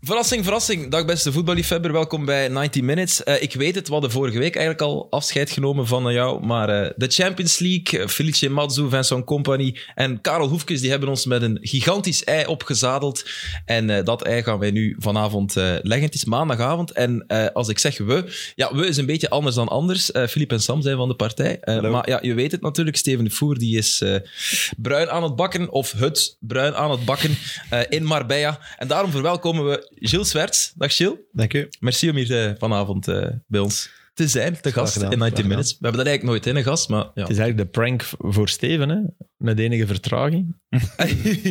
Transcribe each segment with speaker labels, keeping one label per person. Speaker 1: Verrassing, verrassing. Dag beste voetballiefhebber, welkom bij 90 Minutes. Eh, ik weet het, we hadden vorige week eigenlijk al afscheid genomen van eh, jou, maar eh, de Champions League, eh, Felice Mazzu, Vincent Company en Karel Hoefkes, die hebben ons met een gigantisch ei opgezadeld. En eh, dat ei gaan wij nu vanavond eh, leggen. Het is maandagavond en eh, als ik zeg we, ja, we is een beetje anders dan anders. Eh Filip en Sam zijn van de partij. Eh, maar ja, je weet het natuurlijk, Steven de Voer die is eh, bruin aan het bakken, of het bruin aan het bakken eh, in Marbella. En daarom verwelkomen we Gilles Swerts. Dag Gilles.
Speaker 2: Dank u.
Speaker 1: Merci om hier eh, vanavond eh, bij ons te zijn, te gast
Speaker 2: gedaan,
Speaker 1: in 90
Speaker 2: graag
Speaker 1: Minutes. We hebben dat eigenlijk nooit in, een gast, maar ja.
Speaker 3: Het is eigenlijk de prank v- voor Steven, hè? met enige vertraging.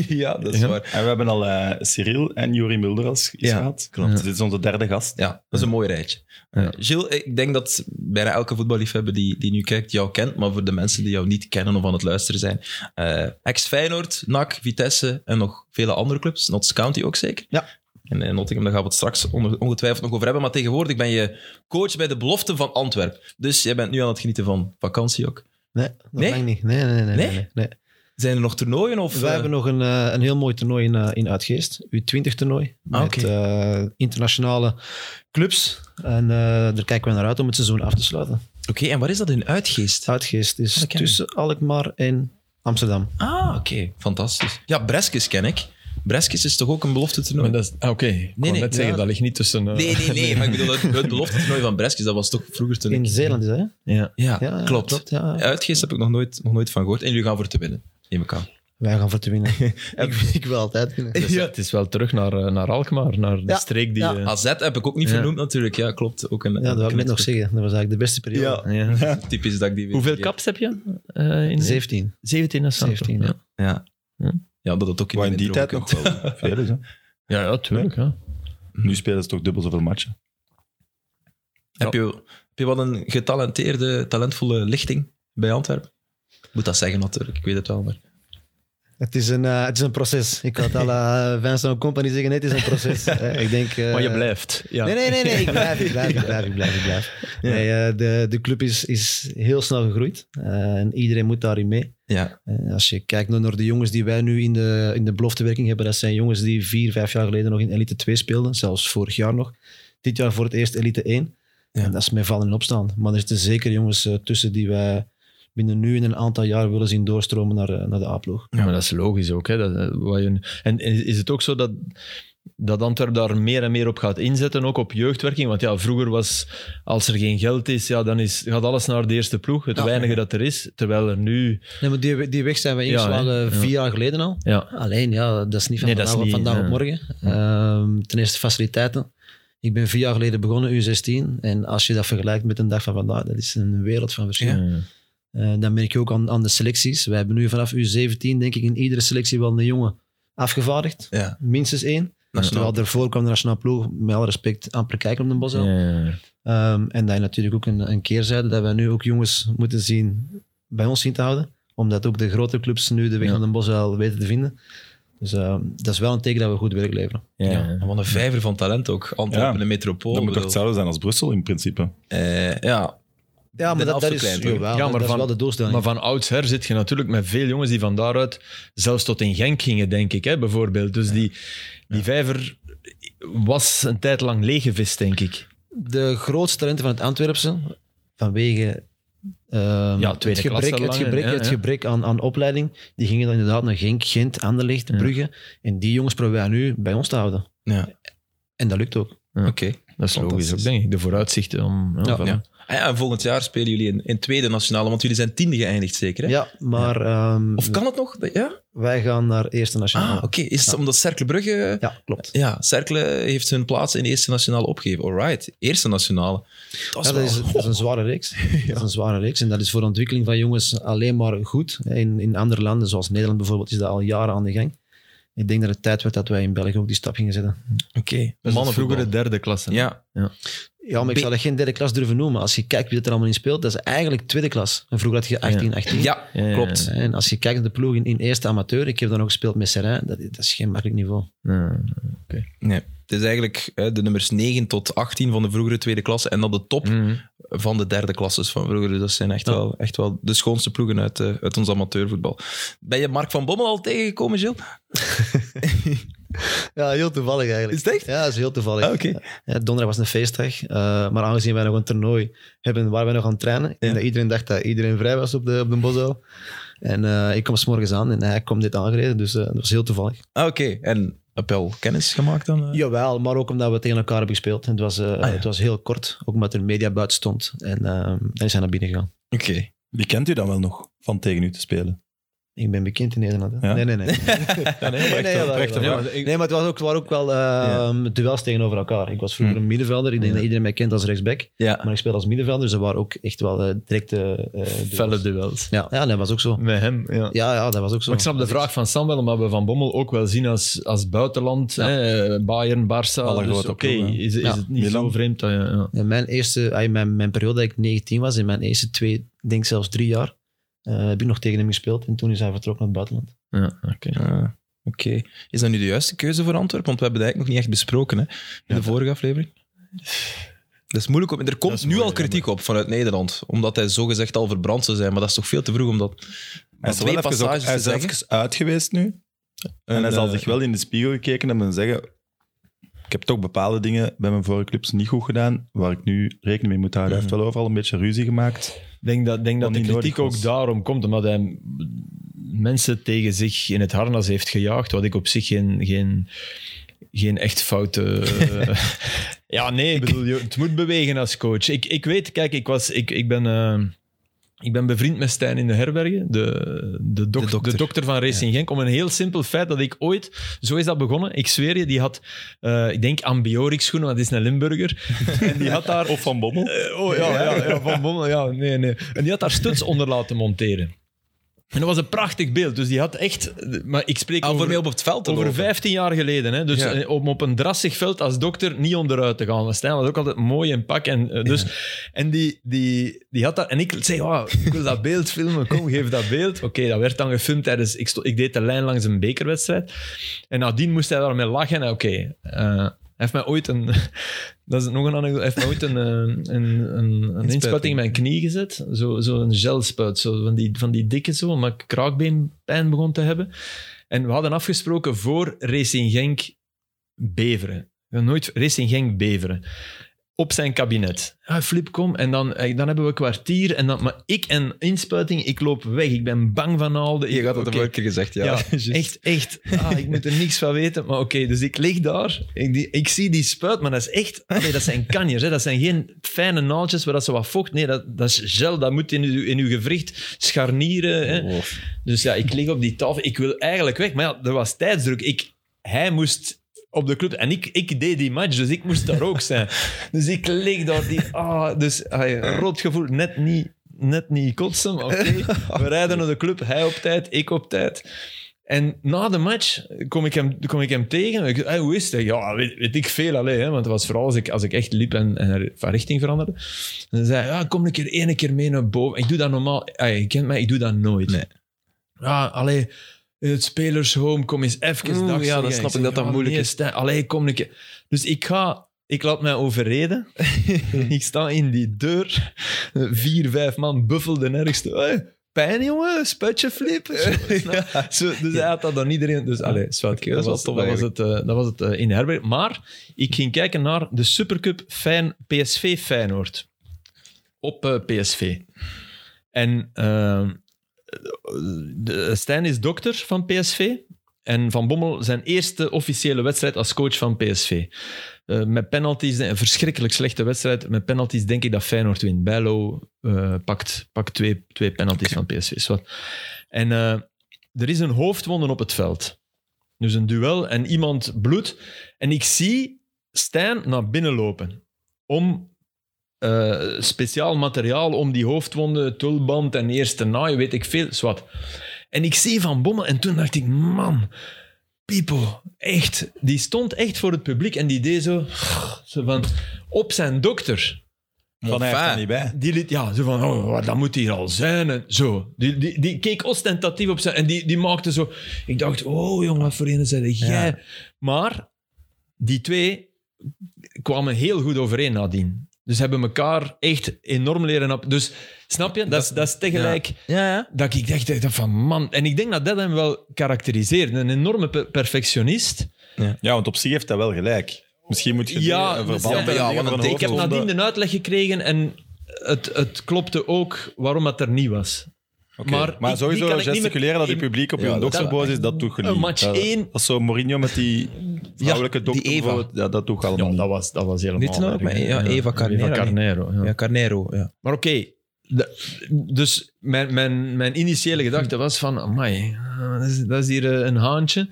Speaker 1: ja, dat is
Speaker 3: Ja.
Speaker 1: waar.
Speaker 2: En we hebben al eh, Cyril en Juri Mulder als is
Speaker 1: Ja,
Speaker 2: gehad. Klopt. Dit is onze derde gast.
Speaker 1: Ja, dat is een mooi rijtje. Eh,
Speaker 3: Ja.
Speaker 1: Gilles, ik denk dat bijna elke voetballiefhebber die, die nu kijkt jou kent, maar voor de mensen die jou niet kennen of aan het luisteren zijn. eh, Ex-Feyenoord, NAC, Vitesse en nog vele andere clubs. Notts County ook zeker.
Speaker 2: Ja.
Speaker 1: En in Nottingham, daar gaan we het straks onder- ongetwijfeld nog over hebben. Maar tegenwoordig ben je coach bij de belofte van Antwerpen. Dus jij bent nu aan het genieten van vakantie ook.
Speaker 4: Nee, dat
Speaker 1: Nee?
Speaker 4: lang niet. Nee, nee, nee. nee,
Speaker 1: Nee?
Speaker 4: nee, nee, nee.
Speaker 1: Zijn er nog toernooien? Of,
Speaker 4: We
Speaker 1: eh,
Speaker 4: hebben nog een, eh, een heel mooi toernooi in, eh, in Uitgeest. U20-toernooi.
Speaker 1: Ah,
Speaker 4: met
Speaker 1: oké.
Speaker 4: eh, internationale clubs. En eh, daar kijken we naar uit om het seizoen af te sluiten.
Speaker 1: Oké, en waar is dat in Uitgeest?
Speaker 4: Uitgeest is
Speaker 1: dat ken ik.
Speaker 4: tussen Alkmaar en Amsterdam.
Speaker 1: Ah, oké. Fantastisch. Ja, Breskes ken ik. Breskes is toch ook een belofte toernooi?
Speaker 3: Maar dat is- ah, Oké, ik wou
Speaker 1: nee,
Speaker 3: net zeggen,
Speaker 1: ja.
Speaker 3: dat ligt niet tussen... eh,
Speaker 1: Nee, nee, nee. Maar ik bedoel, het, het belofte toernooi van Breskes, dat was toch vroeger toen... ik-
Speaker 4: In Zeeland is dat, hè?
Speaker 3: Ja.
Speaker 1: Ja,
Speaker 4: Ja,
Speaker 1: klopt.
Speaker 4: ja.
Speaker 1: Uitgeest heb ik nog nooit, nog nooit van gehoord. En jullie gaan voor te winnen, neem ik aan.
Speaker 4: Wij gaan voor te winnen. ik, ik wil altijd winnen.
Speaker 3: Dus Het is wel terug naar, eh, naar Alkmaar, naar de
Speaker 4: Ja,
Speaker 3: streek die...
Speaker 4: ja.
Speaker 3: eh,
Speaker 1: AZ heb ik ook niet
Speaker 3: Ja.
Speaker 1: vernoemd natuurlijk. Ja, klopt. Ook een,
Speaker 4: Ja, dat wil ik net nog zeggen. Dat was eigenlijk de beste periode.
Speaker 2: Ja.
Speaker 3: ja.
Speaker 1: Typisch dat ik die weer
Speaker 3: Hoeveel
Speaker 1: vergeet.
Speaker 3: kaps heb je? eh in
Speaker 4: 17.
Speaker 3: 17 is dat,
Speaker 4: 17,
Speaker 3: toch?
Speaker 4: ja.
Speaker 1: Ja.
Speaker 3: Ja.
Speaker 1: ja, dat het ook in
Speaker 2: Waar in die
Speaker 1: intro
Speaker 2: tijd nog
Speaker 1: komt.
Speaker 2: wel veel is. Hè?
Speaker 3: Ja, ja, tuurlijk. Ja.
Speaker 2: Nu spelen ze toch dubbel zoveel matchen.
Speaker 1: Heb je, heb je wat een getalenteerde, talentvolle lichting bij Antwerpen? Ik moet dat zeggen natuurlijk, ik weet het wel. Maar...
Speaker 4: Het is, een, eh, het is een proces. Ik had al eh Vincent Company zeggen, nee, het is een proces. Eh, ik denk, eh,
Speaker 3: Maar je blijft. Ja.
Speaker 4: Nee, nee, nee, nee. Ik blijf, ik blijf, ik blijf, ik blijf. Ik blijf.
Speaker 1: Ja.
Speaker 4: Nee, eh, de, de club is, is heel snel gegroeid eh, en iedereen moet daarin mee.
Speaker 1: Ja,
Speaker 4: Eh, als je kijkt nu naar de jongens die wij nu in de, in de beloftewerking hebben, dat zijn jongens die vier, vijf jaar geleden nog in Elite 2 speelden, zelfs vorig jaar nog. Dit jaar voor het eerst Elite 1.
Speaker 1: Ja.
Speaker 4: En dat is met vallen en opstaan. Maar er zitten zeker jongens eh, tussen die wij binnen nu en een aantal jaar willen zien doorstromen naar, eh, naar de A-ploeg.
Speaker 3: Ja, maar dat is logisch ook. Hè. Dat, eh, wat je, en en is het ook zo dat, dat Antwerpen daar meer en meer op gaat inzetten, ook op jeugdwerking? Want ja, vroeger was, als er geen geld is, ja, dan is, gaat alles naar de eerste ploeg, het
Speaker 1: Ja.
Speaker 3: weinige dat er is. Terwijl er nu...
Speaker 4: Nee, maar die, die weg zijn we
Speaker 3: Ja, hè.
Speaker 4: ingeslagen
Speaker 3: Ja.
Speaker 4: vier jaar geleden al.
Speaker 3: Ja,
Speaker 4: Alleen, ja, dat is niet van
Speaker 3: Nee, dat is
Speaker 4: vandaag,
Speaker 3: niet,
Speaker 4: vandaag op
Speaker 3: ja.
Speaker 4: morgen. Ehm, ten eerste faciliteiten. Ik ben vier jaar geleden begonnen, U16. En als je dat vergelijkt met een dag van vandaag, dat is een wereld van verschil.
Speaker 1: Ja.
Speaker 3: eh,
Speaker 4: Eh, dan merk je ook aan, aan de selecties. Wij hebben nu vanaf U17, denk ik, in iedere selectie wel een jongen afgevaardigd.
Speaker 1: ja.
Speaker 4: Minstens één.
Speaker 1: Nationaal.
Speaker 4: Terwijl ervoor kwam de nationale ploeg, met alle respect, amper kijken op de bos.
Speaker 3: ja.
Speaker 4: Ehm, en dat je natuurlijk ook een, een keerzijde, dat wij nu ook jongens moeten zien bij ons zien te houden. Omdat ook de grote clubs nu de weg
Speaker 3: Ja.
Speaker 4: naar de Bosuil weten te vinden. Dus ehm, dat is wel een teken dat we goed werk leveren.
Speaker 3: Ja.
Speaker 1: Ja, en wat een vijver van talent ook. Antwerpen,
Speaker 2: Ja.
Speaker 1: een metropool.
Speaker 2: dat moet toch
Speaker 1: bedoel.
Speaker 2: hetzelfde zijn als Brussel in principe.
Speaker 1: Eh, ja,
Speaker 4: Ja,
Speaker 1: maar dat- dat is-
Speaker 3: Ja, maar
Speaker 4: dat
Speaker 3: van-
Speaker 4: is wel de doelstelling.
Speaker 3: Maar van oudsher zit je natuurlijk met veel jongens die van daaruit zelfs tot in Genk gingen, denk ik, hè, bijvoorbeeld. Dus die, die vijver was een tijd lang leeggevist, denk ik.
Speaker 4: de grootste talenten van het Antwerpse, vanwege ehm,
Speaker 3: Ja,
Speaker 4: het
Speaker 3: tweede
Speaker 4: gebrek,
Speaker 3: klasse
Speaker 4: het
Speaker 3: lang,
Speaker 4: gebrek,
Speaker 3: ja,
Speaker 4: het
Speaker 3: ja.
Speaker 4: gebrek aan, aan opleiding, die gingen dan inderdaad naar Genk, Gent, Anderlecht, Brugge. En die jongens proberen wij nu bij ons te houden.
Speaker 1: ja.
Speaker 4: En dat lukt ook.
Speaker 1: oké.
Speaker 3: Dat is logisch ook,
Speaker 1: Fantastisch.
Speaker 3: denk ik. De vooruitzichten om...
Speaker 4: Ja,
Speaker 3: voilà.
Speaker 1: Ah Ja. En, en volgend jaar spelen jullie in, in tweede nationale, want jullie zijn tiende geëindigd zeker, hè?
Speaker 4: Ja, maar ehm,
Speaker 1: Of kan het nog? Ja?
Speaker 4: wij gaan naar Eerste
Speaker 1: Ah,
Speaker 4: Nationaal.
Speaker 1: oké. Is het omdat Cercle Brugge...
Speaker 4: Ja, klopt.
Speaker 1: Ja, Cercle heeft hun plaats in de eerste nationale opgegeven. Alright, eerste nationale. Dat is,
Speaker 4: Ja, dat, is,
Speaker 1: wel-
Speaker 4: dat is een zware reeks. Dat is een zware reeks. En dat is voor de ontwikkeling van jongens alleen maar goed. In, in andere landen, zoals Nederland bijvoorbeeld, is dat al jaren aan de gang. Ik denk dat het tijd werd dat wij in België ook die stap gingen zetten.
Speaker 1: Oké,
Speaker 3: Dat is het vroegere
Speaker 1: mannenvoetbal.
Speaker 3: derde klasse. hè?
Speaker 1: Ja,
Speaker 4: Ja, maar ik
Speaker 1: Be-
Speaker 4: zou dat geen derde klas durven noemen. Als je kijkt wie dat er allemaal in speelt, dat is eigenlijk tweede klas. En vroeger had je 18, 18.
Speaker 1: ja,
Speaker 3: Ja, ja, ja.
Speaker 1: klopt.
Speaker 4: En als je kijkt naar de ploeg in, in eerste amateur, ik heb dan ook gespeeld met Serrain, dat, dat is geen makkelijk niveau.
Speaker 3: Ja.
Speaker 1: Nee. Het is eigenlijk hè, de nummers 9 tot 18 van de vroegere tweede klasse en dan de top
Speaker 3: Mm.
Speaker 1: van de derde klasses van vroeger. Dus dat zijn echt, wel, echt wel de schoonste ploegen uit, eh, uit ons amateurvoetbal. Ben je Mark van Bommel al tegengekomen, Gilles?
Speaker 4: Ja, heel toevallig eigenlijk.
Speaker 1: Is het echt?
Speaker 4: Ja, dat is heel toevallig.
Speaker 1: Ah, Oké.
Speaker 4: Ja, donderdag was een feestdag, eh, maar aangezien wij nog een toernooi hebben waar wij nog aan trainen,
Speaker 1: Ja.
Speaker 4: en dat iedereen dacht dat iedereen vrij was op de, op de Bosuil. En eh, ik kom 's morgens aan en hij komt dit aangereden, dus eh, dat was heel toevallig.
Speaker 1: Ah, Oké, en heb je al kennis gemaakt dan? eh?
Speaker 4: Jawel, maar ook omdat we tegen elkaar hebben gespeeld. En het, was, eh,
Speaker 1: ja.
Speaker 4: het was heel kort, ook omdat er media buiten stond. En, ehm, en is hij naar binnen gegaan.
Speaker 1: Oké.
Speaker 2: Die kent u dan wel nog, van tegen u te spelen?
Speaker 4: Ik ben bekend in Nederland. hè.
Speaker 2: Ja?
Speaker 4: Nee, nee, nee. nee,
Speaker 2: Ja, nee,
Speaker 4: nee, jawel, jawel. Nee, maar het was ook, het waren ook wel eh, duels tegenover elkaar. Ik was vroeger een middenvelder. Ik denk dat iedereen mij kent als rechtsback.
Speaker 1: Ja.
Speaker 4: Maar ik speelde als middenvelder, dus dat waren ook echt wel eh, directe... eh,
Speaker 3: Felle duels.
Speaker 4: Ja, ja, dat was ook zo.
Speaker 3: Met hem, ja.
Speaker 4: Ja, ja, dat was ook zo.
Speaker 3: Maar ik snap de vraag van Sam wel, maar we Van Bommel ook wel zien als, als buitenland. Hè, Bayern, Barça.
Speaker 2: Alle
Speaker 3: Dus
Speaker 2: grote
Speaker 3: Oké,
Speaker 2: ploegen, hè.
Speaker 3: is, is
Speaker 4: Ja.
Speaker 3: het niet
Speaker 2: Milan.
Speaker 3: zo vreemd? Dat, je- ja.
Speaker 4: In mijn eerste, ay, mijn, mijn periode dat ik 19 was, in mijn eerste twee, denk zelfs drie jaar, eh, heb ik nog tegen hem gespeeld. En toen is hij vertrokken naar het buitenland.
Speaker 3: Ja, oké.
Speaker 1: Ah, Oké. Is dat nu de juiste keuze voor Antwerpen? Want we hebben dat eigenlijk nog niet echt besproken hè, in de vorige aflevering. Dat is moeilijk. Om, er
Speaker 2: Dat
Speaker 1: komt
Speaker 2: is
Speaker 1: nu al
Speaker 2: moeilijk,
Speaker 1: kritiek op vanuit Nederland. Omdat hij zogezegd al verbrand zou zijn. Maar dat is toch veel te vroeg om dat
Speaker 2: Hij
Speaker 1: maar
Speaker 2: is, er
Speaker 1: twee
Speaker 2: wel even, ook,
Speaker 1: passages
Speaker 2: hij
Speaker 1: te
Speaker 2: is er
Speaker 1: zeggen.
Speaker 2: even uit geweest nu. En, hij
Speaker 1: En,
Speaker 2: zal
Speaker 1: eh,
Speaker 2: zich wel in de spiegel gekeken hebben en zeggen: Ik heb toch bepaalde dingen bij mijn vorige clubs niet goed gedaan, waar ik nu rekening mee moet houden. Hij heeft wel overal een beetje ruzie gemaakt.
Speaker 3: Ik denk dat, denk dat de
Speaker 2: niet nodig
Speaker 3: kritiek ook
Speaker 2: was.
Speaker 3: daarom komt, omdat hij mensen tegen zich in het harnas heeft gejaagd, wat ik op zich geen, geen, geen echt foute... ja, nee, ik bedoel, je- het moet bewegen als coach. Ik, ik weet, kijk, ik, was, ik, ik ben... eh, ik ben bevriend met Stijn in de herbergen, de, de, dok-
Speaker 1: De dokter.
Speaker 3: de dokter van Racing Genk. Om een heel simpel feit dat ik ooit, zo is dat begonnen, ik zweer je, die had, eh, ik denk Ambiorix schoenen, want het is een Limburger. En die had daar
Speaker 2: Of van Bommel.
Speaker 3: eh, oh ja, ja, ja, van Bommel, ja, nee, nee. En die had daar stuts onder laten monteren. En dat was een prachtig beeld. Dus die had echt... Maar ik spreek
Speaker 1: Ah, voor
Speaker 3: over,
Speaker 1: mij op het veld te
Speaker 3: over
Speaker 1: lopen.
Speaker 3: 15 jaar geleden. Hè? Dus
Speaker 1: Ja.
Speaker 3: eh, om op een drassig veld als dokter niet onderuit te gaan. Want Stijn was ook altijd mooi in pak. En, eh, dus, en, die, die, die had dat, en ik zei, "Oh, ik wil dat beeld filmen. Kom, geef dat beeld. Oké, dat werd dan gefilmd tijdens... Ik, sto- ik deed de lijn langs een bekerwedstrijd. En nadien moest hij daarmee lachen. En Oké, eh, hij heeft mij ooit een... Dat is nog een anekdote. Hij heeft mij ooit een, eh, een, een, een inspuiting in mijn knie gezet. Zo'n zo een gelspuit, zo van, die, van die dikke zo. Omdat ik kraakbeenpijn begon te hebben. En we hadden afgesproken voor Racing Genk Beveren. Nooit Racing Genk Beveren. Op zijn kabinet. Ja, Flip, kom. En dan, eh, dan hebben we kwartier. En dan, maar ik en inspuiting, ik loop weg. Ik ben bang van Alde.
Speaker 1: Je
Speaker 3: Ik-
Speaker 1: had dat de
Speaker 3: oké.
Speaker 1: vorige keer gezegd, ja.
Speaker 3: Ja,
Speaker 1: Juist.
Speaker 3: echt, echt. Ah, ik moet er niks van weten. Maar oké, dus ik lig daar. Ik, die- ik zie die spuit, maar dat is echt... allee, dat zijn kanjers, hè. Dat zijn geen fijne naaldjes waar dat ze wat vocht... Nee, dat, dat is gel. Dat moet in uw, in uw gewricht scharnieren.
Speaker 1: Oh.
Speaker 3: Hè. Dus ja, ik lig op die tafel. Ik wil eigenlijk weg. Maar ja, er was tijdsdruk. Ik, hij moest op de club. En ik, ik deed die match, dus ik moest daar ook zijn. Dus ik lig daar. Die, ah, dus ay, rot gevoel. Net niet, net niet kotsen, maar oké. We rijden naar de club. Hij op tijd, ik op tijd. En na de match kom ik hem, kom ik hem tegen. Ik, hey, hoe is het? Ja, weet, weet ik veel alleen. Hè, want het was vooral als ik, als ik echt liep en, en van richting veranderde. En dan zei hij, ja, kom een keer één keer mee naar boven. Ik doe dat normaal. Ay, je kent mij, ik doe dat nooit.
Speaker 1: Nee.
Speaker 3: Ja, allee, in het spelershome, kom eens even
Speaker 1: Oeh,
Speaker 3: dag
Speaker 1: ja,
Speaker 3: zeggen.
Speaker 1: dan snap ik
Speaker 3: zeg,
Speaker 1: dat dat
Speaker 3: ja,
Speaker 1: moeilijk
Speaker 3: nee,
Speaker 1: is.
Speaker 3: Stijn, allee, kom een keer. Dus ik ga... Ik laat mij overreden. ik sta in die deur. Vier, vijf man buffelde nergens. Hey, pijn, jongen. Sputje flip. Snap- Zo, dus hij had dat dan iedereen... Dus allee, zwart.
Speaker 1: Oké, dat
Speaker 3: dat,
Speaker 1: is wel
Speaker 3: was,
Speaker 1: tof
Speaker 3: dat was het, eh, dat was het eh, in Herberg. Maar ik ging kijken naar de Supercup Fijn, PSV Feyenoord. Op eh, PSV. En eh, de, eh, Stijn is dokter van PSV. En Van Bommel zijn eerste officiële wedstrijd als coach van PSV. Eh, met penalties, een verschrikkelijk slechte wedstrijd. Met penalties denk ik dat Feyenoord wint. Bijlo eh, pakt, pakt twee, twee penalties van PSV. Zwat. En eh, er is een hoofdwonden op het veld. Dus een duel en iemand bloedt. En ik zie Stijn naar binnen lopen. Om eh, speciaal materiaal om die hoofdwonden, tulband en eerste naai, weet ik veel, zwart. En ik zie Van Bommel en toen dacht ik, man, Pipo, echt. Die stond echt voor het publiek en die deed zo, zo van, op zijn dokter.
Speaker 2: Van hij heeft er niet bij.
Speaker 3: Die liet, ja, zo van, oh, wat, dat moet hier al zijn. En zo. Die, die, die keek ostentatief op zijn... En die, die maakte zo... Ik dacht, oh jongen, wat voor ene zei jij? Maar die twee kwamen heel goed overeen nadien. Dus hebben elkaar echt enorm leren... op- Dus snap je? Dat, is- dat is tegelijk...
Speaker 1: Ja, ja.
Speaker 3: Dat ik dacht, ik dacht van man... En ik denk dat dat hem wel karakteriseert. Een enorme per- perfectionist.
Speaker 2: Ja, want op zich heeft dat wel gelijk. Misschien moet je
Speaker 3: Ja,
Speaker 2: dingen-
Speaker 3: dat
Speaker 2: een
Speaker 3: is-
Speaker 2: verband
Speaker 1: ja, ja,
Speaker 2: hebben
Speaker 1: want
Speaker 2: van
Speaker 1: ik
Speaker 3: Ik heb
Speaker 1: Klopt.
Speaker 3: nadien de uitleg gekregen en het, het klopte ook waarom dat er niet was. maar
Speaker 2: maar,
Speaker 3: ik-
Speaker 2: sowieso
Speaker 3: die kan ik niet meer
Speaker 2: gesticuleren dat het
Speaker 3: in-
Speaker 2: publiek op
Speaker 1: Ja,
Speaker 2: hun
Speaker 1: dat
Speaker 2: doksel
Speaker 1: is
Speaker 2: boos is, dat doet je
Speaker 3: Een
Speaker 2: niet.
Speaker 3: match
Speaker 2: dat,
Speaker 3: één.
Speaker 2: Dat is zo Mourinho met die vrouwelijke dokter.
Speaker 1: die Eva.
Speaker 2: bijvoorbeeld. Ja, dat doet je allemaal niet.
Speaker 3: was, dat was helemaal...
Speaker 1: Niet te nodig,
Speaker 3: erg,
Speaker 1: maar
Speaker 3: hè.
Speaker 1: ja, Eva Carnero.
Speaker 3: Carnero, ja.
Speaker 1: Ja, Carnero. Ja.
Speaker 3: Maar oké, de- dus mijn, mijn, mijn initiële gedachte was van, amai, dat is, dat is hier eh, een haantje.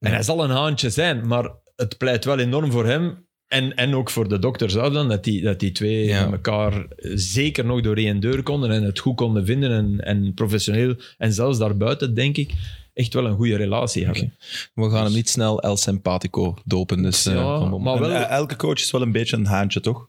Speaker 3: En hij zal een haantje zijn, maar het pleit wel enorm voor hem en, en ook voor de dokters uit dan, dat die, dat die twee
Speaker 1: Ja.
Speaker 3: elkaar zeker nog door één deur konden en het goed konden vinden en, en professioneel en zelfs daarbuiten, denk ik, echt wel een goede relatie hebben.
Speaker 1: We gaan hem niet snel El Simpatico dopen. Dus, eh,
Speaker 3: Dus- Ja,
Speaker 1: van Bommel.
Speaker 3: maar
Speaker 2: En,
Speaker 3: wel...
Speaker 2: eh, elke coach is wel een beetje een haantje, toch?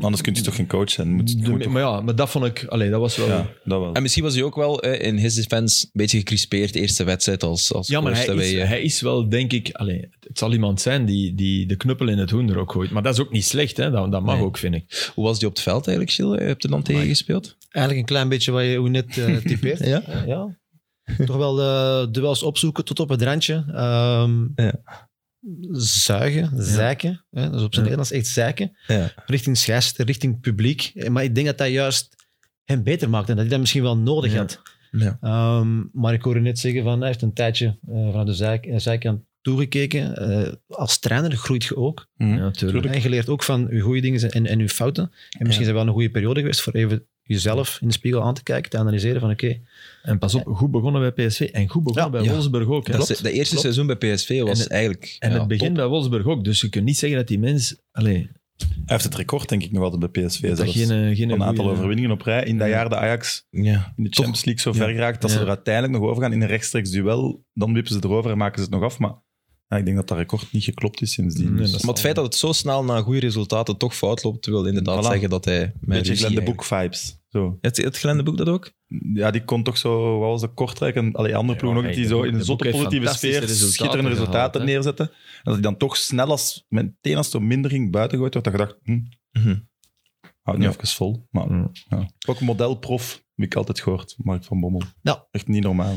Speaker 2: Anders kun je toch geen coach zijn. Moet, je
Speaker 3: Mm. de-
Speaker 2: moet toch-
Speaker 3: maar ja, maar dat vond ik... Allee, dat was wel...
Speaker 2: ja, dat wel.
Speaker 1: En misschien was hij ook wel eh, in his defense een beetje gecrispeerd de eerste wedstrijd als, als
Speaker 3: Ja, maar
Speaker 1: coach
Speaker 3: hij is,
Speaker 1: daarbij, eh.
Speaker 3: hij is wel, denk ik... Allee, het zal iemand zijn die, die de knuppel in het hoender ook gooit. Maar dat is ook niet slecht, hè? Dat, dat mag
Speaker 1: Nee.
Speaker 3: ook, vind ik.
Speaker 1: Hoe was die op het veld eigenlijk, Gilles? Eh, Je hebt er dan tegen gespeeld?
Speaker 4: Eigenlijk een klein beetje wat je hoe net eh, typeert.
Speaker 1: Ja.
Speaker 4: Eh, ja. Toch wel eh, duels opzoeken tot op het randje. Ehm,
Speaker 1: Ja.
Speaker 4: Zuigen, zeiken. Hè? Dat is op zijn
Speaker 3: Ja.
Speaker 4: Nederlands echt zeiken.
Speaker 1: Ja.
Speaker 4: Richting scheidsrechter, richting publiek. Eh, Maar ik denk dat dat juist hem beter maakt en dat hij dat misschien wel nodig
Speaker 3: Ja.
Speaker 4: had.
Speaker 1: Ja.
Speaker 4: Ehm, maar ik hoorde net zeggen van hij heeft een tijdje eh, vanuit de zijk- eh, zijkant toegekeken. Eh, als trainer groeit je ook.
Speaker 2: Mhm.
Speaker 1: Hm,
Speaker 3: Ja, natuurlijk.
Speaker 4: En je leert ook van je goede dingen en, en je fouten. En misschien is het wel een goede periode geweest voor even jezelf in de spiegel aan te kijken, te analyseren van oké,
Speaker 3: En pas op, goed begonnen bij PSV en goed begonnen
Speaker 4: Ja,
Speaker 3: bij
Speaker 1: ja.
Speaker 3: Wolfsburg ook. hè.
Speaker 1: Dat is- de eerste seizoen bij PSV was
Speaker 3: En het-
Speaker 1: eigenlijk...
Speaker 3: En
Speaker 1: ja,
Speaker 3: het begin
Speaker 1: top.
Speaker 3: bij Wolfsburg ook. Dus je kunt niet zeggen dat die mens... Allee,
Speaker 2: Hij heeft het record, denk ik, nog altijd bij PSV.
Speaker 3: dat
Speaker 2: zelfs.
Speaker 3: geen, eh, geen
Speaker 2: Van een aantal
Speaker 3: goeie-
Speaker 2: overwinningen op rij. In dat
Speaker 3: Ja.
Speaker 2: jaar de Ajax
Speaker 1: Ja.
Speaker 2: in de Champions League zo ver geraakt dat
Speaker 3: Ja.
Speaker 2: ze er uiteindelijk nog overgaan in een rechtstreeks duel. Dan wippen ze erover en maken ze het nog af. Maar ja, ik denk dat dat record niet geklopt is sindsdien.
Speaker 3: Nee,
Speaker 2: Dus
Speaker 3: dat
Speaker 1: Maar het feit dat het zo snel na goede resultaten toch fout loopt, wil inderdaad
Speaker 2: Voilà.
Speaker 1: zeggen dat hij... met
Speaker 2: een beetje
Speaker 1: ruzie
Speaker 2: Glenn de
Speaker 1: eigenlijk-
Speaker 2: Boek vibes. Zo.
Speaker 1: Het, het Glenn de Boek dat ook?
Speaker 2: Ja, die kon toch zo, wat was de Kortrijk en alle andere ploegen
Speaker 3: Ja,
Speaker 2: ook,
Speaker 3: hij-
Speaker 2: die zo in
Speaker 3: de
Speaker 2: een
Speaker 3: Boek
Speaker 2: zotte
Speaker 3: heeft
Speaker 2: positieve
Speaker 3: fantastische
Speaker 2: sfeer
Speaker 3: resultaten
Speaker 2: schitterende
Speaker 3: gehaald,
Speaker 2: resultaten
Speaker 3: hè.
Speaker 2: neerzetten. En dat hij dan toch snel als, meteen als er minder ging buiten gegooid werd, dat je dacht, hm,
Speaker 1: Mhm.
Speaker 2: houd niet even vol. Maar
Speaker 3: Ja. Hm.
Speaker 2: ja. ook modelprof, heb ik altijd gehoord, Mark van Bommel.
Speaker 4: Ja.
Speaker 2: Echt niet normaal.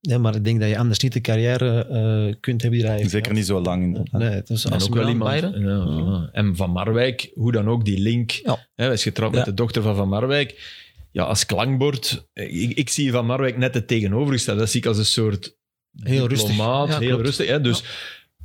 Speaker 4: nee, maar ik denk dat je anders niet de carrière eh, kunt hebben die daar heeft.
Speaker 2: Zeker niet zo lang. inderdaad.
Speaker 4: Nee, het is
Speaker 3: En
Speaker 4: als
Speaker 3: ook wel iemand.
Speaker 4: Bayern.
Speaker 3: ja, voilà. En Van Marwijk, hoe dan ook, die link.
Speaker 1: Ja.
Speaker 3: Hè, hij is getrouwd
Speaker 1: Ja.
Speaker 3: met de dochter van Van Marwijk. Ja, als klankbord. Ik, ik zie Van Marwijk net het tegenovergestelde. Dat zie ik als een soort
Speaker 4: Heel rustig.
Speaker 3: diplomaat,
Speaker 4: Ja,
Speaker 3: heel
Speaker 4: klopt.
Speaker 3: rustig. Hè? Dus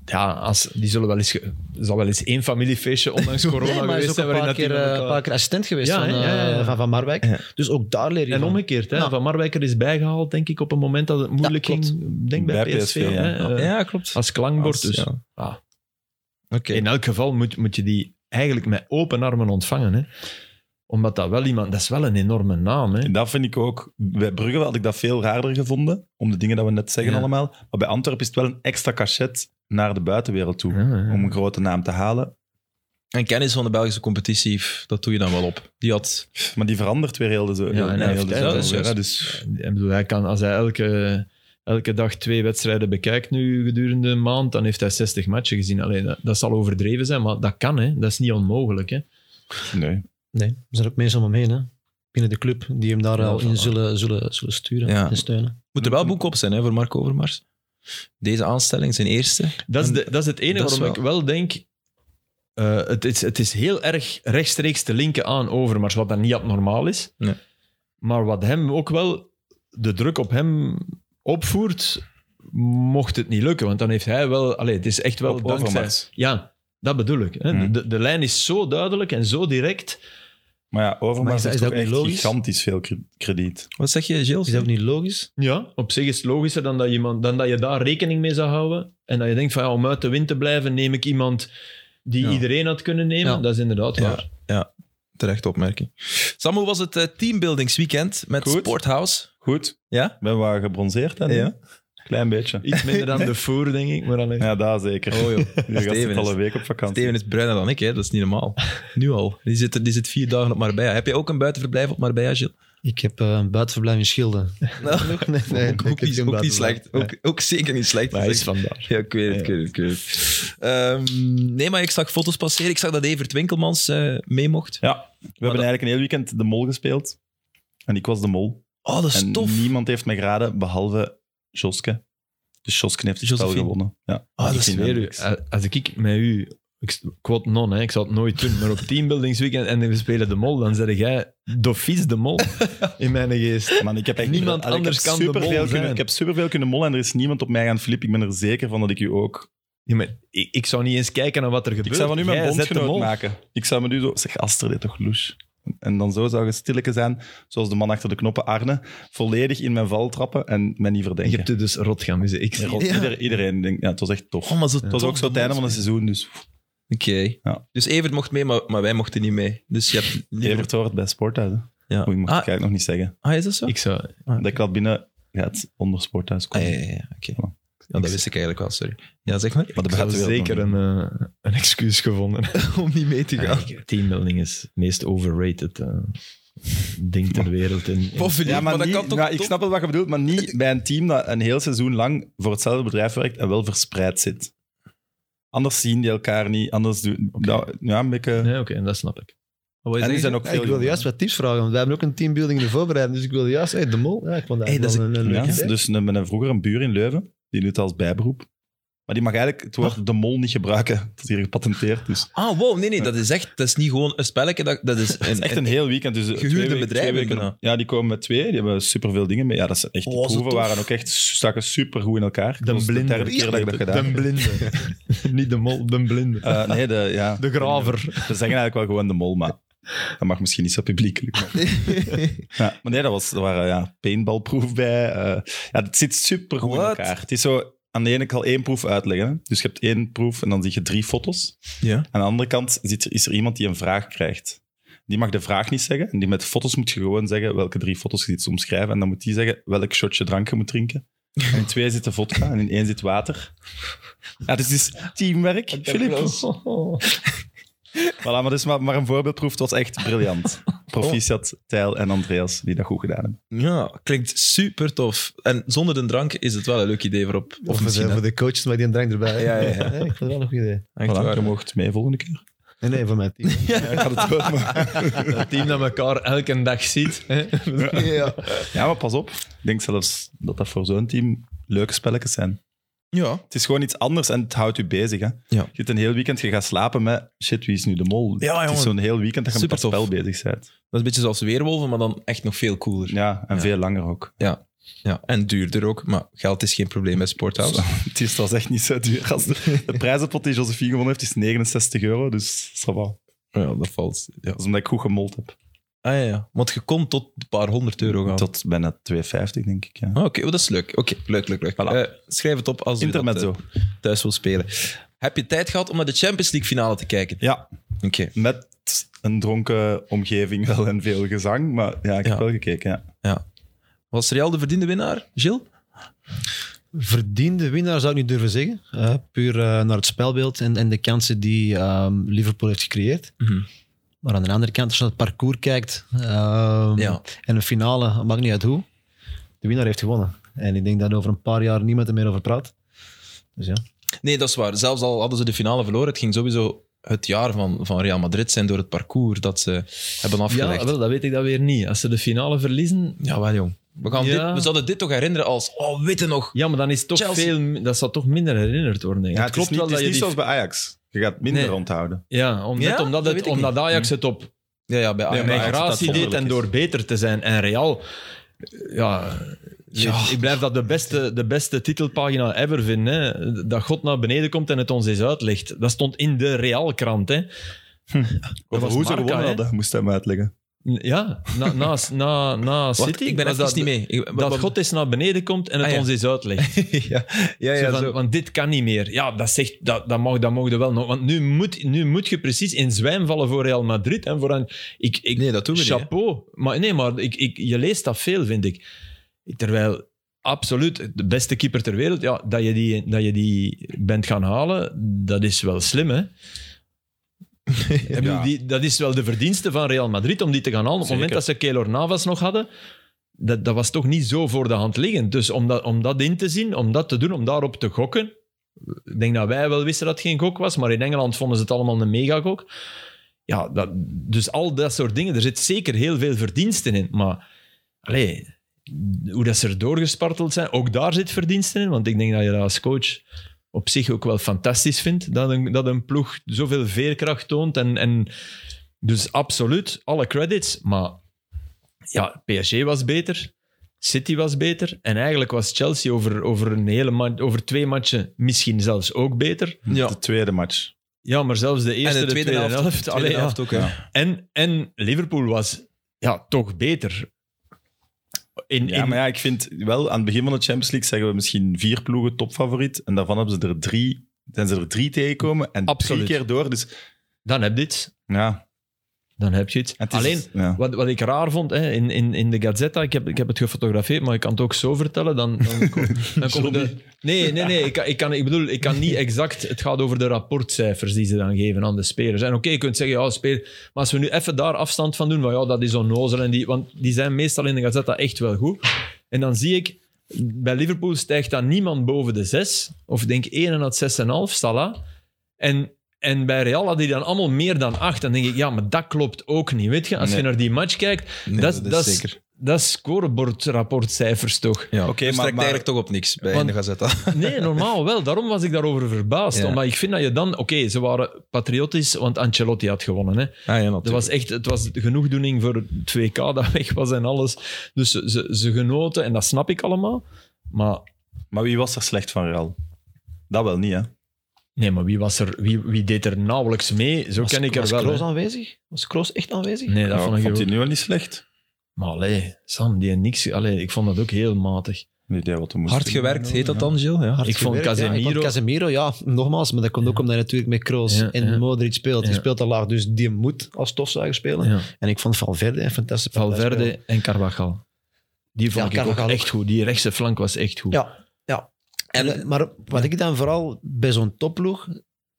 Speaker 3: ja, als, die zullen wel eens... ge- Er zal wel eens één familiefeestje ondanks corona
Speaker 4: Nee, maar hij is
Speaker 3: geweest
Speaker 4: ook een
Speaker 3: zijn.
Speaker 4: paar,
Speaker 3: waarin dat die
Speaker 4: keer, eh,
Speaker 3: met elkaar-
Speaker 4: een paar keer assistent geweest
Speaker 3: Ja,
Speaker 4: van,
Speaker 3: hè?
Speaker 4: eh,
Speaker 3: Ja, ja, ja.
Speaker 4: van Van Marwijk.
Speaker 1: Ja.
Speaker 4: Dus ook daar leer je
Speaker 3: En
Speaker 4: van.
Speaker 3: omgekeerd, hè?
Speaker 4: Ja.
Speaker 3: Van Marwijk er is bijgehaald, denk ik, op een moment dat het moeilijk
Speaker 4: Nou. Ja, klopt.
Speaker 3: ging. Denk bij,
Speaker 2: Bij
Speaker 3: PSV.
Speaker 2: PSV, ja.
Speaker 3: hè? Eh,
Speaker 1: Ja, klopt.
Speaker 3: Als klankbord,
Speaker 1: Als-
Speaker 3: dus.
Speaker 1: ja.
Speaker 3: Ah.
Speaker 1: Oké.
Speaker 3: In elk geval moet, moet je die eigenlijk met open armen ontvangen. Hè? Omdat dat wel iemand... Dat is wel een enorme naam. Hè?
Speaker 2: En dat vind ik ook. Bij Brugge had ik dat veel raarder gevonden, om de dingen dat we net zeggen
Speaker 3: Ja.
Speaker 2: allemaal. Maar bij Antwerpen is het wel een extra cachet naar de buitenwereld toe.
Speaker 3: Ja, ja.
Speaker 2: Om een grote naam te halen.
Speaker 1: En kennis van de Belgische competitie, dat doe je dan wel op. Die had...
Speaker 2: Maar die verandert weer heel de zo. heel-
Speaker 3: en hij
Speaker 2: heel
Speaker 3: heeft-
Speaker 2: de
Speaker 3: ja,
Speaker 2: zomer,
Speaker 1: dat is juist.
Speaker 2: hè. dus
Speaker 3: Ik bedoel, hij kan, als hij elke, elke dag twee wedstrijden bekijkt nu gedurende een maand, dan heeft hij 60 matchen gezien. Alleen dat, dat zal overdreven zijn, maar dat kan. Hè? Dat is niet onmogelijk. Hè?
Speaker 2: nee.
Speaker 4: Nee, er zijn ook mensen om hem heen, hè. binnen de club, die hem daar
Speaker 3: Ja,
Speaker 4: al in
Speaker 3: voilà.
Speaker 4: zullen, zullen, zullen sturen
Speaker 1: Ja.
Speaker 4: en steunen.
Speaker 1: Moet er wel boek op zijn hè, voor Marco Overmars. Deze aanstelling, zijn eerste.
Speaker 3: Dat, is de, dat is het enige
Speaker 1: dat is
Speaker 3: waarom ik wel denk... eh, het, is, het is heel erg rechtstreeks te linken aan Overmars, wat dan niet abnormaal is.
Speaker 1: Nee.
Speaker 3: Maar wat hem ook wel de druk op hem opvoert, mocht het niet lukken. Want dan heeft hij wel... Allee, het is echt wel
Speaker 2: Op
Speaker 3: dankzij...
Speaker 2: Overmars.
Speaker 3: Ja, dat bedoel ik. Hè.
Speaker 2: Hmm.
Speaker 3: De, de lijn is zo duidelijk en zo direct.
Speaker 2: Maar ja,
Speaker 4: Maar
Speaker 2: Overmars
Speaker 4: is dat-
Speaker 2: heeft
Speaker 4: is
Speaker 2: ook
Speaker 4: dat ook
Speaker 2: echt
Speaker 4: niet logisch?
Speaker 2: gigantisch veel kre- krediet.
Speaker 1: Wat zeg je, Gilles?
Speaker 4: Is dat ook niet logisch?
Speaker 3: Ja, op zich is het logischer dan dat, iemand, dan dat je daar rekening mee zou houden. En dat je denkt van, ja, om uit de wind te blijven, neem ik iemand die
Speaker 1: Ja.
Speaker 3: iedereen had kunnen nemen.
Speaker 4: Ja.
Speaker 3: Dat is inderdaad
Speaker 1: Ja.
Speaker 3: waar.
Speaker 1: Terecht opmerking. Sam, hoe was het eh, teambuildingsweekend met
Speaker 2: Goed.
Speaker 1: Sporthouse?
Speaker 2: Goed.
Speaker 1: Ja?
Speaker 2: We waren gebronzeerd. Hè, nu?
Speaker 1: Ja.
Speaker 2: Klein beetje.
Speaker 3: Iets minder dan de voer, denk ik. Maar dan
Speaker 2: Ja, daar zeker.
Speaker 1: Oh joh,
Speaker 2: Je gaat
Speaker 1: Steven
Speaker 2: zit al
Speaker 1: is-
Speaker 2: een week op vakantie.
Speaker 1: Steven is bruiner dan ik, hè? dat is niet normaal. Nu al. Die zit, die zit vier dagen op Marbella. Heb je ook een buitenverblijf op Marbella, Gilles?
Speaker 4: Ik heb eh, een buitenverblijf in Schilde.
Speaker 1: Ah, Ook-
Speaker 4: Nee, nee, ik
Speaker 1: ook,
Speaker 4: heb geen
Speaker 1: niet, ook niet
Speaker 4: buitenverblijf.
Speaker 1: slecht. Ook, ook zeker niet slecht.
Speaker 3: Maar hij is
Speaker 1: Zeg-
Speaker 3: vandaar.
Speaker 1: Ja, ik weet het, ik weet het, ik weet het. Ehm, nee, maar ik zag foto's passeren. Ik zag dat Evert Winkelmans eh, mee mocht.
Speaker 2: Ja, we hebben
Speaker 1: dat-
Speaker 2: eigenlijk een heel weekend de mol gespeeld. En ik was de mol.
Speaker 1: Oh, dat is
Speaker 2: En
Speaker 1: tof.
Speaker 2: niemand heeft mij geraden, behalve Joske. Dus Joske heeft het spel
Speaker 1: Josephine.
Speaker 2: gewonnen. Ja.
Speaker 1: Ah, dat
Speaker 2: Ik
Speaker 1: is
Speaker 2: vind
Speaker 3: Weer u,
Speaker 2: niks.
Speaker 3: a- als ik met u, ik s- quote non, hè, ik zou het nooit doen, maar op teambuildingsweekend en we spelen de mol, dan zeg jij Dofies de mol in mijn geest.
Speaker 2: Man, ik heb echt-
Speaker 3: Niemand
Speaker 2: Allee, ik heb
Speaker 3: anders kan de
Speaker 2: superveel
Speaker 3: mol zijn.
Speaker 2: Kunnen, ik heb superveel kunnen mollen en er is niemand op mij gaan flippen. Ik ben er zeker van dat ik u ook...
Speaker 3: Ja, maar ik, ik zou niet eens kijken naar wat er gebeurt.
Speaker 2: Ik zou van u mijn
Speaker 3: Jij zet de
Speaker 2: bondgenoot
Speaker 3: mol.
Speaker 2: maken. Ik zou me nu zo... Zeg, Aster, dit toch loes. En dan zo zou je stilleke zijn, zoals de man achter de knoppen Arne, volledig in mijn val trappen en mij niet
Speaker 3: En je
Speaker 2: verdenken.
Speaker 3: hebt je dus rot gaan missen. Ik
Speaker 2: Rot,
Speaker 1: Ja.
Speaker 2: ieder- Iedereen denkt, ja, het was echt tof.
Speaker 1: Oh, maar zo
Speaker 2: Het was ook zo het einde van het seizoen, dus
Speaker 1: Oké.
Speaker 2: Ja.
Speaker 1: Dus Evert mocht mee, maar, maar wij mochten niet mee. Dus je hebt liever-
Speaker 2: Evert hoort bij Sporthuis. hè.
Speaker 1: Ja.
Speaker 2: Oei, mag ik
Speaker 1: Ah,
Speaker 2: eigenlijk nog niet zeggen.
Speaker 1: ah, is dat zo?
Speaker 3: Ik zou...
Speaker 2: Dat ik al binnen gaat onder Sporthuis
Speaker 1: Ah,
Speaker 2: komen.
Speaker 1: ja, ja, ja, oké.
Speaker 2: Voilà.
Speaker 1: Ja, dat wist ik eigenlijk wel, sorry. Ja, zeg maar.
Speaker 2: Maar
Speaker 3: Ik
Speaker 2: dat
Speaker 3: zou
Speaker 2: begrijpt de wereld
Speaker 3: zeker
Speaker 2: nog
Speaker 3: een, eh, een excuus gevonden.
Speaker 1: Om niet mee te
Speaker 2: Ah,
Speaker 1: gaan.
Speaker 3: Eigenlijk, Teambuilding is het meest overrated eh, ding ter wereld. In, in-
Speaker 1: Of
Speaker 2: niet.
Speaker 1: Philippe,
Speaker 2: Ja, maar,
Speaker 1: dat
Speaker 2: niet-
Speaker 1: kan toch
Speaker 2: maar ik
Speaker 1: top- Oh,
Speaker 2: snap wel wat je bedoelt, maar niet bij een team dat een heel seizoen lang voor hetzelfde bedrijf werkt en wel verspreid zit. Anders zien die elkaar niet, anders doen... nou, ja, een beetje...
Speaker 3: Nee, oké, dat snap ik.
Speaker 1: Wat wou je
Speaker 2: En
Speaker 1: zeggen?
Speaker 2: die
Speaker 1: Ah,
Speaker 2: zijn ook
Speaker 4: Ja,
Speaker 2: veel
Speaker 4: ik wilde
Speaker 2: jonger.
Speaker 4: juist wat tips vragen, want wij hebben ook een teambuilding in de voorbereiding. Dus ik wilde juist, hey, de mol. Ja, ik vond dat,
Speaker 1: Hey, dat is
Speaker 4: wel een, een
Speaker 2: Ja,
Speaker 4: leuk idee.
Speaker 2: dus een, met een vroeger een buur in Leuven, die doet het als bijberoep. Maar die mag eigenlijk het woord de mol niet gebruiken. Dat is hier gepatenteerd. Dus.
Speaker 1: Ah, wow, nee, nee, dat is echt... Dat is niet gewoon een spelletje, dat, dat is...
Speaker 2: Het is echt een heel weekend. Dus twee
Speaker 1: Gehuurde
Speaker 2: weken- twee
Speaker 1: bedrijven
Speaker 2: weken-
Speaker 1: bijna.
Speaker 2: Ja, die komen met twee. Die hebben superveel dingen mee. Ja, dat zijn echt...
Speaker 1: Oh,
Speaker 2: die
Speaker 1: was het
Speaker 2: proeven
Speaker 1: tof.
Speaker 2: waren ook echt... Staken supergoed in elkaar. Dat
Speaker 3: De
Speaker 2: was
Speaker 3: blinde.
Speaker 2: de derde keer dat ik dat gedaan
Speaker 3: De
Speaker 2: heb.
Speaker 3: blinde. Niet de mol, de blinde.
Speaker 2: Eh, nee, de, ja.
Speaker 3: de graver.
Speaker 2: Ze zeggen eigenlijk wel gewoon de mol, maar dat mag misschien niet zo publiekelijk. Maar, ja, maar nee, dat was, er waren ja, paintballproef bij. eh, ja, het zit super goed in
Speaker 1: What?
Speaker 2: elkaar. Het is zo, aan de ene kant één proef uitleggen. hè. Dus je hebt één proef en dan zie je drie foto's.
Speaker 1: Ja.
Speaker 2: Aan de andere kant zit er, is er iemand die een vraag krijgt. Die mag de vraag niet zeggen. En die met foto's moet je gewoon zeggen welke drie foto's je ziet omschrijven. En dan moet die zeggen welk shotje drank je moet drinken. En in twee zitten vodka en in één zit water. Ja, dus het is teamwerk, Filip.
Speaker 1: dus-
Speaker 2: Voilà, maar dus maar, maar een voorbeeldproef. Het was echt briljant. Proficiat, Tijl en Andreas, die dat goed gedaan hebben.
Speaker 1: Ja, klinkt super tof. En zonder de drank is het wel een leuk idee voor op. Of,
Speaker 4: Of
Speaker 1: misschien.
Speaker 4: voor,
Speaker 1: hè.
Speaker 4: voor de coaches, maar die een drank erbij.
Speaker 1: Ja, ja, ja.
Speaker 4: ik vond het wel een goed idee.
Speaker 1: Echt
Speaker 2: Voilà,
Speaker 1: waar.
Speaker 2: je mocht mee volgende keer.
Speaker 4: Nee, nee, van mijn team.
Speaker 2: Ja, ik had het wel, maar...
Speaker 3: Dat team dat elkaar elke dag ziet. Hè?
Speaker 4: ja.
Speaker 2: ja, maar pas op. Ik denk zelfs dat dat voor zo'n team leuke spelletjes zijn.
Speaker 1: Ja.
Speaker 2: Het is gewoon iets anders en het houdt u bezig. Hè. Je zit een heel weekend, je gaat slapen met shit, wie is nu de mol?
Speaker 1: Ja,
Speaker 2: het
Speaker 1: jongen.
Speaker 2: is zo'n heel weekend dat je met dat
Speaker 1: Supertof.
Speaker 2: spel bezig bent.
Speaker 1: Dat is een beetje zoals Weerwolven, maar dan echt nog veel cooler. Ja.
Speaker 2: Ja, en
Speaker 1: Ja.
Speaker 2: veel langer ook.
Speaker 1: En duurder ook, maar geld is geen probleem bij Sporthouse.
Speaker 2: Zo, het is trouwens echt niet zo duur. Als de, de prijzenpot die Josephine gewonnen heeft, is 69 euro. Dus ça va.
Speaker 1: Ja, dat valt. Ja.
Speaker 2: Dat is omdat ik goed gemold heb.
Speaker 1: Ah ja, ja, want je komt tot een paar honderd euro gaan.
Speaker 2: Tot bijna 2,50 denk ik. Ja.
Speaker 1: Ah, Oké, oh, dat is leuk. Oké, leuk, leuk, leuk.
Speaker 2: Voilà.
Speaker 1: Eh, schrijf het op als je dat
Speaker 2: Intermezzo.
Speaker 1: eh, thuis wil spelen. Heb je tijd gehad om naar de Champions League finale te kijken?
Speaker 2: Ja,
Speaker 1: Oké.
Speaker 2: met een dronken omgeving wel en veel gezang. Maar ja, ik heb
Speaker 1: Ja.
Speaker 2: wel gekeken. Ja.
Speaker 1: Was Real de verdiende winnaar, Gilles?
Speaker 4: Verdiende winnaar zou ik niet durven zeggen. Eh, puur eh, naar het spelbeeld en, en de kansen die ehm, Liverpool heeft gecreëerd.
Speaker 1: Mhm.
Speaker 4: Maar aan de andere kant, als je naar het parcours kijkt ehm,
Speaker 1: Ja.
Speaker 4: en een finale, maakt niet uit hoe, de winnaar heeft gewonnen. En ik denk dat over een paar jaar niemand er meer over praat. Dus ja.
Speaker 1: Nee, dat is waar. Zelfs al hadden ze de finale verloren, het ging sowieso het jaar van, van Real Madrid zijn door het parcours dat ze hebben afgelegd.
Speaker 3: Ja,
Speaker 1: Ja,
Speaker 3: wel, dat weet ik dat weer niet. Als ze de finale verliezen...
Speaker 1: wel jong. We, gaan
Speaker 3: Ja.
Speaker 1: dit, we zouden dit toch herinneren als, oh, witte nog.
Speaker 3: Ja, maar dan is het toch
Speaker 1: Chelsea.
Speaker 3: veel... Dat zal toch minder herinnerd worden. denk ik.
Speaker 2: Ja,
Speaker 3: het
Speaker 2: het is
Speaker 3: klopt
Speaker 2: niet,
Speaker 3: wel
Speaker 2: het is
Speaker 3: dat je
Speaker 2: niet zoals
Speaker 3: die...
Speaker 2: bij Ajax. Je gaat minder
Speaker 3: Nee.
Speaker 2: onthouden.
Speaker 3: Ja, om, net
Speaker 1: Ja?
Speaker 3: omdat,
Speaker 1: Dat
Speaker 3: het,
Speaker 1: weet ik
Speaker 3: omdat Ajax het op
Speaker 1: Ja, ja, bij Ajax.
Speaker 2: maar
Speaker 1: Ja,
Speaker 2: Ajax dat
Speaker 3: migratie deed en
Speaker 2: wonderlijk
Speaker 3: door beter te zijn. En Real... Ja...
Speaker 1: Ja.
Speaker 3: Ik blijf dat de beste, de beste titelpagina ever vinden. Hè? Dat God naar beneden komt en het ons eens uitlegt. Dat stond in de Real-krant. Hè?
Speaker 1: Hm.
Speaker 2: Over
Speaker 3: was
Speaker 2: hoe ze
Speaker 3: Marca,
Speaker 2: gewonnen
Speaker 3: hè?
Speaker 2: hadden, moest hij hem uitleggen.
Speaker 3: Ja, na, na, na, na
Speaker 1: Wacht,
Speaker 3: City.
Speaker 1: ik ben
Speaker 3: was
Speaker 1: even
Speaker 3: dat-
Speaker 1: niet mee. Ik-
Speaker 3: Dat
Speaker 1: wat-
Speaker 3: God eens naar beneden komt en het
Speaker 1: Ah, ja.
Speaker 3: ons eens uitlegt.
Speaker 1: ja, ja,
Speaker 3: Zo
Speaker 1: ja,
Speaker 3: van,
Speaker 1: zo.
Speaker 3: Want dit kan niet meer. Ja, dat, zegt, dat, dat, mag, dat mag je wel nog. Want nu moet, nu moet je precies in zwijm vallen voor Real Madrid. En voor een, ik, ik,
Speaker 1: Nee, dat doen we niet, hè.
Speaker 3: chapeau. Maar, nee, maar ik, ik, je leest dat veel, vind ik. Terwijl, absoluut, de beste keeper ter wereld, ja, dat, je die, dat je die bent gaan halen, dat is wel slim, hè? Ik bedoel,
Speaker 2: Ja.
Speaker 3: die, dat is wel de verdienste van Real Madrid om die te gaan halen. Op het moment dat ze Keylor Navas nog hadden, dat, dat was toch niet zo voor de hand liggend. Dus om dat, om dat in te zien, om dat te doen, om daarop te gokken. Ik denk dat wij wel wisten dat het geen gok was, maar in Engeland vonden ze het allemaal een megagok. Ja, dat, dus al dat soort dingen. Er zit zeker heel veel verdiensten in. Maar allee, hoe dat ze er doorgesparteld zijn, ook daar zit verdiensten in. Want ik denk dat je dat als coach op zich ook wel fantastisch vindt. Dat een, dat een ploeg zoveel veerkracht toont. En, en dus absoluut, alle credits. Maar ja, PSG was beter. City was beter. En eigenlijk was Chelsea over, over, een hele ma- over twee matchen misschien zelfs ook beter.
Speaker 1: Ja.
Speaker 2: De tweede match.
Speaker 3: Ja, maar zelfs de
Speaker 1: En
Speaker 3: eerste,
Speaker 1: de tweede helft.
Speaker 3: helft.
Speaker 1: tweede
Speaker 3: allee, ja.
Speaker 1: helft ook, ja.
Speaker 3: En, en Liverpool was ja, toch beter. In,
Speaker 2: Ja,
Speaker 3: in,
Speaker 2: maar ja, ik vind wel, aan het begin van de Champions League zeggen we misschien vier ploegen topfavoriet. En daarvan hebben ze er drie, zijn ze er drie tegengekomen en
Speaker 3: Absoluut.
Speaker 2: drie keer door. Dus
Speaker 3: Dan heb je iets.
Speaker 2: ja,
Speaker 3: Dan heb je iets.
Speaker 2: het is- dus-
Speaker 3: Alleen,
Speaker 2: ja.
Speaker 3: Wat, wat ik raar vond hè, in, in, in de Gazzetta, ik heb, ik heb het gefotografeerd, maar ik kan het ook zo vertellen. Dan, dan, kom- dan komt de, nee, nee, nee. Ik, kan- ik, kan, ik bedoel, ik kan niet exact. Het gaat over de rapportcijfers die ze dan geven aan de spelers. En oké, je kunt zeggen, ja, speel, maar als we nu even daar afstand van doen, van ja, dat is onnozel. En die, want die zijn meestal in de Gazzetta echt wel goed. En dan zie ik, bij Liverpool stijgt dan niemand boven de 6. Of ik denk 1 en 6,5, Salah. En, en bij Real hadden die dan allemaal meer dan 8. Dan denk ik, ja, maar dat klopt ook niet. Weet je, als je
Speaker 2: Nee.
Speaker 3: naar die match kijkt,
Speaker 1: Nee,
Speaker 3: dat,
Speaker 1: dat
Speaker 3: dat,
Speaker 1: is
Speaker 3: dat is
Speaker 1: zeker.
Speaker 3: dat is scorebordrapportcijfers toch?
Speaker 1: Ja. Ah,
Speaker 2: Oké,
Speaker 1: Dus
Speaker 2: maar-
Speaker 1: trekt
Speaker 2: maar-
Speaker 1: eigenlijk toch op niks bij
Speaker 3: Want-
Speaker 1: in de Gazette.
Speaker 3: Nee, normaal wel. Daarom was ik daarover verbaasd.
Speaker 1: Ja.
Speaker 3: Omdat ik vind dat je dan... Oké, ze waren patriotisch, want Ancelotti had gewonnen. Hè.
Speaker 1: Ah, ja,
Speaker 3: Dat was echt, het was genoegdoening voor het 2K dat weg was en alles. Dus ze, ze, ze genoten, en dat snap ik allemaal. Maar
Speaker 2: Maar wie was er slecht van Real? Dat wel niet, hè?
Speaker 3: Nee, maar wie, was er, wie, wie deed er nauwelijks mee? Zo ken ik er
Speaker 4: was
Speaker 3: wel.
Speaker 4: Kroos
Speaker 3: hè.
Speaker 4: aanwezig? Was Kroos echt aanwezig?
Speaker 3: Nee, dat
Speaker 2: Ja,
Speaker 3: vond ik ook.
Speaker 2: hij nu al niet slecht?
Speaker 3: Maar allee, Sam, die heeft niks... Allee, ik vond dat ook heel matig.
Speaker 2: Nee, die had wat hij moest
Speaker 1: Hard
Speaker 2: doen.
Speaker 1: gewerkt, heet dat dan, Jill? Ja.
Speaker 3: ik vond
Speaker 4: Gewerkt, Ja, ik
Speaker 3: Casemiro...
Speaker 4: vond Casemiro, ja, nogmaals. Maar dat komt ook omdat hij natuurlijk met Kroos
Speaker 3: Ja,
Speaker 4: en
Speaker 3: ja.
Speaker 4: Modric speelt. Die
Speaker 3: Ja.
Speaker 4: speelt al laag, dus die moet als stofzuiger spelen.
Speaker 3: ja,
Speaker 4: En ik vond Valverde een fantastische partij spelen.
Speaker 3: Valverde en Carvajal. Die vond
Speaker 4: Ja,
Speaker 3: ik
Speaker 4: Carvajal
Speaker 3: ook
Speaker 4: ook.
Speaker 3: echt goed. Die rechtse flank was echt goed.
Speaker 4: Ja, ja. En, eh, maar wat ik dan vooral bij zo'n topploeg,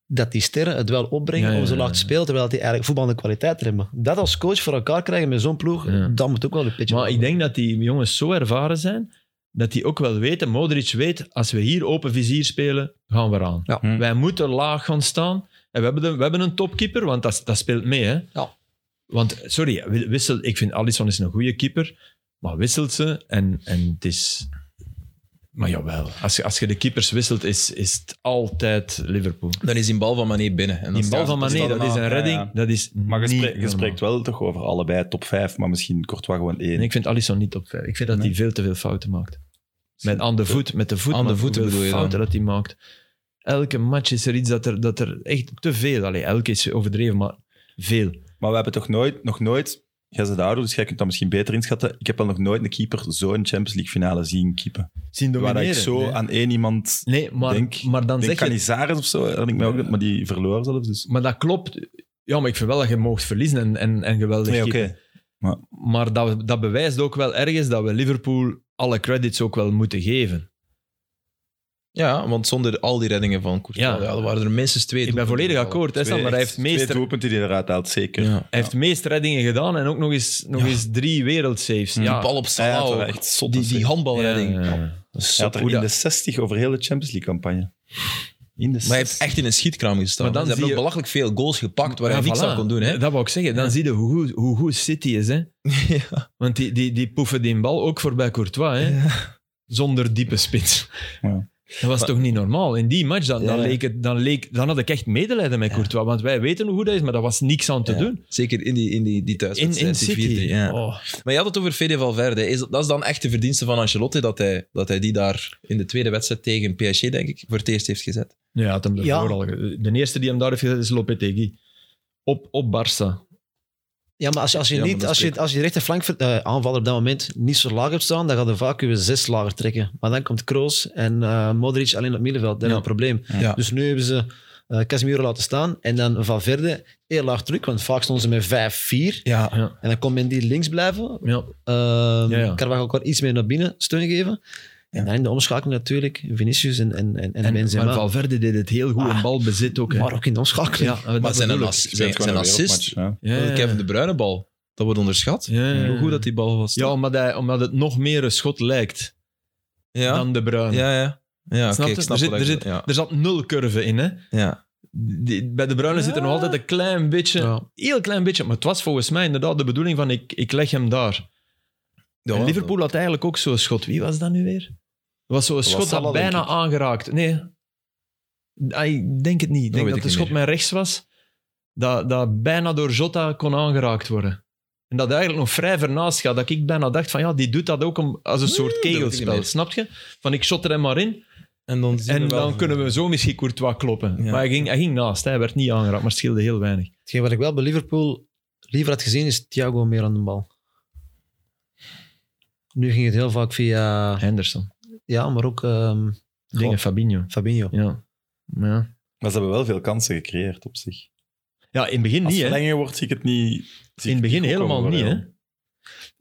Speaker 4: dat die sterren het wel opbrengen
Speaker 3: Ja, ja,
Speaker 4: om zo
Speaker 3: ja,
Speaker 4: laag
Speaker 3: ja.
Speaker 4: te spelen, terwijl die eigenlijk voetballende kwaliteit hebben. Dat als coach voor elkaar krijgen met zo'n ploeg,
Speaker 3: Ja.
Speaker 4: dat moet ook wel een pitje.
Speaker 3: Maar ik denk dat die jongens zo ervaren zijn, dat die ook wel weten, Modric weet, als we hier open vizier spelen, gaan we eraan.
Speaker 4: Ja.
Speaker 2: Hm.
Speaker 3: Wij moeten laag gaan staan. En we hebben, de- we hebben een topkeeper, want dat, dat speelt mee. Hè?
Speaker 4: Ja.
Speaker 3: Want, sorry, Wi- Wissel, ik vind Alisson is een goede keeper, maar wisselt ze en, en het is... Maar jawel, als je, als je de keepers wisselt, is, is het altijd Liverpool.
Speaker 1: Dan is die bal van Mané binnen. En dan
Speaker 3: Die bal
Speaker 1: staat-
Speaker 3: van
Speaker 1: dan
Speaker 3: Mané,
Speaker 1: staat
Speaker 3: dat is
Speaker 1: erna-
Speaker 3: een
Speaker 2: ja,
Speaker 3: redding.
Speaker 2: ja.
Speaker 3: Dat is
Speaker 2: Maar je,
Speaker 3: niet
Speaker 2: spreekt- je
Speaker 3: normaal.
Speaker 2: spreekt wel toch over allebei top 5, maar misschien Courtois gewoon één.
Speaker 3: En ik vind Alisson niet op vijf. Ik vind dat hij
Speaker 2: Nee.
Speaker 3: veel te veel fouten maakt. Met aan de voet, met de voet.
Speaker 1: Aan de
Speaker 3: maar
Speaker 1: voet
Speaker 3: hoeveel
Speaker 1: bedoel je dan?
Speaker 3: fouten dat hij maakt. Elke match is er iets dat er, dat er echt te veel... Allee, elke is overdreven, maar veel.
Speaker 2: Maar we hebben toch nooit, nog nooit... Jij bent ouder, dus jij kunt dat misschien beter inschatten. Ik heb wel nog nooit een keeper zo'n Champions League finale zien keepen.
Speaker 3: Zien
Speaker 2: Waar dat ik zo
Speaker 3: nee.
Speaker 2: aan één iemand...
Speaker 3: Nee, maar,
Speaker 2: denk-
Speaker 3: maar dan
Speaker 2: Ik denk
Speaker 3: zeg je...
Speaker 2: Canizares of zo, herinner ik mij ook dat, maar die verloor zelfs. Dus.
Speaker 3: Maar dat klopt. Ja, maar ik vind wel dat je mocht verliezen en, en, en geweldig
Speaker 2: Nee, oké.
Speaker 3: keeper. Maar dat, dat bewijst ook wel ergens dat we Liverpool alle credits ook wel moeten geven.
Speaker 1: Ja, want zonder al die reddingen van Courtois,
Speaker 3: Ja.
Speaker 1: ja. er waren er minstens twee.
Speaker 3: Ik ben volledig akkoord, hè, Sam, maar hij heeft
Speaker 2: Twee
Speaker 3: meester
Speaker 2: doelpunten die hij eruit haalt, zeker.
Speaker 1: Ja.
Speaker 3: Hij heeft meest reddingen gedaan en ook nog eens, nog
Speaker 1: Ja.
Speaker 3: eens drie wereldsaves.
Speaker 2: Die
Speaker 3: Ja.
Speaker 1: Bal op
Speaker 2: Hij had
Speaker 1: Salah
Speaker 2: wel
Speaker 1: ook.
Speaker 2: echt zotte
Speaker 1: Die, die
Speaker 2: saves.
Speaker 1: handbalredding.
Speaker 3: Ja, ja, ja.
Speaker 1: Dat is
Speaker 2: Hij
Speaker 1: zo
Speaker 2: had er
Speaker 1: goed.
Speaker 2: in de 60 over heel de Champions League campagne. In de
Speaker 1: Maar hij
Speaker 2: 60.
Speaker 1: heeft echt in een schietkraam gestaan. Maar
Speaker 3: Maar dan
Speaker 1: dan ze hebben
Speaker 3: zie
Speaker 1: ook
Speaker 3: je-
Speaker 1: belachelijk veel goals gepakt waar hij
Speaker 3: Ja,
Speaker 1: niks
Speaker 3: voilà.
Speaker 1: aan kon doen. Hè?
Speaker 3: Dat wou ik zeggen. Dan zie je hoe goed, hoe goed City is. Hè? Want die, die, die poeven die bal ook voorbij Courtois. Hè? Zonder diepe spits.
Speaker 2: Ja.
Speaker 3: Dat was toch niet normaal? In die match, dan, dan,
Speaker 1: Ja.
Speaker 3: leek het, dan, leek, dan had ik echt medelijden met Courtois. Want wij weten hoe goed dat is, maar daar was niks aan te
Speaker 1: Ja.
Speaker 3: doen.
Speaker 1: Zeker in die, in die, die
Speaker 3: In, in
Speaker 1: thuiswedstrijd. die
Speaker 3: City.
Speaker 1: 4-3, ja.
Speaker 3: Oh.
Speaker 1: Maar je had het over Fede Valverde. Is, dat dat is dan echt de verdienste van Ancelotti dat hij, dat hij die daar in de tweede wedstrijd tegen PSG, denk ik, voor het eerst heeft gezet.
Speaker 3: Nee, hij had hem
Speaker 4: Ja.
Speaker 3: ervoor al ge- De eerste die hem daar heeft gezet is Lopetegui. Op, op Barça.
Speaker 4: Ja, maar als, je- als, je,
Speaker 1: Ja, maar
Speaker 4: niet,
Speaker 1: dat
Speaker 4: als,
Speaker 1: is
Speaker 4: je, als je de rechterflank eh aanvaller op dat moment niet zo laag hebt staan, dan gaat de vaak je zes lager trekken. Maar dan komt Kroos en eh, Modric alleen op het middenveld. Dat is
Speaker 3: Ja.
Speaker 4: een probleem.
Speaker 1: Ja.
Speaker 4: Dus nu hebben ze eh, Casemiro laten staan en dan Valverde heel laag terug, want vaak stonden ze met 5-4.
Speaker 1: Ja,
Speaker 4: En dan kon men die links blijven.
Speaker 3: Ja.
Speaker 4: Ehm
Speaker 3: Ja, ja.
Speaker 4: Carvajal kon iets meer naar binnen steun geven. En dan in de omschakeling natuurlijk Vinicius en, en, en, en
Speaker 3: En, maar
Speaker 4: Benzema.
Speaker 3: Valverde deed het heel goed in
Speaker 4: Ah.
Speaker 3: balbezit ook. hè.
Speaker 4: Maar ook in de omschakeling.
Speaker 3: ja, dat
Speaker 1: Maar zijn, een
Speaker 3: bedoel ik.
Speaker 1: ass-
Speaker 2: Je
Speaker 1: zijn,
Speaker 2: bent gewoon
Speaker 1: zijn
Speaker 2: een
Speaker 1: assist,
Speaker 2: wereldmatch, ja.
Speaker 3: Ja, ja,
Speaker 1: Kevin De Bruyne bal, dat wordt onderschat.
Speaker 3: ja, ja.
Speaker 1: Hoe goed dat die bal was.
Speaker 3: Ja, omdat, hij, omdat het nog meer een schot lijkt
Speaker 1: ja.
Speaker 3: dan De Bruyne.
Speaker 1: Ja, ja. Ja,
Speaker 3: Snap
Speaker 1: oké,
Speaker 3: je?
Speaker 1: ik snap
Speaker 3: er, zit,
Speaker 1: wat
Speaker 3: er,
Speaker 1: ik-
Speaker 3: zit,
Speaker 1: ja.
Speaker 3: er zat nul curve in. Hè?
Speaker 1: Ja.
Speaker 3: Die- bij De Bruyne zit er nog
Speaker 1: Ja.
Speaker 3: altijd een klein beetje,
Speaker 4: Ja.
Speaker 3: heel klein beetje. Maar het was volgens mij inderdaad de bedoeling van ik, ik leg hem daar.
Speaker 1: Ja,
Speaker 3: en Liverpool had eigenlijk ook zo'n schot. Wie was dat nu weer? Het was zo'n schot
Speaker 2: Salah,
Speaker 3: dat
Speaker 2: denk
Speaker 3: bijna
Speaker 2: ik.
Speaker 3: aangeraakt. Nee, Ah, ik denk het niet.
Speaker 1: Dat
Speaker 3: Ik denk
Speaker 1: weet
Speaker 3: dat
Speaker 1: ik
Speaker 3: de
Speaker 1: niet
Speaker 3: schot
Speaker 1: meer.
Speaker 3: met rechts was, dat, dat bijna door Jota kon aangeraakt worden. En dat eigenlijk nog vrij vernaast gaat. Dat ik bijna dacht van ja, die doet dat ook om- als een soort
Speaker 1: weet ik niet
Speaker 3: kegelspel.
Speaker 1: meer.
Speaker 3: Snap je? Van ik shot er hem maar in.
Speaker 1: En dan, zien
Speaker 3: En
Speaker 1: we wel-
Speaker 3: dan kunnen we zo misschien Courtois kloppen.
Speaker 1: Ja.
Speaker 3: Maar hij ging, hij ging naast. Hij werd niet aangeraakt, maar het scheelde heel weinig.
Speaker 4: Hetgeen wat ik wel bij Liverpool liever had gezien, is Thiago meer aan de bal. Nu ging het heel vaak via...
Speaker 3: Henderson.
Speaker 4: Ja, maar ook ehm,
Speaker 3: Dingen, Fabinho.
Speaker 4: Fabinho.
Speaker 3: Ja. Ja.
Speaker 2: Maar ze hebben wel veel kansen gecreëerd op zich.
Speaker 3: ja, in het begin
Speaker 2: Als
Speaker 3: niet, hè.
Speaker 2: verlengen wordt, zie ik het niet...
Speaker 3: In het begin helemaal niet, hè.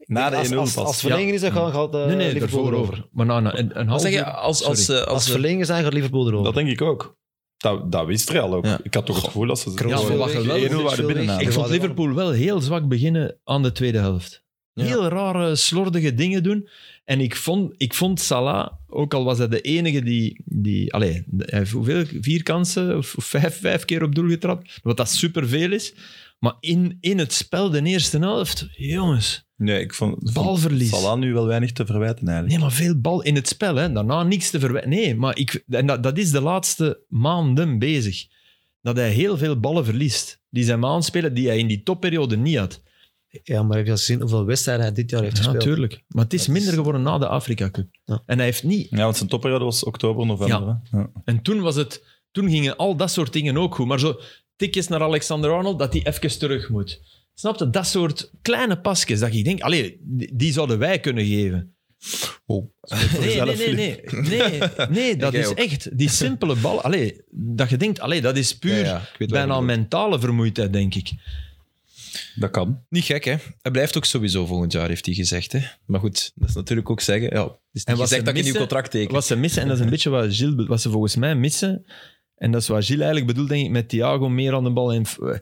Speaker 2: Na de 1-0
Speaker 4: als, als,
Speaker 2: pas.
Speaker 4: als verlenging is, dan gaat, gaat eh,
Speaker 3: Nee, nee,
Speaker 4: Liverpool
Speaker 3: daarvoor
Speaker 4: erover.
Speaker 3: over. Maar na na- een,
Speaker 1: Wat
Speaker 3: een half
Speaker 1: zeg
Speaker 3: uur...
Speaker 1: je? Als, als,
Speaker 3: Sorry.
Speaker 1: eh, als,
Speaker 4: Als
Speaker 1: we-
Speaker 4: verlenging zijn, gaat Liverpool erover.
Speaker 2: Dat denk ik ook. Dat, dat wist Real ook.
Speaker 1: Ja.
Speaker 2: Ik had toch het gevoel dat ze...
Speaker 4: Kroos
Speaker 3: Ja,
Speaker 2: Ja,
Speaker 3: we
Speaker 4: veel
Speaker 3: lachen
Speaker 4: weg,
Speaker 3: wel.
Speaker 4: Vinicius
Speaker 2: 1-0 waren
Speaker 4: veel weg.
Speaker 2: binnen.
Speaker 3: Ik vond Liverpool wel heel zwak beginnen aan de tweede helft.
Speaker 1: Ja.
Speaker 3: Heel rare, slordige dingen doen. En ik vond, ik vond Salah, ook al was hij de enige die... die allee, hij heeft hoeveel? Vier kansen? Of of vijf, vijf keer op doel getrapt? Wat dat superveel is. Maar in, in het spel, de eerste helft... Jongens,
Speaker 2: Nee, ik vond, vond
Speaker 3: balverlies.
Speaker 2: Salah nu wel weinig te verwijten eigenlijk.
Speaker 3: Nee, maar veel bal in het spel. Hè. Daarna niks te verwijten. Nee, maar ik, en dat, dat is de laatste maanden bezig. Dat hij heel veel ballen verliest. Die zijn maar aanspelen die hij in die topperiode niet had.
Speaker 4: Ja, maar heb je al gezien hoeveel wedstrijden hij dit jaar heeft gespeeld?
Speaker 3: natuurlijk. Maar het is minder geworden na de Afrika Cup.
Speaker 4: Ja.
Speaker 3: En hij heeft niet...
Speaker 2: Ja, want zijn topperiode was oktober, november. hè. Ja.
Speaker 3: En toen was het... Toen gingen al dat soort dingen ook goed. Maar zo tikjes naar Alexander-Arnold, dat hij even terug moet. Snap je? Dat soort kleine pasjes. Dat ik denk, allee, die, die zouden wij kunnen geven. Nee, nee,
Speaker 2: Zelf
Speaker 3: nee,
Speaker 2: liep.
Speaker 3: nee, nee, nee, dat
Speaker 1: Oh. jij
Speaker 3: is
Speaker 1: ook.
Speaker 3: echt die simpele bal. Allee, dat je denkt, allee, dat is
Speaker 1: Ja,
Speaker 3: puur
Speaker 1: ja, ik weet wat je
Speaker 3: bijna
Speaker 1: bedoelt.
Speaker 3: mentale vermoeidheid, denk ik.
Speaker 2: Dat kan.
Speaker 1: Niet gek, hè? Hij blijft ook sowieso volgend jaar, heeft hij gezegd. Hè? Maar goed, dat is natuurlijk ook zeggen. Ja, het is
Speaker 3: En
Speaker 1: niet
Speaker 3: wat
Speaker 1: gezegd dat Dus
Speaker 3: ze
Speaker 1: je een nieuw
Speaker 3: missen-
Speaker 1: contract tekent.
Speaker 3: Wat ze missen, en dat is een beetje wat, Gilles, be- wat ze volgens mij missen, en dat is wat Gilles eigenlijk bedoelt, denk ik, met Thiago meer aan de bal. En, eh,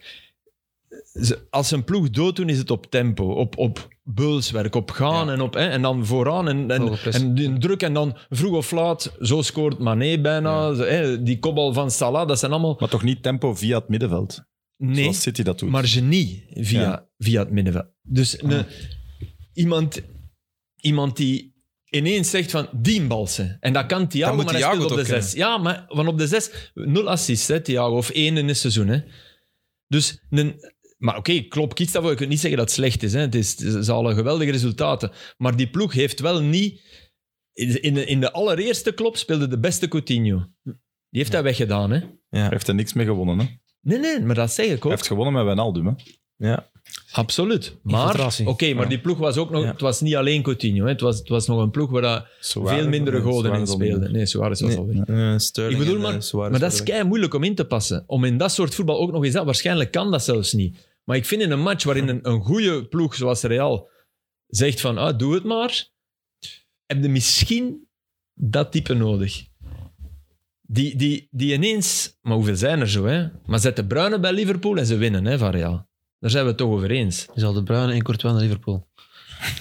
Speaker 3: ze- als ze een ploeg dood doen, is het op tempo, op, op beulswerk, op gaan en, op, hè, en dan vooraan en, en,
Speaker 4: Hoge press.
Speaker 3: en die druk. En dan vroeg of laat, zo scoort Mané bijna, ze- hè, die kopbal van Salah, dat zijn allemaal...
Speaker 2: Maar toch niet tempo via het middenveld.
Speaker 3: Nee.
Speaker 2: Zoals City dat doet.
Speaker 3: maar genie via,
Speaker 2: Ja.
Speaker 3: via het middenveld. Dus
Speaker 1: Ah.
Speaker 3: een- iemand, iemand die ineens zegt van die balsen. En dat kan Thiago,
Speaker 1: Dan moet
Speaker 3: maar
Speaker 1: Thiago
Speaker 3: hij speelt
Speaker 1: het
Speaker 3: op de
Speaker 1: ook
Speaker 3: zes. Ja, maar van op de zes, nul assists, hè, Thiago. Of één in het seizoen. Hè. Dus een... Maar oké, Klopp kiest daarvoor. Je kunt niet zeggen dat het slecht is. Hè. Het is ze halen geweldige resultaten. Maar die ploeg heeft wel niet... In in de, in de allereerste Klopp speelde de beste Coutinho. Die heeft dat weggedaan, hè?
Speaker 2: Hij heeft er niks mee gewonnen. Hè. Hij
Speaker 3: Nee, nee, maar dat zeg ik ook.
Speaker 2: heeft gewonnen met Wijnaldum. Hè.
Speaker 3: Absoluut. Maar, oké,
Speaker 4: Infiltratie.
Speaker 3: maar
Speaker 2: Ja.
Speaker 3: die ploeg was ook nog...
Speaker 1: Ja.
Speaker 3: Het was niet alleen Coutinho. Hè. Het, was, het was nog een ploeg waar dat
Speaker 2: Suarez-
Speaker 3: veel mindere
Speaker 2: nee,
Speaker 3: goden
Speaker 2: Suarez
Speaker 3: in
Speaker 2: al
Speaker 3: speelden.
Speaker 2: minder.
Speaker 3: Nee, Suarez was
Speaker 1: Nee.
Speaker 3: al weg.
Speaker 1: Eh, Sterling
Speaker 3: Ik bedoel,
Speaker 1: en, eh,
Speaker 3: maar-
Speaker 1: Suarez
Speaker 3: Maar dat is
Speaker 1: erbij.
Speaker 3: kei moeilijk om in te passen. Om in dat soort voetbal ook nog eens dat. Waarschijnlijk kan dat zelfs niet. Maar ik vind in een match waarin een, een goede ploeg zoals Real zegt van ah, doe het maar, heb je misschien dat type nodig. Die, die, die ineens... Maar hoeveel zijn er zo, hè? Maar zet de Bruinen bij Liverpool en ze winnen, hè, van Real. Daar zijn we het toch over eens.
Speaker 4: Dus al de Bruyne en Courtois naar Liverpool.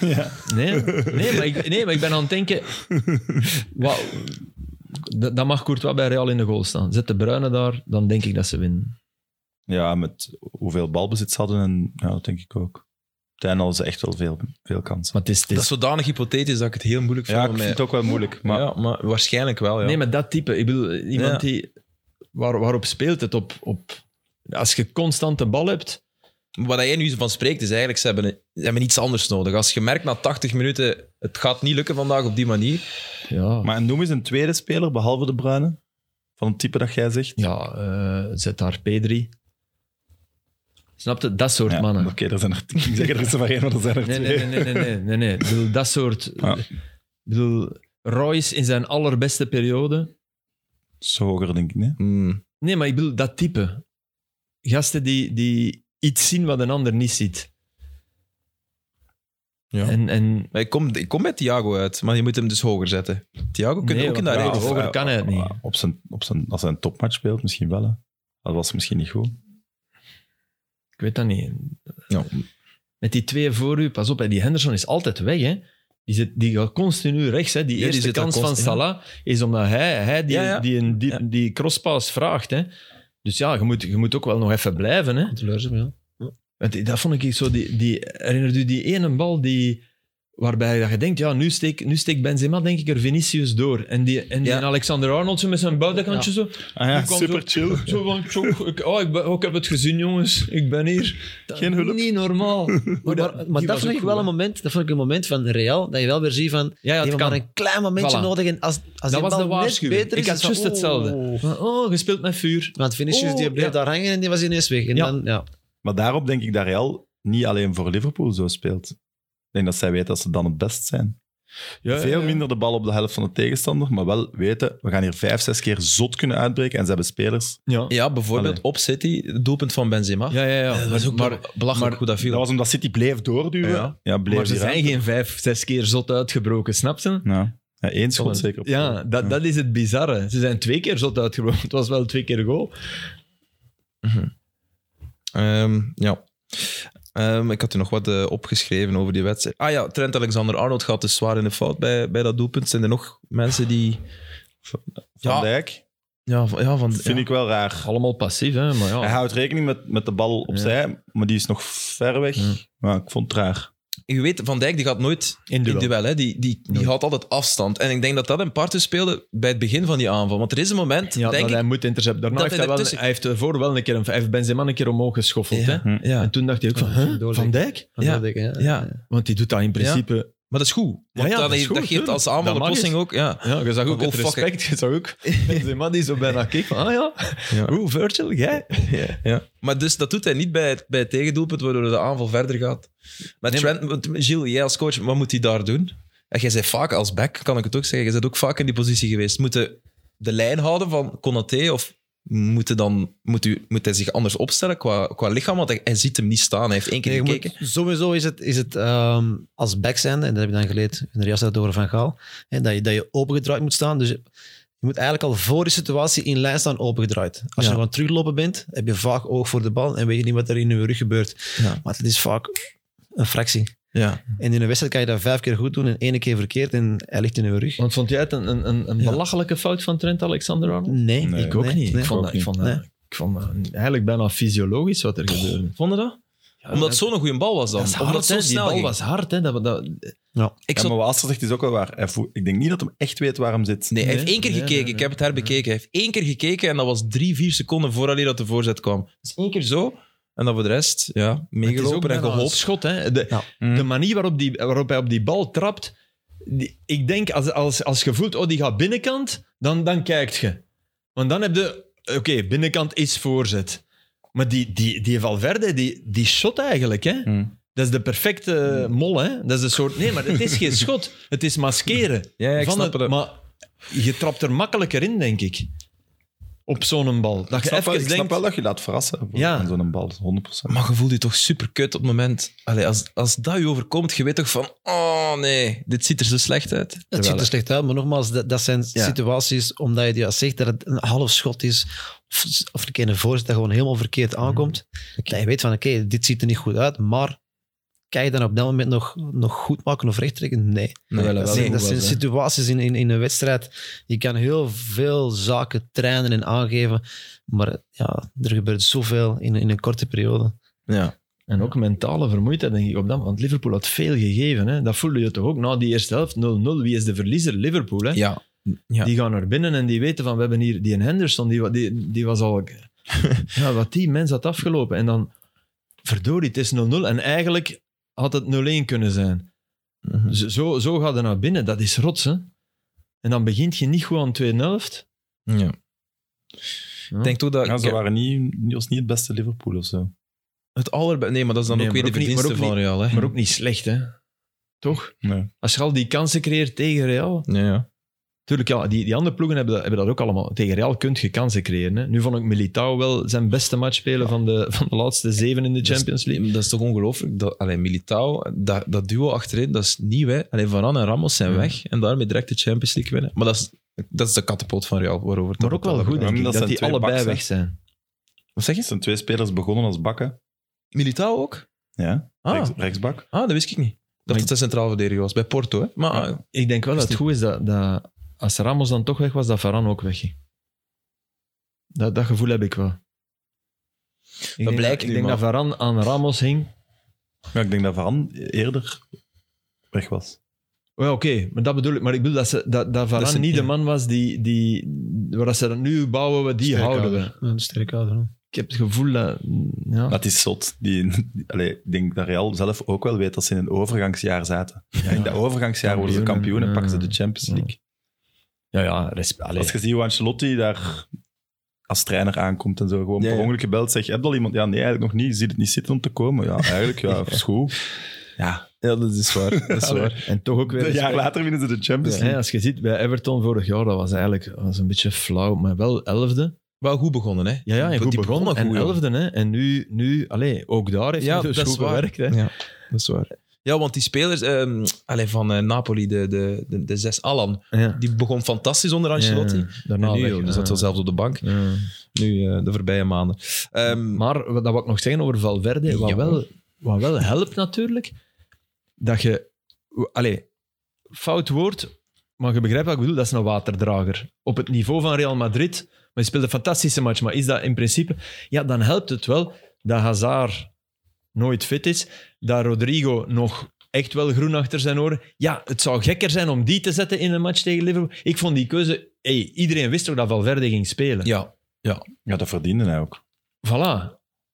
Speaker 3: Nee, nee, maar ik, nee, maar ik ben aan het denken... Wauw. Dat, dat mag Courtois bij Real in de goal staan. Zet de Bruinen daar, dan denk ik dat ze winnen.
Speaker 2: Ja, met hoeveel balbezit ze hadden. En, ja, dat denk ik ook. Uiteindelijk hadden ze echt wel veel, veel kansen.
Speaker 3: Maar het is... Het is-
Speaker 1: Dat is zodanig hypothetisch dat ik het heel moeilijk vind.
Speaker 2: Ja, ik
Speaker 1: om
Speaker 2: vind
Speaker 1: mij-
Speaker 2: het ook wel moeilijk. Maar
Speaker 1: ja, maar waarschijnlijk wel, ja.
Speaker 3: Nee, maar dat type. Ik bedoel, iemand
Speaker 1: Ja.
Speaker 3: die... Waar, waarop speelt het? Op, op, als je constant de bal hebt...
Speaker 1: Wat jij nu van spreekt, is eigenlijk, ze hebben, ze hebben iets anders nodig. Als je merkt na 80 minuten, het gaat niet lukken vandaag op die manier.
Speaker 3: Ja,
Speaker 2: Maar en noem eens een tweede speler, behalve de Bruyne, van het type dat jij zegt.
Speaker 3: ja eh, zet daar P3. Snap je? Dat soort
Speaker 2: Ja,
Speaker 3: mannen.
Speaker 2: Oké, er zijn er, ik ging zeggen, er is er maar één, maar er zijn er
Speaker 3: Nee,
Speaker 2: twee.
Speaker 3: nee, nee, nee, nee, nee, nee, nee. Ik bedoel, dat soort...
Speaker 2: Ja.
Speaker 3: Ik bedoel, Royce in zijn allerbeste periode...
Speaker 2: Zo hoger, denk ik. Nee?
Speaker 1: Hmm.
Speaker 3: Nee, maar ik bedoel dat type. Gasten die, die iets zien wat een ander niet ziet.
Speaker 1: Ja.
Speaker 3: En, en
Speaker 1: Maar ik kom, ik kom met Thiago uit, maar je moet hem dus hoger zetten. Thiago kun je
Speaker 3: Nee,
Speaker 1: ook in
Speaker 3: want
Speaker 1: dat
Speaker 3: ja,
Speaker 1: reet-
Speaker 3: hoger
Speaker 1: of-
Speaker 3: kan hij het niet.
Speaker 2: Maar Op zijn, op zijn, als hij een topmatch speelt, misschien wel. Hè. Dat was misschien niet goed.
Speaker 3: ik weet dat niet.
Speaker 1: Ja.
Speaker 3: Met die twee voor u, pas op, hè, die Henderson is altijd weg. Hè. Die, zit, die gaat continu rechts. Hè. Die
Speaker 1: Ja, die
Speaker 3: eerste
Speaker 1: zit daar
Speaker 3: kans van
Speaker 1: constant,
Speaker 3: Salah is omdat hij, hij die,
Speaker 1: Ja, ja.
Speaker 3: die, een, die,
Speaker 1: Ja.
Speaker 3: die crosspass vraagt. Hè. Dus ja, je moet, je moet ook wel nog even blijven. Hè.
Speaker 4: Teleurstelling, ja.
Speaker 3: Want die- dat vond ik zo. Die, die, herinnert u die ene bal die, waarbij dat je denkt: ja, nu steekt nu steek Benzema denk ik er Vinicius door. En die, en die
Speaker 1: Ja.
Speaker 3: Alexander Arnold zo met zijn buitenkantje zo.
Speaker 2: Ah
Speaker 3: Die kwam super
Speaker 2: chill.
Speaker 3: zo van, zo, ik, oh, ik, ben- oh, ik heb het gezien, jongens. Ik ben hier. Dat-
Speaker 2: Geen hulp.
Speaker 3: Niet normaal.
Speaker 4: Maar,
Speaker 3: dat-
Speaker 4: maar,
Speaker 3: die
Speaker 4: maar dat
Speaker 3: was
Speaker 4: vond
Speaker 3: ook
Speaker 4: ik wel
Speaker 3: goed,
Speaker 4: een
Speaker 3: hè.
Speaker 4: moment, dat vond ik een moment van Real, dat je wel weer ziet van,
Speaker 3: Ja, ja,
Speaker 4: die
Speaker 3: het
Speaker 4: hebben
Speaker 3: kan.
Speaker 4: maar een klein momentje
Speaker 3: Voilà.
Speaker 4: nodig en als, als
Speaker 3: Dat
Speaker 4: die
Speaker 3: was
Speaker 4: bal
Speaker 3: de
Speaker 4: net
Speaker 3: waarschuwing.
Speaker 4: beter is...
Speaker 3: Ik had
Speaker 4: is het
Speaker 3: juist
Speaker 4: van,
Speaker 3: hetzelfde.
Speaker 4: oeh.
Speaker 3: Van, oh, gespeeld met vuur.
Speaker 4: Want Vinicius die
Speaker 3: Oh,
Speaker 4: bleef
Speaker 3: ja.
Speaker 4: daar hangen en die was ineens weg. En
Speaker 3: Ja.
Speaker 4: dan, ja.
Speaker 2: Maar daarop denk ik dat Real niet alleen voor Liverpool zo speelt. Ik denk dat zij weten dat ze dan het best zijn.
Speaker 3: Ja,
Speaker 2: Veel
Speaker 3: ja.
Speaker 2: minder de bal op de helft van de tegenstander, maar wel weten, we gaan hier vijf, zes keer zot kunnen uitbreken. En ze hebben spelers.
Speaker 3: Ja,
Speaker 1: Ja, bijvoorbeeld
Speaker 2: Allee.
Speaker 1: op City, het doelpunt van Benzema. Eh,
Speaker 3: ja, ja. ja.
Speaker 1: Dat was ook
Speaker 3: maar,
Speaker 1: maar, belachelijk
Speaker 3: maar-
Speaker 1: hoe dat viel.
Speaker 2: Dat was omdat City bleef doorduwen.
Speaker 1: Ja.
Speaker 2: Ja, bleef
Speaker 3: maar ze
Speaker 2: die
Speaker 3: zijn
Speaker 2: ruimte.
Speaker 3: geen vijf, zes keer zot uitgebroken, snap je?
Speaker 2: Ja. Ja, één schot zeker. Op
Speaker 3: Ja, dat, dat is het bizarre. Ze zijn twee keer zot uitgebroken. Het was wel twee keer goal.
Speaker 1: Ehm, ja. Ehm, ik had er nog wat eh, opgeschreven over die wedstrijd. Ah ja, Trent Alexander-Arnold gaat dus zwaar in de fout bij, bij dat doelpunt. Zijn er nog mensen die...
Speaker 2: Van
Speaker 1: Ja.
Speaker 2: Dijk
Speaker 1: Ja, van, ja, van,
Speaker 2: vind
Speaker 1: ja.
Speaker 2: ik wel raar.
Speaker 3: Allemaal passief, hè? Maar ja.
Speaker 2: Hij houdt rekening met, met de bal opzij, maar die is nog ver weg.
Speaker 3: Ja.
Speaker 2: Maar ik vond het raar.
Speaker 1: Je weet, Van Dijk die gaat nooit
Speaker 3: in
Speaker 1: in
Speaker 3: duel.
Speaker 1: duel. Hè? Die, die, die
Speaker 3: Nooit.
Speaker 1: houdt altijd afstand. En ik denk dat dat een parten speelde bij het begin van die aanval. Want er is een moment,
Speaker 3: Ja,
Speaker 1: denk
Speaker 3: dat
Speaker 1: ik...
Speaker 3: hij moet intercepten. Daarna
Speaker 1: dat
Speaker 3: heeft
Speaker 1: hij
Speaker 3: hij, wel,
Speaker 1: ertussen-
Speaker 3: hij heeft ervoor wel een keer een, hij heeft Benzema een keer omhoog geschoffeld.
Speaker 1: Ja.
Speaker 3: Hè?
Speaker 1: Ja.
Speaker 3: En toen dacht hij ook van,
Speaker 4: Ja,
Speaker 3: huh?
Speaker 4: doorleg.
Speaker 3: Van Dijk?
Speaker 4: Van
Speaker 1: Ja.
Speaker 4: dat ik, hè.
Speaker 1: Ja,
Speaker 3: Want die doet dat in principe...
Speaker 1: maar dat is goed.
Speaker 3: Ja,
Speaker 1: Want
Speaker 3: ja,
Speaker 1: dan
Speaker 3: dat is
Speaker 1: heeft-
Speaker 3: goed,
Speaker 1: dat geeft als
Speaker 3: tuurlijk.
Speaker 1: aanval
Speaker 3: Dat mag
Speaker 1: oplossing ook. Ja.
Speaker 3: Ja, je zag ook
Speaker 1: Oh,
Speaker 3: het
Speaker 1: fuck it.
Speaker 3: respect. Je zag ook Benzema die zo bijna keek van, ah ja,
Speaker 1: Ja.
Speaker 3: hoe Virgil, jij?
Speaker 1: Ja. Maar dus dat doet hij niet bij het, bij het tegendoelpunt, waardoor de aanval verder gaat. Maar Trent, want Gilles, jij als coach, wat moet hij daar doen? En jij bent vaak als back, kan ik het ook zeggen, jij bent ook vaak in die positie geweest. Moet hij de lijn houden van Konaté of moet hij, dan, moet u, moet hij zich anders opstellen qua, qua lichaam? Want hij, hij ziet hem niet staan, hij heeft één keer
Speaker 4: Nee, je
Speaker 1: gekeken.
Speaker 4: moet- sowieso is het, is het ehm, als back zijn, en dat heb je dan geleerd in de Rias door Van Gaal, hè, dat, je, dat je opengedraaid moet staan. Dus je je moet eigenlijk al voor de situatie in lijn staan opengedraaid. Als
Speaker 1: Ja.
Speaker 4: je gewoon teruglopen bent, heb je vaak oog voor de bal en weet je niet wat er in je rug gebeurt.
Speaker 1: Ja.
Speaker 4: Maar het is vaak een fractie.
Speaker 1: Ja.
Speaker 4: En in een wedstrijd kan je dat vijf keer goed doen en ene keer verkeerd en hij ligt in je rug.
Speaker 3: Want vond jij het een, een, een, een
Speaker 4: Ja.
Speaker 3: belachelijke fout van Trent Alexander-Arnold?
Speaker 4: Nee,
Speaker 2: Nee,
Speaker 3: Ik ook
Speaker 4: nee,
Speaker 3: niet.
Speaker 4: nee.
Speaker 3: ik vond, dat, ik,
Speaker 2: ook
Speaker 3: vond dat,
Speaker 4: niet.
Speaker 3: ik vond dat eigenlijk bijna fysiologisch wat er gebeurde.
Speaker 1: Vonden dat? Omdat het zo'n goede bal was dan.
Speaker 3: dat is hard,
Speaker 1: Omdat het zo
Speaker 3: hè. Die
Speaker 1: snel
Speaker 3: bal
Speaker 1: ging.
Speaker 3: was hard. Hè. Dat, dat,
Speaker 1: Ik
Speaker 2: Ja,
Speaker 1: zat-
Speaker 2: maar wat Aster zegt is ook wel waar. Hij voelt- ik denk niet dat hij echt weet waar hem zit.
Speaker 1: Nee, hij
Speaker 3: Nee,
Speaker 1: heeft één keer
Speaker 3: nee,
Speaker 1: gekeken.
Speaker 3: nee, nee.
Speaker 1: Ik heb het herbekeken. Hij heeft één keer gekeken en dat was drie, vier seconden vooraleer dat de voorzet kwam. Dus één keer zo. En dan voor de rest, ja, meegelopen en
Speaker 3: geholpen
Speaker 1: gehoopt.
Speaker 3: schot. Hè. De,
Speaker 4: Ja.
Speaker 3: de manier waarop, die, waarop hij op die bal trapt. Die, ik denk, als, als, als je voelt, oh, die gaat binnenkant, dan, dan kijkt je. Want dan heb je... Oké, binnenkant is voorzet. Maar die, die, die Valverde, die, die shot eigenlijk, hè.
Speaker 2: Hmm.
Speaker 3: Dat is de perfecte mol, hè. Dat is een soort... Nee, maar het is geen schot. Het is maskeren.
Speaker 1: Ja, ja, ik
Speaker 3: van
Speaker 1: snap
Speaker 3: het-
Speaker 1: het.
Speaker 3: Maar je trapt er makkelijker in, denk ik. Op zo'n bal. Dat
Speaker 2: Ik
Speaker 3: je
Speaker 2: snap, wel,
Speaker 3: even
Speaker 2: ik snap
Speaker 3: denkt...
Speaker 2: wel dat je laat verrassen voor-
Speaker 3: Ja.
Speaker 2: aan zo'n bal, 100%.
Speaker 1: Maar je voelt je toch super kut op het moment. Allee, als, als dat je overkomt, je weet toch van: oh nee, dit ziet er zo slecht uit.
Speaker 4: Het ziet er slecht uit, maar nogmaals, dat, dat zijn
Speaker 1: Ja.
Speaker 4: situaties, omdat je die zegt dat het een half schot is, of, of een keer een voorzet dat gewoon helemaal verkeerd
Speaker 3: Mhm.
Speaker 4: aankomt, dat je weet van, oké, dit ziet er niet goed uit, maar kan je dan op dat moment nog, nog goed maken of rechttrekken? Nee.
Speaker 1: Nee, dat
Speaker 3: Wel, wel.
Speaker 1: is-
Speaker 4: Dat zijn,
Speaker 3: goed
Speaker 4: dat zijn
Speaker 3: was, hè.
Speaker 4: situaties in, in, in een wedstrijd. Je kan heel veel zaken trainen en aangeven, maar ja, er gebeurt zoveel in, in een korte periode.
Speaker 1: ja.
Speaker 3: En ook mentale vermoeidheid, denk ik, op dat Want Liverpool had veel gegeven. Hè? Dat voelde je toch ook na die eerste helft, 0-0. Wie is de verliezer? Liverpool. Hè?
Speaker 1: Ja. ja.
Speaker 3: Die gaan naar binnen en die weten van, we hebben hier die Henderson, die, wa- die, die was al... ja, wat die mens had afgelopen. En dan, verdorie, het is 0-0. En eigenlijk had het 0-1 kunnen zijn.
Speaker 1: Mhm.
Speaker 3: Zo- Zo, zo gaat het naar binnen. Dat is rots, hè. En dan begint je niet goed aan de tweede helft.
Speaker 1: Ja.
Speaker 3: Ja.
Speaker 1: Ik denk toch dat
Speaker 2: Ja, ze
Speaker 1: ik-
Speaker 2: waren niet, niet- was niet het beste Liverpool of zo.
Speaker 1: het allerbe... Nee, maar dat is dan
Speaker 3: Nee,
Speaker 1: ook
Speaker 3: maar
Speaker 1: weer de
Speaker 3: ook niet- maar
Speaker 1: verdienste
Speaker 3: ook
Speaker 1: van Real. Hè.
Speaker 3: Maar ook niet slecht, hè. Toch?
Speaker 2: Nee.
Speaker 3: Als je al die kansen creëert tegen Real...
Speaker 1: Ja, ja.
Speaker 3: Tuurlijk, ja, die, die andere ploegen hebben dat, hebben dat ook allemaal. Tegen Real kun je kansen creëren. Hè. Nu vond ik Militao wel zijn beste match spelen van, de, van de laatste zeven in de Champions League.
Speaker 1: Dat is toch ongelooflijk? Dat, allee, Militao, dat, dat duo achterin, dat is nieuw. Hè? Allee, Varane en Ramos zijn
Speaker 3: Ja.
Speaker 1: weg en daarmee direct de Champions League winnen. Maar dat is, dat is de kattenpot van Real, waarover het
Speaker 3: Maar
Speaker 1: dan
Speaker 3: ook wel
Speaker 1: gaat.
Speaker 3: goed, denk ik,
Speaker 2: Dat
Speaker 3: dat,
Speaker 2: zijn
Speaker 3: die
Speaker 2: twee
Speaker 3: allebei
Speaker 2: backs, hè.
Speaker 3: weg zijn.
Speaker 1: Wat zeg je?
Speaker 2: Er zijn twee spelers begonnen als bakken.
Speaker 1: Militao ook?
Speaker 2: Ja,
Speaker 1: Ah,
Speaker 2: rechts- rechtsbak.
Speaker 1: ah, dat wist ik niet. Dat
Speaker 3: Maar
Speaker 1: het een centraal verdediger was, bij Porto. Hè? Maar
Speaker 3: Ja.
Speaker 1: ah,
Speaker 3: Ik denk wel dat het goed is dat, dat als Ramos dan toch weg was, dat Varane ook wegging. Dat, dat gevoel heb ik wel. Ik denk
Speaker 1: blijkt
Speaker 3: ik
Speaker 1: nu,
Speaker 3: denk
Speaker 1: maar-
Speaker 3: dat Varane aan Ramos hing.
Speaker 2: Ja, ik denk dat Van eerder weg was.
Speaker 3: Oh ja, oké, maar dat bedoel ik. Maar ik bedoel dat, ze, dat, dat Varane
Speaker 1: Dat ze-
Speaker 3: niet
Speaker 1: ja.
Speaker 3: de man was die, die, waar dat ze dat nu bouwen, we die houden we.
Speaker 4: Een sterke ouder. hè.
Speaker 3: Ik heb het gevoel dat... Ja.
Speaker 2: Dat is zot. Die, die- allee, ik denk dat Real zelf ook wel weet dat ze in een overgangsjaar zaten. In dat overgangsjaar worden ze
Speaker 3: Kampioenen.
Speaker 2: kampioen en
Speaker 3: Ja.
Speaker 2: pakken ze de Champions
Speaker 3: Ja.
Speaker 2: League.
Speaker 3: Ja, ja, resp- allee.
Speaker 2: Als je ziet hoe Ancelotti daar als trainer aankomt en zo, gewoon
Speaker 1: Ja,
Speaker 2: per
Speaker 1: ja.
Speaker 2: ongeluk gebeld, zeg, heb je al iemand? Ja, nee, eigenlijk nog niet. Je ziet het niet zitten om te komen. Ja, eigenlijk, ja, is goed.
Speaker 1: ja. dat is waar. Dat is waar.
Speaker 3: En toch ook weer...
Speaker 2: Een jaar later winnen ze de Champions
Speaker 3: Dus Hè,
Speaker 2: League.
Speaker 3: als je ziet, bij Everton vorig jaar, dat was eigenlijk dat was een beetje flauw, maar wel elfde.
Speaker 1: Wel goed begonnen, hè?
Speaker 3: Ja, ja en
Speaker 1: Die
Speaker 3: goed begonnen. En
Speaker 1: joh.
Speaker 3: elfde, hè. En nu, nu allee, ook daar heeft
Speaker 1: Ja,
Speaker 3: hij dus
Speaker 1: dat is
Speaker 3: goed
Speaker 1: waar.
Speaker 3: gewerkt, hè.
Speaker 1: Ja, dat is waar. Ja, want die spelers ehm, allee, van eh, Napoli, de, de, de, de zes Alan,
Speaker 3: Ja.
Speaker 1: die begon fantastisch onder Ancelotti. Ah,
Speaker 3: Ja, daarna
Speaker 1: En nu,
Speaker 3: weg,
Speaker 1: joh, die
Speaker 3: ja.
Speaker 1: zat wel zelfs op de bank.
Speaker 3: Ja.
Speaker 1: Nu, eh, de voorbije maanden. Ehm,
Speaker 3: Maar wat- dat wil ik nog zeggen over Valverde. Wat,
Speaker 1: Ja.
Speaker 3: wel, wat wel helpt natuurlijk, dat je... Allee, fout woord, maar je begrijpt wat ik bedoel. Dat is een waterdrager. Op het niveau van Real Madrid, maar je speelt een fantastische match. Maar is dat in principe... Ja, dan helpt het wel dat Hazard nooit fit is, dat Rodrigo nog echt wel groen achter zijn oren. Ja, het zou gekker zijn om die te zetten in een match tegen Liverpool. Ik vond die keuze... Hey, iedereen wist toch dat Valverde ging spelen?
Speaker 1: ja,
Speaker 2: Ja, dat verdiende hij ook.
Speaker 3: Voilà.
Speaker 4: Ja.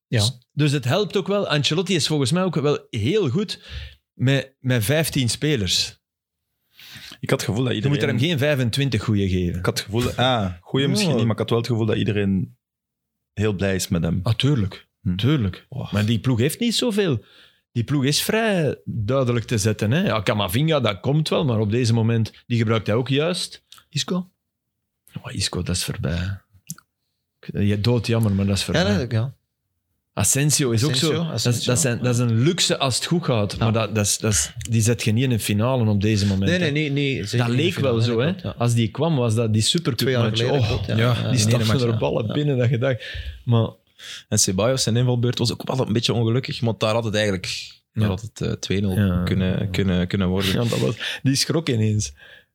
Speaker 3: Dus, dus het helpt ook wel. Ancelotti is volgens mij ook wel heel goed met, met 15 spelers.
Speaker 2: Ik had het gevoel dat
Speaker 3: Je
Speaker 2: iedereen...
Speaker 3: moet er hem geen 25 goeie geven.
Speaker 2: Ik had het gevoel... Ah, goeie misschien
Speaker 3: Ja.
Speaker 2: niet, maar ik had wel het gevoel dat iedereen heel blij is met hem.
Speaker 3: Ah, tuurlijk.
Speaker 2: Hm.
Speaker 3: Tuurlijk. Maar die ploeg heeft niet zoveel. Die ploeg is vrij duidelijk te zetten. Hè? Ja, Camavinga, dat komt wel, maar op deze moment, die gebruikt hij ook juist. Isco? Oh, Isco, dat is voorbij. Ik- Je dood jammer, maar dat is
Speaker 4: Ja,
Speaker 3: voorbij.
Speaker 4: nee, ja.
Speaker 3: Asensio is
Speaker 4: Asensio,
Speaker 3: ook zo. Dat is-
Speaker 4: Asensio.
Speaker 3: Dat, zijn, dat is een luxe als het goed gaat. Maar dat, dat is, dat is- die zet je niet in een finale op deze moment.
Speaker 4: Nee, nee,
Speaker 3: hè.
Speaker 4: nee. nee zeker
Speaker 3: dat
Speaker 4: niet
Speaker 3: leek
Speaker 4: finale,
Speaker 3: wel zo. Hè.
Speaker 4: klopt, ja.
Speaker 3: Als die kwam, was dat die super
Speaker 4: Twee jaar geleden. klopt, ja. Ja,
Speaker 3: Die
Speaker 4: in één match,
Speaker 3: stapten
Speaker 4: ja.
Speaker 3: er ballen
Speaker 4: Ja.
Speaker 3: binnen dat je dacht. Maar
Speaker 1: en Ceballos, zijn invalbeurt, was ook wel een beetje ongelukkig. Want daar had het eigenlijk daar
Speaker 3: Ja.
Speaker 1: had het, eh, 2-0
Speaker 3: Ja,
Speaker 1: kunnen,
Speaker 3: ja.
Speaker 1: Kunnen, kunnen worden.
Speaker 3: ja, dat was, die schrok ineens.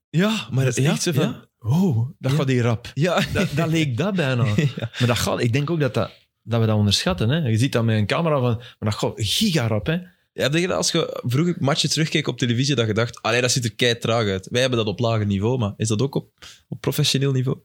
Speaker 3: Ja, maar
Speaker 1: dat
Speaker 3: dat
Speaker 1: is
Speaker 3: is
Speaker 1: ja,
Speaker 3: echt zo van...
Speaker 1: ja.
Speaker 3: Oh, dat
Speaker 1: Ja.
Speaker 3: gaat hier rap.
Speaker 1: Ja,
Speaker 3: Dat, dat leek dat bijna. Maar dat gaat, ik denk ook dat, dat, dat we dat onderschatten. Hè. Je ziet dat met een camera van... Maar dat gaat gigarap, hè.
Speaker 1: Heb je dat als je vroeger matchen terugkeek op televisie, dat je dacht, allee, dat ziet er kei traag uit. Wij hebben dat op lager niveau, maar is dat ook op, op professioneel niveau?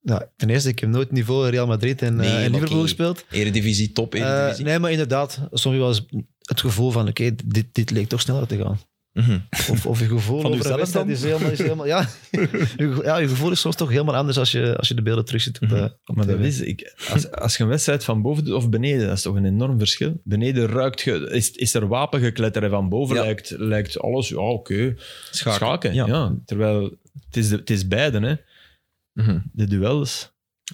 Speaker 4: Ja, ten eerste, ik heb nooit niveau Real Madrid en,
Speaker 1: Nee,
Speaker 4: eh, en
Speaker 1: maar
Speaker 4: Liverpool
Speaker 1: oké.
Speaker 4: gespeeld.
Speaker 1: Eredivisie, top
Speaker 4: Eh,
Speaker 1: eredivisie.
Speaker 4: nee, maar inderdaad, soms wel eens het gevoel van, oké, dit, dit leek toch sneller te gaan.
Speaker 1: Mhm.
Speaker 4: Of, of je gevoel
Speaker 2: Van
Speaker 4: over
Speaker 2: uzelf
Speaker 4: een wedstrijd
Speaker 2: dan?
Speaker 4: is helemaal... Is helemaal ja. Je ge- ja, je gevoel is soms toch helemaal anders als je, als je de beelden terugziet op, eh, op
Speaker 3: Maar
Speaker 4: tv.
Speaker 3: dat is, ik, als, als je een wedstrijd van boven doet of beneden, dat is toch een enorm verschil. Beneden ruikt je, is, is er wapengekletter en van boven
Speaker 1: Ja.
Speaker 3: lijkt, lijkt alles, ja oké,
Speaker 1: Schaken.
Speaker 3: schaken.
Speaker 1: ja.
Speaker 3: ja. Terwijl het is, de, het is beiden, hè.
Speaker 1: Mhm.
Speaker 3: de duels.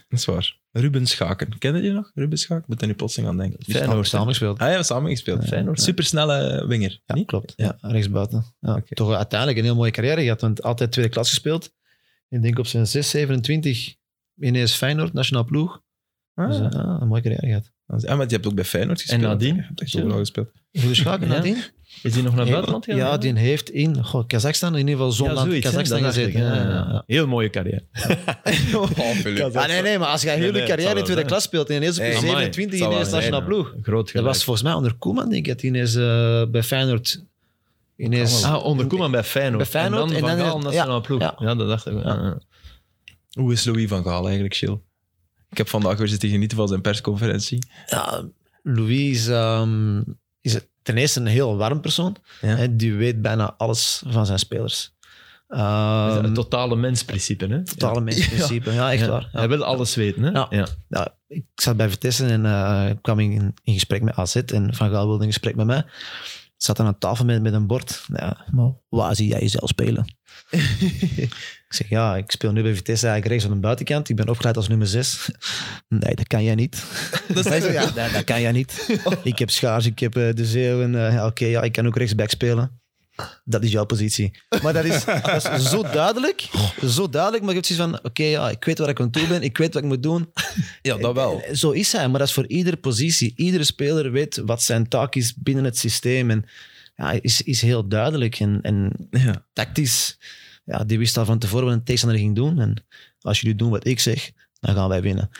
Speaker 1: Dat is waar. Ruben Schaken. Kennen jullie nog? Ruben Schaken? Ik moet er nu plotseling aan denken.
Speaker 4: Die Feyenoord samen gespeeld.
Speaker 1: Ah ja, we hebben samen gespeeld.
Speaker 3: Feyenoord, ja.
Speaker 1: Supersnelle winger.
Speaker 4: Ja,
Speaker 1: niet?
Speaker 4: klopt.
Speaker 1: Ja.
Speaker 4: Ja, rechtsbuiten. Ja.
Speaker 1: Oké.
Speaker 4: Toch uiteindelijk een heel mooie carrière gehad, want altijd tweede klas gespeeld. Ik denk op zijn 6, 27 ineens Feyenoord, nationaal ploeg. Dus, eh,
Speaker 1: Ah,
Speaker 4: ja, een mooie carrière gehad.
Speaker 1: Ah, maar je hebt ook bij Feyenoord gespeeld.
Speaker 3: En nadien?
Speaker 1: Je hebt echt overal gespeeld.
Speaker 4: Goede schaken,
Speaker 3: Ja.
Speaker 4: nadien?
Speaker 3: Is die nog naar
Speaker 4: Ja,
Speaker 3: buitenland gegaan?
Speaker 4: Ja, die heeft in goh, Kazachstan, in ieder geval zo'n
Speaker 3: Ja,
Speaker 4: land,
Speaker 3: zoiets, hè,
Speaker 4: Kazachstan
Speaker 3: dat dacht
Speaker 4: gezeten.
Speaker 3: ik,
Speaker 4: Ja,
Speaker 3: hè.
Speaker 4: ja, ja.
Speaker 3: Heel mooie carrière. Oh,
Speaker 4: Ah, nee, nee, maar als je heel
Speaker 3: nee,
Speaker 4: je
Speaker 3: het zal
Speaker 4: carrière in
Speaker 3: wel
Speaker 4: tweede
Speaker 3: zijn.
Speaker 4: klas speelt en ineens op je
Speaker 1: Hey,
Speaker 3: amai,
Speaker 4: 27
Speaker 1: het zal
Speaker 4: ineens
Speaker 1: wel zijn,
Speaker 4: nationaal ploeg.
Speaker 3: Groot
Speaker 4: Dat
Speaker 3: gelijk.
Speaker 4: was volgens mij onder Koeman, denk ik, dat hij ineens eh, bij Feyenoord ineens...
Speaker 3: Ah, onder Koeman bij Feyenoord.
Speaker 4: Bij Feyenoord
Speaker 3: en dan,
Speaker 4: en dan-
Speaker 3: Van Gaal, nationale ploeg.
Speaker 4: ja. Ehm,
Speaker 3: Ja. dat dacht ik. wel. Ja, ja.
Speaker 1: Hoe is Louis van Gaal eigenlijk, Chill? Ik heb vandaag weer zitten genieten van zijn persconferentie.
Speaker 4: Ja, Louis is, ehm, is ten eerste een heel warm persoon.
Speaker 1: Ja.
Speaker 4: Hè, die weet bijna alles van zijn spelers. Ehm,
Speaker 3: Dus het totale mensprincipe, hè?
Speaker 4: totale
Speaker 3: Ja.
Speaker 4: mensprincipe. Ja, echt
Speaker 3: Ja.
Speaker 4: waar. Ja.
Speaker 3: Hij wil alles weten, hè?
Speaker 4: Ja. Ja, Nou, ik zat bij Vitesse en eh, ik kwam in, in gesprek met AZ en Van Gaal wilde een gesprek met mij. Zat aan een tafel met, met een bord. Ja, maar waar zie jij jezelf spelen? ik zeg, ja, ik speel nu bij Vitesse eigenlijk rechts aan de buitenkant. Ik ben opgeleid als nummer 6. nee, dat kan jij niet.
Speaker 1: Dat is-
Speaker 4: Hij zei, ja, nee, dat kan jij niet. Ik heb schaars, ik heb eh, de zeeuw. en, eh, Oké, ja, ik kan ook rechtsback spelen. Dat is jouw positie. Maar dat is, dat is zo duidelijk. Zo duidelijk, maar je hebt zoiets van... Oké, ja, ik weet waar ik aan toe ben. Ik weet wat ik moet doen.
Speaker 1: Ja, dat wel.
Speaker 4: Eh, Zo is hij, maar dat is voor iedere positie. Iedere speler weet wat zijn taak is binnen het systeem. En ja, is, is heel duidelijk. En, en
Speaker 1: Ja.
Speaker 4: tactisch, ja, die wist al van tevoren wat een tegenstander ging doen. En als jullie doen wat ik zeg, dan gaan wij winnen.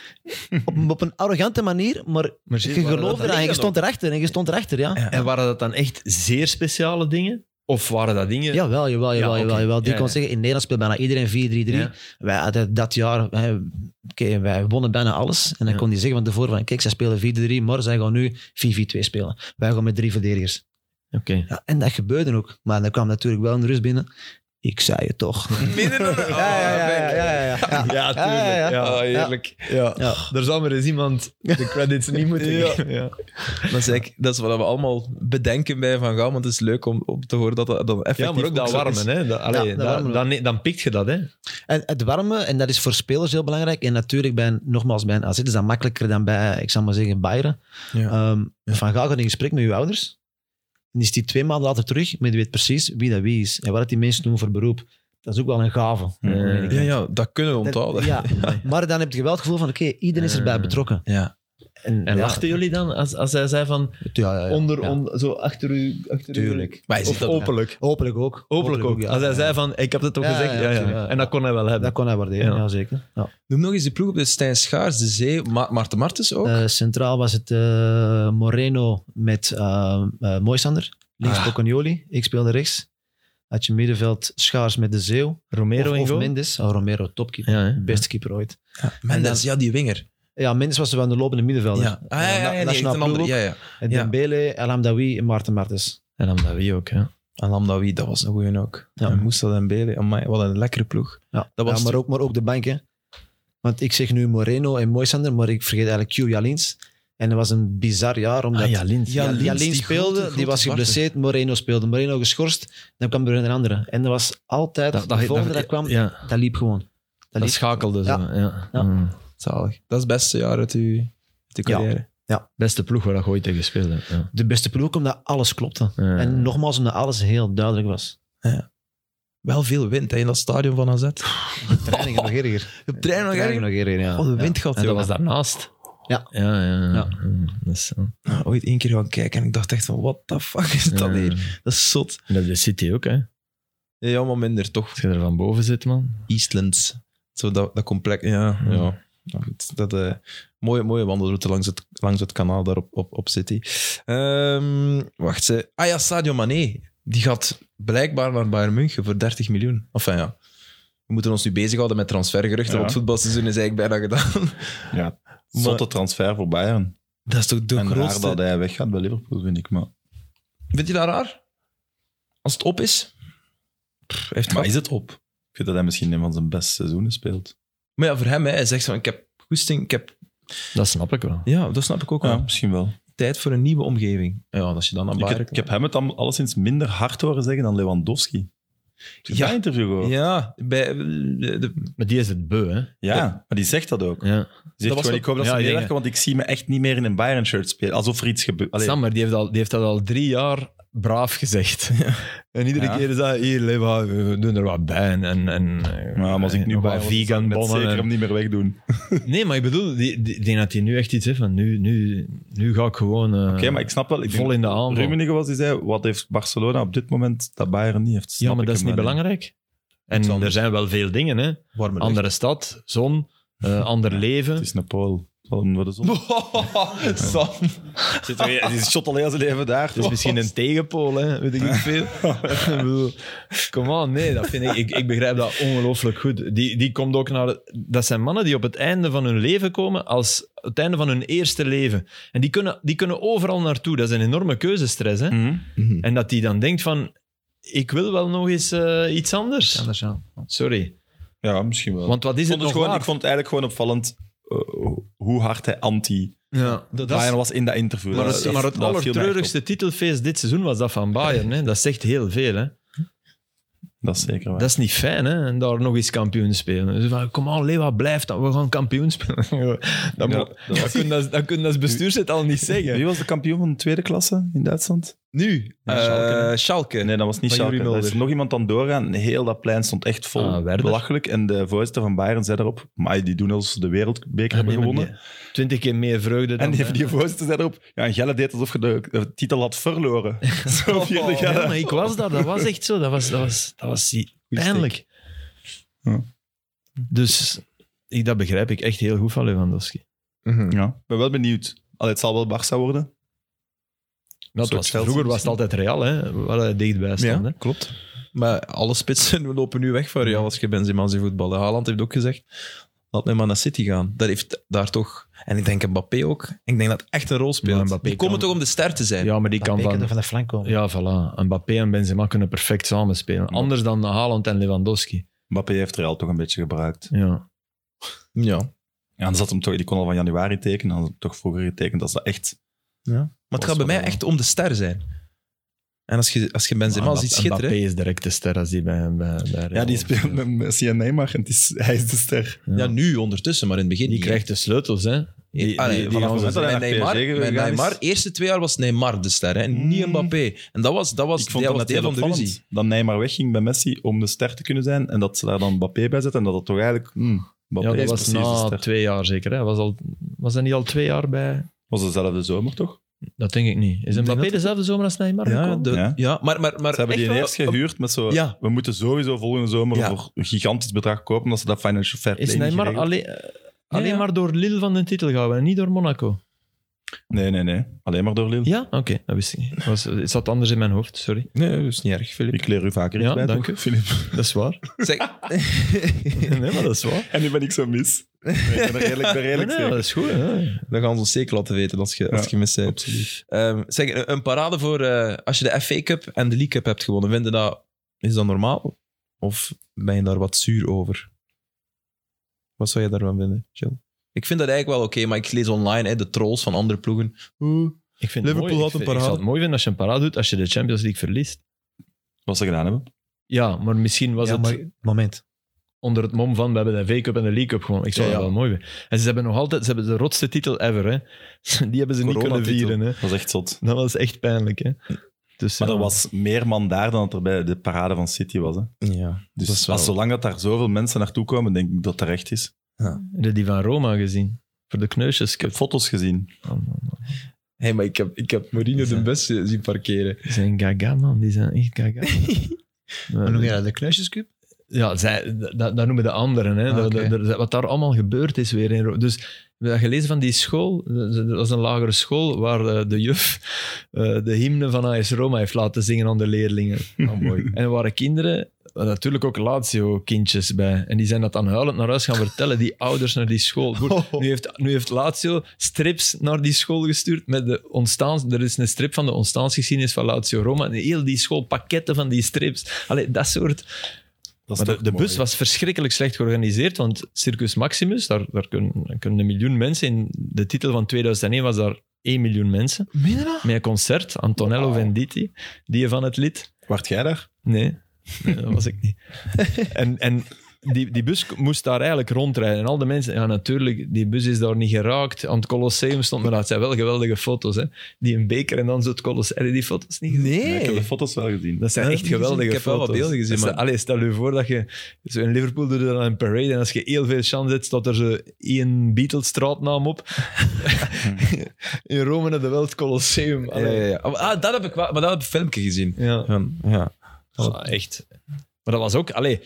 Speaker 4: Op, een- op een arrogante manier, maar je
Speaker 3: Maar zie, waren dat
Speaker 4: geloofde
Speaker 3: dan
Speaker 4: eraan. En je
Speaker 3: dingen
Speaker 4: stond erachter. En je stond erachter, ja.
Speaker 1: Ja.
Speaker 3: En waren dat dan echt zeer speciale dingen? Of waren dat dingen...
Speaker 4: Jawel, jawel, jawel,
Speaker 3: oké.
Speaker 4: jawel, jawel. Die
Speaker 3: Ja,
Speaker 4: kon
Speaker 3: ja.
Speaker 4: zeggen, in Nederland speelt bijna iedereen 4-3-3.
Speaker 3: Ja.
Speaker 4: Wij hadden dat jaar, hè, oké, wij wonnen bijna alles. En dan
Speaker 3: Ja.
Speaker 4: kon hij zeggen van tevoren van, kijk, zij spelen 4-3, maar zij gaan nu 4-4-2 spelen. Wij gaan met drie verdedigers.
Speaker 3: Oké.
Speaker 4: Ja, en dat gebeurde ook. Maar dan kwam natuurlijk wel een rust binnen. Ik zei het toch.
Speaker 1: Midden in de- Ah,
Speaker 4: ja, ja, ja.
Speaker 3: Oh, Ja, Oh,
Speaker 4: ja, ja.
Speaker 1: Ah, heerlijk.
Speaker 3: Ja.
Speaker 4: Ja.
Speaker 3: Er zal maar eens iemand de credits niet moeten
Speaker 1: Ja.
Speaker 3: geven. Ja.
Speaker 1: Dat is, eigenlijk- dat is wat we allemaal bedenken bij Van Gaal, want het is leuk om, om te horen dat dat dan effectief
Speaker 3: ja, maar ook dat
Speaker 1: zo is.
Speaker 3: warmen. Hè? Dat, allee,
Speaker 4: dat
Speaker 3: dat-
Speaker 4: warmen.
Speaker 3: dan, dan pikt je dat. Hè?
Speaker 4: En het warme, en dat is voor spelers heel belangrijk. En natuurlijk, bij, een- nogmaals, bij een AZ is dat makkelijker dan bij, ik zal maar zeggen, Bayern.
Speaker 1: Ja.
Speaker 4: Ehm, Van Gaal gaat in gesprek met uw ouders. En is die twee maanden later terug, maar die weet precies wie dat wie is. En wat dat die mensen doen voor beroep. Dat is ook wel een gave.
Speaker 3: Ja.
Speaker 1: Ja, ja, dat kunnen we
Speaker 4: Dat-
Speaker 1: onthouden.
Speaker 4: ja. Maar dan heb je wel het gevoel van, oké, iedereen is erbij
Speaker 3: Eh.
Speaker 4: betrokken.
Speaker 1: Ja.
Speaker 4: En,
Speaker 3: En
Speaker 4: ja,
Speaker 3: lachten jullie dan als, als hij zei van
Speaker 4: Ja, ja, ja.
Speaker 3: onder,
Speaker 4: Ja.
Speaker 3: on- zo achter u? Achter uw-
Speaker 4: Tuurlijk.
Speaker 1: Maar hij
Speaker 3: Of
Speaker 1: ziet dat
Speaker 3: openlijk.
Speaker 4: Hopelijk ook.
Speaker 3: Openlijk ook.
Speaker 4: ja.
Speaker 3: Als hij zei van ik heb het ook
Speaker 4: Ja,
Speaker 3: gezegd.
Speaker 4: ja,
Speaker 3: Ja, ja.
Speaker 4: tuurlijk.
Speaker 3: En dat kon hij wel hebben.
Speaker 4: Dat kon hij waarderen,
Speaker 3: Ja.
Speaker 4: ja, zeker. Ja.
Speaker 1: Noem nog eens de ploeg op de Stijn Schaars, de Zee, Ma Maarten Martens ook.
Speaker 4: Eh, centraal was het eh, Moreno met eh eh, Moisander. Links
Speaker 1: Ah.
Speaker 4: Boccagnoli. Ik speelde rechts. Had je middenveld Schaars met de Zeeuw.
Speaker 3: Romero
Speaker 4: of,
Speaker 3: in
Speaker 4: of
Speaker 3: goal.
Speaker 4: Mendes. Oh, Romero, topkeeper.
Speaker 3: Ja, hè.
Speaker 4: Beste keeper ooit.
Speaker 1: Ja, Mendes, ja, die winger.
Speaker 4: Ja, Mendes was wel een lopende middenvelder.
Speaker 1: Ja. Ah, ja, ja, ja, nee,
Speaker 4: nationaal
Speaker 1: een andere-
Speaker 4: ploeg
Speaker 1: ja, ja.
Speaker 4: En
Speaker 1: ja.
Speaker 4: Dembele, El Hamdawi en Maarten Martens.
Speaker 3: En dan dat wie ook. Hè?
Speaker 1: En Lamdawi, dat was een goeie ook.
Speaker 4: Ja.
Speaker 1: En Moussa en Bele, amai, wat een lekkere ploeg.
Speaker 4: Ja,
Speaker 1: Dat was
Speaker 4: ja, maar,
Speaker 1: toen-
Speaker 4: ook, maar ook de bank, hè. Want ik zeg nu Moreno en Moisander, maar ik vergeet eigenlijk Q Jalins. En dat was een bizar jaar, omdat...
Speaker 3: Ah, ja,
Speaker 4: Ja,
Speaker 3: Lins.
Speaker 1: Jalins,
Speaker 4: die
Speaker 1: die
Speaker 4: alleen speelde,
Speaker 1: grote,
Speaker 4: die
Speaker 1: grote
Speaker 4: was
Speaker 1: zwarte.
Speaker 4: geblesseerd. Moreno speelde, Moreno geschorst. Dan kwam er een andere. En dat was altijd, de volgende dat, kwam,
Speaker 3: Ja,
Speaker 4: dat liep gewoon. Dat
Speaker 3: dat
Speaker 4: liep.
Speaker 3: schakelde zo. Ja.
Speaker 4: Ja.
Speaker 3: Mm.
Speaker 1: Zalig. Dat is het beste jaar uit uw, uit uw
Speaker 4: Ja.
Speaker 1: carrière.
Speaker 3: Beste ploeg waar dat je ooit tegen gespeeld hebt. Ja.
Speaker 4: De beste ploeg, omdat alles klopte.
Speaker 3: Ja.
Speaker 4: En nogmaals, omdat alles heel duidelijk was.
Speaker 1: Wel veel wind hè, in dat stadion van AZ.
Speaker 4: De training nog erger.
Speaker 1: Op trein nog
Speaker 4: Trainingen
Speaker 1: ergens.
Speaker 4: nog erger, ja.
Speaker 1: Oh, de wind gaat,
Speaker 3: En dat
Speaker 1: jongen.
Speaker 3: was daarnaast.
Speaker 4: Ja.
Speaker 3: Ja, ja. ja.
Speaker 4: Ja.
Speaker 3: Mm, dat is, ja.
Speaker 1: Ja, Ooit één keer gaan kijken en ik dacht echt van, what the fuck is dat
Speaker 3: Ja.
Speaker 1: hier? Dat is zot.
Speaker 3: En dat de City ook, hè.
Speaker 1: Ja, Ja, maar minder, toch?
Speaker 3: Als je er van boven zit, man.
Speaker 1: Eastlands. Zo dat, dat complex. Ja,
Speaker 3: Ja.
Speaker 1: ja. Nou goed, dat, eh, mooie, mooie wandelroute langs het, langs het kanaal daar op, op, op City. Ehm, wacht, ze. Ah ja, Sadio Mané. Die gaat blijkbaar naar Bayern München voor 30 miljoen. Enfin ja, we moeten ons nu bezighouden met transfergeruchten,
Speaker 2: Ja.
Speaker 1: want het voetbalseizoen is eigenlijk bijna gedaan.
Speaker 2: Ja, zotte transfer voor Bayern.
Speaker 1: Dat is toch de
Speaker 2: en raar
Speaker 1: grootste...
Speaker 2: dat hij weggaat bij Liverpool, vind ik. Maar,
Speaker 1: Vind je dat raar? Als het op is? Pff, hij heeft
Speaker 2: maar
Speaker 1: gehad.
Speaker 2: is het op? Ik vind dat hij misschien een van zijn beste seizoenen speelt.
Speaker 1: Maar ja, voor hem, hè, hij zegt van, ik heb goesting, ik heb...
Speaker 3: Dat snap ik wel.
Speaker 1: Ja, dat snap ik ook
Speaker 2: Ja,
Speaker 1: wel.
Speaker 2: misschien wel.
Speaker 1: Tijd voor een nieuwe omgeving. Ja, als je dan naar
Speaker 2: Ik
Speaker 1: Bayern...
Speaker 2: heb, ik heb hem het al- alleszins minder hard horen zeggen dan Lewandowski. Heb je
Speaker 1: Ja.
Speaker 2: dat interview gehoord? Ja.
Speaker 1: Ja, bij... eh, De, de-
Speaker 3: Maar die is het beu, hè.
Speaker 2: maar die zegt dat ook. Die
Speaker 3: Ja.
Speaker 2: zegt
Speaker 1: was
Speaker 2: gewoon,
Speaker 1: wat-
Speaker 2: ik hoop dat
Speaker 3: Ja,
Speaker 2: ze
Speaker 3: ik denk
Speaker 2: meewerken, want ik zie me echt niet meer in een Bayern-shirt spelen. Alsof er iets gebeurt. Allee,
Speaker 3: Sam, maar die heeft, al, die heeft dat al drie jaar braaf gezegd. En iedere
Speaker 2: Ja.
Speaker 3: keer is dat, hier, Leva, we doen er wat bij. En, en, en, ja,
Speaker 2: maar als ik nu bij
Speaker 3: vegan bonnen...
Speaker 2: zeker
Speaker 3: en-
Speaker 2: hem niet meer wegdoen. Oké,
Speaker 3: Nee, maar ik bedoel, die- die- ik denk dat hij nu echt iets heeft van, nu, nu, nu ga ik gewoon... Oké,
Speaker 2: maar ik snap wel. Ik
Speaker 3: Vol in de aanval.
Speaker 2: Rummenigge was die zei, wat heeft Barcelona op dit moment dat Bayern niet heeft? Snap
Speaker 3: ja, maar
Speaker 2: ik
Speaker 3: dat is
Speaker 2: hem
Speaker 3: niet
Speaker 2: wel in.
Speaker 3: belangrijk. En
Speaker 1: Iets
Speaker 3: er
Speaker 1: anders.
Speaker 3: zijn wel veel dingen, hè.
Speaker 1: warme lucht.
Speaker 3: Andere stad, zon, eh, ander leven.
Speaker 2: Het is een Pool. Zal voor de zon.
Speaker 1: Sam.
Speaker 2: Zit er, die shot al heel zijn leven daar.
Speaker 3: Het is misschien een tegenpool, hè? weet ik niet veel. Ik bedoel, Come on, nee, dat vind ik, ik, ik begrijp dat ongelooflijk goed. Die, die komt ook naar, dat zijn mannen die op het einde van hun leven komen, als het einde van hun eerste leven. En die kunnen, die kunnen overal naartoe, dat is een enorme keuzestress. Hè?
Speaker 2: Mhm.
Speaker 3: En dat die dan denkt van, ik wil wel nog eens eh, iets anders.
Speaker 4: Anders, ja.
Speaker 3: Sorry,
Speaker 2: Ja, misschien wel.
Speaker 3: want wat is
Speaker 2: ik, vond het
Speaker 3: het nog
Speaker 2: gewoon,
Speaker 3: waar?
Speaker 2: ik vond het eigenlijk gewoon opvallend eh, hoe hard hij anti
Speaker 3: Ja.
Speaker 1: Dat, dat is-
Speaker 2: Bayern was in dat interview.
Speaker 3: Maar
Speaker 2: Dat-
Speaker 3: het,
Speaker 2: dat-
Speaker 3: maar het
Speaker 2: dat viel mij echt op.
Speaker 3: allertreurigste titelfeest dit seizoen was dat van Bayern. Hè. Dat zegt heel veel. Hè.
Speaker 2: Dat is zeker waar.
Speaker 3: Dat is niet fijn, hè? En daar nog eens kampioen spelen. Dus van, kom aan, Lewa, blijf dan. We gaan kampioen spelen. dat,
Speaker 2: Ja,
Speaker 3: mo-
Speaker 2: dat
Speaker 3: dat, kun, dat, dat kun je als bestuurslid al niet
Speaker 2: Wie
Speaker 3: zeggen.
Speaker 2: was de kampioen van de tweede klasse in Duitsland?
Speaker 1: Nu,
Speaker 2: Ja,
Speaker 1: eh,
Speaker 2: Schalke.
Speaker 1: Schalke.
Speaker 2: Nee, dat was niet
Speaker 1: Van
Speaker 2: Schalke.
Speaker 1: Yuri
Speaker 2: Er is
Speaker 1: Mulder.
Speaker 2: nog iemand aan doorgaan. Heel dat plein stond echt vol.
Speaker 3: Ah, Werder.
Speaker 2: belachelijk. En de voorzitter van Bayern zei erop... Maar die doen als de wereldbeker
Speaker 3: Ah,
Speaker 2: hebben gewonnen.
Speaker 3: Twintig keer meer vreugde dan...
Speaker 2: En die, die voorzitter zei erop... Ja, en Gelle deed alsof je de eh, titel had verloren. Zo vierde
Speaker 3: Ja,
Speaker 2: Gelle.
Speaker 3: maar ik was daar. Dat was echt zo. Dat was, dat was, dat was pijnlijk.
Speaker 2: Ja.
Speaker 3: Dus ik, dat begrijp ik echt heel goed van Lewandowski.
Speaker 1: Mhm.
Speaker 2: Ja, ik ben wel benieuwd. Allee, het zal wel Barça worden.
Speaker 3: Dat
Speaker 2: Zo
Speaker 3: was,
Speaker 2: Chelsea
Speaker 3: vroeger was het altijd Real, hè? Waar hij dichtbij stond.
Speaker 1: Ja.
Speaker 3: hè.
Speaker 2: Klopt.
Speaker 1: Maar alle spitsen lopen nu weg van Real als je Benzema ziet voetballen. Haaland heeft ook gezegd, laat mij maar naar City gaan. Dat heeft daar toch... En ik denk Mbappé ook. Ik denk dat het echt een rol
Speaker 3: Maar
Speaker 1: speelt.
Speaker 3: Mbappé
Speaker 1: Die komen
Speaker 3: kan-
Speaker 1: toch om de ster te zijn.
Speaker 3: Ja, maar die kan
Speaker 4: Mbappé
Speaker 3: van...
Speaker 4: er van de flank komen.
Speaker 3: Ja, voilà. Mbappé en Benzema kunnen perfect samenspelen. Anders dan Haaland en Lewandowski.
Speaker 2: Mbappé heeft Real toch een beetje gebruikt.
Speaker 3: Ja.
Speaker 1: Ja.
Speaker 2: Ja, dan zat hem toch, die kon al van januari tekenen. Dan had hem toch vroeger getekend. Dat is dat echt...
Speaker 1: Maar het
Speaker 2: Was
Speaker 1: gaat bij mij
Speaker 2: wel-
Speaker 1: echt om de ster zijn. En als je, als je Benzema
Speaker 2: Ah,
Speaker 3: Mbappé-
Speaker 1: ziet schitteren...
Speaker 3: Ah, Mbappé is direct de ster als die bij, bij, bij Real
Speaker 2: Ja, die
Speaker 3: speelt.
Speaker 2: speelt met Messi en Neymar. En het is, hij is de ster.
Speaker 3: Ja.
Speaker 1: Ja, nu ondertussen, maar in het begin
Speaker 3: Die
Speaker 1: niet,
Speaker 3: krijgt de sleutels, hè. Die, die,
Speaker 1: Ah, nee,
Speaker 3: die
Speaker 1: vanaf
Speaker 3: gaan
Speaker 2: het
Speaker 1: het
Speaker 3: ze-
Speaker 2: moment dat hij
Speaker 1: moment
Speaker 2: naar
Speaker 1: met
Speaker 2: PSG
Speaker 1: Neymar, met
Speaker 2: gegaan is-
Speaker 1: Neymar, eerste twee jaar was Neymar de ster, hè, en niet
Speaker 2: Mm.
Speaker 1: Mbappé. En dat was, dat was,
Speaker 2: ik vond
Speaker 1: dat was
Speaker 2: dat het
Speaker 1: deel
Speaker 2: heel
Speaker 1: van de
Speaker 2: opvallend
Speaker 1: ruzie.
Speaker 2: dat Neymar wegging bij Messi om de ster te kunnen zijn. En dat ze daar dan Mbappé bij zetten. En dat dat toch eigenlijk... hmm, Mbappé
Speaker 3: Ja,
Speaker 2: is
Speaker 3: dat was
Speaker 2: precies de
Speaker 3: na
Speaker 2: ster.
Speaker 3: twee jaar zeker. Hè. Was, al, was dat niet al twee jaar bij...
Speaker 2: was dezelfde zomer, toch?
Speaker 3: Dat denk ik niet. Is Mbappé
Speaker 1: dat-
Speaker 3: dezelfde zomer als Neymar?
Speaker 1: Ja,
Speaker 3: gekomen?
Speaker 1: de,
Speaker 2: Ja.
Speaker 1: ja. maar, maar, maar
Speaker 2: Ze hebben die
Speaker 1: echt wel-
Speaker 2: eerst gehuurd met zo...
Speaker 1: Ja.
Speaker 2: We moeten sowieso volgende zomer
Speaker 1: Ja.
Speaker 2: voor een gigantisch bedrag kopen. Omdat ze dat financial fair play
Speaker 3: Is
Speaker 2: niet
Speaker 3: Neymar
Speaker 2: geregeld-
Speaker 3: alleen, eh, alleen
Speaker 1: ja.
Speaker 3: maar door Lille van de titel gehouden en niet door Monaco?
Speaker 2: Nee, nee, nee. Alleen maar door Lille.
Speaker 3: Ja? Oké, dat wist ik niet. Was, het zat anders in mijn hoofd, sorry.
Speaker 1: Nee, dat is niet erg, Filip.
Speaker 2: Ik leer u vaker iets
Speaker 3: Ja,
Speaker 2: bij,
Speaker 3: dank
Speaker 2: toch,
Speaker 3: u.
Speaker 2: Filip.
Speaker 3: Dat is waar.
Speaker 1: Zeg,
Speaker 3: nee, maar dat is waar.
Speaker 2: En nu ben ik zo mis. Nee, ik ben er redelijk, ik ben
Speaker 3: Nee,
Speaker 2: redelijk
Speaker 3: nee,
Speaker 2: zeker.
Speaker 3: dat is goed. Hè.
Speaker 1: dan gaan ze ons zeker laten weten als je, als
Speaker 2: Ja,
Speaker 1: je mis bent.
Speaker 2: Absoluut.
Speaker 1: Ehm, zeg, een- een parade voor eh, als je de FA Cup en de League Cup hebt gewonnen. Vind je dat, is dat normaal? Of ben je daar wat zuur over? Wat zou je daarvan vinden, Jill? Ik vind dat eigenlijk wel oké, maar ik lees online hè, de trolls van andere ploegen. Oeh,
Speaker 3: Ik vind
Speaker 1: Liverpool
Speaker 3: het mooi.
Speaker 1: had een
Speaker 3: ik, vind-
Speaker 1: parade.
Speaker 3: Ik zou het mooi vinden als je een parade doet als je de Champions League verliest.
Speaker 2: Wat ze gedaan hebben.
Speaker 3: Ja, maar misschien was
Speaker 4: Ja,
Speaker 3: het
Speaker 4: maar- Moment.
Speaker 3: onder het mom van we hebben de V-Cup en de League Cup gewoon. Ik zou
Speaker 1: Ja,
Speaker 3: dat
Speaker 1: ja.
Speaker 3: wel mooi vinden. En ze hebben nog altijd ze hebben de rotste titel ever. Hè. Die hebben ze niet kunnen
Speaker 2: Coronatitel.
Speaker 3: vieren. Hè.
Speaker 2: Dat is echt zot.
Speaker 3: Dat was echt pijnlijk. Hè. Dus,
Speaker 2: Maar
Speaker 3: ja.
Speaker 2: er was meer man daar dan dat er bij de parade van City was. Hè.
Speaker 1: Ja,
Speaker 2: Dus
Speaker 1: dat is wel...
Speaker 2: als zolang dat daar zoveel mensen naartoe komen, denk ik dat terecht is.
Speaker 3: Heb je die van Roma gezien? Voor de kneusjes. Oh,
Speaker 2: Ik heb foto's gezien.
Speaker 1: Hey, maar ik heb, ik heb Mourinho de bus zien parkeren.
Speaker 3: Die zijn gaga, man. Die zijn echt gaga.
Speaker 4: Hoe
Speaker 3: Ja,
Speaker 4: noem je dat? De kneusjescup?
Speaker 3: Ja, zij, dat, dat noemen de anderen. Hè.
Speaker 4: Ah,
Speaker 3: Dat-
Speaker 4: oké.
Speaker 3: dat- dat- wat daar allemaal gebeurd is weer in Ro- Dus we hebben gelezen van die school. Dat was een lagere school waar eh, de juf eh, de hymne van AS Roma heeft laten zingen aan de leerlingen.
Speaker 1: Oh, mooi.
Speaker 3: En er waren kinderen, eh, natuurlijk ook Lazio-kindjes bij. En die zijn dat dan huilend naar huis gaan vertellen, die ouders naar die school. Goed,
Speaker 4: Oh.
Speaker 3: nu, heeft, nu heeft Lazio strips naar die school gestuurd. Met de ontstaans, er is een strip van de ontstaansgeschiedenis van Lazio Roma. En heel die school, pakketten van die strips. Allee, dat soort...
Speaker 2: Dat is
Speaker 3: Maar de,
Speaker 2: toch
Speaker 3: de
Speaker 2: mooi.
Speaker 3: bus was verschrikkelijk slecht georganiseerd, want Circus Maximus, daar, daar kunnen, daar kunnen een miljoen mensen in. De titel van 2001 was daar 1 miljoen mensen. Met een concert, Antonello Venditti, die van het lied.
Speaker 2: Wart jij daar?
Speaker 3: Nee, nee, dat was ik niet. En, en die, die bus moest daar eigenlijk rondrijden. En al de mensen, ja natuurlijk, die bus is daar niet geraakt. Aan het Colosseum stond, maar dat zijn wel geweldige foto's. Hè. Die een beker en dan zo het Colosseum. Heb je die foto's niet gezien?
Speaker 2: Ja, ik heb
Speaker 1: Nee.
Speaker 2: de foto's wel gezien.
Speaker 3: Dat zijn
Speaker 1: Nee,
Speaker 3: echt
Speaker 1: dat heb ik niet
Speaker 3: geweldige
Speaker 1: gezien. Ik heb wel wat
Speaker 3: foto's.
Speaker 1: beelden gezien,
Speaker 3: Dus,
Speaker 1: maar-
Speaker 3: allee, stel je voor dat je... Zo in Liverpool doe je dan een parade en als je heel veel chance hebt, staat er zo één Beatles-straatnaam op. in Rome naar de Welt Colosseum.
Speaker 1: Ja, ja,
Speaker 3: Allee.
Speaker 1: ja. Ah, dat heb ik wel, maar dat heb ik een filmpje gezien.
Speaker 3: Ja.
Speaker 1: Van, ja.
Speaker 3: Ja, echt. Maar dat was ook... Allee,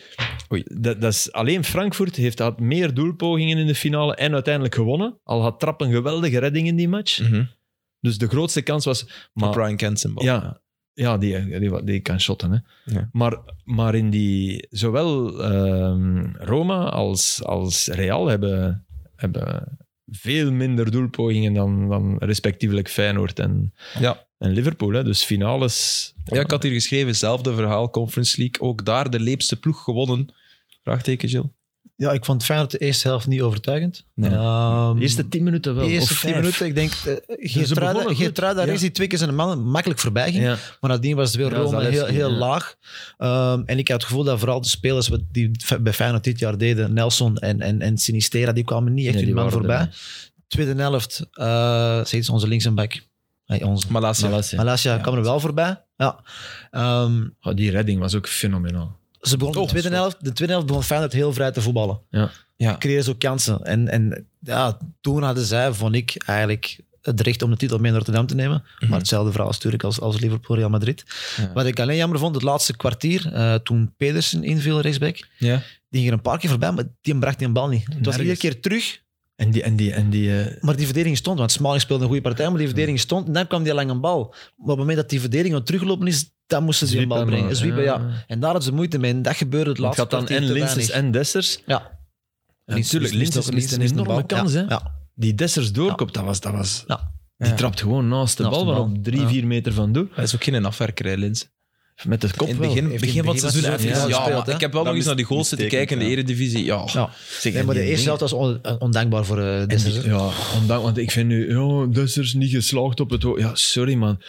Speaker 3: dat, dat is, alleen Frankfurt heeft, had meer doelpogingen in de finale en uiteindelijk gewonnen. Al had Trapp een geweldige redding in die
Speaker 1: Hm.
Speaker 3: match. Dus de grootste kans was...
Speaker 1: Maar
Speaker 3: Maar
Speaker 1: Mhm. Brian Kensenbal.
Speaker 3: ja, ja die, die, die kan shotten. Hè.
Speaker 1: Ja.
Speaker 3: Maar, maar in die, zowel ehm, Roma als, als Real hebben, hebben veel minder doelpogingen dan, dan respectievelijk Feyenoord en,
Speaker 1: Ja.
Speaker 3: en Liverpool. Hè. Dus finales...
Speaker 1: Ja, ik had hier geschreven, hetzelfde verhaal, Conference League. Ook daar de leepste ploeg gewonnen. Vraagteken, Jill.
Speaker 4: ja, ik vond Feyenoord de eerste helft niet overtuigend.
Speaker 1: Nee.
Speaker 4: Ehm,
Speaker 3: De eerste tien minuten wel.
Speaker 4: de eerste
Speaker 3: of
Speaker 4: tien
Speaker 3: vijf.
Speaker 4: minuten, ik denk, eh,
Speaker 3: begonnen goed.
Speaker 4: Geert daar
Speaker 3: Ja.
Speaker 4: is die twee keer zijn man makkelijk voorbij ging.
Speaker 3: Ja.
Speaker 4: Maar nadien was het weer
Speaker 3: Ja,
Speaker 4: Rome heel,
Speaker 3: Zalewski,
Speaker 4: heel
Speaker 3: ja.
Speaker 4: laag. Ehm, en ik had het gevoel dat vooral de spelers wat die f- bij Feyenoord dit jaar deden, Nelson en, en, en Sinistera, die kwamen niet echt
Speaker 3: Nee,
Speaker 4: hun
Speaker 3: die
Speaker 4: man
Speaker 3: waren er
Speaker 4: voorbij.
Speaker 3: niet.
Speaker 4: Tweede helft, eh steeds onze links en back. Hey, onze.
Speaker 1: Malasia.
Speaker 3: Malasia.
Speaker 4: Malasia kwam er wel voorbij. Ja. Ehm,
Speaker 3: Oh, die redding was ook fenomenaal.
Speaker 4: ze begonnen
Speaker 3: Oh,
Speaker 4: de, tweede
Speaker 3: dat is
Speaker 4: helft, de tweede helft begon Feyenoord heel vrij te voetballen.
Speaker 3: Ja.
Speaker 1: Ja.
Speaker 4: Creëerden ze ook kansen. En, en ja, toen hadden zij, vond ik, eigenlijk het recht om de titel mee naar Rotterdam te nemen. Maar hetzelfde verhaal is natuurlijk als, als Liverpool Real Madrid.
Speaker 1: Mhm. Ja.
Speaker 4: Wat ik alleen jammer vond, het laatste kwartier, eh, toen Pedersen inviel rechtsback,
Speaker 1: Ja.
Speaker 4: die ging er een paar keer voorbij, maar die bracht die bal niet. Het was
Speaker 3: Nergens.
Speaker 4: iedere keer terug,
Speaker 3: En die, en die, en die eh,
Speaker 4: maar die verdediging stond. Want Smalling speelde een goede partij, maar die verdediging stond. En dan kwam die lange bal. Maar op het moment dat die verdediging aan het teruglopen is, dan moesten ze die een
Speaker 3: zwiepen,
Speaker 4: bal brengen.
Speaker 3: maar,
Speaker 4: Zwiepen, ja.
Speaker 3: Want
Speaker 4: En daar hadden ze moeite mee. En dat gebeurde het
Speaker 3: Het
Speaker 4: laatste
Speaker 3: gaat dan
Speaker 4: kwartier
Speaker 3: en
Speaker 4: te
Speaker 3: Linses
Speaker 4: weinig.
Speaker 3: en Dessers.
Speaker 4: Ja.
Speaker 3: Ja, natuurlijk, Linses mist een enorme
Speaker 4: bal.
Speaker 3: kans,
Speaker 4: Ja,
Speaker 3: hè?
Speaker 4: ja.
Speaker 3: Die Dessers doorkopt, dat was... Dat was
Speaker 4: Ja.
Speaker 3: Die
Speaker 1: Ja.
Speaker 3: trapt gewoon naast de
Speaker 4: Naast
Speaker 3: bal,
Speaker 4: de
Speaker 3: waar
Speaker 4: bal.
Speaker 3: op drie,
Speaker 4: Ja.
Speaker 3: vier meter van doe.
Speaker 1: Dat is ook geen afwerker, hè, Lins.
Speaker 3: Met de kop
Speaker 1: in het
Speaker 3: wel.
Speaker 1: begin,
Speaker 4: Heeft
Speaker 1: begin van het
Speaker 4: in het
Speaker 1: seizoen
Speaker 4: begin
Speaker 1: heeft hij gezegd, ja,
Speaker 4: wel gespeeld,
Speaker 1: maar
Speaker 4: hè?
Speaker 1: ik heb wel nog
Speaker 2: Dan
Speaker 1: eens naar die
Speaker 2: is-
Speaker 1: goals zitten kijken in de Eredivisie. Ja, Nou,
Speaker 4: Ja.
Speaker 3: Zeg,
Speaker 4: Nee,
Speaker 3: en
Speaker 4: maar de
Speaker 3: die
Speaker 4: eerste
Speaker 3: ding-
Speaker 4: helft was on- ondankbaar voor eh
Speaker 3: en
Speaker 4: Dessers.
Speaker 3: die-
Speaker 4: hè.
Speaker 3: Ja, ondanks, want ik vind nu, ja, Dessers niet geslaagd op het... ho- Ja, sorry man.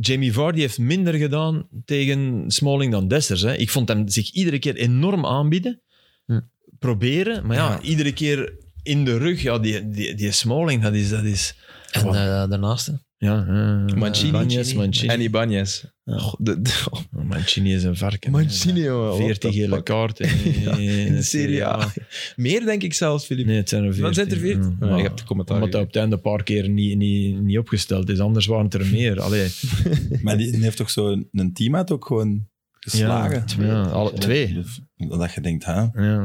Speaker 3: Jamie Vardy heeft minder gedaan tegen Smalling dan Dessers. Hè. Ik vond hem zich iedere keer enorm aanbieden.
Speaker 4: Hm.
Speaker 3: Proberen, maar ja,
Speaker 1: Ja.
Speaker 3: iedere keer in de rug. Ja, die, die, die Smalling, dat is... Dat is
Speaker 4: En eh, daarnaast. hè.
Speaker 3: ja, eh,
Speaker 1: Mancini.
Speaker 3: Mancini. Mancini.
Speaker 1: En Ibanez. Oh, de- de- oh,
Speaker 3: Mancini is een varken.
Speaker 1: Mancini,
Speaker 3: hè.
Speaker 1: jongen.
Speaker 3: 40 gele kaarten in,
Speaker 1: in de Serie A. Meer, denk ik zelfs, Filip.
Speaker 3: Nee, het zijn er 14.
Speaker 1: Wat zijn er 14?
Speaker 3: Ja.
Speaker 1: Ja, je hebt de commentaar.
Speaker 3: Omdat dat op het einde een paar keer niet, niet, niet opgesteld is. Anders waren het er meer. Allee,
Speaker 2: Maar die, die heeft toch zo'n een teammate ook gewoon geslagen?
Speaker 3: Ja, twee. Ja, alle twee.
Speaker 2: Dat je denkt, hè?
Speaker 3: ja.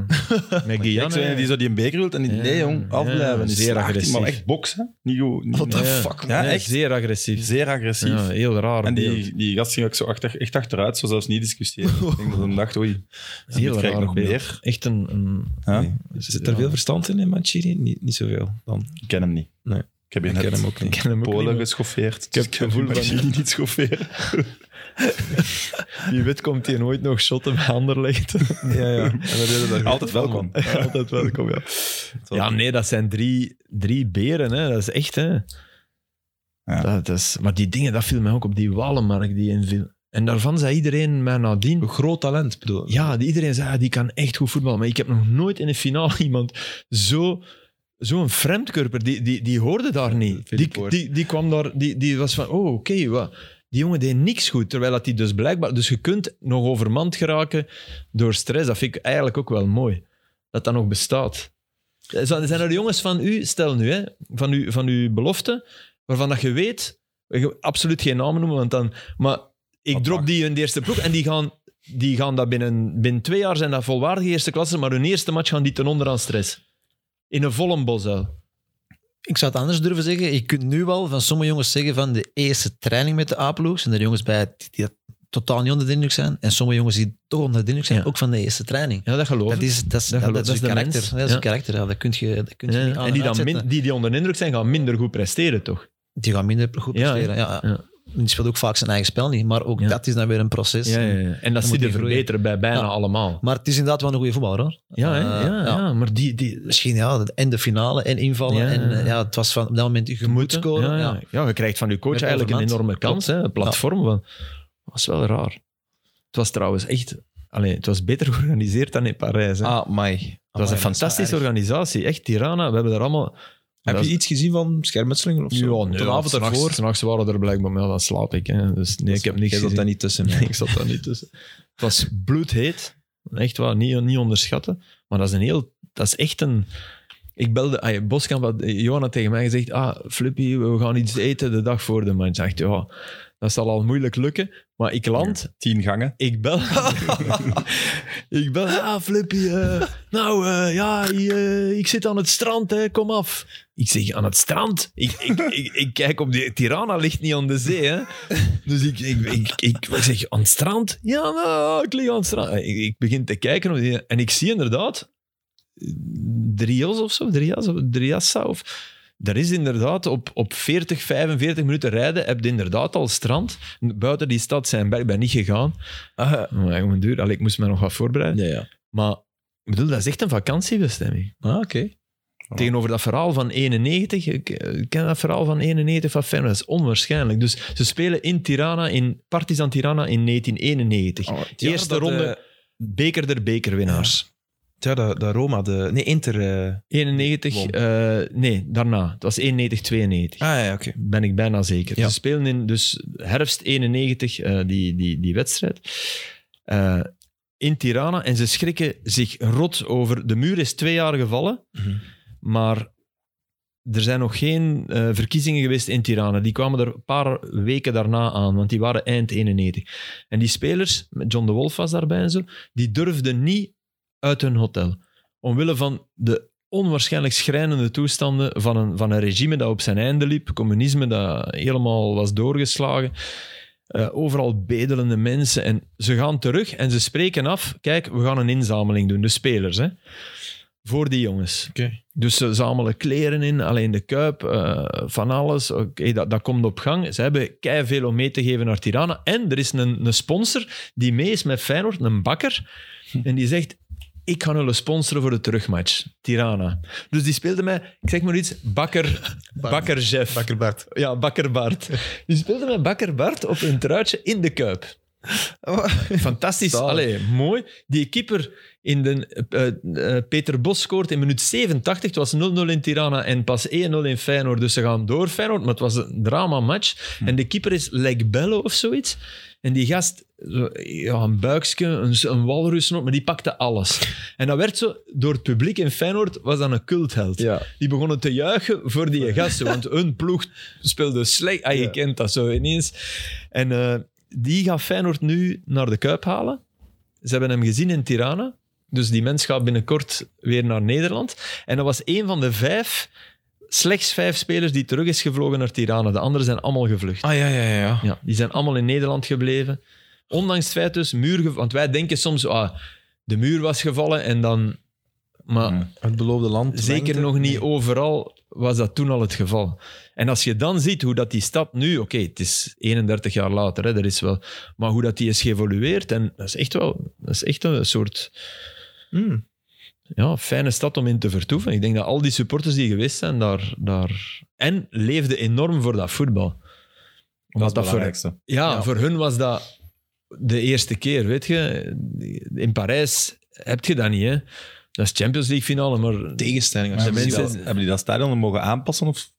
Speaker 3: Met
Speaker 2: Ja,
Speaker 3: Guyana.
Speaker 2: die zo die een beker wilt en die,
Speaker 3: Ja.
Speaker 2: nee jong, afblijven.
Speaker 3: Ja,
Speaker 2: Die
Speaker 3: zeer
Speaker 2: slaagt die,
Speaker 3: agressief.
Speaker 2: Maar echt boksen, niet goed. niet-
Speaker 1: What the
Speaker 2: nee.
Speaker 3: Ja.
Speaker 1: fuck, man.
Speaker 2: Ja,
Speaker 3: Ja,
Speaker 2: echt.
Speaker 3: zeer agressief.
Speaker 2: Zeer agressief.
Speaker 3: Ja, heel raar
Speaker 2: en
Speaker 3: beeld.
Speaker 2: die, die gast ging ook zo achter, echt achteruit, zo zelfs niet discussiëren. ik denk dat hij dacht, oei,
Speaker 3: heel
Speaker 2: krijg ik
Speaker 3: raar
Speaker 2: nog
Speaker 3: beeld.
Speaker 2: meer.
Speaker 3: Echt een... een
Speaker 2: hè?
Speaker 1: Nee. Zit er veel verstand in, in Mancini? Niet, niet zoveel. Dan.
Speaker 2: ik ken hem niet.
Speaker 1: Nee.
Speaker 2: Ik heb je
Speaker 1: Ik
Speaker 2: net
Speaker 1: ken hem ook niet.
Speaker 3: ken hem ook
Speaker 2: Polen
Speaker 3: niet, maar
Speaker 2: geschoffeerd.
Speaker 3: heb het gevoel van-
Speaker 2: dat niet schofferen.
Speaker 3: Wie weet komt hij nooit nog shotten bij Anderlecht.
Speaker 1: Ja, ja. En dat deden daar goed
Speaker 2: Altijd
Speaker 1: van,
Speaker 2: welkom.
Speaker 1: man.
Speaker 3: Altijd welkom, ja. Ja, nee, dat zijn drie, drie beren, hè. Dat is echt, hè.
Speaker 2: Ja.
Speaker 3: Dat, dat is, maar die dingen, dat viel mij ook op die Walenmarkt die inviel. En daarvan zei iedereen mij nadien...
Speaker 1: Een groot talent, bedoel ik.
Speaker 3: Ja, die- iedereen zei, ah, die kan echt goed voetballen. Maar ik heb nog nooit in de finale iemand zo... Zo'n vreemdkurper, die, die, die hoorde daar niet. Die,
Speaker 1: Philippe Hoort.
Speaker 3: die, die kwam daar, die, die was van, oh, oké, wat. Die jongen deed niks goed, terwijl dat die dus blijkbaar... Dus je kunt nog overmand geraken door stress. Dat vind ik eigenlijk ook wel mooi, dat dat nog bestaat. Eh, Zijn zijn er jongens van u, stel nu, hè, van, u, van uw belofte, waarvan dat je weet, je- absoluut geen namen noemen, want dan... Maar ik
Speaker 2: Wat
Speaker 3: drop
Speaker 2: mag.
Speaker 3: die in de eerste ploeg en die gaan, die gaan dat binnen, binnen twee jaar zijn dat volwaardige eerste klasse, maar hun eerste match gaan die ten onder aan stress. In een volle bosuil.
Speaker 4: Ik zou het anders durven zeggen. Je kunt nu wel van sommige jongens zeggen van de eerste training met de A-ploeg. Zijn er jongens bij die, die dat totaal niet onder de indruk zijn. En sommige jongens die toch onder de indruk zijn,
Speaker 3: Ja.
Speaker 4: ook van de eerste training.
Speaker 3: Ja, dat geloof ik.
Speaker 4: Dat is, dat is,
Speaker 3: Dat
Speaker 4: dat, dat
Speaker 3: geloof- dat
Speaker 4: is
Speaker 3: is
Speaker 4: een
Speaker 3: de
Speaker 4: karakter.
Speaker 3: mens.
Speaker 4: Dat is een
Speaker 3: Ja.
Speaker 4: karakter. Ja, dat kun je, dat kun je
Speaker 3: Ja,
Speaker 4: niet aan
Speaker 3: en die,
Speaker 4: en
Speaker 3: dan
Speaker 4: uitzetten.
Speaker 3: min- die, die onder de indruk zijn, gaan minder goed presteren, toch?
Speaker 4: Die gaan minder goed
Speaker 3: Ja,
Speaker 4: presteren. Ja,
Speaker 3: ja.
Speaker 4: Die speelt ook vaak zijn eigen spel niet. Maar ook
Speaker 3: Ja.
Speaker 4: dat is dan weer een proces.
Speaker 3: En dat
Speaker 4: moet
Speaker 3: zie je
Speaker 4: die groeien.
Speaker 3: verbeteren bij bijna
Speaker 4: Ja.
Speaker 3: allemaal.
Speaker 4: Maar het is inderdaad wel een goede voetballer hoor.
Speaker 3: Ja, hè?
Speaker 4: Eh,
Speaker 3: ja, ja. maar die... die
Speaker 4: Misschien ja, en de finale en invallen.
Speaker 3: Ja.
Speaker 4: En eh, ja, het was van op dat moment je moet scoren.
Speaker 3: Ja, ja.
Speaker 4: ja.
Speaker 3: Ja, je krijgt van je coach
Speaker 4: Met
Speaker 3: eigenlijk een
Speaker 4: overmand.
Speaker 3: enorme kans. Hè? Een platform. Van, dat is wel raar. Het was trouwens echt... Allee, het was beter georganiseerd dan in Parijs. Hè?
Speaker 1: Ah, my.
Speaker 3: het was een fantastische organisatie. Echt, Tirana. We hebben daar allemaal...
Speaker 1: Heb
Speaker 3: Dat
Speaker 1: je
Speaker 3: is-
Speaker 1: iets gezien van schermutselingen of zo?
Speaker 3: Ja, nee,
Speaker 1: De avond daarvoor.
Speaker 3: S'nachts waren er blijkbaar... Maar ja, dan slaap ik. Hè? Dus nee, ik heb niks
Speaker 1: Jij zat
Speaker 3: gezien.
Speaker 1: daar niet tussen.
Speaker 3: Nee, ik zat daar niet tussen. Het was bloedheet. Echt waar, niet, niet onderschatten. Maar dat is een heel... Dat is echt een... Ik belde... ah, Boskamp had eh, Johan had tegen mij gezegd... Ah, Flippy, we gaan iets eten de dag voor de match. Ik dacht, ja, dat zal al moeilijk lukken. Maar ik land...
Speaker 2: Tien gangen.
Speaker 3: Ik bel. ik bel. Ah, Flippy. eh, nou, eh, ja, i- eh, ik zit aan het strand. Hè, kom af. Ik zeg, aan het strand? Ik, ik, ik, ik kijk op die... Tirana ligt niet aan de zee, hè. Dus ik, ik, ik, ik, ik zeg, aan het strand? Ja, nou, ik lig aan het strand. Ik, ik begin te kijken op die- en ik zie inderdaad... Drios of zo? Drias of Driassa of... Daar is inderdaad op, op 40, 45 minuten rijden heb je inderdaad al strand. Buiten die stad zijn, ben ik ben niet gegaan.
Speaker 1: Ah,
Speaker 3: Maar om een duur, allee, ik moest me nog wat voorbereiden.
Speaker 1: ja, ja.
Speaker 3: Maar Ik bedoel, dat is echt een vakantiebestemming.
Speaker 1: Ah, oké.
Speaker 3: Tegenover dat verhaal van 91, ik ik ken dat verhaal van 91 van Feyenoord, dat is onwaarschijnlijk. Dus ze spelen in Tirana, in Partizan Tirana in 1991.
Speaker 1: Oh, het jaar
Speaker 3: Eerste
Speaker 1: dat,
Speaker 3: ronde,
Speaker 1: eh,
Speaker 3: beker der bekerwinnaars.
Speaker 1: het jaar dat, dat Roma, de, nee, Inter. eh,
Speaker 3: 91,
Speaker 1: Won.
Speaker 3: eh, nee, daarna. Het was 91, 92.
Speaker 1: Ah ja, oké.
Speaker 3: Ben ik bijna zeker.
Speaker 1: Ja.
Speaker 3: Ze spelen in dus herfst 91 eh, die, die, die wedstrijd. eh, in Tirana. En ze schrikken zich rot over... De muur is twee jaar gevallen.
Speaker 1: Mhm.
Speaker 3: Maar er zijn nog geen eh, verkiezingen geweest in Tirana. Die kwamen er een paar weken daarna aan. Want die waren eind 91. En die spelers, met John de Wolf was daarbij en zo, die durfden niet uit hun hotel. Omwille van de onwaarschijnlijk schrijnende toestanden van een, van een regime dat op zijn einde liep, communisme dat helemaal was doorgeslagen. Eh, overal bedelende mensen. En ze gaan terug en ze spreken af: kijk, we gaan een inzameling doen, de spelers. Hè? Voor die jongens.
Speaker 1: Oké.
Speaker 3: Dus ze zamelen kleren in, alleen de kuip, eh, van alles. Oké, dat, dat komt op gang. Ze hebben kei veel om mee te geven naar Tirana. En er is een, een sponsor die mee is met Feyenoord, een bakker. En die zegt: ik ga jullie sponsoren voor de terugmatch. Tirana. Dus die speelde mij, ik zeg maar iets, Bakker, Bakker Jeff.
Speaker 4: Bakkerbart.
Speaker 3: Ja, Bakker Bart. Die speelde mij Bakker Bart op een truitje in de Kuip. Fantastisch.
Speaker 4: Zalig.
Speaker 3: Allee, mooi. Die keeper in de, eh, eh, Peter Bos scoort in minuut 87. Het was 0-0 in Tirana en pas 1-0 in Feyenoord. Dus ze gaan door Feyenoord, maar het was een drama-match. En de keeper is Legbello of zoiets. En die gast, zo, ja, een buikje, een, een walrusnot, maar die pakte alles. En dat werd zo, door het publiek in Feyenoord was dat een cultheld.
Speaker 1: Ja.
Speaker 3: Die begonnen te juichen voor die gasten, want hun ploeg speelde slecht. Ah, je kent dat zo ineens. En eh, die gaat Feyenoord nu naar de Kuip halen. Ze hebben hem gezien in Tirana. Dus die mens gaat binnenkort weer naar Nederland. En dat was een van de vijf, slechts vijf spelers die terug is gevlogen naar Tirana. De anderen zijn allemaal gevlucht.
Speaker 1: Ah ja, ja, ja. ja.
Speaker 3: Ja, die zijn allemaal in Nederland gebleven. Ondanks het feit dus, muur... ge- Want wij denken soms, ah, de muur was gevallen en dan... Maar
Speaker 2: Ja.
Speaker 1: Het beloofde land.
Speaker 3: zeker
Speaker 1: lengte.
Speaker 3: nog niet overal was dat toen al het geval. En als je dan ziet hoe dat die stad nu... Oké, het is 31 jaar later, hè, dat is wel... Maar hoe dat die is geëvolueerd, en dat is echt wel... Dat is echt een soort
Speaker 1: Mm.
Speaker 3: ja, fijne stad om in te vertoeven. Ik denk dat al die supporters die geweest zijn daar... daar en leefden enorm voor dat voetbal.
Speaker 2: Dat is
Speaker 3: Omdat
Speaker 2: het
Speaker 3: dat voor
Speaker 2: belangrijkste.
Speaker 3: ja,
Speaker 1: Ja.
Speaker 3: voor hun was dat de eerste keer, weet je. In Parijs heb je dat niet, hè. Dat is Champions League finale, maar
Speaker 1: Tegenstelling.
Speaker 2: Maar
Speaker 1: Als je
Speaker 2: hebben,
Speaker 1: mensen,
Speaker 2: die dat, hebben die dat stadion dan mogen aanpassen? Of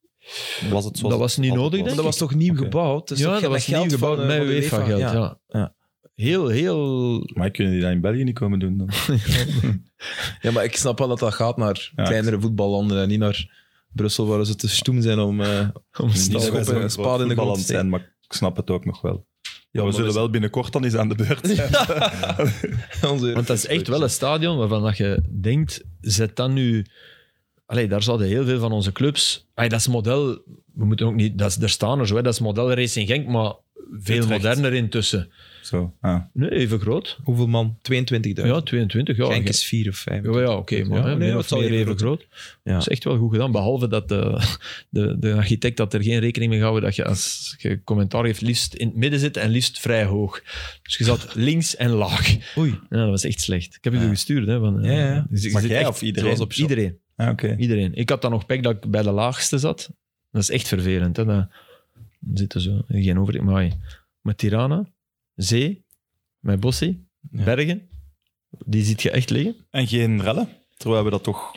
Speaker 2: was het zoals
Speaker 3: dat was niet
Speaker 2: het
Speaker 3: nodig,
Speaker 1: Maar
Speaker 2: altijd
Speaker 3: denk
Speaker 1: dat
Speaker 3: ik.
Speaker 1: was toch nieuw
Speaker 2: Oké.
Speaker 1: gebouwd? Dus
Speaker 3: ja,
Speaker 1: toch
Speaker 3: dat was
Speaker 1: geld
Speaker 3: nieuw gebouwd
Speaker 1: van, eh,
Speaker 3: met
Speaker 1: van de UEFA,
Speaker 3: UEFA-geld, ja.
Speaker 1: Ja.
Speaker 3: Heel, heel...
Speaker 2: Maar kunnen die dat in België niet komen doen dan?
Speaker 1: Ja, maar ik snap wel dat dat gaat naar
Speaker 2: Ja,
Speaker 1: kleinere voetballanden en niet naar Brussel, waar ze te stoem zijn om... eh,
Speaker 2: Niet
Speaker 1: dat
Speaker 2: dat
Speaker 1: we
Speaker 2: wij zo'n
Speaker 1: een
Speaker 2: groot
Speaker 1: spade in de grond
Speaker 2: voetballand
Speaker 1: steken.
Speaker 2: zijn, maar ik snap het ook nog wel. Ja, we
Speaker 1: maar
Speaker 2: zullen
Speaker 1: dat
Speaker 2: wel binnenkort dan eens aan de beurt zijn.
Speaker 1: onze-
Speaker 3: Want dat is echt wel een stadion waarvan dat je denkt, zet dat nu... Allee, daar zouden heel veel van onze clubs... Allee, dat is model... We moeten ook niet... Dat is, er staan er zo, hè. Dat is model Racing Genk, maar veel
Speaker 2: Utrecht.
Speaker 3: moderner intussen.
Speaker 2: Zo, ah.
Speaker 3: Nee, even groot.
Speaker 1: Hoeveel man? 22.000.
Speaker 3: Ja, 22. Ja,
Speaker 1: Genk is 4 of 5.
Speaker 3: Ja, ja oké, maar
Speaker 1: Ja,
Speaker 3: hè,
Speaker 1: nee,
Speaker 3: meer
Speaker 1: dat
Speaker 3: of
Speaker 1: zal
Speaker 3: meer
Speaker 1: even
Speaker 3: even groot.
Speaker 1: Ja.
Speaker 3: Dat is echt wel goed gedaan, behalve dat de, de, de architect had er geen rekening mee gehouden dat je als je commentaar geeft liefst in het midden zit en liefst vrij hoog. Dus je zat links en laag.
Speaker 1: Oei.
Speaker 3: Ja, dat was echt slecht. Ik heb je
Speaker 1: Ja.
Speaker 3: gestuurd. Hè, van, eh,
Speaker 1: Ja, ja.
Speaker 3: dus je
Speaker 2: Maar
Speaker 3: zit
Speaker 2: jij
Speaker 3: echt-
Speaker 2: of iedereen?
Speaker 3: zoals op shop. Iedereen,
Speaker 2: Ah, oké.
Speaker 3: iedereen. Ik had dan nog pek dat ik bij de laagste zat. Dat is echt vervelend. Hè, dat, dan zitten zo, geen overheid. Maar hey, met Tirana, zee, met Bossi,
Speaker 1: Ja.
Speaker 3: bergen, die ziet je echt liggen.
Speaker 2: En geen rellen? Terwijl we dat toch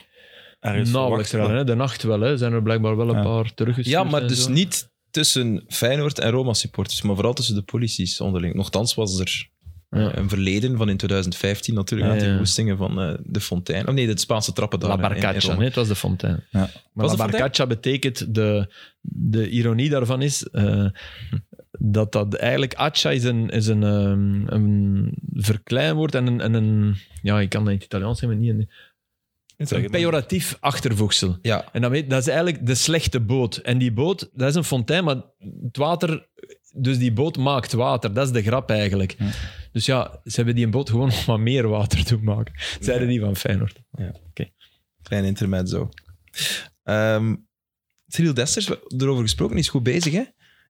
Speaker 2: ergens
Speaker 3: Nauwelijks
Speaker 2: verwachten.
Speaker 3: rellen, hè. de nacht wel. Hè. Zijn er blijkbaar wel een
Speaker 2: Ja.
Speaker 3: paar teruggestuurd.
Speaker 1: Ja, maar
Speaker 3: en
Speaker 1: dus
Speaker 3: zo.
Speaker 1: niet tussen Feyenoord en Roma-supporters, maar vooral tussen de polities onderling. Nochtans was er
Speaker 3: Ja.
Speaker 1: een verleden van in 2015 natuurlijk,
Speaker 3: Ja,
Speaker 1: met
Speaker 3: ja.
Speaker 1: die woestingen van eh, de Fontein. Oh nee, de Spaanse trappen daar.
Speaker 3: La
Speaker 1: hè, in- in
Speaker 3: Barcacha,
Speaker 1: Rome.
Speaker 3: nee, het was de fontein.
Speaker 2: Ja.
Speaker 3: Maar
Speaker 1: Was
Speaker 3: La
Speaker 1: de fontein?
Speaker 3: Barcacha betekent, de, de ironie daarvan is, eh, dat dat eigenlijk, Accia is een, is een, ehm, een verkleinwoord en een, en een, ja, ik kan dat in het Italiaans zeggen, maar niet in-
Speaker 2: Zeg
Speaker 3: een
Speaker 2: het dan.
Speaker 3: pejoratief achtervoegsel.
Speaker 1: Ja,
Speaker 3: En dan weet, dat is eigenlijk de slechte boot. En die boot, dat is een fontein, maar het water... Dus die boot maakt water. Dat is de grap eigenlijk.
Speaker 2: Ja.
Speaker 3: Dus ja, ze hebben die een boot gewoon nog maar meer water doen maken. Zeiden die van Feyenoord.
Speaker 1: klein intermezzo. Ehm Cyril Desters, we- erover gesproken, is goed bezig hè?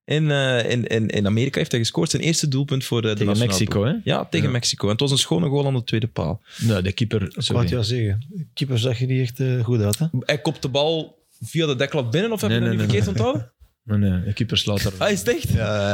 Speaker 1: in, eh, in, in, in Amerika heeft hij gescoord. Zijn eerste doelpunt voor eh, de
Speaker 3: Tegen
Speaker 1: nationale
Speaker 3: Mexico, hè?
Speaker 1: ploeg. Ja, tegen
Speaker 3: Ja.
Speaker 1: Mexico. En het was een schone goal aan de tweede paal.
Speaker 3: Nou, de keeper.
Speaker 4: Ik wou het
Speaker 3: Sorry.
Speaker 4: jou zeggen. Keeper zag je niet echt eh, goed uit, hè?
Speaker 1: Hij kopt de bal via de deklat binnen, of heb
Speaker 3: Nee,
Speaker 1: je dat
Speaker 3: nee,
Speaker 1: niet
Speaker 3: nee,
Speaker 1: verkeerd onthouden?
Speaker 3: Nee, nee, de keeper slaat er.
Speaker 1: Ah, is het echt?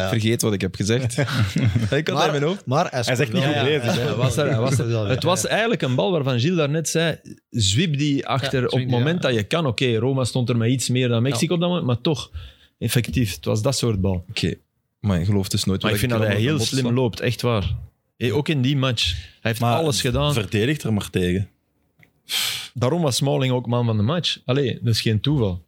Speaker 1: Vergeet wat ik heb gezegd. ik had
Speaker 4: Maar-
Speaker 1: dat in mijn hoofd.
Speaker 4: Maar hij,
Speaker 2: Hij zegt niet
Speaker 4: scoorde
Speaker 2: goed
Speaker 4: wel.
Speaker 2: bezig. hè.
Speaker 3: Hij was er, hij was er.
Speaker 4: Ja, ja.
Speaker 3: Het was eigenlijk een bal waarvan Gilles daarnet zei, zwiep die achter
Speaker 5: Ja,
Speaker 3: op het
Speaker 5: zwiep die,
Speaker 3: moment dat je kan. Oké, Roma stond er met iets meer dan Mexico op dat moment, maar toch, effectief, het was dat soort bal.
Speaker 1: Oké, maar ik geloof dus nooit
Speaker 3: Maar ik
Speaker 1: wat
Speaker 3: vind dat
Speaker 1: kan
Speaker 3: hij heel
Speaker 1: botsen.
Speaker 3: slim loopt, echt waar. Eh, Ook in die match. Hij heeft
Speaker 2: Maar
Speaker 3: alles gedaan.
Speaker 2: Verdedigt er maar tegen.
Speaker 3: Daarom was Smalling ook man van de match. Allee, dat is geen toeval.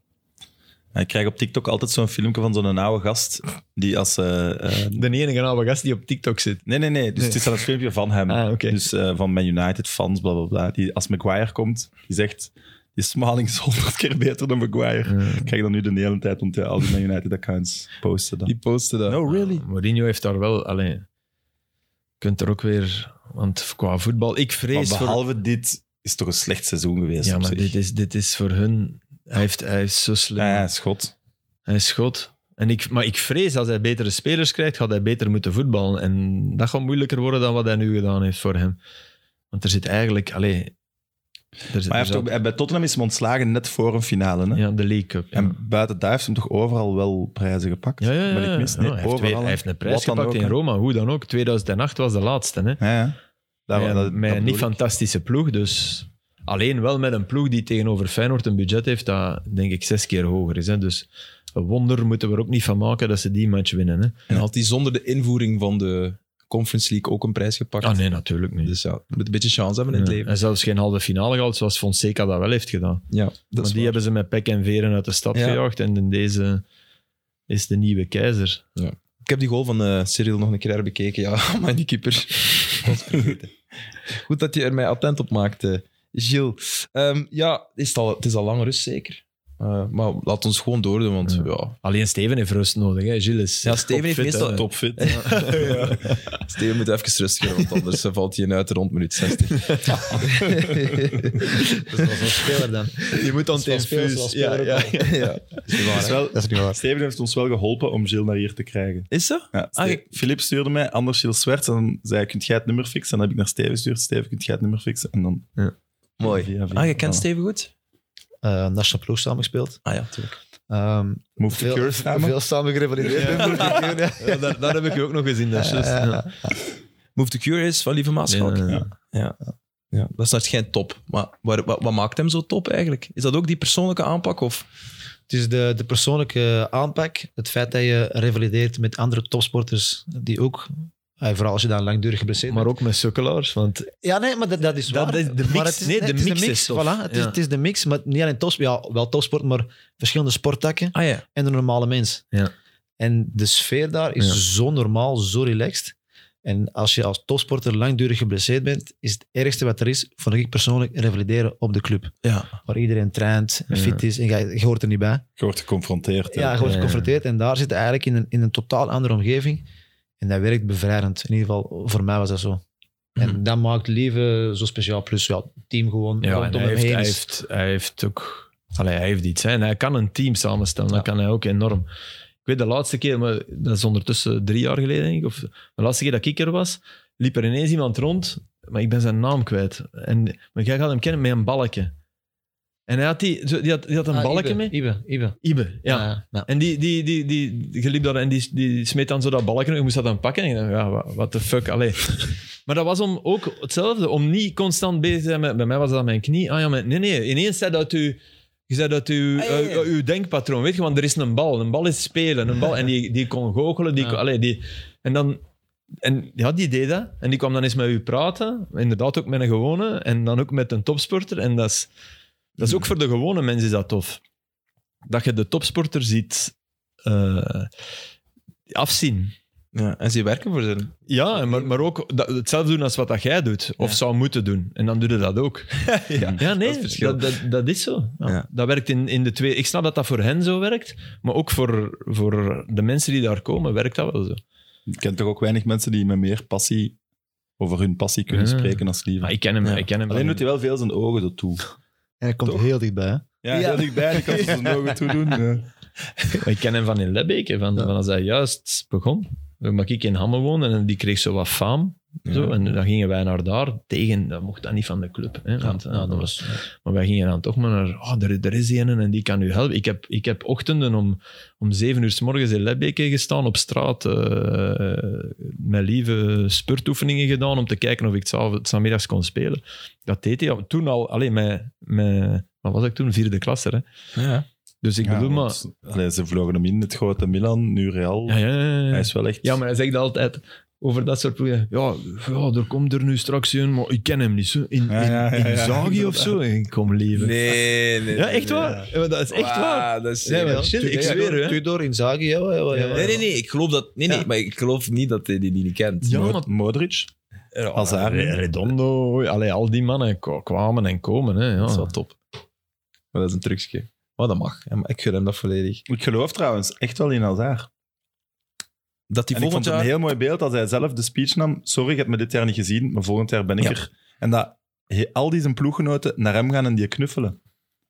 Speaker 2: En Ik krijg op TikTok altijd zo'n filmpje van zo'n oude gast. Die als. eh, eh,
Speaker 3: De enige oude gast die op TikTok zit.
Speaker 2: nee, nee, nee. Dus het is dan een filmpje van hem.
Speaker 3: Ah, oké.
Speaker 2: Dus eh, van Man United fans, bla bla bla. Die, als Maguire komt, die zegt. Die Smalling is honderd keer beter dan Maguire. Ik krijg dan nu de hele tijd om te, al die Man United accounts posten. Dan.
Speaker 1: Die postte dat.
Speaker 2: No, really?
Speaker 3: Eh, Mourinho heeft daar wel, allee, je kunt er ook weer, want qua voetbal, ik
Speaker 2: Maar
Speaker 3: vrees voor...
Speaker 2: behalve dit is toch een slecht seizoen geweest.
Speaker 3: Ja,
Speaker 2: op
Speaker 3: maar
Speaker 2: zich.
Speaker 3: dit is, dit is voor hun... Hij, heeft, hij is zo slim.
Speaker 2: Ja, ja, schot.
Speaker 3: Hij is schot. En ik, maar ik vrees, als hij betere spelers krijgt, gaat hij beter moeten voetballen. En dat gaat moeilijker worden dan wat hij nu gedaan heeft voor hem. Want er zit eigenlijk... Allee, er zit, er
Speaker 2: Maar hij heeft
Speaker 3: zat-
Speaker 2: ook, bij Tottenham is hem ontslagen net voor een finale. Hè?
Speaker 3: Ja, de League Cup. ja.
Speaker 2: En buiten daar heeft hem toch overal wel prijzen gepakt?
Speaker 3: Ja, ja, ja.
Speaker 2: Maar ik mis
Speaker 3: ja,
Speaker 2: niet.
Speaker 3: hij, heeft
Speaker 2: overal.
Speaker 3: twee- hij heeft een prijs
Speaker 2: Wat dan
Speaker 3: gepakt
Speaker 2: ook,
Speaker 3: in
Speaker 2: hè.
Speaker 3: Roma, hoe dan ook. 2008 was de laatste. Hè?
Speaker 2: Ja, ja. Daar-
Speaker 3: met
Speaker 2: dat- dat
Speaker 3: met een
Speaker 2: bedoel
Speaker 3: niet
Speaker 2: ik.
Speaker 3: fantastische ploeg. Dus alleen wel met een ploeg die tegenover Feyenoord een budget heeft dat, denk ik, zes keer hoger is. Hè? Dus een wonder moeten we er ook niet van maken dat ze die match winnen. Hè?
Speaker 1: En had hij zonder de invoering van de Conference League ook een prijs gepakt.
Speaker 3: Ah nee, natuurlijk niet.
Speaker 1: Dus ja, je moet een beetje chance hebben in het
Speaker 3: Ja.
Speaker 1: leven.
Speaker 3: En zelfs geen halve finale gehaald, zoals Fonseca dat wel heeft gedaan.
Speaker 1: Ja, dat
Speaker 3: maar
Speaker 1: is
Speaker 3: die
Speaker 1: waar.
Speaker 3: hebben ze met pek en veren uit de stad
Speaker 1: Ja.
Speaker 3: gejaagd. En in deze is de nieuwe keizer.
Speaker 1: Ik heb die goal van eh, Cyril nog een keer herbekeken. Ja, maar die keeper. Ik was vergeten. Goed dat je er mij attent op maakt, eh, Gilles. Ehm, ja, is het, al, het is al lang rust, zeker. Eh, maar laat ons gewoon doordoen, want
Speaker 3: Ja.
Speaker 1: ja.
Speaker 3: Alleen Steven heeft rust nodig, hè. Gilles is
Speaker 1: Ja, Steven heeft
Speaker 3: topfit,
Speaker 1: meestal
Speaker 3: hè.
Speaker 2: Topfit.
Speaker 1: Steven moet even rust geven, want anders eh, valt hij in uit rond minuut 60.
Speaker 4: Dat is wel zo'n speler dan.
Speaker 3: Je moet dan
Speaker 4: Dat is wel
Speaker 3: tegen
Speaker 4: spelers,
Speaker 3: Ja,
Speaker 4: wel
Speaker 3: ja.
Speaker 1: ja.
Speaker 2: Dat is wel-
Speaker 4: Dat is niet waar.
Speaker 2: Steven heeft ons wel geholpen om Gilles naar hier te krijgen.
Speaker 1: Is dat?
Speaker 2: Ja,
Speaker 1: Ah,
Speaker 2: Ste- Filip stuurde mij, anders Gilles Zwerts. En dan zei hij, kunt jij het nummer fixen? En dan heb ik naar Steven gestuurd. Steven, kunt jij het nummer fixen? En dan...
Speaker 1: Mooi.
Speaker 2: Via, via.
Speaker 1: Ah, je kent
Speaker 2: Voilà.
Speaker 1: Steven goed?
Speaker 4: Eh, nationale ploeg samengespeeld.
Speaker 1: Ah ja, natuurlijk.
Speaker 4: Ehm
Speaker 2: Move the
Speaker 4: veel,
Speaker 2: curse samen.
Speaker 4: veel samengerevalideerd. Ja.
Speaker 3: Ja, daar, daar heb ik je ook nog gezien. Dat is
Speaker 4: Ja,
Speaker 3: juist,
Speaker 4: ja,
Speaker 3: ja.
Speaker 4: ja.
Speaker 1: Move the Cure is van Lieve Maaschalk.
Speaker 3: Ja, ja,
Speaker 1: Ja. Ja. Dat is net geen top. Maar waar- wat, wat maakt hem zo top eigenlijk? Is dat ook die persoonlijke aanpak? Of?
Speaker 4: Het is de, de persoonlijke aanpak. Het feit dat je revalideert met andere topsporters die ook... eh, vooral als je dan langdurig geblesseerd
Speaker 3: Maar
Speaker 4: bent.
Speaker 3: ook met sukkelaars, want
Speaker 4: Ja, nee, maar dat, dat is
Speaker 3: Dat
Speaker 4: waar.
Speaker 3: is de mix.
Speaker 4: Maar het
Speaker 3: Nee, de
Speaker 4: het is
Speaker 3: mix is tof.
Speaker 4: Voilà, het, is,
Speaker 3: Ja.
Speaker 4: het is de mix, maar niet alleen topsport. Ja, wel topsport, maar verschillende sporttakken
Speaker 1: Ah ja.
Speaker 4: en de normale mens.
Speaker 3: Ja.
Speaker 4: En de sfeer daar is
Speaker 3: Ja.
Speaker 4: zo normaal, zo relaxed. En als je als topsporter langdurig geblesseerd bent, is het ergste wat er is, vond ik persoonlijk, revalideren op de club.
Speaker 1: ja.
Speaker 4: Waar iedereen traint,
Speaker 3: Ja.
Speaker 4: fit is en je, je hoort er niet bij.
Speaker 2: Je wordt geconfronteerd. hè.
Speaker 4: Ja, je wordt
Speaker 3: Ja.
Speaker 4: geconfronteerd en daar zit je eigenlijk in een, in een totaal andere omgeving. En dat werkt bevrijdend. In ieder geval, voor mij was dat zo. En dat maakt leven zo speciaal. Plus, ja, het team gewoon
Speaker 3: Mhm. Ja, en
Speaker 4: rondom
Speaker 3: hij
Speaker 4: hem
Speaker 3: heeft,
Speaker 4: heen
Speaker 3: hij,
Speaker 4: is-
Speaker 3: heeft, hij heeft ook... Allee, hij heeft iets. Hè. En hij kan een team samenstellen. Dat kan hij ook enorm. Ik weet de laatste keer, maar dat is ondertussen drie jaar geleden, denk ik. Of, de laatste keer dat ik er was, liep er ineens iemand rond, maar ik ben zijn naam kwijt. En, maar jij gaat hem kennen met een balkje. En hij had, die, zo- die had, die had een
Speaker 4: Ah,
Speaker 3: balkje
Speaker 4: Ibe,
Speaker 3: mee.
Speaker 4: Ibe, Ibe.
Speaker 3: Ibe, ja.
Speaker 4: ja.
Speaker 3: En die, die, die, die, die- je liep daar en die, die smeet dan zo dat balken. Je moest dat dan pakken. En ik dacht, ja, wa- what the fuck, allee. Maar dat was om ook hetzelfde, om niet constant bezig te zijn met... Bij mij was dat mijn knie. Ah ja, maar nee, nee. Ineens zei dat u... Je zei dat uw,
Speaker 1: Ah, ja, ja.
Speaker 3: eh, uw denkpatroon, weet je, want er is een bal. Een bal is spelen. Een bal, en die, die kon goochelen. Die,
Speaker 4: Ja.
Speaker 3: kon- allee, die, en dan... En ja, die deed dat. En die kwam dan eens met u praten. Inderdaad ook met een gewone. En dan ook met een topsporter. En dat is, dat is ook
Speaker 1: Hmm.
Speaker 3: voor de gewone mensen is dat tof. Dat je de topsporter ziet eh, afzien.
Speaker 1: ja. En ze werken voor ze.
Speaker 3: Ja, en maar, maar ook dat, hetzelfde doen als wat dat jij doet. Of zou moeten doen. En dan doe je dat ook. ja, nee,
Speaker 1: is het
Speaker 3: dat is,
Speaker 1: verschil.
Speaker 3: dat, dat, is zo. Ja.
Speaker 1: Ja.
Speaker 3: Dat werkt in, in de twee... Ik snap dat dat voor hen zo werkt. Maar ook voor, voor de mensen die daar komen, werkt dat wel zo.
Speaker 2: Je kent toch ook weinig mensen die met meer passie over hun passie kunnen
Speaker 3: Ja.
Speaker 2: spreken als liever.
Speaker 3: Maar Ah. ik ken hem.
Speaker 1: Ja.
Speaker 3: Ik ken hem
Speaker 2: Alleen doet hij wel veel zijn ogen ertoe.
Speaker 4: En hij komt
Speaker 2: Toch?
Speaker 4: heel dichtbij. hè.
Speaker 2: Ja, heel dichtbij. Ik kan ze zijn ogen toe doen. Ja.
Speaker 3: Maar ik ken hem van in Lebbeke, van, van als hij juist begon. Toen mag ik in Hamme wonen en die kreeg zo wat faam. Zo, en dan gingen wij naar daar tegen, dat mocht dan niet van de club. Hè, want, ja, dat was, maar wij gingen dan toch maar naar, oh, er, er is een en die kan u helpen. Ik heb, ik heb ochtenden om, om zeven uur s morgens in Lebbeke gestaan op straat, eh, eh, mijn lieve spurtoefeningen gedaan om te kijken of ik 's avonds- 's namiddags kon spelen. Dat deed hij al- toen al, alleen mijn, mijn, wat was ik toen, vierde klasse. Hè.
Speaker 1: Ja.
Speaker 3: Dus ik
Speaker 2: Ja,
Speaker 3: bedoel maar...
Speaker 2: want, allee, ze vlogen hem in, het grote Milan, nu Real.
Speaker 3: Ja, ja, ja, ja.
Speaker 2: Hij is wel echt...
Speaker 3: Ja, maar hij zegt altijd over dat soort ploegen. Ja, ja, er komt er nu straks een, maar ik ken hem niet. Zo. In, in,
Speaker 2: Ja, ja, ja,
Speaker 3: in
Speaker 2: ja,
Speaker 3: Zagi of zo. En ik kom leven.
Speaker 1: Nee, nee.
Speaker 3: Ja, echt waar. Ja, dat is echt waar.
Speaker 1: Dat is
Speaker 3: Ja, maar shit, ik zweer u, hè.
Speaker 4: Tudor, Inzaghi, ja, ja, ja, ja.
Speaker 1: Nee, nee, nee. Ik geloof, dat, nee, nee,
Speaker 3: Ja.
Speaker 1: maar ik geloof niet dat hij die niet kent.
Speaker 3: Ja,
Speaker 2: Mod-
Speaker 3: maar-
Speaker 2: Modric, Hazard.
Speaker 3: Re- Redondo, allee, al die mannen ko- kwamen en komen. Hè,
Speaker 1: Dat is
Speaker 3: ja.
Speaker 1: wel top. Maar dat is een trucje. Maar dat mag. Ja, maar Ik gun hem dat volledig.
Speaker 2: Ik geloof trouwens echt wel in Hazard.
Speaker 1: Dat hij
Speaker 2: en ik
Speaker 1: volgend
Speaker 2: vond het een
Speaker 1: jaar...
Speaker 2: heel mooi beeld als hij zelf de speech nam. Sorry, ik heb me dit jaar niet gezien, maar volgend jaar ben ik
Speaker 1: Ja.
Speaker 2: er. En dat he- al die zijn ploeggenoten naar hem gaan en die knuffelen.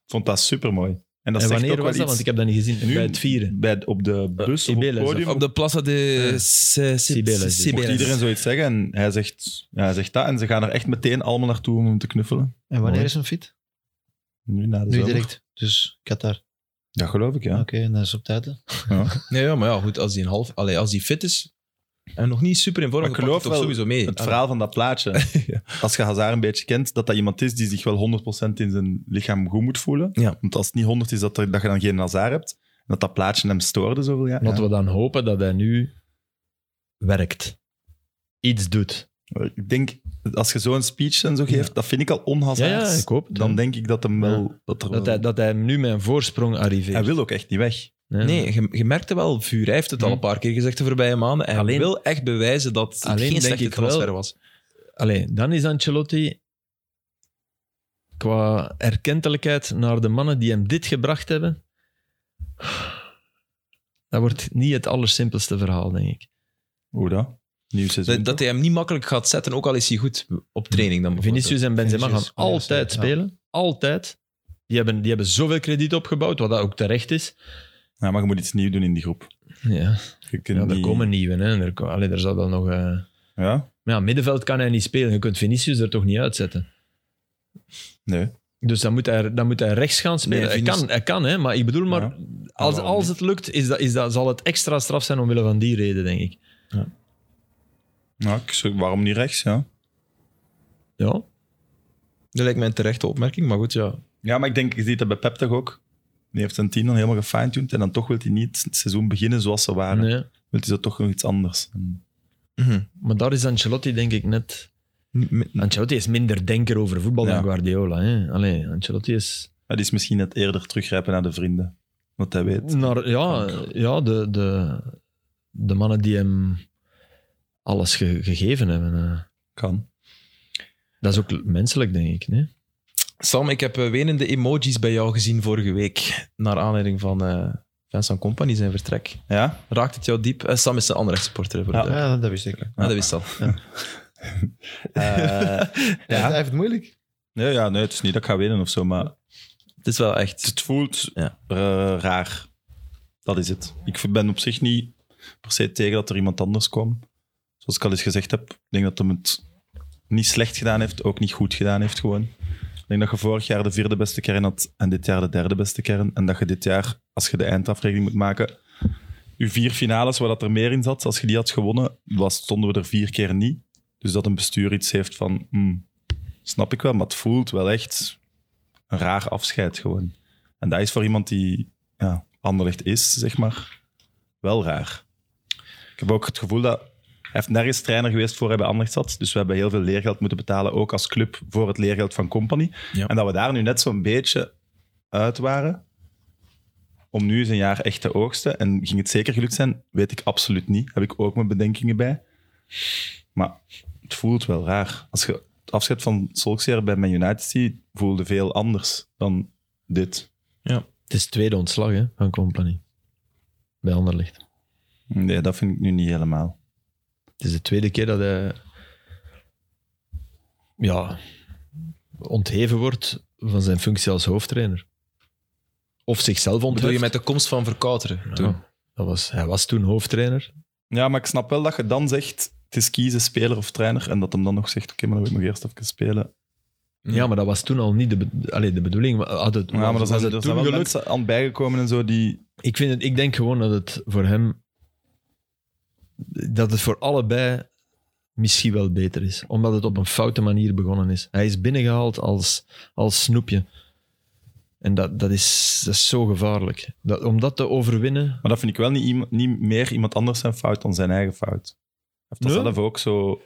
Speaker 2: Vond dat supermooi. En dat
Speaker 3: En
Speaker 2: zegt
Speaker 3: wanneer
Speaker 2: ook wel
Speaker 3: was dat?
Speaker 2: iets.
Speaker 3: Want ik heb dat niet gezien.
Speaker 2: Nu,
Speaker 3: Bij het vieren.
Speaker 2: Bij, op de bus of op
Speaker 3: Cibeles,
Speaker 2: het podium.
Speaker 1: Op de Plaza de
Speaker 3: Ja.
Speaker 1: C- C-
Speaker 3: Cibeles.
Speaker 2: Mocht iedereen zoiets zeggen en hij zegt, ja, hij zegt dat. En ze gaan er echt meteen allemaal naartoe om hem te knuffelen.
Speaker 4: En wanneer
Speaker 3: Mooi.
Speaker 4: is hem fit?
Speaker 2: Nu na de
Speaker 4: Nu
Speaker 2: zomer.
Speaker 4: direct. Dus Qatar.
Speaker 2: Dat geloof ik,
Speaker 3: Ah,
Speaker 2: ja.
Speaker 4: Oké, en dat is op tijd. hè.
Speaker 1: Nee, ja, maar ja, goed. Als hij een half... Allee, als hij fit is en nog niet super in vorm,
Speaker 2: Maar
Speaker 1: dan
Speaker 2: ik
Speaker 1: geloof
Speaker 2: geloof
Speaker 1: toch
Speaker 2: wel
Speaker 1: sowieso mee. Ah,
Speaker 2: Het verhaal van dat plaatje.
Speaker 1: Ja.
Speaker 2: Als je Hazard een beetje kent, dat dat iemand is die zich wel 100% in zijn lichaam goed moet voelen.
Speaker 1: Ja.
Speaker 2: Want als het niet 100 is, dat, er, dat je dan geen Hazard hebt. En dat dat plaatje hem stoorde zoveel jaar.
Speaker 3: Laten we dan hopen dat hij nu werkt. Iets doet.
Speaker 2: Ja. Ik denk, als je zo'n speech en zo geeft, dat vind ik al
Speaker 3: Ja,
Speaker 2: onhazard.
Speaker 3: ja, ik hoop het.
Speaker 2: Dan denk ik dat, hem wel, dat, er
Speaker 3: dat,
Speaker 2: wel-
Speaker 3: hij, dat hij nu met een voorsprong arriveert.
Speaker 2: hij wil ook echt niet weg.
Speaker 3: Ja.
Speaker 1: Ah, Nee, je, je merkte wel vuur. Hij heeft het al
Speaker 3: Hm.
Speaker 1: een paar keer gezegd de voorbije maanden. En
Speaker 3: Alleen-
Speaker 1: hij wil echt bewijzen dat het
Speaker 3: Alleen
Speaker 1: geen
Speaker 3: denk
Speaker 1: slechte
Speaker 3: ik wel-
Speaker 1: transfer was.
Speaker 3: Allee, dan is Ancelotti qua erkentelijkheid naar de mannen die hem dit gebracht hebben. Dat wordt niet het allersimpelste verhaal, denk ik.
Speaker 2: Hoe dat? Nieuw seizoen.
Speaker 1: Dat, dat hij hem niet makkelijk gaat zetten, ook al is hij goed op training dan bijvoorbeeld.
Speaker 3: Vinicius en Benzema
Speaker 4: Vinicius,
Speaker 3: gaan altijd
Speaker 4: ja.
Speaker 3: spelen. Altijd. Die hebben, die hebben zoveel krediet opgebouwd, wat dat ook terecht is.
Speaker 2: Ja, maar je moet iets nieuws doen in die groep.
Speaker 3: Ja,
Speaker 2: Je kunt
Speaker 3: ja er
Speaker 2: niet-
Speaker 3: komen nieuwe. Hè. Er, ko- allee, er zal wel nog... eh,
Speaker 2: Ja?
Speaker 3: Maar ja, middenveld kan hij niet spelen. Je kunt Vinicius er toch niet uitzetten.
Speaker 2: Nee.
Speaker 3: Dus dan moet hij, dan moet hij rechts gaan spelen.
Speaker 1: Nee,
Speaker 3: hij,
Speaker 1: Vinicius-
Speaker 3: kan, hij kan, hè, maar ik bedoel maar,
Speaker 2: Ja.
Speaker 3: als,
Speaker 2: Waarom
Speaker 3: als
Speaker 2: niet?
Speaker 3: het lukt, is dat, is dat, zal het extra straf zijn omwille van die reden, denk ik.
Speaker 2: Ja, Nou, ik zeg, waarom niet rechts, ja?
Speaker 3: Ja,
Speaker 1: Dat lijkt mij een terechte opmerking, maar goed, ja.
Speaker 2: Ja, maar ik denk, je ziet dat bij Pep toch ook. Die heeft zijn team dan helemaal gefine-tuned en dan toch wil hij niet het seizoen beginnen zoals ze waren.
Speaker 3: nee.
Speaker 2: Wil hij zo toch nog iets anders. En
Speaker 1: Mhm.
Speaker 3: Maar daar is Ancelotti denk ik net...
Speaker 1: Niet met-
Speaker 3: Ancelotti is minder denker over voetbal
Speaker 2: Ja.
Speaker 3: dan Guardiola. Hè. Allee, Ancelotti is...
Speaker 2: dat is misschien net eerder teruggrijpen naar de vrienden. Wat hij weet.
Speaker 3: Naar, ja, ja de, de, de mannen die hem alles ge- gegeven hebben. eh.
Speaker 2: Kan.
Speaker 3: Dat is ook menselijk, denk ik. Nee?
Speaker 1: Sam, ik heb eh, wenende emojis bij jou gezien vorige week. Naar aanleiding van eh Vincent Company zijn vertrek.
Speaker 2: Ja?
Speaker 1: Raakt het jou diep? Eh, Sam is een andere supporter. hè, Voor
Speaker 2: Ja.
Speaker 1: de-
Speaker 4: Ja, dat wist ik.
Speaker 1: Ah, dat wist al.
Speaker 2: Eh,
Speaker 4: Hij
Speaker 2: ja.
Speaker 4: heeft het moeilijk.
Speaker 2: Nee, ja, nee, het is niet dat ik ga winnen of zo, maar
Speaker 1: Het is wel echt...
Speaker 2: het voelt
Speaker 1: Ja.
Speaker 2: eh, raar. Dat is het. Ik ben op zich niet per se tegen dat er iemand anders kwam. Zoals ik al eens gezegd heb, ik denk dat hem het niet slecht gedaan heeft, ook niet goed gedaan heeft gewoon. Ik denk dat je vorig jaar de vierde beste kern had en dit jaar de derde beste kern. En dat je dit jaar, als je de eindafrekening moet maken, je vier finales waar dat er meer in zat, als je die had gewonnen, was, stonden we er vier keer niet. Dus dat een bestuur iets heeft van, hmm, snap ik wel, maar het voelt wel echt een raar afscheid gewoon. En dat is voor iemand die ja, Anderlecht is, zeg maar, wel raar. Ik heb ook het gevoel dat... Hij heeft nergens trainer geweest voor hij bij Anderlecht zat. Dus we hebben heel veel leergeld moeten betalen, ook als club, voor het leergeld van Company.
Speaker 1: Ja.
Speaker 2: En dat we daar nu net zo'n beetje uit waren. Om nu eens een jaar echt te oogsten. En ging het zeker gelukt zijn? Weet ik absoluut niet. Heb ik ook mijn bedenkingen bij. Maar het voelt wel raar. Als je het afscheid van Solskjaer bij Man United ziet, voelde veel anders dan dit.
Speaker 3: Het is het tweede ontslag hè, van Company. Bij Anderlecht.
Speaker 2: Nee, dat vind ik nu niet helemaal.
Speaker 3: Het is de tweede keer dat hij ja, ontheven wordt van zijn functie als hoofdtrainer. of zichzelf
Speaker 1: Bedoel je
Speaker 3: ontheft.
Speaker 1: met de komst van Verkouteren toen?
Speaker 3: Ja, dat was, hij was toen hoofdtrainer.
Speaker 2: Ja, maar ik snap wel dat je dan zegt, het is kiezen speler of trainer. En dat hem dan nog zegt, oké, maar dan wil ik nog eerst even spelen.
Speaker 1: Ja.
Speaker 3: Ja, maar dat was toen al niet de, be- allee, de bedoeling. Maar, had het,
Speaker 2: Ja, maar er
Speaker 3: was
Speaker 2: zijn,
Speaker 3: het
Speaker 2: er
Speaker 3: toen
Speaker 2: zijn wel
Speaker 3: gelukt?
Speaker 2: mensen aan bijgekomen en zo die...
Speaker 3: Ik, vind het, ik denk gewoon dat het voor hem... Dat het voor allebei misschien wel beter is. Omdat het op een foute manier begonnen is. Hij is binnengehaald als, als snoepje. En dat, dat, is, dat is zo gevaarlijk. Dat, om dat te overwinnen...
Speaker 2: Maar dat vind ik wel niet, iemand- niet meer iemand anders zijn fout dan zijn eigen fout. Hij heeft dat
Speaker 3: Nee.
Speaker 2: zelf ook zo...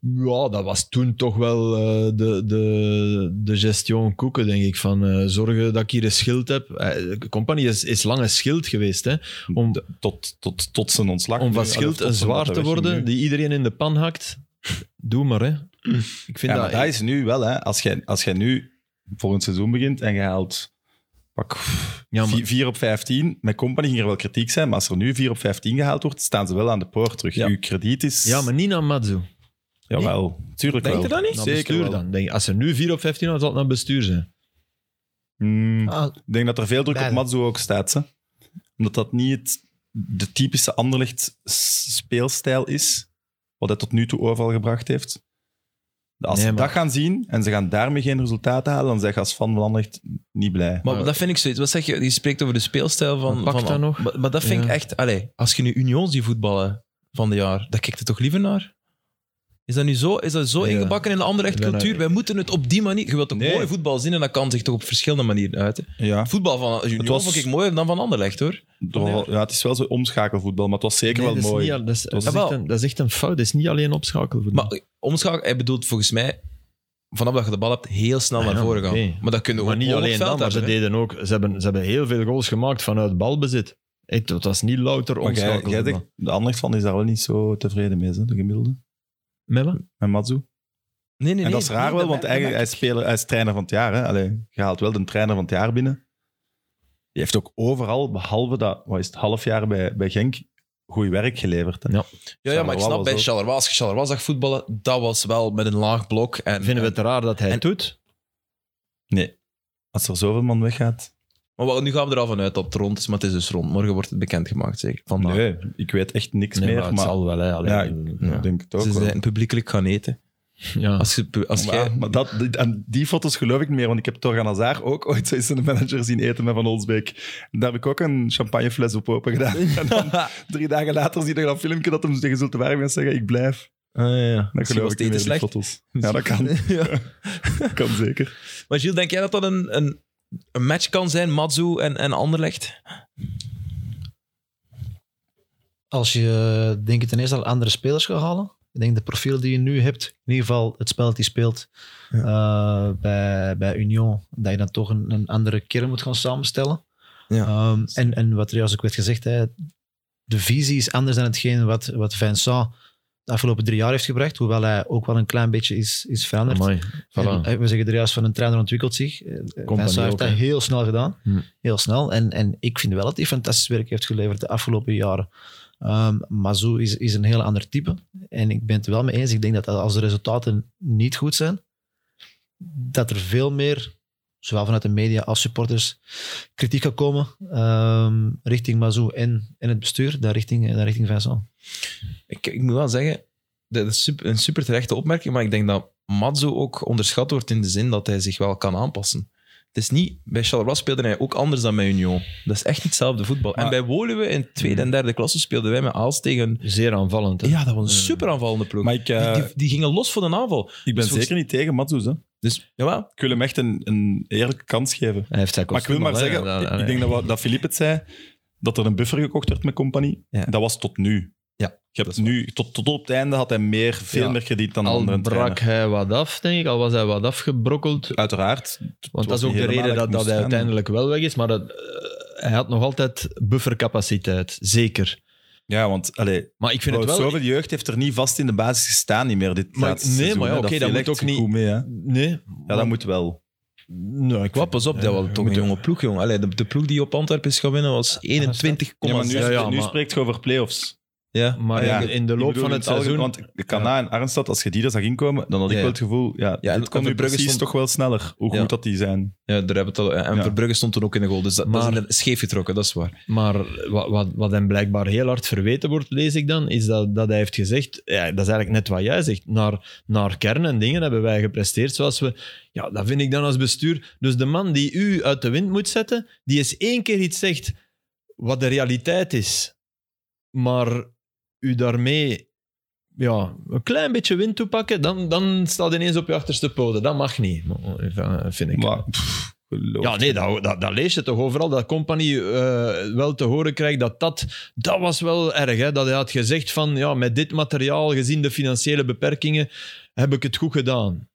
Speaker 3: Ja, dat was toen toch wel eh, de, de, de gestion koeken, denk ik. Van eh, zorgen dat ik hier een schild heb. Eh, de compagnie is, is lang een schild geweest, hè. Om,
Speaker 2: Tot, tot, tot zijn ontslag.
Speaker 3: om
Speaker 2: nu,
Speaker 3: van
Speaker 2: allee, of
Speaker 3: schild
Speaker 2: tot
Speaker 3: een
Speaker 2: zijn
Speaker 3: zwaar
Speaker 2: dat
Speaker 3: te
Speaker 2: hij wegging nu.
Speaker 3: worden die iedereen in de pan hakt. Doe maar, hè. Ik
Speaker 2: ja,
Speaker 3: vind dat...
Speaker 2: maar dat is nu wel, hè. Als jij, als jij nu volgend seizoen begint en je haalt pak,
Speaker 3: Ja, maar-
Speaker 2: 4 op 15, met Company ging er wel kritiek zijn, maar als er nu 4 op 15 gehaald wordt, staan ze wel aan de poort terug.
Speaker 3: Ja.
Speaker 2: Uw krediet is...
Speaker 3: ja, maar niet naar Matsu.
Speaker 2: Jawel, tuurlijk
Speaker 1: Denk
Speaker 2: wel.
Speaker 1: je dat niet?
Speaker 3: Naar
Speaker 2: Zeker
Speaker 3: bestuur
Speaker 2: wel.
Speaker 3: dan. Denk, als er nu 4 op 15 had, zal het naar bestuur zijn.
Speaker 2: Hmm,
Speaker 4: Ah,
Speaker 2: Ik denk dat er veel druk op
Speaker 4: Beide.
Speaker 2: Matsu ook staat, hè. Omdat dat niet het, de typische anderlicht speelstijl is, wat hij tot nu toe overal gebracht heeft. Als
Speaker 3: Nee,
Speaker 2: ze
Speaker 3: maar-
Speaker 2: dat gaan zien en ze gaan daarmee geen resultaten halen, dan zijn je als fan van Anderlecht niet blij.
Speaker 1: Maar
Speaker 3: Ja.
Speaker 1: dat vind ik zoiets. Wat zeg je? Je spreekt over de speelstijl van.
Speaker 3: Maar pak
Speaker 1: van
Speaker 3: dat nog.
Speaker 1: Maar, maar dat vind
Speaker 3: Ja.
Speaker 1: ik echt. Allee, als je nu Unions die voetballen van de jaar, daar kijkt het toch liever naar? Is dat nu zo, is dat zo
Speaker 3: Ja.
Speaker 1: ingebakken in de andere echt
Speaker 3: Ik ben
Speaker 1: cultuur?
Speaker 3: er-
Speaker 1: Wij moeten het op die manier. Je wilt toch
Speaker 2: Nee.
Speaker 1: mooi voetbal zien en dat kan zich toch op verschillende manieren uiten.
Speaker 2: Ja.
Speaker 1: Het voetbal van Union
Speaker 2: was-
Speaker 1: vond ik mooier dan van Anderlecht, hoor.
Speaker 2: Toch wel- ja, het is wel zo omschakelvoetbal, maar het was zeker
Speaker 3: Nee,
Speaker 2: wel
Speaker 3: dat is
Speaker 2: mooi.
Speaker 3: niet al- dat, is, dat, is
Speaker 1: Jawel.
Speaker 3: echt een, dat is echt een fout. Dat is niet alleen opschakelen.
Speaker 1: Maar eh, omschakelen, hij bedoelt volgens mij, vanaf dat je de bal hebt, heel snel
Speaker 3: Ah
Speaker 1: naar
Speaker 3: ja,
Speaker 1: voren gaan.
Speaker 3: oké.
Speaker 1: Maar dat kunnen we
Speaker 3: Maar niet alleen dat, maar ze, deden ook, ze, hebben, ze hebben heel veel goals gemaakt vanuit balbezit. Het, het was niet louter
Speaker 2: Maar jij, jij
Speaker 3: omschakelen.
Speaker 2: zegt, de Anderlecht van is daar wel niet zo tevreden mee, hè, de gemiddelde.
Speaker 3: Met wat?
Speaker 2: Met Matsu.
Speaker 1: Nee, nee, nee.
Speaker 2: en dat is raar
Speaker 1: nee,
Speaker 2: wel,
Speaker 1: dat
Speaker 2: want
Speaker 1: merk-
Speaker 2: eigenlijk, hij,
Speaker 1: dat
Speaker 2: is speler, hij is trainer van het jaar. Hè? Allee, je haalt wel de trainer van het jaar binnen. Die heeft ook overal, behalve dat wat is het, half jaar bij, bij Genk, goed werk geleverd. Hè?
Speaker 3: Ja.
Speaker 1: Ja, ja, maar ik
Speaker 2: Charleroi
Speaker 1: snap
Speaker 2: was
Speaker 1: bij
Speaker 2: ook-
Speaker 1: Charleroi, als je Charleroi zag voetballen, dat was wel met een laag blok. En,
Speaker 3: Vinden we het raar dat hij
Speaker 1: en-
Speaker 3: het doet?
Speaker 2: Als er zoveel man weggaat.
Speaker 1: Maar wat- nu gaan we er al vanuit dat het rond is, maar het is dus rond. Morgen wordt het bekendgemaakt, zeker. Vandaag.
Speaker 2: Nee, ik weet echt niks
Speaker 3: Nee,
Speaker 2: meer.
Speaker 3: maar
Speaker 2: Maar,
Speaker 3: het zal wel. Hè, alleen,
Speaker 2: Ja,
Speaker 1: Ja.
Speaker 2: ik denk het ook
Speaker 1: Ze
Speaker 2: wel.
Speaker 1: zijn publiekelijk gaan eten.
Speaker 3: ja.
Speaker 1: Als je, als
Speaker 2: maar,
Speaker 1: jij,
Speaker 2: maar dat, die- aan die foto's geloof ik niet meer, want ik heb Torgan Hazar ook ooit zo eens een manager zien eten met Van Olsbeek. En Daar heb ik ook een champagnefles op open gedaan. En dan drie dagen later zie je dan een filmpje dat hem tegen Zulte Waregem gaat zeggen, ik blijf.
Speaker 1: ja.
Speaker 2: Dan geloof ik niet meer, die
Speaker 1: slecht.
Speaker 2: foto's. Ja, dat kan.
Speaker 1: Ja.
Speaker 2: kan zeker.
Speaker 1: Maar Gilles, denk jij dat dat een, een, een match kan zijn, Matsu en, en Anderlecht?
Speaker 4: Als je, eh, denk ik, ten eerste al andere spelers gaat halen. Ik denk de profiel die je nu hebt, in ieder geval het spel dat hij speelt eh, bij, bij Union, dat je dan toch een, een andere kern moet gaan samenstellen.
Speaker 1: Ja.
Speaker 4: Ehm, en, en wat er juist ook werd gezegd, hè, de visie is anders dan hetgeen wat, wat Vincent de afgelopen drie jaar heeft gebracht, hoewel hij ook wel een klein beetje is, is veranderd.
Speaker 3: Amai,
Speaker 4: En,
Speaker 3: voilà.
Speaker 4: eh, we zeggen er juist van een trainer ontwikkelt zich. Eh, Vincent heeft
Speaker 3: ook,
Speaker 4: dat
Speaker 3: hè.
Speaker 4: heel snel gedaan.
Speaker 3: Hm.
Speaker 4: Heel snel. En, en ik vind wel dat hij fantastisch werk heeft geleverd de afgelopen jaren. Ehm Mazou is, is een heel ander type. En ik ben het er wel mee eens. Ik denk dat als de resultaten niet goed zijn, dat er veel meer, zowel vanuit de media als supporters, kritiek gaat komen ehm, richting Mazou en, en het bestuur, dan richting, eh, dan richting Vincent.
Speaker 1: Ik, ik moet wel zeggen, dat is sup- een super terechte opmerking, maar ik denk dat Matsu ook onderschat wordt in de zin dat hij zich wel kan aanpassen. Het is niet, bij Charleroi speelde hij ook anders dan bij Union. Dat is echt niet hetzelfde voetbal. en
Speaker 2: Maar-
Speaker 1: bij Woluwe in tweede en derde klasse speelden wij met Aals tegen...
Speaker 3: Zeer aanvallend. hè.
Speaker 1: Ja, dat was een super aanvallende ploeg.
Speaker 2: Maar ik, eh,
Speaker 1: die, die, die gingen los voor de aanval.
Speaker 2: ik ben
Speaker 1: dus volgens-
Speaker 2: zeker niet tegen Matsoes. hè.
Speaker 1: Dus jawel,
Speaker 2: Ik wil hem echt een, een eerlijke kans geven.
Speaker 3: Hij heeft zijn
Speaker 2: maar ik wil
Speaker 3: kostuum
Speaker 2: maar
Speaker 3: al, hè.
Speaker 2: zeggen,
Speaker 3: Ja,
Speaker 2: ik-
Speaker 3: ja,
Speaker 2: ik denk dat, wat- dat Philippe het zei, dat er een buffer gekocht werd met Compagnie.
Speaker 1: Ja.
Speaker 2: Dat was tot nu.
Speaker 1: Ja,
Speaker 2: Je
Speaker 1: dat
Speaker 2: hebt
Speaker 1: is
Speaker 2: nu tot, tot op het einde had hij meer, veel
Speaker 3: Ja,
Speaker 2: meer krediet dan de
Speaker 3: Al
Speaker 2: andere
Speaker 3: brak
Speaker 2: trainer.
Speaker 3: hij wat af, denk ik. Al was hij wat afgebrokkeld.
Speaker 2: Uiteraard.
Speaker 3: Want dat
Speaker 2: was
Speaker 3: is ook
Speaker 2: niet
Speaker 3: de
Speaker 2: helemaal
Speaker 3: reden
Speaker 2: dat
Speaker 3: dat,
Speaker 2: ik
Speaker 3: dat
Speaker 2: moest
Speaker 3: hij
Speaker 2: gaan.
Speaker 3: uiteindelijk wel weg is. Maar dat, eh, hij had nog altijd buffercapaciteit. Zeker.
Speaker 2: Ja, want allee,
Speaker 3: Maar ik vind
Speaker 2: Wout
Speaker 3: het wel...
Speaker 2: Zoveel jeugd heeft er niet vast in de basis gestaan niet meer dit
Speaker 3: Maar-
Speaker 2: laatste
Speaker 3: nee, maar
Speaker 2: seizoen,
Speaker 3: ja,
Speaker 2: hè.
Speaker 3: oké, dat
Speaker 2: viel
Speaker 3: moet
Speaker 2: echt
Speaker 3: ook niet-
Speaker 2: goed mee, hè.
Speaker 3: Nee.
Speaker 2: Ja, dat moet wel.
Speaker 3: Nee, ik
Speaker 1: Wat, pas op, dat was toch een jonge ploeg, jong. Allee, de, de ploeg die op Antwerpen is gaan winnen was 21,
Speaker 2: Ja, maar nu,
Speaker 3: Ja, ja,
Speaker 2: nu
Speaker 3: maar-
Speaker 2: spreekt je over play-offs.
Speaker 1: Ja.
Speaker 3: Maar
Speaker 2: Ja,
Speaker 3: in, in de
Speaker 2: Ik
Speaker 3: loop
Speaker 2: bedoel,
Speaker 3: van
Speaker 2: in
Speaker 3: het
Speaker 2: algemeen,
Speaker 3: seizoen...
Speaker 2: Want Kana en Arnstad, als je die er zag inkomen, dan had ik
Speaker 1: Ja.
Speaker 2: wel het gevoel, ja,
Speaker 1: en-
Speaker 2: dit
Speaker 1: en
Speaker 2: kon nu
Speaker 1: Verbrugge
Speaker 2: precies
Speaker 1: stond-
Speaker 2: toch wel sneller, hoe
Speaker 1: Ja.
Speaker 2: goed dat die zijn.
Speaker 1: Ja, daar hebben we het al. En
Speaker 2: Ja.
Speaker 1: Verbrugge stond toen ook in de goal. Dus dat, dat is
Speaker 3: Maar-
Speaker 1: inderdaad scheef getrokken, dat is waar.
Speaker 3: Maar wat, wat, wat hem blijkbaar heel hard verweten wordt, lees ik dan, is dat, dat hij heeft gezegd, ja, dat is eigenlijk net wat jij zegt, naar, naar kern en dingen hebben wij gepresteerd zoals we... Ja, dat vind ik dan als bestuur. Dus de man die u uit de wind moet zetten, die eens één keer iets zegt wat de realiteit is, maar u daarmee ja, een klein beetje wind toepakken, dan, dan staat ineens op je achterste poten. Dat mag niet, eh, vind ik.
Speaker 2: Maar, pff, geloof
Speaker 3: Ja, nee, dat, dat, dat lees je toch overal. Dat Company eh, wel te horen krijgt dat dat... Dat was wel erg, hè. Dat hij had gezegd van... Ja, met dit materiaal, gezien de financiële beperkingen, heb ik het goed gedaan.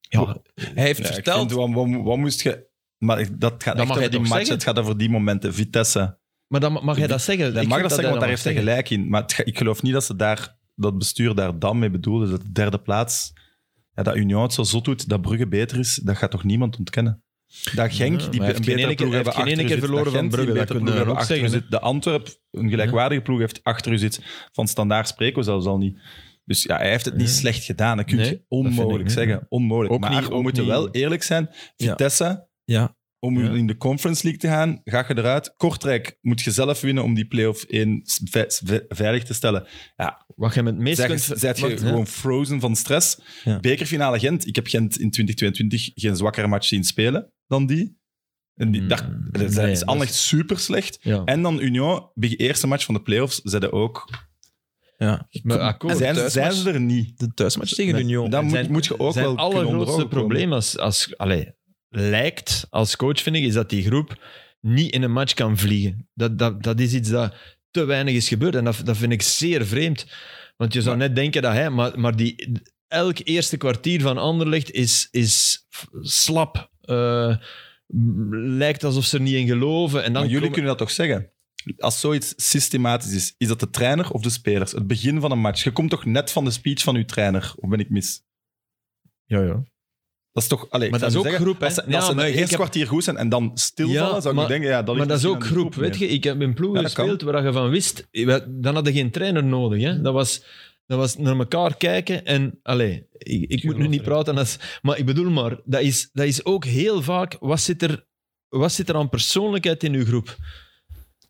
Speaker 3: Ja,
Speaker 1: Hij heeft
Speaker 2: Ja, ik
Speaker 1: verteld.
Speaker 2: vind, wat, wat, wat moest je... Maar ik- dat gaat
Speaker 3: mag
Speaker 2: echt
Speaker 3: je
Speaker 2: over die
Speaker 3: toch
Speaker 2: match,
Speaker 3: zeggen?
Speaker 2: het gaat over die momenten. Vitesse.
Speaker 3: maar dan mag jij dat zeggen.
Speaker 2: Ik
Speaker 3: Ik
Speaker 2: mag
Speaker 3: vind
Speaker 2: dat zeggen, want daar
Speaker 3: hij
Speaker 2: heeft
Speaker 3: dat
Speaker 2: hij
Speaker 3: mag
Speaker 2: gelijk in. Maar het ga- ik geloof niet dat ze daar, dat bestuur daar dan mee bedoelde. Dat de derde plaats, ja, dat Union het zo zot doet, dat Brugge beter is, dat gaat toch niemand ontkennen? Dat Genk,
Speaker 3: Ja, maar
Speaker 2: die
Speaker 3: hij heeft
Speaker 2: een
Speaker 3: geen
Speaker 2: betere
Speaker 3: ene keer-
Speaker 2: ploeg
Speaker 3: hij
Speaker 2: hebben
Speaker 3: heeft geen ene
Speaker 2: achter u
Speaker 3: keer
Speaker 2: zit,
Speaker 3: verloren
Speaker 2: dat
Speaker 3: van
Speaker 2: Gent die
Speaker 3: Brugge,
Speaker 2: een
Speaker 3: dat
Speaker 2: betere
Speaker 3: kunnen we
Speaker 2: ploeg
Speaker 3: ook
Speaker 2: hebben achter u
Speaker 3: zeggen,
Speaker 2: zit. De Antwerp, een gelijkwaardige ploeg, heeft achter u zit. Van standaard spreken we zelfs al niet. Dus ja, hij heeft het niet
Speaker 3: Nee.
Speaker 2: slecht gedaan. Dat kun je
Speaker 3: Nee, dat vind
Speaker 2: onmogelijk
Speaker 3: ik niet.
Speaker 2: zeggen. Onmogelijk.
Speaker 3: Ook
Speaker 2: maar
Speaker 3: niet-
Speaker 2: we
Speaker 3: ook
Speaker 2: moeten
Speaker 3: niet-
Speaker 2: wel eerlijk zijn.
Speaker 1: Ja.
Speaker 2: Vitesse,
Speaker 1: Ja.
Speaker 2: om u
Speaker 3: Ja.
Speaker 2: in de Conference League te gaan, ga je eruit. Kortrijk moet je zelf winnen om die play-off 1 ve- ve- veilig te stellen.
Speaker 3: Wat je met het meest
Speaker 2: Zeg,
Speaker 3: kunt...
Speaker 2: zijt je
Speaker 3: wat-
Speaker 2: gewoon frozen van stress?
Speaker 1: Ja.
Speaker 2: Bekerfinale Gent. Ik heb Gent in 2022 geen zwakker match zien spelen dan die. En die
Speaker 3: Mm,
Speaker 2: daar, er zijn-
Speaker 3: nee,
Speaker 2: is
Speaker 3: dat
Speaker 2: Anderlecht super slecht.
Speaker 3: Ja,
Speaker 2: En dan Union, bij de eerste match van de play-offs, zeiden ook...
Speaker 1: Ja.
Speaker 2: Eh,
Speaker 3: maar akkoord.
Speaker 2: zijn, ze-
Speaker 1: thuismatch?
Speaker 2: zijn ze er niet?
Speaker 1: De thuismatch tegen
Speaker 2: Nee.
Speaker 1: Union.
Speaker 2: Dan moet,
Speaker 3: zijn-
Speaker 2: moet je ook
Speaker 3: zijn
Speaker 2: wel kunnen
Speaker 3: allergrootste
Speaker 2: onderogen komen.
Speaker 3: probleem als, als allee, lijkt als coach vind ik is dat die groep niet in een match kan vliegen. Dat, dat, dat is iets dat te weinig is gebeurd en dat, dat vind ik zeer vreemd. Want je zou net denken dat hij, maar, maar die, elk eerste kwartier van Anderlecht is, is f- slap. Eh, m- lijkt alsof ze er niet in geloven. En dan
Speaker 2: Maar jullie
Speaker 3: komen-
Speaker 2: kunnen dat toch zeggen? Als zoiets systematisch is, is dat de trainer of de spelers? Het begin van een match. Je komt toch net van de speech van uw trainer? Of ben ik mis?
Speaker 3: Ja, ja.
Speaker 2: Dat is toch... Allee, ik
Speaker 3: Maar
Speaker 2: zou
Speaker 3: dat is ook
Speaker 2: zeggen,
Speaker 3: groep, hè?
Speaker 2: Als ze,
Speaker 3: Ja,
Speaker 2: als ze
Speaker 3: maar
Speaker 2: het
Speaker 3: ik
Speaker 2: eerste
Speaker 3: heb-
Speaker 2: kwartier goed zijn en dan stilvallen,
Speaker 3: Ja,
Speaker 2: zou ik
Speaker 3: maar-
Speaker 2: denken... Ja, dat ligt
Speaker 3: maar dat is
Speaker 2: misschien
Speaker 3: ook
Speaker 2: aan de
Speaker 3: groep, weet
Speaker 2: nee.
Speaker 3: je. Ik heb in ploegen
Speaker 2: Ja, dat kan.
Speaker 3: gespeeld waar je van wist, eh, dan had je geen trainer nodig. Hè. Dat, was, dat was naar elkaar kijken en... Allee, ik, ik moet nu niet praten, als, maar ik bedoel maar, dat is, dat is ook heel vaak... Wat zit, er, wat zit er aan persoonlijkheid in uw groep?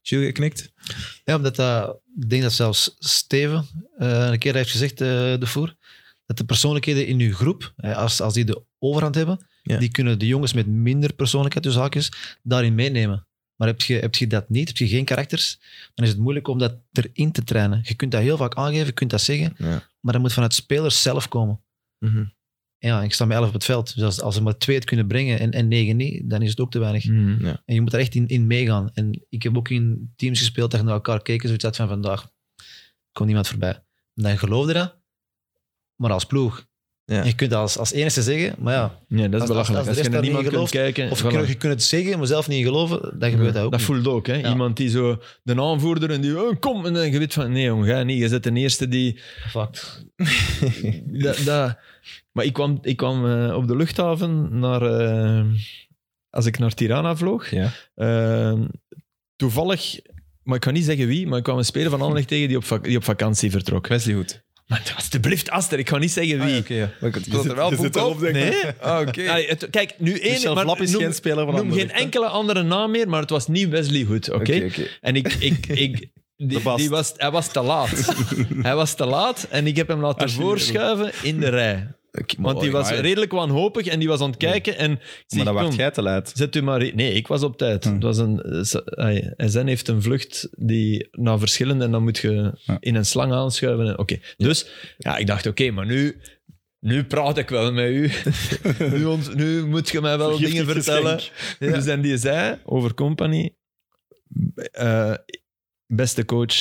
Speaker 1: Gilles, je knikt.
Speaker 4: Ja, omdat dat, ik denk dat zelfs Steven eh, een keer heeft gezegd, eh de voer, dat de persoonlijkheden in uw groep, eh, als, als die de overhand hebben,
Speaker 1: Ja.
Speaker 4: die kunnen de jongens met minder persoonlijkheid, dus haakjes, daarin meenemen. Maar heb je, heb je dat niet, heb je geen karakters, dan is het moeilijk om dat erin te trainen. Je kunt dat heel vaak aangeven, je kunt dat zeggen,
Speaker 1: Ja. Mhm.
Speaker 4: maar dat moet vanuit spelers zelf komen. Ja, ik sta met 11 op het veld. Dus als, als ze maar twee het kunnen brengen en, en negen niet, dan is het ook te weinig. En je moet daar echt in, in meegaan. En ik heb ook in teams gespeeld dat je naar elkaar keken. Zoiets had van vandaag komt niemand voorbij. En dan geloofde dat, maar als ploeg.
Speaker 1: Ja.
Speaker 4: En Je kunt dat als, als enige zeggen, maar ja.
Speaker 3: Nee, dat is
Speaker 4: Als-
Speaker 3: belachelijk.
Speaker 4: als
Speaker 3: Als,
Speaker 4: de rest
Speaker 3: je naar
Speaker 4: dat
Speaker 3: niemand
Speaker 4: niet gelooft,
Speaker 3: kunt kijken...
Speaker 4: Of
Speaker 3: voilà.
Speaker 4: je, kunt, je kunt het zeggen, maar zelf niet geloven, dan gebeurt dat ook
Speaker 3: dat
Speaker 4: niet.
Speaker 3: voelde ook, hè?
Speaker 4: Ja.
Speaker 3: Iemand die zo de aanvoerder en die oh, kom en dan je weet van nee jongen, ga niet. Je zet de eerste die
Speaker 4: Fuck.
Speaker 3: dat, dat- Maar ik kwam, ik kwam eh, op de luchthaven naar. eh, als ik naar Tirana vloog.
Speaker 1: Ja.
Speaker 3: eh, toevallig, maar ik kan niet zeggen wie, maar ik kwam een speler van Anderlecht tegen die op, vak- die op vakantie vertrok.
Speaker 1: Wesley Hoed.
Speaker 3: Maar alsjeblieft, Aster, ik ga niet zeggen
Speaker 1: Ah,
Speaker 3: wie.
Speaker 1: ja, oké, ja. Maar ik- ik zat er wel
Speaker 2: Je
Speaker 1: op
Speaker 2: zit erop,
Speaker 1: op.
Speaker 2: denk ik.
Speaker 3: Nee?
Speaker 1: Ah, Oké. Dus
Speaker 3: Allee, het- kijk, nu één.
Speaker 2: Michel
Speaker 3: Maar
Speaker 2: Vlap is
Speaker 3: noem,
Speaker 2: geen speler van
Speaker 3: noem geen
Speaker 2: Anderlecht, hè?
Speaker 3: enkele andere naam meer, maar het was niet Wesley Hood, oké?
Speaker 1: Oké,
Speaker 3: En ik, ik, ik,
Speaker 2: Dat
Speaker 3: die,
Speaker 2: past.
Speaker 3: die was, hij was te laat. hij was te laat en ik heb hem laten
Speaker 2: Alsjeblieft.
Speaker 3: voorschuiven in de rij.
Speaker 1: Oké, maar-
Speaker 3: Want die was
Speaker 2: maar-
Speaker 3: redelijk wanhopig en die was aan het kijken. En ik zeg,
Speaker 2: Maar dan
Speaker 3: kom,
Speaker 2: wacht jij te laat.
Speaker 3: Zet u maar... in. Nee, ik was op tijd.
Speaker 2: Hmm.
Speaker 3: Het was een, eh, s- ai, SN heeft een vlucht die naar verschillende... En dan moet je
Speaker 2: Ja.
Speaker 3: in een slang aanschuiven. en- Oké. Dus ja, ik dacht, oké, maar nu... Nu praat ik wel met u. nu, ont- nu moet je mij wel
Speaker 2: Vergiftigd
Speaker 3: dingen vertellen. Dus en die zei over Company... eh, beste coach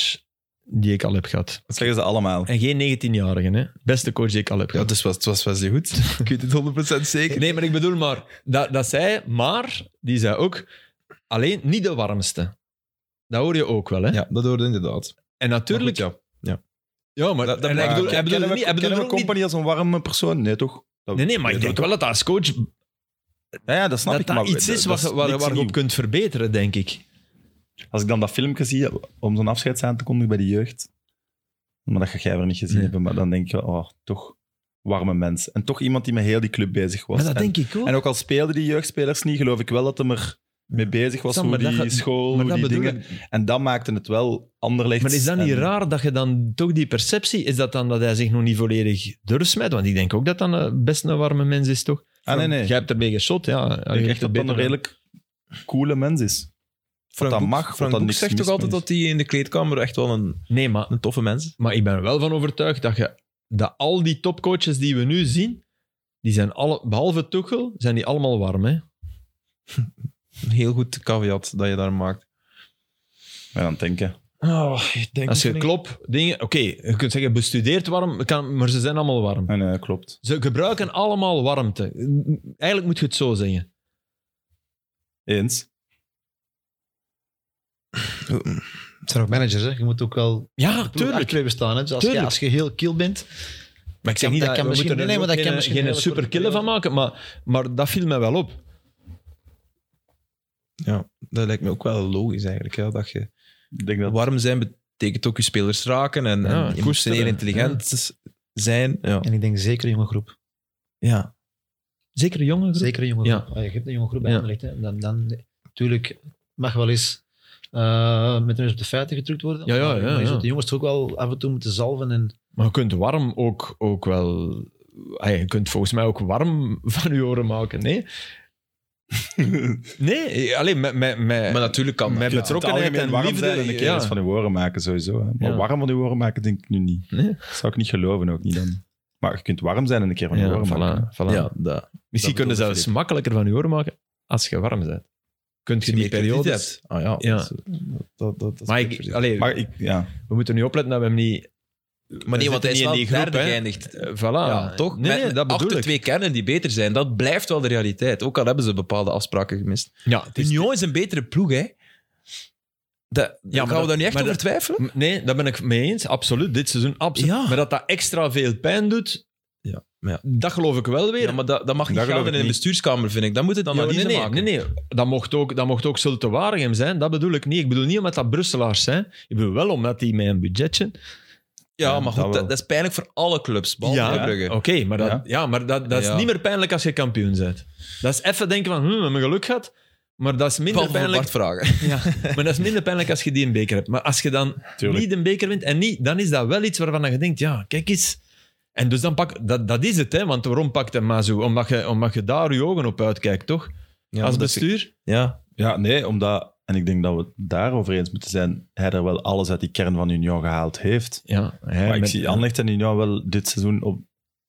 Speaker 3: die ik al heb gehad.
Speaker 2: Dat zeggen ze allemaal.
Speaker 3: En geen 19-jarige, hè. Beste coach die ik al heb
Speaker 1: Ja,
Speaker 3: gehad.
Speaker 1: dus was, het was Wesley Hoed. ik weet het 100% zeker.
Speaker 3: Nee, maar ik bedoel maar, dat, dat zij, maar, die zei ook, alleen niet de warmste. Dat hoor je ook wel, hè?
Speaker 1: Ja, dat hoorde inderdaad.
Speaker 3: En natuurlijk...
Speaker 1: Maar goed,
Speaker 3: ja. maar...
Speaker 1: Dat- dat
Speaker 3: en
Speaker 1: blijkt.
Speaker 3: hij bedoelt- hij bedoelt
Speaker 2: Kennen we-
Speaker 3: niet- hij bedoelt
Speaker 2: kennen we
Speaker 3: ook niet-
Speaker 2: company als een warme persoon? Nee, toch? Dat-
Speaker 3: Nee, nee, maar ik
Speaker 2: dat-
Speaker 3: denk wel dat als coach
Speaker 2: Ja, ja, dat snap
Speaker 3: dat
Speaker 2: ik.
Speaker 3: dat
Speaker 2: maar
Speaker 3: iets
Speaker 2: dat-
Speaker 3: is
Speaker 2: dat
Speaker 3: waar, waar,
Speaker 2: niks
Speaker 3: waar je
Speaker 2: nieuw.
Speaker 3: op kunt verbeteren, denk ik.
Speaker 2: Als ik dan dat filmpje zie, om zo'n afscheid aan te kondigen bij de jeugd, Maar dat ga jij weer niet gezien
Speaker 3: Nee.
Speaker 2: hebben. Maar dan denk je, oh, toch warme mens. En toch iemand die met heel die club bezig was.
Speaker 4: Maar dat
Speaker 2: en,
Speaker 4: denk ik ook.
Speaker 2: en ook al speelden die jeugdspelers niet, geloof ik wel dat hem er mee bezig was.
Speaker 3: Sam,
Speaker 2: hoe
Speaker 3: maar dat
Speaker 2: die
Speaker 3: gaat-
Speaker 2: school,
Speaker 3: maar
Speaker 2: hoe
Speaker 3: dat
Speaker 2: die
Speaker 3: bedoel
Speaker 2: dingen. En dat maakte het wel anderlecht.
Speaker 3: Maar is dat niet
Speaker 2: en-
Speaker 3: raar dat je dan toch die perceptie... Is dat dan dat hij zich nog niet volledig durft smijt? Want ik denk ook dat dan eh, best een warme mens is, toch?
Speaker 2: Ah, nee, nee.
Speaker 3: Jij hebt ermee geschot, ja.
Speaker 2: Ik
Speaker 3: Je
Speaker 2: denk
Speaker 3: hebt
Speaker 2: echt
Speaker 3: het
Speaker 2: dat dat een
Speaker 3: beter-
Speaker 2: redelijk coole mens is.
Speaker 1: Frank
Speaker 2: dat
Speaker 1: Boek-
Speaker 2: mag, wat
Speaker 1: Frank
Speaker 2: dat
Speaker 1: Boek
Speaker 2: niks
Speaker 1: zegt
Speaker 2: mis
Speaker 1: toch altijd
Speaker 2: mee
Speaker 1: dat hij in de kleedkamer echt wel een,
Speaker 3: Nee, maar,
Speaker 1: een toffe mens is?
Speaker 3: maar ik ben er wel van overtuigd dat, je, dat al die topcoaches die we nu zien, die zijn alle, behalve Tuchel, zijn die allemaal warm, hè?
Speaker 1: Een heel goed caveat dat je daar maakt.
Speaker 2: En dan denken.
Speaker 1: Oh, ik denk
Speaker 3: Als je
Speaker 1: niet-
Speaker 3: klop, dingen... Oké, je kunt zeggen bestudeerd warm, kan, maar ze zijn allemaal warm.
Speaker 2: Nee, nee, klopt.
Speaker 3: Ze gebruiken allemaal warmte. Eigenlijk moet je het zo zeggen.
Speaker 2: Eens.
Speaker 4: Het zijn ook managers, hè. Je moet ook wel...
Speaker 3: Ja,
Speaker 4: Tuurlijk. Club staan, hè. Dus als, je,
Speaker 3: Tuurlijk.
Speaker 4: als je heel kiel bent...
Speaker 3: Maar ik zeg
Speaker 4: Kan-
Speaker 3: niet
Speaker 4: dat
Speaker 3: dat,
Speaker 4: kan
Speaker 3: we
Speaker 4: misschien-
Speaker 3: moeten er
Speaker 4: nee, maar dat
Speaker 3: ook
Speaker 4: kan
Speaker 3: geen,
Speaker 4: misschien
Speaker 3: geen
Speaker 4: een hele
Speaker 3: superkille
Speaker 4: korte
Speaker 3: van maken, maar, maar dat viel mij wel op.
Speaker 1: Ja, dat lijkt me ook wel logisch eigenlijk. Hè? Dat je
Speaker 2: Ik denk dat
Speaker 1: warm zijn betekent ook je spelers raken en,
Speaker 3: Ja,
Speaker 1: en emotioneel
Speaker 3: koesteren.
Speaker 1: intelligent zijn. Ja.
Speaker 4: En ik denk zeker een jonge groep.
Speaker 1: ja.
Speaker 3: Zeker jongen.
Speaker 4: Zeker een jonge
Speaker 3: Ja.
Speaker 4: groep. Ah, je hebt een jonge groep bij
Speaker 3: Ja.
Speaker 4: Anderlecht, hè. Dan, dan, tuurlijk mag wel eens eh, met een neus op de feiten gedrukt worden.
Speaker 3: Ja, ja, ja,
Speaker 4: Maar je
Speaker 3: ja.
Speaker 4: zult de jongens toch ook wel af en toe moeten zalven. En,
Speaker 3: Maar je kunt warm ook, ook wel... Ah, je kunt volgens mij ook warm van je oren maken, nee? nee, alleen met... met, met
Speaker 1: Maar natuurlijk kan dat.
Speaker 3: met
Speaker 2: Je kunt het
Speaker 3: betrokkenheid
Speaker 2: algemeen
Speaker 3: en
Speaker 2: warm
Speaker 3: liefde,
Speaker 2: zijn en de
Speaker 3: ja.
Speaker 2: kennis van uw woorden maken sowieso. Hè. Maar
Speaker 3: Ja.
Speaker 2: warm van uw woorden maken denk ik nu niet.
Speaker 3: Nee.
Speaker 2: Dat zou ik niet geloven ook niet dan. Maar je kunt warm zijn en een keer van je
Speaker 3: ja,
Speaker 2: woorden maken.
Speaker 3: voilà, voilà.
Speaker 1: Ja, dat.
Speaker 3: Misschien
Speaker 2: dat
Speaker 3: kunnen ze
Speaker 2: bedoelde
Speaker 3: zelfs makkelijker van je oren maken als je warm bent. Kunt je
Speaker 1: Als je meer
Speaker 3: die
Speaker 1: krediet
Speaker 3: periodes...
Speaker 1: hebt. Ah ja.
Speaker 3: Ja.
Speaker 1: Dat, is- dat, dat, dat is
Speaker 3: Maar,
Speaker 1: goed
Speaker 3: ik,
Speaker 1: voor
Speaker 3: allee,
Speaker 2: Maar ik, ja.
Speaker 3: we moeten nu opletten dat we hem niet...
Speaker 1: zich. maar
Speaker 3: we
Speaker 1: nee, want
Speaker 3: zitten
Speaker 1: hij is
Speaker 3: niet
Speaker 1: wel
Speaker 3: in die groep,
Speaker 1: derde
Speaker 3: hè.
Speaker 1: geëindigd.
Speaker 3: eh, voilà.
Speaker 1: ja, toch?
Speaker 3: Nee, nee,
Speaker 1: Met-
Speaker 3: dat bedoel
Speaker 1: achter
Speaker 3: ik.
Speaker 1: twee kernen die beter zijn. Dat blijft wel de realiteit. Ook al hebben ze bepaalde afspraken gemist.
Speaker 3: Ja, het is-
Speaker 1: Union is een betere ploeg, hè. Dat, ja,
Speaker 3: maar
Speaker 1: gaan we
Speaker 3: dat-
Speaker 1: daar niet echt
Speaker 3: maar
Speaker 1: over
Speaker 3: dat-
Speaker 1: twijfelen?
Speaker 3: M- Nee, daar ben ik mee eens. Absoluut. Dit seizoen, absoluut.
Speaker 1: Ja.
Speaker 3: Maar dat dat extra veel pijn doet,
Speaker 1: Ja, maar ja.
Speaker 3: dat geloof ik wel weer.
Speaker 1: Ja, maar dat, dat mag niet
Speaker 2: Dat
Speaker 1: gelden
Speaker 2: geloof ik
Speaker 1: in de
Speaker 2: niet.
Speaker 1: bestuurskamer, vind ik. Dan moet het
Speaker 3: Ja, maar
Speaker 1: analyse
Speaker 3: nee, nee,
Speaker 1: maken.
Speaker 3: nee, nee. Dat mocht ook, dat mocht ook Zulte Waregem zijn. Dat bedoel ik niet. Ik bedoel niet omdat dat Brusselaars zijn. Ik bedoel wel omdat die met een budgetje...
Speaker 1: Ja,
Speaker 2: Ja,
Speaker 1: maar
Speaker 2: dat
Speaker 1: goed, dat,
Speaker 2: wel.
Speaker 1: dat is pijnlijk voor alle clubs, behalve
Speaker 3: Ja,
Speaker 1: Club Brugge.
Speaker 3: oké. maar dat, ja.
Speaker 2: Ja.
Speaker 3: maar dat, dat is
Speaker 1: Ja.
Speaker 3: niet meer pijnlijk als je kampioen bent. Dat is even denken van, hm, we hebben geluk gehad. Maar dat is minder
Speaker 1: Behalve voor
Speaker 3: pijnlijk...
Speaker 1: Bart vragen.
Speaker 3: Ja, maar dat is minder pijnlijk als je die een beker hebt. Maar als je dan
Speaker 2: Tuurlijk.
Speaker 3: niet een beker wint en niet, dan is dat wel iets waarvan je denkt, ja, kijk eens. En dus dan pak, dat, dat is het, hè, want waarom pakt hij maar zo? Omdat je, omdat je daar je ogen op uitkijkt, toch? als bestuur.
Speaker 1: Ja,
Speaker 2: ja, nee, omdat... En ik denk dat we het daarover eens moeten zijn. Hij er wel alles uit die kern van Union gehaald heeft.
Speaker 3: Ja, hè,
Speaker 2: maar ik
Speaker 3: met-
Speaker 2: zie Anderlecht en Union wel dit seizoen op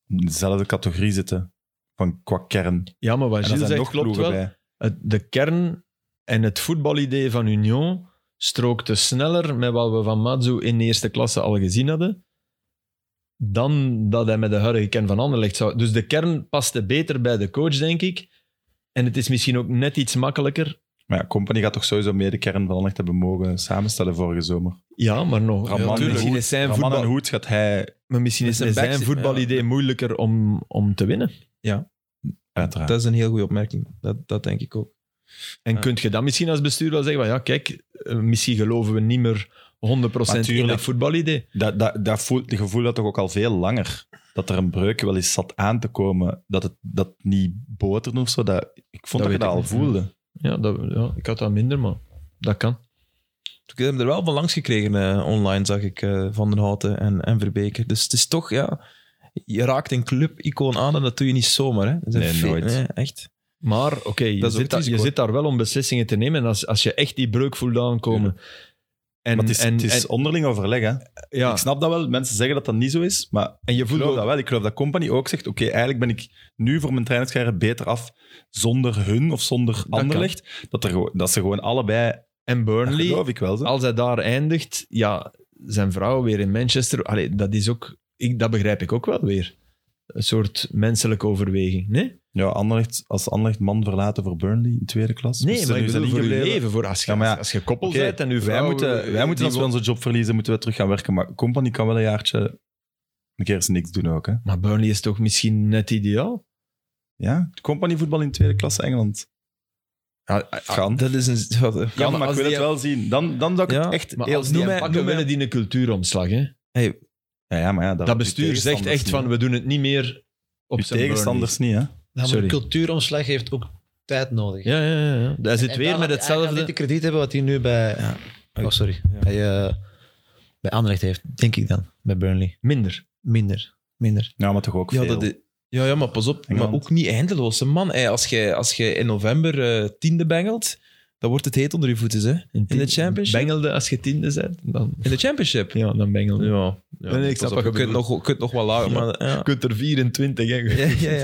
Speaker 2: dezelfde categorie zitten. Van qua kern.
Speaker 3: ja, maar wat
Speaker 2: En er
Speaker 3: Gilles
Speaker 2: zijn
Speaker 3: zegt
Speaker 2: nog
Speaker 3: klopt
Speaker 2: ploegen
Speaker 3: wel.
Speaker 2: bij.
Speaker 3: Het- de kern en het voetbalidee van Union strookte sneller met wat we van Mazzu in de eerste klasse al gezien hadden, dan dat hij met de huidige kern van Anderlecht zou... Dus de kern paste beter bij de coach, denk ik. En het is misschien ook net iets makkelijker.
Speaker 2: Maar ja, Company gaat toch sowieso meer de kern van Anderlecht hebben mogen samenstellen vorige zomer.
Speaker 3: Ja, maar nog...
Speaker 2: Raman
Speaker 3: Ja,
Speaker 2: en
Speaker 3: misschien
Speaker 2: Hoed-
Speaker 3: is zijn,
Speaker 2: Raman
Speaker 3: voetbal,
Speaker 2: en Hoed gaat hij
Speaker 3: maar misschien is
Speaker 1: Met zijn
Speaker 3: zijn
Speaker 1: backs-
Speaker 3: voetbalidee moeilijker om, om te winnen.
Speaker 2: uiteraard.
Speaker 1: dat is een heel goede opmerking. Dat, dat denk ik ook.
Speaker 3: En
Speaker 2: Ja.
Speaker 3: kunt je dan misschien als bestuur wel zeggen van ja, kijk, eh, misschien geloven we niet meer 100% in
Speaker 2: Natuurlijk.
Speaker 3: dat voetbalidee.
Speaker 2: Dat, dat, dat voelt, die gevoel dat toch ook al veel langer. Dat er een breuk wel eens zat aan te komen. Dat het dat niet boterde of zo. Dat, ik vond dat,
Speaker 3: Dat weet
Speaker 2: je dat al
Speaker 3: ik niet.
Speaker 2: voelde.
Speaker 3: Ja, dat, ja, ik had dat minder, maar dat kan.
Speaker 1: Ik heb hem er wel van langs gekregen eh, online, zag ik, eh, Van den Houten en, en Verbeke. Dus het is toch, ja... Je raakt een club-icoon aan en dat doe je niet zomaar. Hè. Dat is een
Speaker 2: Nee,
Speaker 1: fe-
Speaker 2: nooit.
Speaker 1: echt.
Speaker 3: Maar oké, je,
Speaker 1: Dat is ook
Speaker 3: zit
Speaker 1: het
Speaker 3: daar- je
Speaker 1: risico.
Speaker 3: zit daar wel om beslissingen te nemen. En als, als je echt die breuk voelt aankomen. En,
Speaker 2: maar het is,
Speaker 3: en,
Speaker 2: het is
Speaker 3: en-
Speaker 2: onderling overleg. Hè.
Speaker 3: ja,
Speaker 2: Ik snap dat wel. Mensen zeggen dat dat niet zo is. Maar
Speaker 3: en je
Speaker 2: ik
Speaker 3: voelt
Speaker 2: geloof
Speaker 3: ook-
Speaker 2: dat wel. Ik geloof dat Company ook zegt... Oké, eigenlijk ben ik nu voor mijn trainerscarrière beter af zonder hun of zonder
Speaker 3: kan.
Speaker 2: Anderlecht. Dat, er, gewoon- dat ze gewoon allebei...
Speaker 3: En
Speaker 2: Dat
Speaker 3: Burnley,
Speaker 2: geloof ik wel. Zo.
Speaker 3: als hij daar eindigt, ja, zijn vrouw weer in Manchester. Allee, dat is ook, ik, dat begrijp ik ook wel weer. Een soort menselijke overweging. Nee,
Speaker 2: Ja, Anderlecht, als Anderlecht man verlaten voor Burnley in tweede klas.
Speaker 3: nee
Speaker 2: moesten
Speaker 3: maar
Speaker 2: nu
Speaker 3: ik
Speaker 2: zijn
Speaker 3: bedoel, voor je
Speaker 2: ingebleven.
Speaker 3: leven, voor als je,
Speaker 2: Ja, maar ja,
Speaker 3: als je koppel
Speaker 2: oké,
Speaker 3: bent en uw vrouw...
Speaker 2: wij moeten, wij moeten
Speaker 3: die
Speaker 2: als we
Speaker 3: wil-
Speaker 2: onze job verliezen, moeten we terug gaan werken. Maar Company kan wel een jaartje een keer eens niks doen ook. Hè?
Speaker 3: Maar Burnley is toch misschien net ideaal?
Speaker 2: Ja, Company voetbal in tweede klasse Engeland.
Speaker 3: ah,
Speaker 2: Gaan.
Speaker 1: Dat is een...
Speaker 2: Ja, maar ik
Speaker 1: als
Speaker 2: wil
Speaker 1: die-
Speaker 2: het wel zien. Dan, dan zou ik
Speaker 1: Ja,
Speaker 2: het echt
Speaker 3: Maar
Speaker 2: heel
Speaker 3: als die
Speaker 2: snel
Speaker 1: noem mij-
Speaker 3: hem pakken,
Speaker 1: noem mij-
Speaker 3: willen die een cultuuromslag. Hè?
Speaker 1: Hey,
Speaker 2: Ja, ja, maar ja,
Speaker 3: Dat bestuur zegt echt van, we doen het niet meer op
Speaker 2: Op
Speaker 3: zijn
Speaker 2: tegenstanders niet, hè?
Speaker 4: Ja, maar
Speaker 3: Sorry.
Speaker 4: een cultuuromslag heeft ook tijd nodig.
Speaker 3: Burnley. Ja, ja, ja. ja. Hij zit
Speaker 4: En
Speaker 3: weer
Speaker 4: daar-
Speaker 3: met
Speaker 4: Hij gaat niet
Speaker 3: hetzelfde. Ah,
Speaker 4: de krediet hebben wat hij nu bij... Oh, sorry. Bij, eh, bij Anderlecht heeft, denk ik dan. Bij Burnley.
Speaker 3: Minder.
Speaker 4: Minder. Minder.
Speaker 2: Ja, Nou, maar toch ook
Speaker 1: Ja,
Speaker 2: veel.
Speaker 1: dat is- ja, ja, maar pas op.
Speaker 2: Engeland.
Speaker 1: Maar ook niet eindeloos. hè, Man, Hey, als je als jij in november eh, tiende bengelt, dan wordt het heet onder je voeten. Hè? In de Championship?
Speaker 3: Bengelde als je tiende bent, dan,
Speaker 1: In de championship.
Speaker 3: ja, dan bengelde.
Speaker 1: Ja. ja
Speaker 3: Nee, nee,
Speaker 1: pas
Speaker 3: ik snap
Speaker 1: op,
Speaker 3: wat je
Speaker 1: je kunt
Speaker 3: bedoelt.
Speaker 1: nog, je kunt nog wel lager.
Speaker 3: Ja.
Speaker 1: Maar,
Speaker 3: Je
Speaker 1: ja.
Speaker 3: kunt er 24, hè.
Speaker 1: Ja, ja, ja.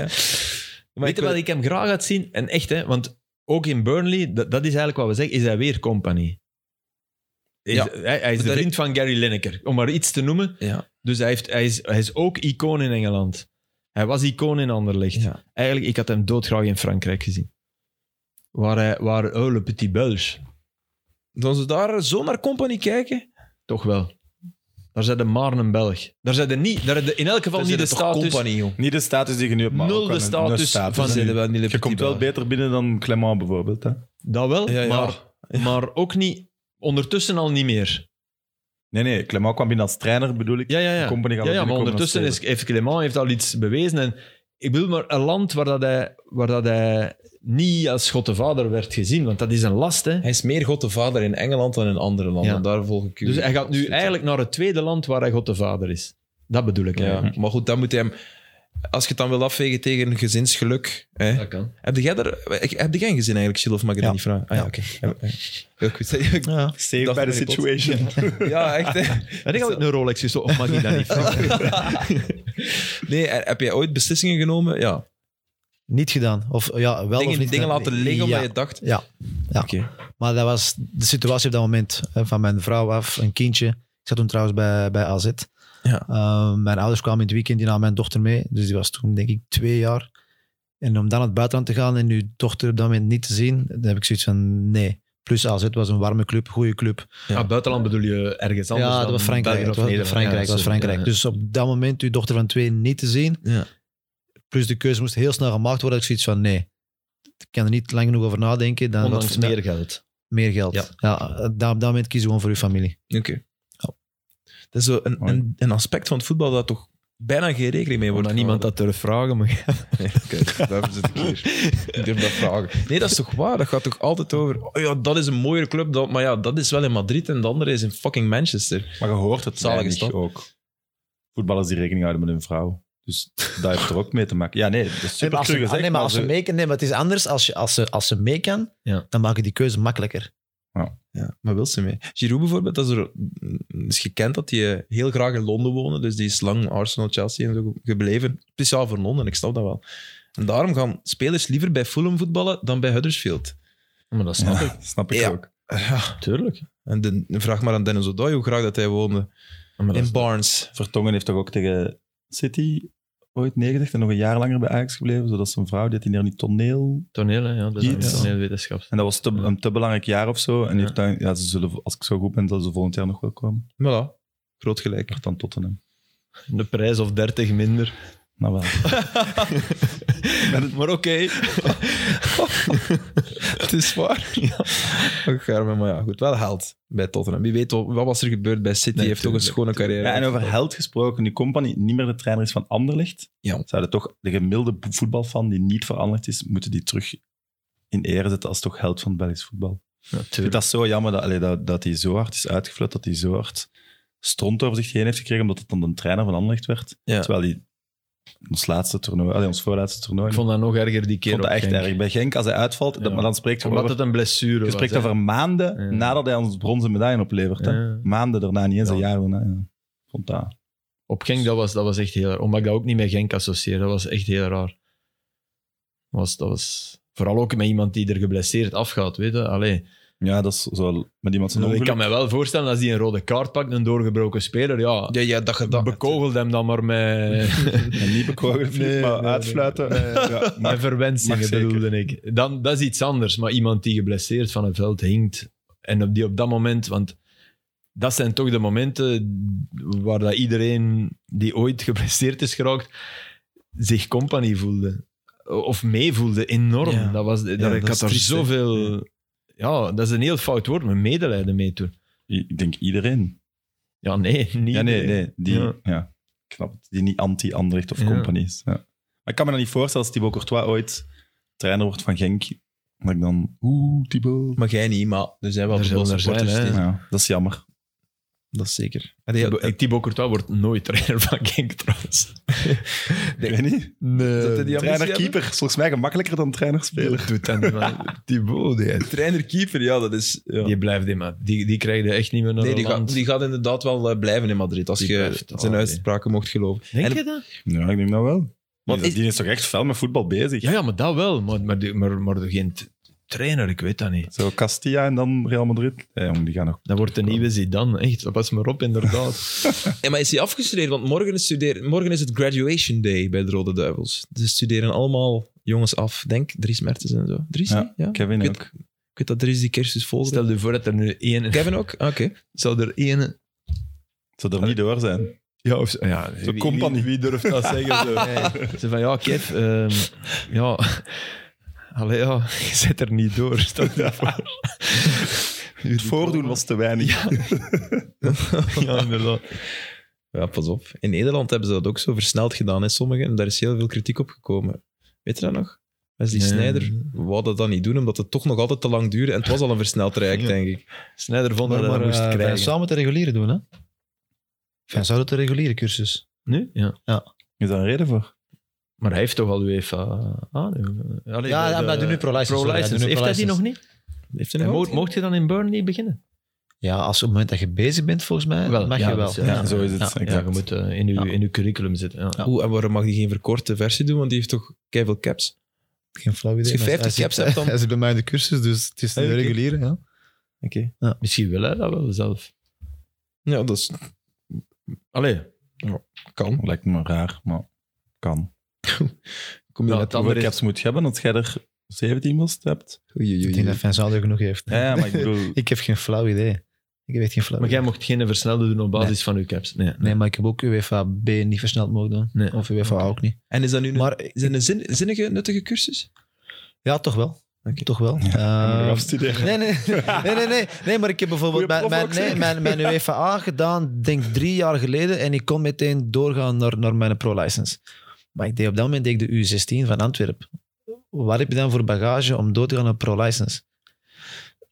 Speaker 3: Maar Weet je wat ik hem graag had zien? En echt, hè, want ook in Burnley, dat, dat is eigenlijk wat we zeggen, is hij weer company. Is-
Speaker 1: Ja.
Speaker 3: hij, hij is de
Speaker 1: Dat-
Speaker 3: vriend van Gary Lineker, om maar iets te noemen.
Speaker 1: Ja.
Speaker 3: Dus hij, heeft, hij, is, hij is ook icoon in Engeland. Hij was icoon in Anderlecht.
Speaker 1: Ja.
Speaker 3: Eigenlijk, ik had hem doodgraag in Frankrijk gezien. Waar, hij, waar oh, le petit Belge.
Speaker 1: Dan ze daar zo naar company kijken.
Speaker 3: Toch wel. Daar zijn de maar een Belg. Daar zijn de niet, daar de, in elk geval
Speaker 1: Dan
Speaker 3: niet de
Speaker 1: zijn er toch
Speaker 3: status.
Speaker 1: company, joh.
Speaker 2: Niet de status die je nu hebt, maar
Speaker 3: Nul
Speaker 2: ook
Speaker 3: de
Speaker 2: wel een-
Speaker 3: status
Speaker 2: een
Speaker 1: Van
Speaker 3: van-
Speaker 2: nu.
Speaker 1: zijn er wel niet
Speaker 2: Je komt wel beter binnen dan Clement bijvoorbeeld. Hè?
Speaker 3: Dat wel,
Speaker 1: Ja, ja.
Speaker 3: Maar, maar ook niet, ondertussen al niet meer.
Speaker 2: Nee, nee, Clement kwam binnen als trainer, bedoel ik.
Speaker 3: Ja, ja, ja.
Speaker 2: De company gaat
Speaker 3: Ja,
Speaker 2: wel
Speaker 3: ja maar
Speaker 2: binnenkomen
Speaker 3: ondertussen
Speaker 2: als
Speaker 3: is, heeft Clement heeft al iets bewezen. En ik bedoel, maar een land waar, dat hij, waar dat hij niet als God de Vader werd gezien, want dat is een last. Hè?
Speaker 1: Hij is meer God de Vader in Engeland dan in andere landen.
Speaker 3: Ja.
Speaker 1: Daar volg ik u.
Speaker 3: Dus hij gaat nu
Speaker 1: Absoluut.
Speaker 3: eigenlijk naar het tweede land waar hij God de Vader is. Dat bedoel ik.
Speaker 1: Ja.
Speaker 3: eigenlijk.
Speaker 1: Maar goed, dan moet hij hem... Als je het dan wil afwegen tegen gezinsgeluk... Hè?
Speaker 3: Dat kan.
Speaker 1: Heb jij er... ik- Heb jij een gezin eigenlijk, Gilles, of mag ik dat
Speaker 4: Ja.
Speaker 1: niet vragen? Ah ja,
Speaker 4: Ja.
Speaker 1: oké. Ja, ja. Heel goed.
Speaker 2: tweede.
Speaker 4: Ja.
Speaker 1: Dat
Speaker 2: Saved by the
Speaker 1: is mijn
Speaker 2: situation.
Speaker 1: Ja, echt. Hè?
Speaker 3: En ik had ook een Rolex gestolen, of mag ik dat niet vragen?
Speaker 1: Nee, en heb jij ooit beslissingen genomen? Ja.
Speaker 4: Niet gedaan. Of ja, wel
Speaker 1: dingen
Speaker 4: of niet
Speaker 1: dingen
Speaker 4: gedaan.
Speaker 1: laten liggen omdat
Speaker 4: Ja.
Speaker 1: je dacht...
Speaker 4: Ja. Ja.
Speaker 1: Oké.
Speaker 4: Maar dat was de situatie op dat moment. hè, Van mijn vrouw af, een kindje. Ik zat toen trouwens bij, bij AZ.
Speaker 1: Ja.
Speaker 4: Ehm, mijn ouders kwamen in het weekend, die namen mijn dochter mee. Dus die was toen denk ik twee jaar. En om dan naar het buitenland te gaan en uw dochter op dat moment niet te zien, dan heb ik zoiets van nee. Plus AZ was een warme club, goede club.
Speaker 1: Ja.
Speaker 3: Ah, buitenland bedoel je ergens anders
Speaker 4: ja, dat
Speaker 3: dan
Speaker 4: was Frankrijk.
Speaker 3: België
Speaker 4: Dat
Speaker 3: of
Speaker 4: was
Speaker 3: Nederland.
Speaker 4: Frankrijk,
Speaker 3: Ja,
Speaker 4: dat was
Speaker 3: sorry.
Speaker 4: Frankrijk.
Speaker 3: Ja.
Speaker 4: Dus op dat moment uw dochter van twee niet te zien.
Speaker 1: Ja.
Speaker 4: Plus de keuze moest heel snel gemaakt worden. Ik zoiets van nee. Ik kan er niet lang genoeg over nadenken. Dan
Speaker 3: Ondanks
Speaker 4: wat-
Speaker 3: meer geld.
Speaker 4: meer geld.
Speaker 3: Ja.
Speaker 4: Ja. dan, op dat moment kies je gewoon voor je familie.
Speaker 1: Oké. Dat is zo een,
Speaker 2: Mooi.
Speaker 1: een, een aspect van het voetbal dat toch bijna geen rekening mee wordt
Speaker 3: Omdat niemand
Speaker 1: gehouden.
Speaker 3: dat durft vragen, maar
Speaker 1: Kijk, daarvoor zit ik hier. Ik durf dat vragen. Nee, dat is toch waar? Dat gaat toch altijd over... Oh ja, dat is een mooiere club. Dat, maar ja, dat is wel in Madrid en de andere is in fucking Manchester.
Speaker 2: Maar je hoort het
Speaker 1: Zalige
Speaker 2: zalig
Speaker 1: stad.
Speaker 2: ook. Voetballers die rekening houden met hun vrouw. Dus dat heeft er ook mee te maken. Ja, nee, dat is super cru gezegd.
Speaker 4: nee, maar als ze
Speaker 2: ze-
Speaker 4: mee kan, nee, maar het is anders. Als, je, als, ze, als ze mee kan,
Speaker 3: Ja.
Speaker 4: dan maak je die keuze makkelijker.
Speaker 1: Ja, maar wil ze mee? Giroud bijvoorbeeld, dat is, er, mm, is gekend dat hij heel graag in Londen woonde. Dus die is lang Arsenal, Chelsea en zo gebleven. Speciaal voor Londen, ik snap dat wel. En daarom gaan spelers liever bij Fulham voetballen dan bij Huddersfield.
Speaker 3: Maar dat snap ik.
Speaker 2: Ja, snap ik
Speaker 1: Ja.
Speaker 2: ook.
Speaker 1: Ja,
Speaker 3: Tuurlijk.
Speaker 1: en de, vraag maar aan Dennis O'Doy hoe graag dat hij woonde.
Speaker 3: Maar dat
Speaker 1: In Barnes.
Speaker 2: Vertongen heeft toch ook tegen City ooit neergelegd en nog een jaar langer bij Ajax gebleven, zodat zijn vrouw deed hij daar niet toneel.
Speaker 3: Toneel, hè, ja, dat is
Speaker 2: Iets.
Speaker 3: een toneelwetenschap.
Speaker 2: En dat was te, een te belangrijk jaar of zo. En die
Speaker 3: Ja.
Speaker 2: heeft dan, ja, ze zullen, als ik zo goed ben, zullen ze volgend jaar nog wel komen.
Speaker 1: Voilà, groot gelijk.
Speaker 2: Dan Tottenham.
Speaker 3: De prijs of 30 minder.
Speaker 2: Nou wel.
Speaker 3: maar oké.
Speaker 1: Het is waar. Ook Garmin, maar ja, goed. Wel held bij Tottenham. Wie weet wat, wat was er gebeurd bij City.
Speaker 3: Nee,
Speaker 1: heeft ook een
Speaker 3: tuurlijk,
Speaker 1: schone carrière.
Speaker 2: Ja, en over held gesproken, nu Company niet meer de trainer is van Anderlecht,
Speaker 1: Ja.
Speaker 2: zouden toch de gemiddelde voetbalfan die niet van Anderlecht is, moeten die terug in ere zetten als toch held van het Belgisch voetbal. Ik vind
Speaker 3: Natuurlijk.
Speaker 2: dat zo jammer dat, allee, dat, dat hij zo hard is uitgeflut, dat hij zo hard stront over zich heen heeft gekregen, omdat het dan de trainer van Anderlecht werd.
Speaker 1: Ja.
Speaker 2: Terwijl hij ons laatste toernooi, allee, ons voorlaatste toernooi,
Speaker 3: Ik vond dat nog erger die
Speaker 2: ik
Speaker 3: keer.
Speaker 2: vond dat
Speaker 3: op
Speaker 2: echt
Speaker 3: Genk.
Speaker 2: erg. Bij Genk, als hij uitvalt, dat-
Speaker 3: Ja.
Speaker 2: maar dan spreekt je
Speaker 3: Omdat
Speaker 2: over,
Speaker 3: het een blessure
Speaker 2: je
Speaker 3: was.
Speaker 2: spreekt
Speaker 3: hè.
Speaker 2: over maanden
Speaker 3: Ja.
Speaker 2: nadat hij ons bronzen medaille oplevert. hè.
Speaker 3: Ja.
Speaker 2: Maanden daarna, niet eens
Speaker 3: Ja.
Speaker 2: een jaar daarna. Ja. Ik Vond dat...
Speaker 3: Op Genk, dat was, dat was echt heel raar. Omdat ik dat ook niet met Genk associeer. Dat was echt heel raar. Was, dat was... Vooral ook met iemand die er geblesseerd afgaat, weet je. Allee.
Speaker 2: Ja, dat is zo. Met iemand zijn
Speaker 3: Ik
Speaker 2: ongeluk.
Speaker 3: kan me wel voorstellen, als hij een rode kaart pakt, een doorgebroken speler, ja...
Speaker 1: Ja, ja, dat je dat...
Speaker 3: bekogelt hem dan maar met...
Speaker 2: En niet bekogeld,
Speaker 3: Nee,
Speaker 2: maar
Speaker 3: nee, nee.
Speaker 2: uitfluiten. Eh, ja, maar-
Speaker 3: Met verwensingen
Speaker 2: mag zeker.
Speaker 3: bedoelde ik. Dan, dat is iets anders. Maar iemand die geblesseerd van het veld hinkt. En op die op dat moment. Want dat zijn toch de momenten waar dat iedereen die ooit geblesseerd is geraakt. zich compagnie voelde. Of meevoelde enorm.
Speaker 1: Ja.
Speaker 3: Dat was, dat,
Speaker 1: dat
Speaker 3: ik
Speaker 1: is
Speaker 3: had er
Speaker 1: triest, hè.
Speaker 3: zoveel. Ja, dat is een heel fout woord, maar medelijden mee toen.
Speaker 2: I- Ik denk iedereen.
Speaker 3: Ja, nee, niet.
Speaker 2: Ja, nee,
Speaker 3: iedereen.
Speaker 2: nee. Die,
Speaker 3: Ja.
Speaker 2: ja. knap het. Die niet anti-Anderlecht of
Speaker 3: Ja.
Speaker 2: company is. Ja. Maar ik kan me dat niet voorstellen als Thibaut Courtois ooit trainer wordt van Genk. Dat ik dan... Oeh, Thibaut.
Speaker 1: Maar jij niet, maar er zijn wel
Speaker 3: Er
Speaker 1: veel
Speaker 3: zullen er
Speaker 1: supporters.
Speaker 3: zijn, hè.
Speaker 1: die-
Speaker 2: Ja, dat is jammer.
Speaker 1: Dat is zeker.
Speaker 3: Thibaut- Thibaut Courtois wordt nooit trainer van Genk trouwens.
Speaker 2: Ik weet niet.
Speaker 3: Nee,
Speaker 1: die ambitie
Speaker 2: Trainer-keeper. is Volgens mij gemakkelijker dan trainer-speler.
Speaker 3: doet dat niet, man. Thibaut, die,
Speaker 1: Trainer-keeper, ja, dat is... ja.
Speaker 3: die blijft in, man. Die, die krijg je echt niet meer naar
Speaker 1: Nee, die
Speaker 3: Holland.
Speaker 1: gaat, die gaat inderdaad wel eh, blijven in Madrid, als
Speaker 3: Die
Speaker 1: je
Speaker 3: blijft,
Speaker 1: zijn
Speaker 3: oh,
Speaker 1: uitspraken mocht geloven.
Speaker 3: Denk
Speaker 1: En-
Speaker 3: je dat?
Speaker 2: Ja, ik denk dat wel.
Speaker 1: Want
Speaker 2: die,
Speaker 1: is-
Speaker 2: die is toch echt fel met voetbal bezig.
Speaker 3: Ja, ja, maar dat wel. Maar, maar, die- maar, maar geen t- trainer, ik weet dat niet.
Speaker 2: Zo Castilla en dan Real Madrid. Ja, jong, die gaan nog...
Speaker 3: Dat wordt de nieuwe Zidane, echt. Pas maar op, inderdaad.
Speaker 1: Ja, maar is hij afgestudeerd? Want morgen is, studeer, morgen is het graduation day bij de Rode Duivels. Dus studeren allemaal jongens af. Denk Dries Mertens en zo. Dries? Ja.
Speaker 2: Ja. Kevin
Speaker 1: Ik
Speaker 2: ook.
Speaker 1: Ik weet dat Dries die cursus volgt.
Speaker 3: Stel je voor dat er nu één...
Speaker 1: Kevin ook? Ah, Oké.
Speaker 3: Zou er één...
Speaker 2: Zou er niet door zijn.
Speaker 3: Ja, of... zo- Ja, wie- wie-
Speaker 2: compagnie. Wie durft dat zeggen? Zo.
Speaker 3: Ze van, ja, Kev, ehm, ja... Allee, ja, je zet er niet door. Stel je voor.
Speaker 2: Het voordoen was te weinig.
Speaker 3: Ja, inderdaad.
Speaker 1: Ja, pas op. In Nederland hebben ze dat ook zo versneld gedaan, hè, sommigen. En daar is heel veel kritiek op gekomen. Weet je dat nog? Wesley
Speaker 3: Nee.
Speaker 1: Sneijder wou dat dan niet doen, omdat het toch nog altijd te lang duurde. En het was al een versneld traject,
Speaker 3: Ja.
Speaker 1: denk ik.
Speaker 3: Snijder vond dat
Speaker 4: Maar,
Speaker 3: hij dat
Speaker 4: maar
Speaker 3: moest
Speaker 4: eh, wij
Speaker 3: krijgen.
Speaker 4: zouden het regulieren doen, hè? Wij zouden het reguliere cursus.
Speaker 3: Nu? Ja.
Speaker 2: Is daar een reden voor?
Speaker 3: Maar hij heeft toch al UEFA ah, aan? Allee,
Speaker 4: ja,
Speaker 3: de-
Speaker 4: ja, maar
Speaker 3: de-
Speaker 4: doe nu pro-license.
Speaker 3: Pro
Speaker 4: sorry, ja, doe
Speaker 3: license.
Speaker 4: nu
Speaker 3: Heeft hij die
Speaker 4: pro-license.
Speaker 3: nog niet?
Speaker 1: Heeft hij
Speaker 3: En
Speaker 1: nog
Speaker 3: mo-
Speaker 1: altijd-
Speaker 3: mocht je dan in Burnley beginnen?
Speaker 4: Ja, als op het moment dat je bezig bent, volgens mij,
Speaker 3: Wel,
Speaker 4: mag
Speaker 3: ja,
Speaker 4: je wel.
Speaker 3: dat is-
Speaker 4: ja.
Speaker 2: Ja, zo is het.
Speaker 4: Ja,
Speaker 2: exact.
Speaker 3: Ja, je moet eh, in, uw,
Speaker 4: Ja.
Speaker 3: in uw curriculum zitten. Ja.
Speaker 1: Oeh, en waarom mag hij geen verkorte versie doen? Want die heeft toch keiveel caps.
Speaker 4: Geen flauw idee.
Speaker 1: Als je
Speaker 4: maar
Speaker 1: 50
Speaker 4: hij
Speaker 1: caps
Speaker 4: zit-
Speaker 1: hebt, dan-
Speaker 4: Hij zit bij mij in de cursus, dus het is de
Speaker 1: Ah, oké.
Speaker 4: reguliere, ja.
Speaker 1: Oké.
Speaker 3: Misschien wil hij dat wel zelf.
Speaker 1: Ja, dat is-
Speaker 3: Allee,
Speaker 1: kan.
Speaker 2: Lijkt me raar, maar kan.
Speaker 1: Kom je ja,
Speaker 3: Ja, het
Speaker 2: Hoeveel
Speaker 3: andere is...
Speaker 2: caps moet je hebben dat jij er 17 most hebt?
Speaker 4: Ik denk dat Vincent er genoeg heeft.
Speaker 2: Ja, ja, maar ik bedoel...
Speaker 4: Ik heb geen flauw idee. Ik heb echt geen flauw
Speaker 3: Maar jij
Speaker 4: idee.
Speaker 3: mocht geen versnelde doen op basis van uw caps. Nee, Dus nee.
Speaker 4: Nee, maar ik heb ook UEFA B niet versneld mogen doen.
Speaker 3: Nee.
Speaker 4: Of UEFA A ook niet.
Speaker 1: En is dat nu een,
Speaker 4: Maar
Speaker 1: is dat een zin- zinnige, nuttige cursus?
Speaker 4: ja, toch wel.
Speaker 1: Oké.
Speaker 4: Toch wel.
Speaker 2: Moet je
Speaker 4: Ehm,
Speaker 2: afstuderen.
Speaker 4: Nee, nee, nee, nee, nee. Nee, maar ik heb bijvoorbeeld
Speaker 2: Goeie
Speaker 4: mijn,
Speaker 2: prof
Speaker 4: mijn,
Speaker 2: ook,
Speaker 4: nee,
Speaker 2: zeker?
Speaker 4: mijn, mijn UEFA A gedaan, denk drie jaar geleden. En ik kon meteen doorgaan naar, naar mijn pro-license. Maar ik deed op dat moment deed ik de U16 van Antwerpen. Wat heb je dan voor bagage om door te gaan naar pro-license?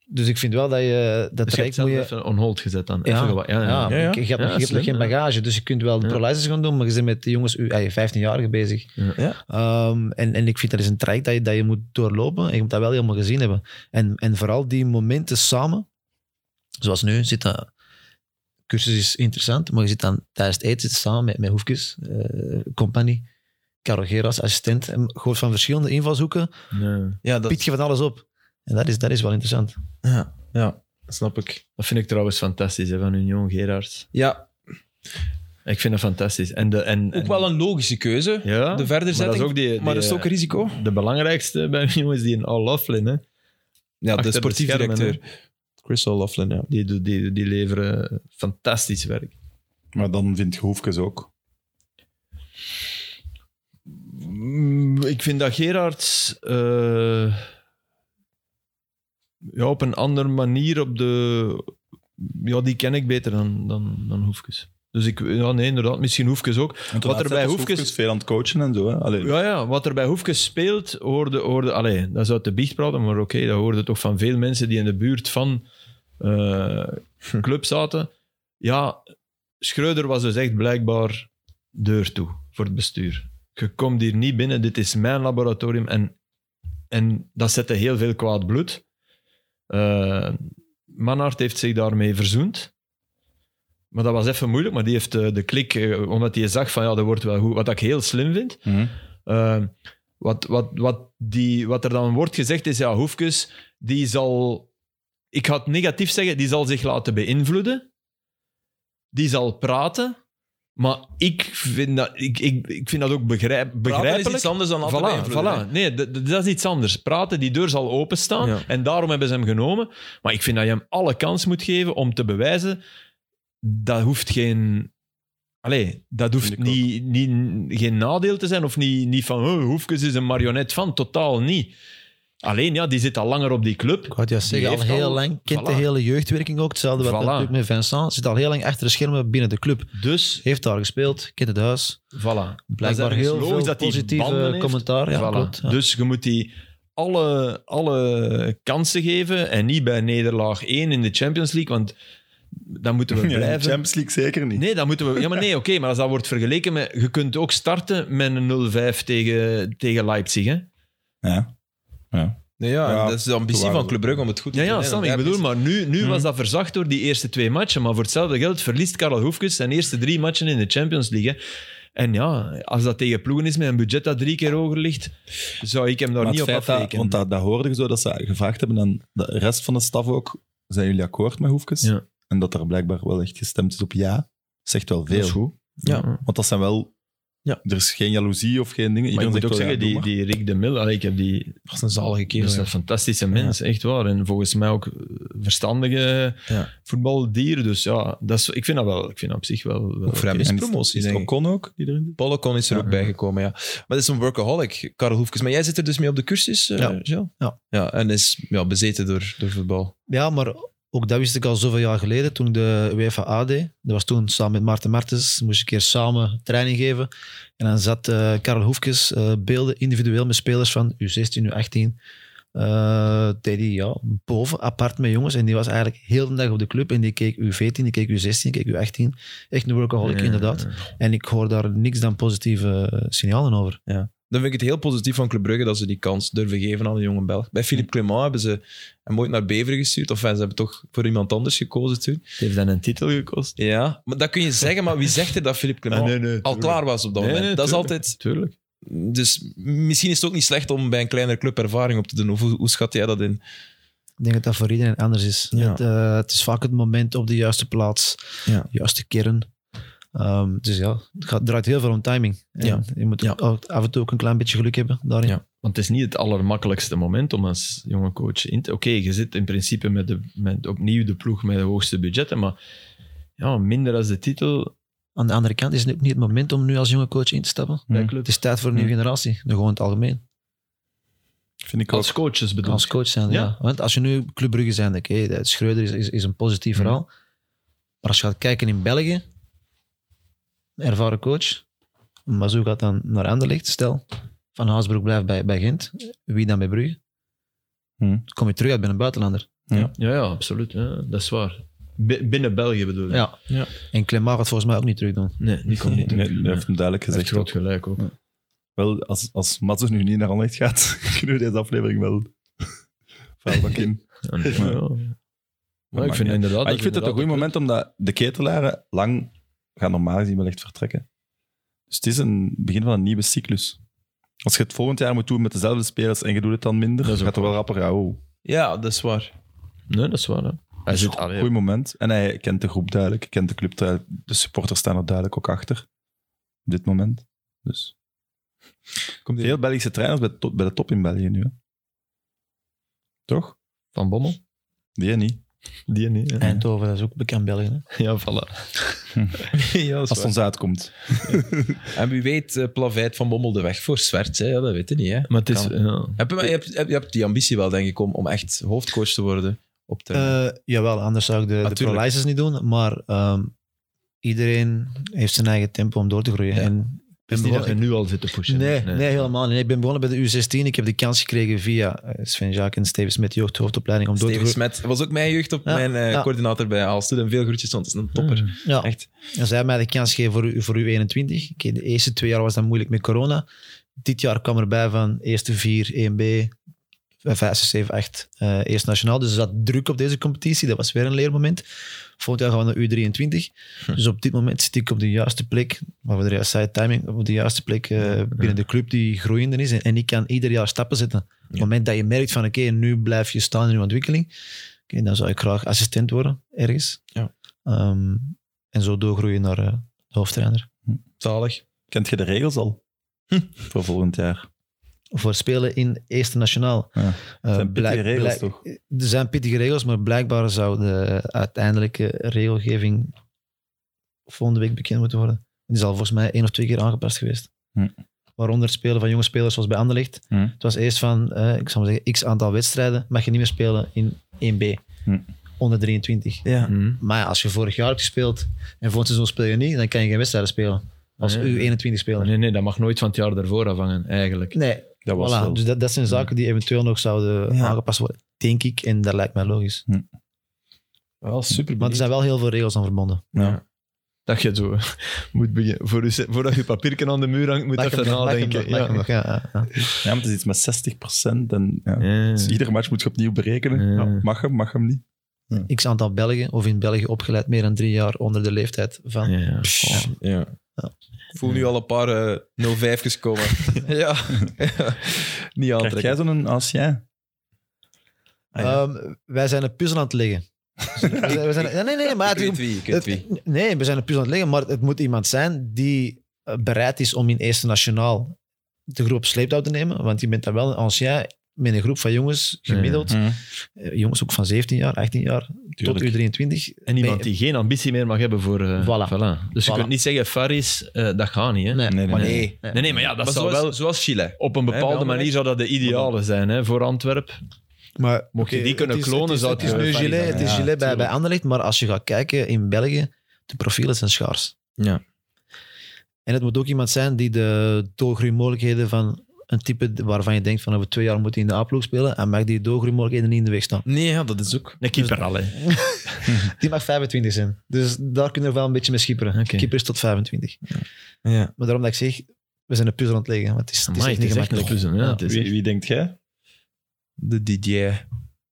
Speaker 4: Dus ik vind wel dat je dat
Speaker 3: Dus je
Speaker 4: traject
Speaker 3: hebt zelf
Speaker 4: moet je...
Speaker 3: even on hold gezet dan.
Speaker 4: Ja.
Speaker 3: Even gewa- ja, ja.
Speaker 4: Ja,
Speaker 1: ja.
Speaker 4: ik- je hebt, nog-
Speaker 3: Ja,
Speaker 4: je hebt
Speaker 3: slim,
Speaker 4: nog geen
Speaker 3: ja.
Speaker 4: bagage, dus je kunt wel de
Speaker 3: Ja.
Speaker 4: pro-license gaan doen, maar je bent met de jongens, u- ah, je 15-jarigen bezig.
Speaker 3: Ja.
Speaker 1: Ja.
Speaker 4: Ehm, en, en ik vind dat is een traject dat je, dat je moet doorlopen en je moet dat wel helemaal gezien hebben. En, en vooral die momenten samen, zoals nu, zit dat, cursus is interessant, maar je zit dan tijdens het eten zit samen met, met Hoefkes, eh, compagnie, Karel Geras, assistent, en je hoort van verschillende invalshoeken,
Speaker 3: Nee.
Speaker 1: Ja, dat,
Speaker 4: piet je van alles op. En dat is, dat is wel interessant.
Speaker 1: ja, ja, snap ik.
Speaker 3: Dat vind ik trouwens fantastisch, hè, van Union Gerards.
Speaker 1: Ja,
Speaker 3: Ik vind dat fantastisch. En de, en,
Speaker 1: ook wel een logische keuze.
Speaker 3: ja,
Speaker 1: de
Speaker 3: maar dat
Speaker 1: verderzetting,
Speaker 3: is ook die, eh,
Speaker 1: maar dat is ook een risico.
Speaker 3: De belangrijkste bij Union is die in Al Laughlin, hè.
Speaker 1: Ja,
Speaker 3: Achter
Speaker 1: de
Speaker 3: de
Speaker 1: sportief
Speaker 3: schermen,
Speaker 1: directeur. Chris O'Loughlin, ja.
Speaker 3: Die, doet- die, die leveren fantastisch werk.
Speaker 2: Maar dan vindt je Hoefkes ook.
Speaker 3: Mm, Ik vind dat Gerards eh, ja, op een andere manier op de. Ja, die ken ik beter dan, dan, dan Hoefkes. Dus ik, ja, nee, inderdaad, misschien Hoefkes ook. Wat er bij Hoefkes-
Speaker 2: veel aan het coachen en zo. Hè? Allee,
Speaker 3: Ja, ja, wat er bij Hoefkes speelt, hoorde, hoorde allee, dat is uit de biecht praten, maar oké, dat hoorde toch van veel mensen die in de buurt van eh club zaten. Ja, Schreuder was dus echt blijkbaar deur toe voor het bestuur. Je komt hier niet binnen, dit is mijn laboratorium. En, en dat zette heel veel kwaad bloed. Eh Manhart heeft zich daarmee verzoend. Maar dat was even moeilijk, maar die heeft eh, de klik, eh, omdat hij zag van ja, dat wordt wel goed. Wat ik heel slim vind,
Speaker 2: Mhm.
Speaker 3: eh, wat, wat, wat, die, wat er dan wordt gezegd is, ja, Hoefkes, die zal, ik ga het negatief zeggen, die zal zich laten beïnvloeden. Die zal praten. Maar ik vind dat, ik, ik, ik vind dat ook begrijp,
Speaker 1: Praten is
Speaker 3: begrijpelijk.
Speaker 1: iets anders dan altijd
Speaker 3: Voilà,
Speaker 1: beïnvloeden,
Speaker 3: voilà. Nee, d- d- dat is iets anders. Praten, die deur zal openstaan.
Speaker 1: Ja.
Speaker 3: En daarom hebben ze hem genomen. Maar ik vind dat je hem alle kans moet geven om te bewijzen... Dat hoeft geen... Allee, dat hoeft
Speaker 2: ik ook.
Speaker 3: niet, niet, geen nadeel te zijn. Of niet, niet van, oh, Hoefkes is een marionet van. Totaal niet. Alleen, ja, die zit al langer op die club.
Speaker 4: Ik wou het juist
Speaker 3: Die
Speaker 4: zeggen, al
Speaker 3: heeft
Speaker 4: heel
Speaker 3: al-
Speaker 4: lang kent de
Speaker 3: voilà.
Speaker 4: hele jeugdwerking ook. Hetzelfde wat
Speaker 3: Voilà.
Speaker 4: natuurlijk met Vincent. Zit al heel lang achter de schermen binnen de club.
Speaker 3: Dus,
Speaker 4: Heeft daar gespeeld, kent het huis.
Speaker 3: voilà.
Speaker 4: Blijkbaar
Speaker 3: ergens
Speaker 4: heel veel
Speaker 3: logisch dat die banden
Speaker 4: positieve
Speaker 3: heeft.
Speaker 4: commentaar. Ja,
Speaker 3: Voilà.
Speaker 4: klopt. Ja.
Speaker 3: Dus je moet die alle, alle kansen geven en niet bij nederlaag 1 in de Champions League, want dan moeten we
Speaker 2: Ja, in de
Speaker 3: blijven.
Speaker 2: Champions League zeker niet.
Speaker 3: Nee, dan moeten we. Ja, maar nee, oké, maar als dat wordt vergeleken met. Je kunt ook starten met een 0-5 tegen, tegen Leipzig. Hè?
Speaker 2: Ja.
Speaker 1: Nee, ja,
Speaker 2: Ja,
Speaker 1: dat is de ambitie
Speaker 2: waar.
Speaker 1: van Club Brugge om het goed te
Speaker 3: Ja,
Speaker 1: doen,
Speaker 3: ja,
Speaker 1: hè.
Speaker 3: Sam,
Speaker 1: Want
Speaker 3: ik
Speaker 1: daar
Speaker 3: bedoel,
Speaker 1: is-
Speaker 3: maar nu, nu
Speaker 2: Mhm.
Speaker 3: was dat verzacht door die eerste twee matchen. Maar voor hetzelfde geld verliest Karel Hoefkes zijn eerste drie matchen in de Champions League. Hè. En ja, als dat tegen ploegen is met een budget dat drie keer hoger ligt, zou ik hem daar
Speaker 2: Maar
Speaker 3: niet
Speaker 2: het
Speaker 3: op
Speaker 2: feit dat,
Speaker 3: afrekenen.
Speaker 2: want dat, dat hoorde je zo, dat ze gevraagd hebben aan de rest van de staf ook, zijn jullie akkoord met Hoefkes?
Speaker 3: Ja.
Speaker 2: En dat er blijkbaar wel echt gestemd is op ja, zegt wel veel.
Speaker 3: Dat is goed.
Speaker 4: Ja.
Speaker 2: Want dat zijn wel...
Speaker 4: Ja.
Speaker 2: Er is geen jaloezie of geen dingen.
Speaker 3: Maar ik
Speaker 2: Iedereen
Speaker 3: moet ook
Speaker 2: zegt wel,
Speaker 3: zeggen,
Speaker 2: ja, doe
Speaker 3: die,
Speaker 2: maar.
Speaker 3: die Rick de Mil, allee, ik heb die...
Speaker 1: Dat is een zalige
Speaker 3: dat is
Speaker 1: kerel.
Speaker 3: een fantastische mens, echt waar. En volgens mij ook eh, verstandige
Speaker 1: Ja.
Speaker 3: voetbaldier. Dus ja, dat is, ik vind dat wel, ik vind dat op zich wel... wel
Speaker 1: Ook voor hem
Speaker 3: oké.
Speaker 1: is
Speaker 2: En
Speaker 1: het
Speaker 2: is-
Speaker 1: promotie,
Speaker 2: is het
Speaker 1: denk ik.
Speaker 2: Ocon ook, die erin zit?
Speaker 1: Pollocon is er
Speaker 3: Ja.
Speaker 1: ook bijgekomen, ja. Maar dat is een workaholic, Karel Hoefkes. Maar jij zit er dus mee op de cursus, eh
Speaker 4: Ja.
Speaker 1: Gilles?
Speaker 4: Ja.
Speaker 1: ja. En is ja, bezeten door, door voetbal.
Speaker 4: Ja, maar ook dat wist ik al zoveel jaar geleden toen ik de UEFA A deed. Dat was toen samen met Maarten Martens. Moest ik een keer samen training geven. En dan zat eh Karel Hoefkes eh, beelden individueel met spelers van U16, U18. eh deed hij ja, boven, apart met jongens. En die was eigenlijk heel de dag op de club. En die keek U14, die keek U16, die keek U18. Echt een workaholic,
Speaker 3: Ja.
Speaker 4: inderdaad. En ik hoor daar niks dan positieve eh, signalen over.
Speaker 1: Dan vind ik het heel positief van Club Brugge dat ze die kans durven geven aan de jonge Belg. Bij Philippe Clement hebben ze hem ooit naar Beveren gestuurd. Of eh, ze hebben toch voor iemand anders gekozen toen.
Speaker 3: Het heeft dan een titel gekost.
Speaker 1: Ja, maar dat kun je zeggen. Maar wie zegt er dat Philippe Clement
Speaker 3: Ah, nee,
Speaker 1: al klaar was op dat
Speaker 3: Nee,
Speaker 1: moment? dat
Speaker 3: nee,
Speaker 1: is
Speaker 3: tuurlijk.
Speaker 1: altijd...
Speaker 3: Tuurlijk.
Speaker 1: Dus misschien is het ook niet slecht om bij een kleinere club ervaring op te doen. Of hoe, hoe schat jij dat in?
Speaker 4: Ik denk dat dat voor iedereen anders is.
Speaker 1: Ja.
Speaker 4: Het, eh, het is vaak het moment op de juiste plaats,
Speaker 1: Ja.
Speaker 4: de juiste kern. Ehm, dus ja, het gaat, draait heel veel om timing. En
Speaker 1: Ja.
Speaker 4: Je moet
Speaker 1: Ja.
Speaker 4: ook af en toe ook een klein beetje geluk hebben daarin.
Speaker 1: Ja.
Speaker 3: Want het is niet het allermakkelijkste moment om als jonge coach in te... Oké, je zit in principe met, de, met opnieuw de ploeg met de hoogste budgetten, maar ja, minder als de titel
Speaker 4: Aan de andere kant is het ook niet het moment om nu als jonge coach in te stappen.
Speaker 2: Hmm.
Speaker 3: bij club.
Speaker 4: Het is tijd voor een nieuwe generatie, nou, gewoon in het algemeen.
Speaker 2: Vind ik ook.
Speaker 3: Als coaches bedoel
Speaker 4: Als
Speaker 3: ik.
Speaker 4: coach zijn, ja.
Speaker 3: Ja.
Speaker 4: Want als je nu Club Brugge zijn, oké, dat Schreuder is, is, is een positief
Speaker 3: Hmm.
Speaker 4: verhaal. Maar als je gaat kijken in België, een ervaren coach, maar zo gaat dan naar Anderlecht, stel. Van Haasbroek blijft bij, bij Gent. Wie dan bij Brugge?
Speaker 2: Hmm.
Speaker 4: Dan kom je terug uit bij een buitenlander.
Speaker 3: Ja, ja, absoluut. Ja, dat is waar. Bi- binnen België bedoel ik.
Speaker 4: Ja.
Speaker 3: Ja.
Speaker 4: En Clement gaat volgens mij ook niet terug doen.
Speaker 3: Nee, die komt niet.
Speaker 2: Nee,
Speaker 3: terug.
Speaker 2: dat heeft hem duidelijk
Speaker 3: Hij heeft
Speaker 2: gezegd.
Speaker 3: groot gelijk ook.
Speaker 2: Wel, als, als Matze nu niet naar Anderlecht gaat, kunnen we deze aflevering wel vuil bak in.
Speaker 3: En, ja. Maar ik
Speaker 2: maakt
Speaker 3: vind
Speaker 2: niet.
Speaker 3: inderdaad...
Speaker 2: Maar ik vind
Speaker 3: dat
Speaker 2: het een goed moment, omdat de ketelaren lang gaan normaal gezien wel echt vertrekken. Dus het is een begin van een nieuwe cyclus. Als je het volgend jaar moet doen met dezelfde spelers en je doet het dan minder,
Speaker 3: Dat
Speaker 2: dan
Speaker 3: is ook
Speaker 2: gaat er wel rapper. Ja, oh,
Speaker 1: Ja, dat is waar.
Speaker 3: Nee, dat is waar. Hè. Hij zit... Allee,
Speaker 2: Goed moment. En hij kent de groep duidelijk, hij kent de club duidelijk. De supporters staan er duidelijk ook achter. Op dit moment. Dus.
Speaker 1: Komt
Speaker 2: Veel Belgische trainers bij de top, bij de top in België nu. hè. Toch?
Speaker 3: Van Bommel?
Speaker 2: Die niet.
Speaker 3: Die niet. Ja,
Speaker 4: Eindhoven, dat is ook bekend België. Hè?
Speaker 3: ja voilà.
Speaker 1: ja, dat is
Speaker 2: Als het
Speaker 1: waar.
Speaker 2: ons uitkomt.
Speaker 1: En wie weet eh plaveit Van Bommel de weg voor Zwerts. Hè? Ja, dat weet je niet. Hè?
Speaker 3: Maar het is...
Speaker 1: Kan.
Speaker 3: Ja.
Speaker 1: Heb je, maar je, hebt, heb- je hebt die ambitie wel, denk ik, om, om echt hoofdcoach te worden. Op termijn.
Speaker 4: Eh, jawel, anders zou ik de, de
Speaker 1: tuurlijk.
Speaker 4: pro-license niet doen. Maar ehm, iedereen heeft zijn eigen tempo om door te groeien.
Speaker 1: Ja.
Speaker 4: En ik ben
Speaker 3: Is niet dat
Speaker 4: begonnen-
Speaker 3: je nu al zit te pushen?
Speaker 4: Nee, nee, helemaal niet. Ik ben begonnen bij de U16. Ik heb de kans gekregen via eh, Sven Jaak en Steven Smit, jeugdhoofdopleiding, om door te
Speaker 1: Steven
Speaker 4: groeien.
Speaker 1: Smet was ook mijn jeugd op
Speaker 4: Ja,
Speaker 1: mijn eh,
Speaker 4: ja.
Speaker 1: coördinator bij Aalstoet. En veel groetjes, want het is een topper.
Speaker 3: Hmm.
Speaker 4: Ja.
Speaker 1: Echt.
Speaker 4: En zij hebben mij de kans gegeven voor, u- voor U21. Oké, de eerste twee jaar was dat moeilijk met corona. Dit jaar kwam erbij van eerste vier, E 1B, 5, 6, 7, 8, eh eerst nationaal. Dus er zat druk op deze competitie. Dat was weer een leermoment. Volgend jaar gaan we naar U23. Dus op dit moment zit ik op de juiste plek, maar voor de juiste timing, op de juiste plek eh, binnen de club die groeiende is. En, en ik kan ieder jaar stappen zetten. Op het moment dat je merkt van oké, nu blijf je staan in je ontwikkeling, oké, dan zou ik graag assistent worden ergens.
Speaker 1: Ja.
Speaker 4: Ehm, en zo doorgroeien naar eh, de hoofdtrainer.
Speaker 1: Zalig.
Speaker 2: Kent je de regels al? Voor volgend jaar.
Speaker 4: Voor spelen in Eerste Nationaal.
Speaker 2: Ja.
Speaker 4: Eh,
Speaker 2: zijn pittige
Speaker 4: blijk-
Speaker 2: regels,
Speaker 4: blijk-
Speaker 2: toch?
Speaker 4: Er zijn pittige regels, maar blijkbaar zou de uiteindelijke regelgeving
Speaker 2: Hm.
Speaker 4: volgende week bekend moeten worden. Die is al volgens mij één of twee keer aangepast geweest. waaronder het spelen van jonge spelers zoals bij Anderlecht.
Speaker 2: Mhm.
Speaker 4: Het was eerst van, eh, ik zou maar zeggen, x aantal wedstrijden mag je niet meer spelen in 1B,
Speaker 2: Mhm.
Speaker 4: onder 23.
Speaker 1: Ja.
Speaker 3: Hm.
Speaker 4: Maar ja, als je vorig jaar hebt gespeeld en volgend seizoen speel je niet, dan kan je geen wedstrijden spelen. Als
Speaker 3: Nee.
Speaker 4: U21 speler.
Speaker 3: Nee, nee, dat mag nooit van het jaar daarvoor afhangen, eigenlijk.
Speaker 4: Nee,
Speaker 2: Dat was
Speaker 4: voilà.
Speaker 2: wel.
Speaker 4: Dus dat, dat zijn zaken die eventueel nog zouden
Speaker 1: Ja.
Speaker 4: aangepast worden, denk ik. En dat lijkt mij logisch.
Speaker 2: Wel super
Speaker 4: Maar er zijn wel heel veel regels aan verbonden.
Speaker 2: Ja.
Speaker 3: Dat je zo moet beginnen. Voor je- voordat je papierken aan de muur hangt, moet je even nadenken.
Speaker 4: ja.
Speaker 3: Ja.
Speaker 4: ja, ja.
Speaker 2: Ja, maar het is iets met 60% en ja. Dus
Speaker 3: Ja.
Speaker 2: iedere match moet je opnieuw berekenen.
Speaker 3: Ja.
Speaker 2: Ja, mag hem, mag hem niet.
Speaker 4: X aantal Belgen of in België opgeleid meer dan drie jaar onder de leeftijd van.
Speaker 3: Ja.
Speaker 1: Pff, ja.
Speaker 4: Ja.
Speaker 1: Ik voel nu al een paar eh 05's komen. ja. Niet
Speaker 2: Krijg jij
Speaker 1: aantrekken.
Speaker 2: zo'n als jij? Ah, ja.
Speaker 4: Ehm, wij zijn een puzzel aan het leggen. we zijn, we zijn- ja, nee, nee, maar
Speaker 1: Ik
Speaker 4: het,
Speaker 1: weet wie, ik weet wie.
Speaker 4: het- nee, we zijn een puzzel aan het leggen, maar het moet iemand zijn die eh, bereid is om in Eerste Nationaal de groep sleeptouw te nemen. Want je bent dan wel een ancien met een groep van jongens, gemiddeld.
Speaker 2: Mhm.
Speaker 4: eh, Jongens ook van 17 jaar, 18 jaar, tot
Speaker 2: Tuurlijk.
Speaker 4: U23.
Speaker 3: En iemand die geen ambitie meer mag hebben voor... eh,
Speaker 4: Voilà.
Speaker 3: Dus je
Speaker 4: Voilà.
Speaker 3: kunt niet zeggen, Faris, eh, dat gaat niet. Hè?
Speaker 4: Nee,
Speaker 2: Nee,
Speaker 4: nee,
Speaker 2: nee,
Speaker 4: maar
Speaker 1: nee.
Speaker 4: nee.
Speaker 3: nee. nee, maar ja, dat
Speaker 1: Maar
Speaker 3: zou
Speaker 1: zoals,
Speaker 3: wel...
Speaker 1: zoals Chile.
Speaker 3: Op een
Speaker 1: bij
Speaker 3: bepaalde
Speaker 1: Anderlecht.
Speaker 3: manier zou dat de idealen zijn hè, voor Antwerp.
Speaker 4: Maar,
Speaker 3: Mocht je
Speaker 4: oké,
Speaker 3: die kunnen
Speaker 4: het is-
Speaker 3: klonen,
Speaker 4: het is,
Speaker 3: zou
Speaker 4: het
Speaker 3: het,
Speaker 4: is
Speaker 3: eh,
Speaker 4: nu
Speaker 3: fijn
Speaker 4: gilet,
Speaker 3: zijn.
Speaker 4: het is
Speaker 2: Ja,
Speaker 4: gilet bij, bij
Speaker 2: tuurlijk.
Speaker 4: Anderlecht, maar als je gaat kijken in België, de profielen zijn schaars.
Speaker 1: Ja.
Speaker 4: En het moet ook iemand zijn die de doorgroeimogelijkheden van een type waarvan je denkt van over twee jaar moet hij in de A-ploeg spelen, en mag die doorgroeimogelijkheden niet in de weg staan.
Speaker 1: Nee, ja, dat is ook.
Speaker 3: Een keeper al, hè.
Speaker 4: Die mag 25 zijn. Dus daar kunnen we wel een beetje mee schipperen.
Speaker 3: Oké.
Speaker 4: Keepers tot 25.
Speaker 1: Ja.
Speaker 4: Maar daarom dat ik zeg, we zijn een puzzel aan het leggen. Want het is, het is
Speaker 3: Amai,
Speaker 4: echt niet
Speaker 3: het is echt een
Speaker 4: gemakkelijk.
Speaker 3: puzzel, ja, het is
Speaker 2: Wie,
Speaker 3: echt-
Speaker 2: wie denkt jij?
Speaker 1: De DJ.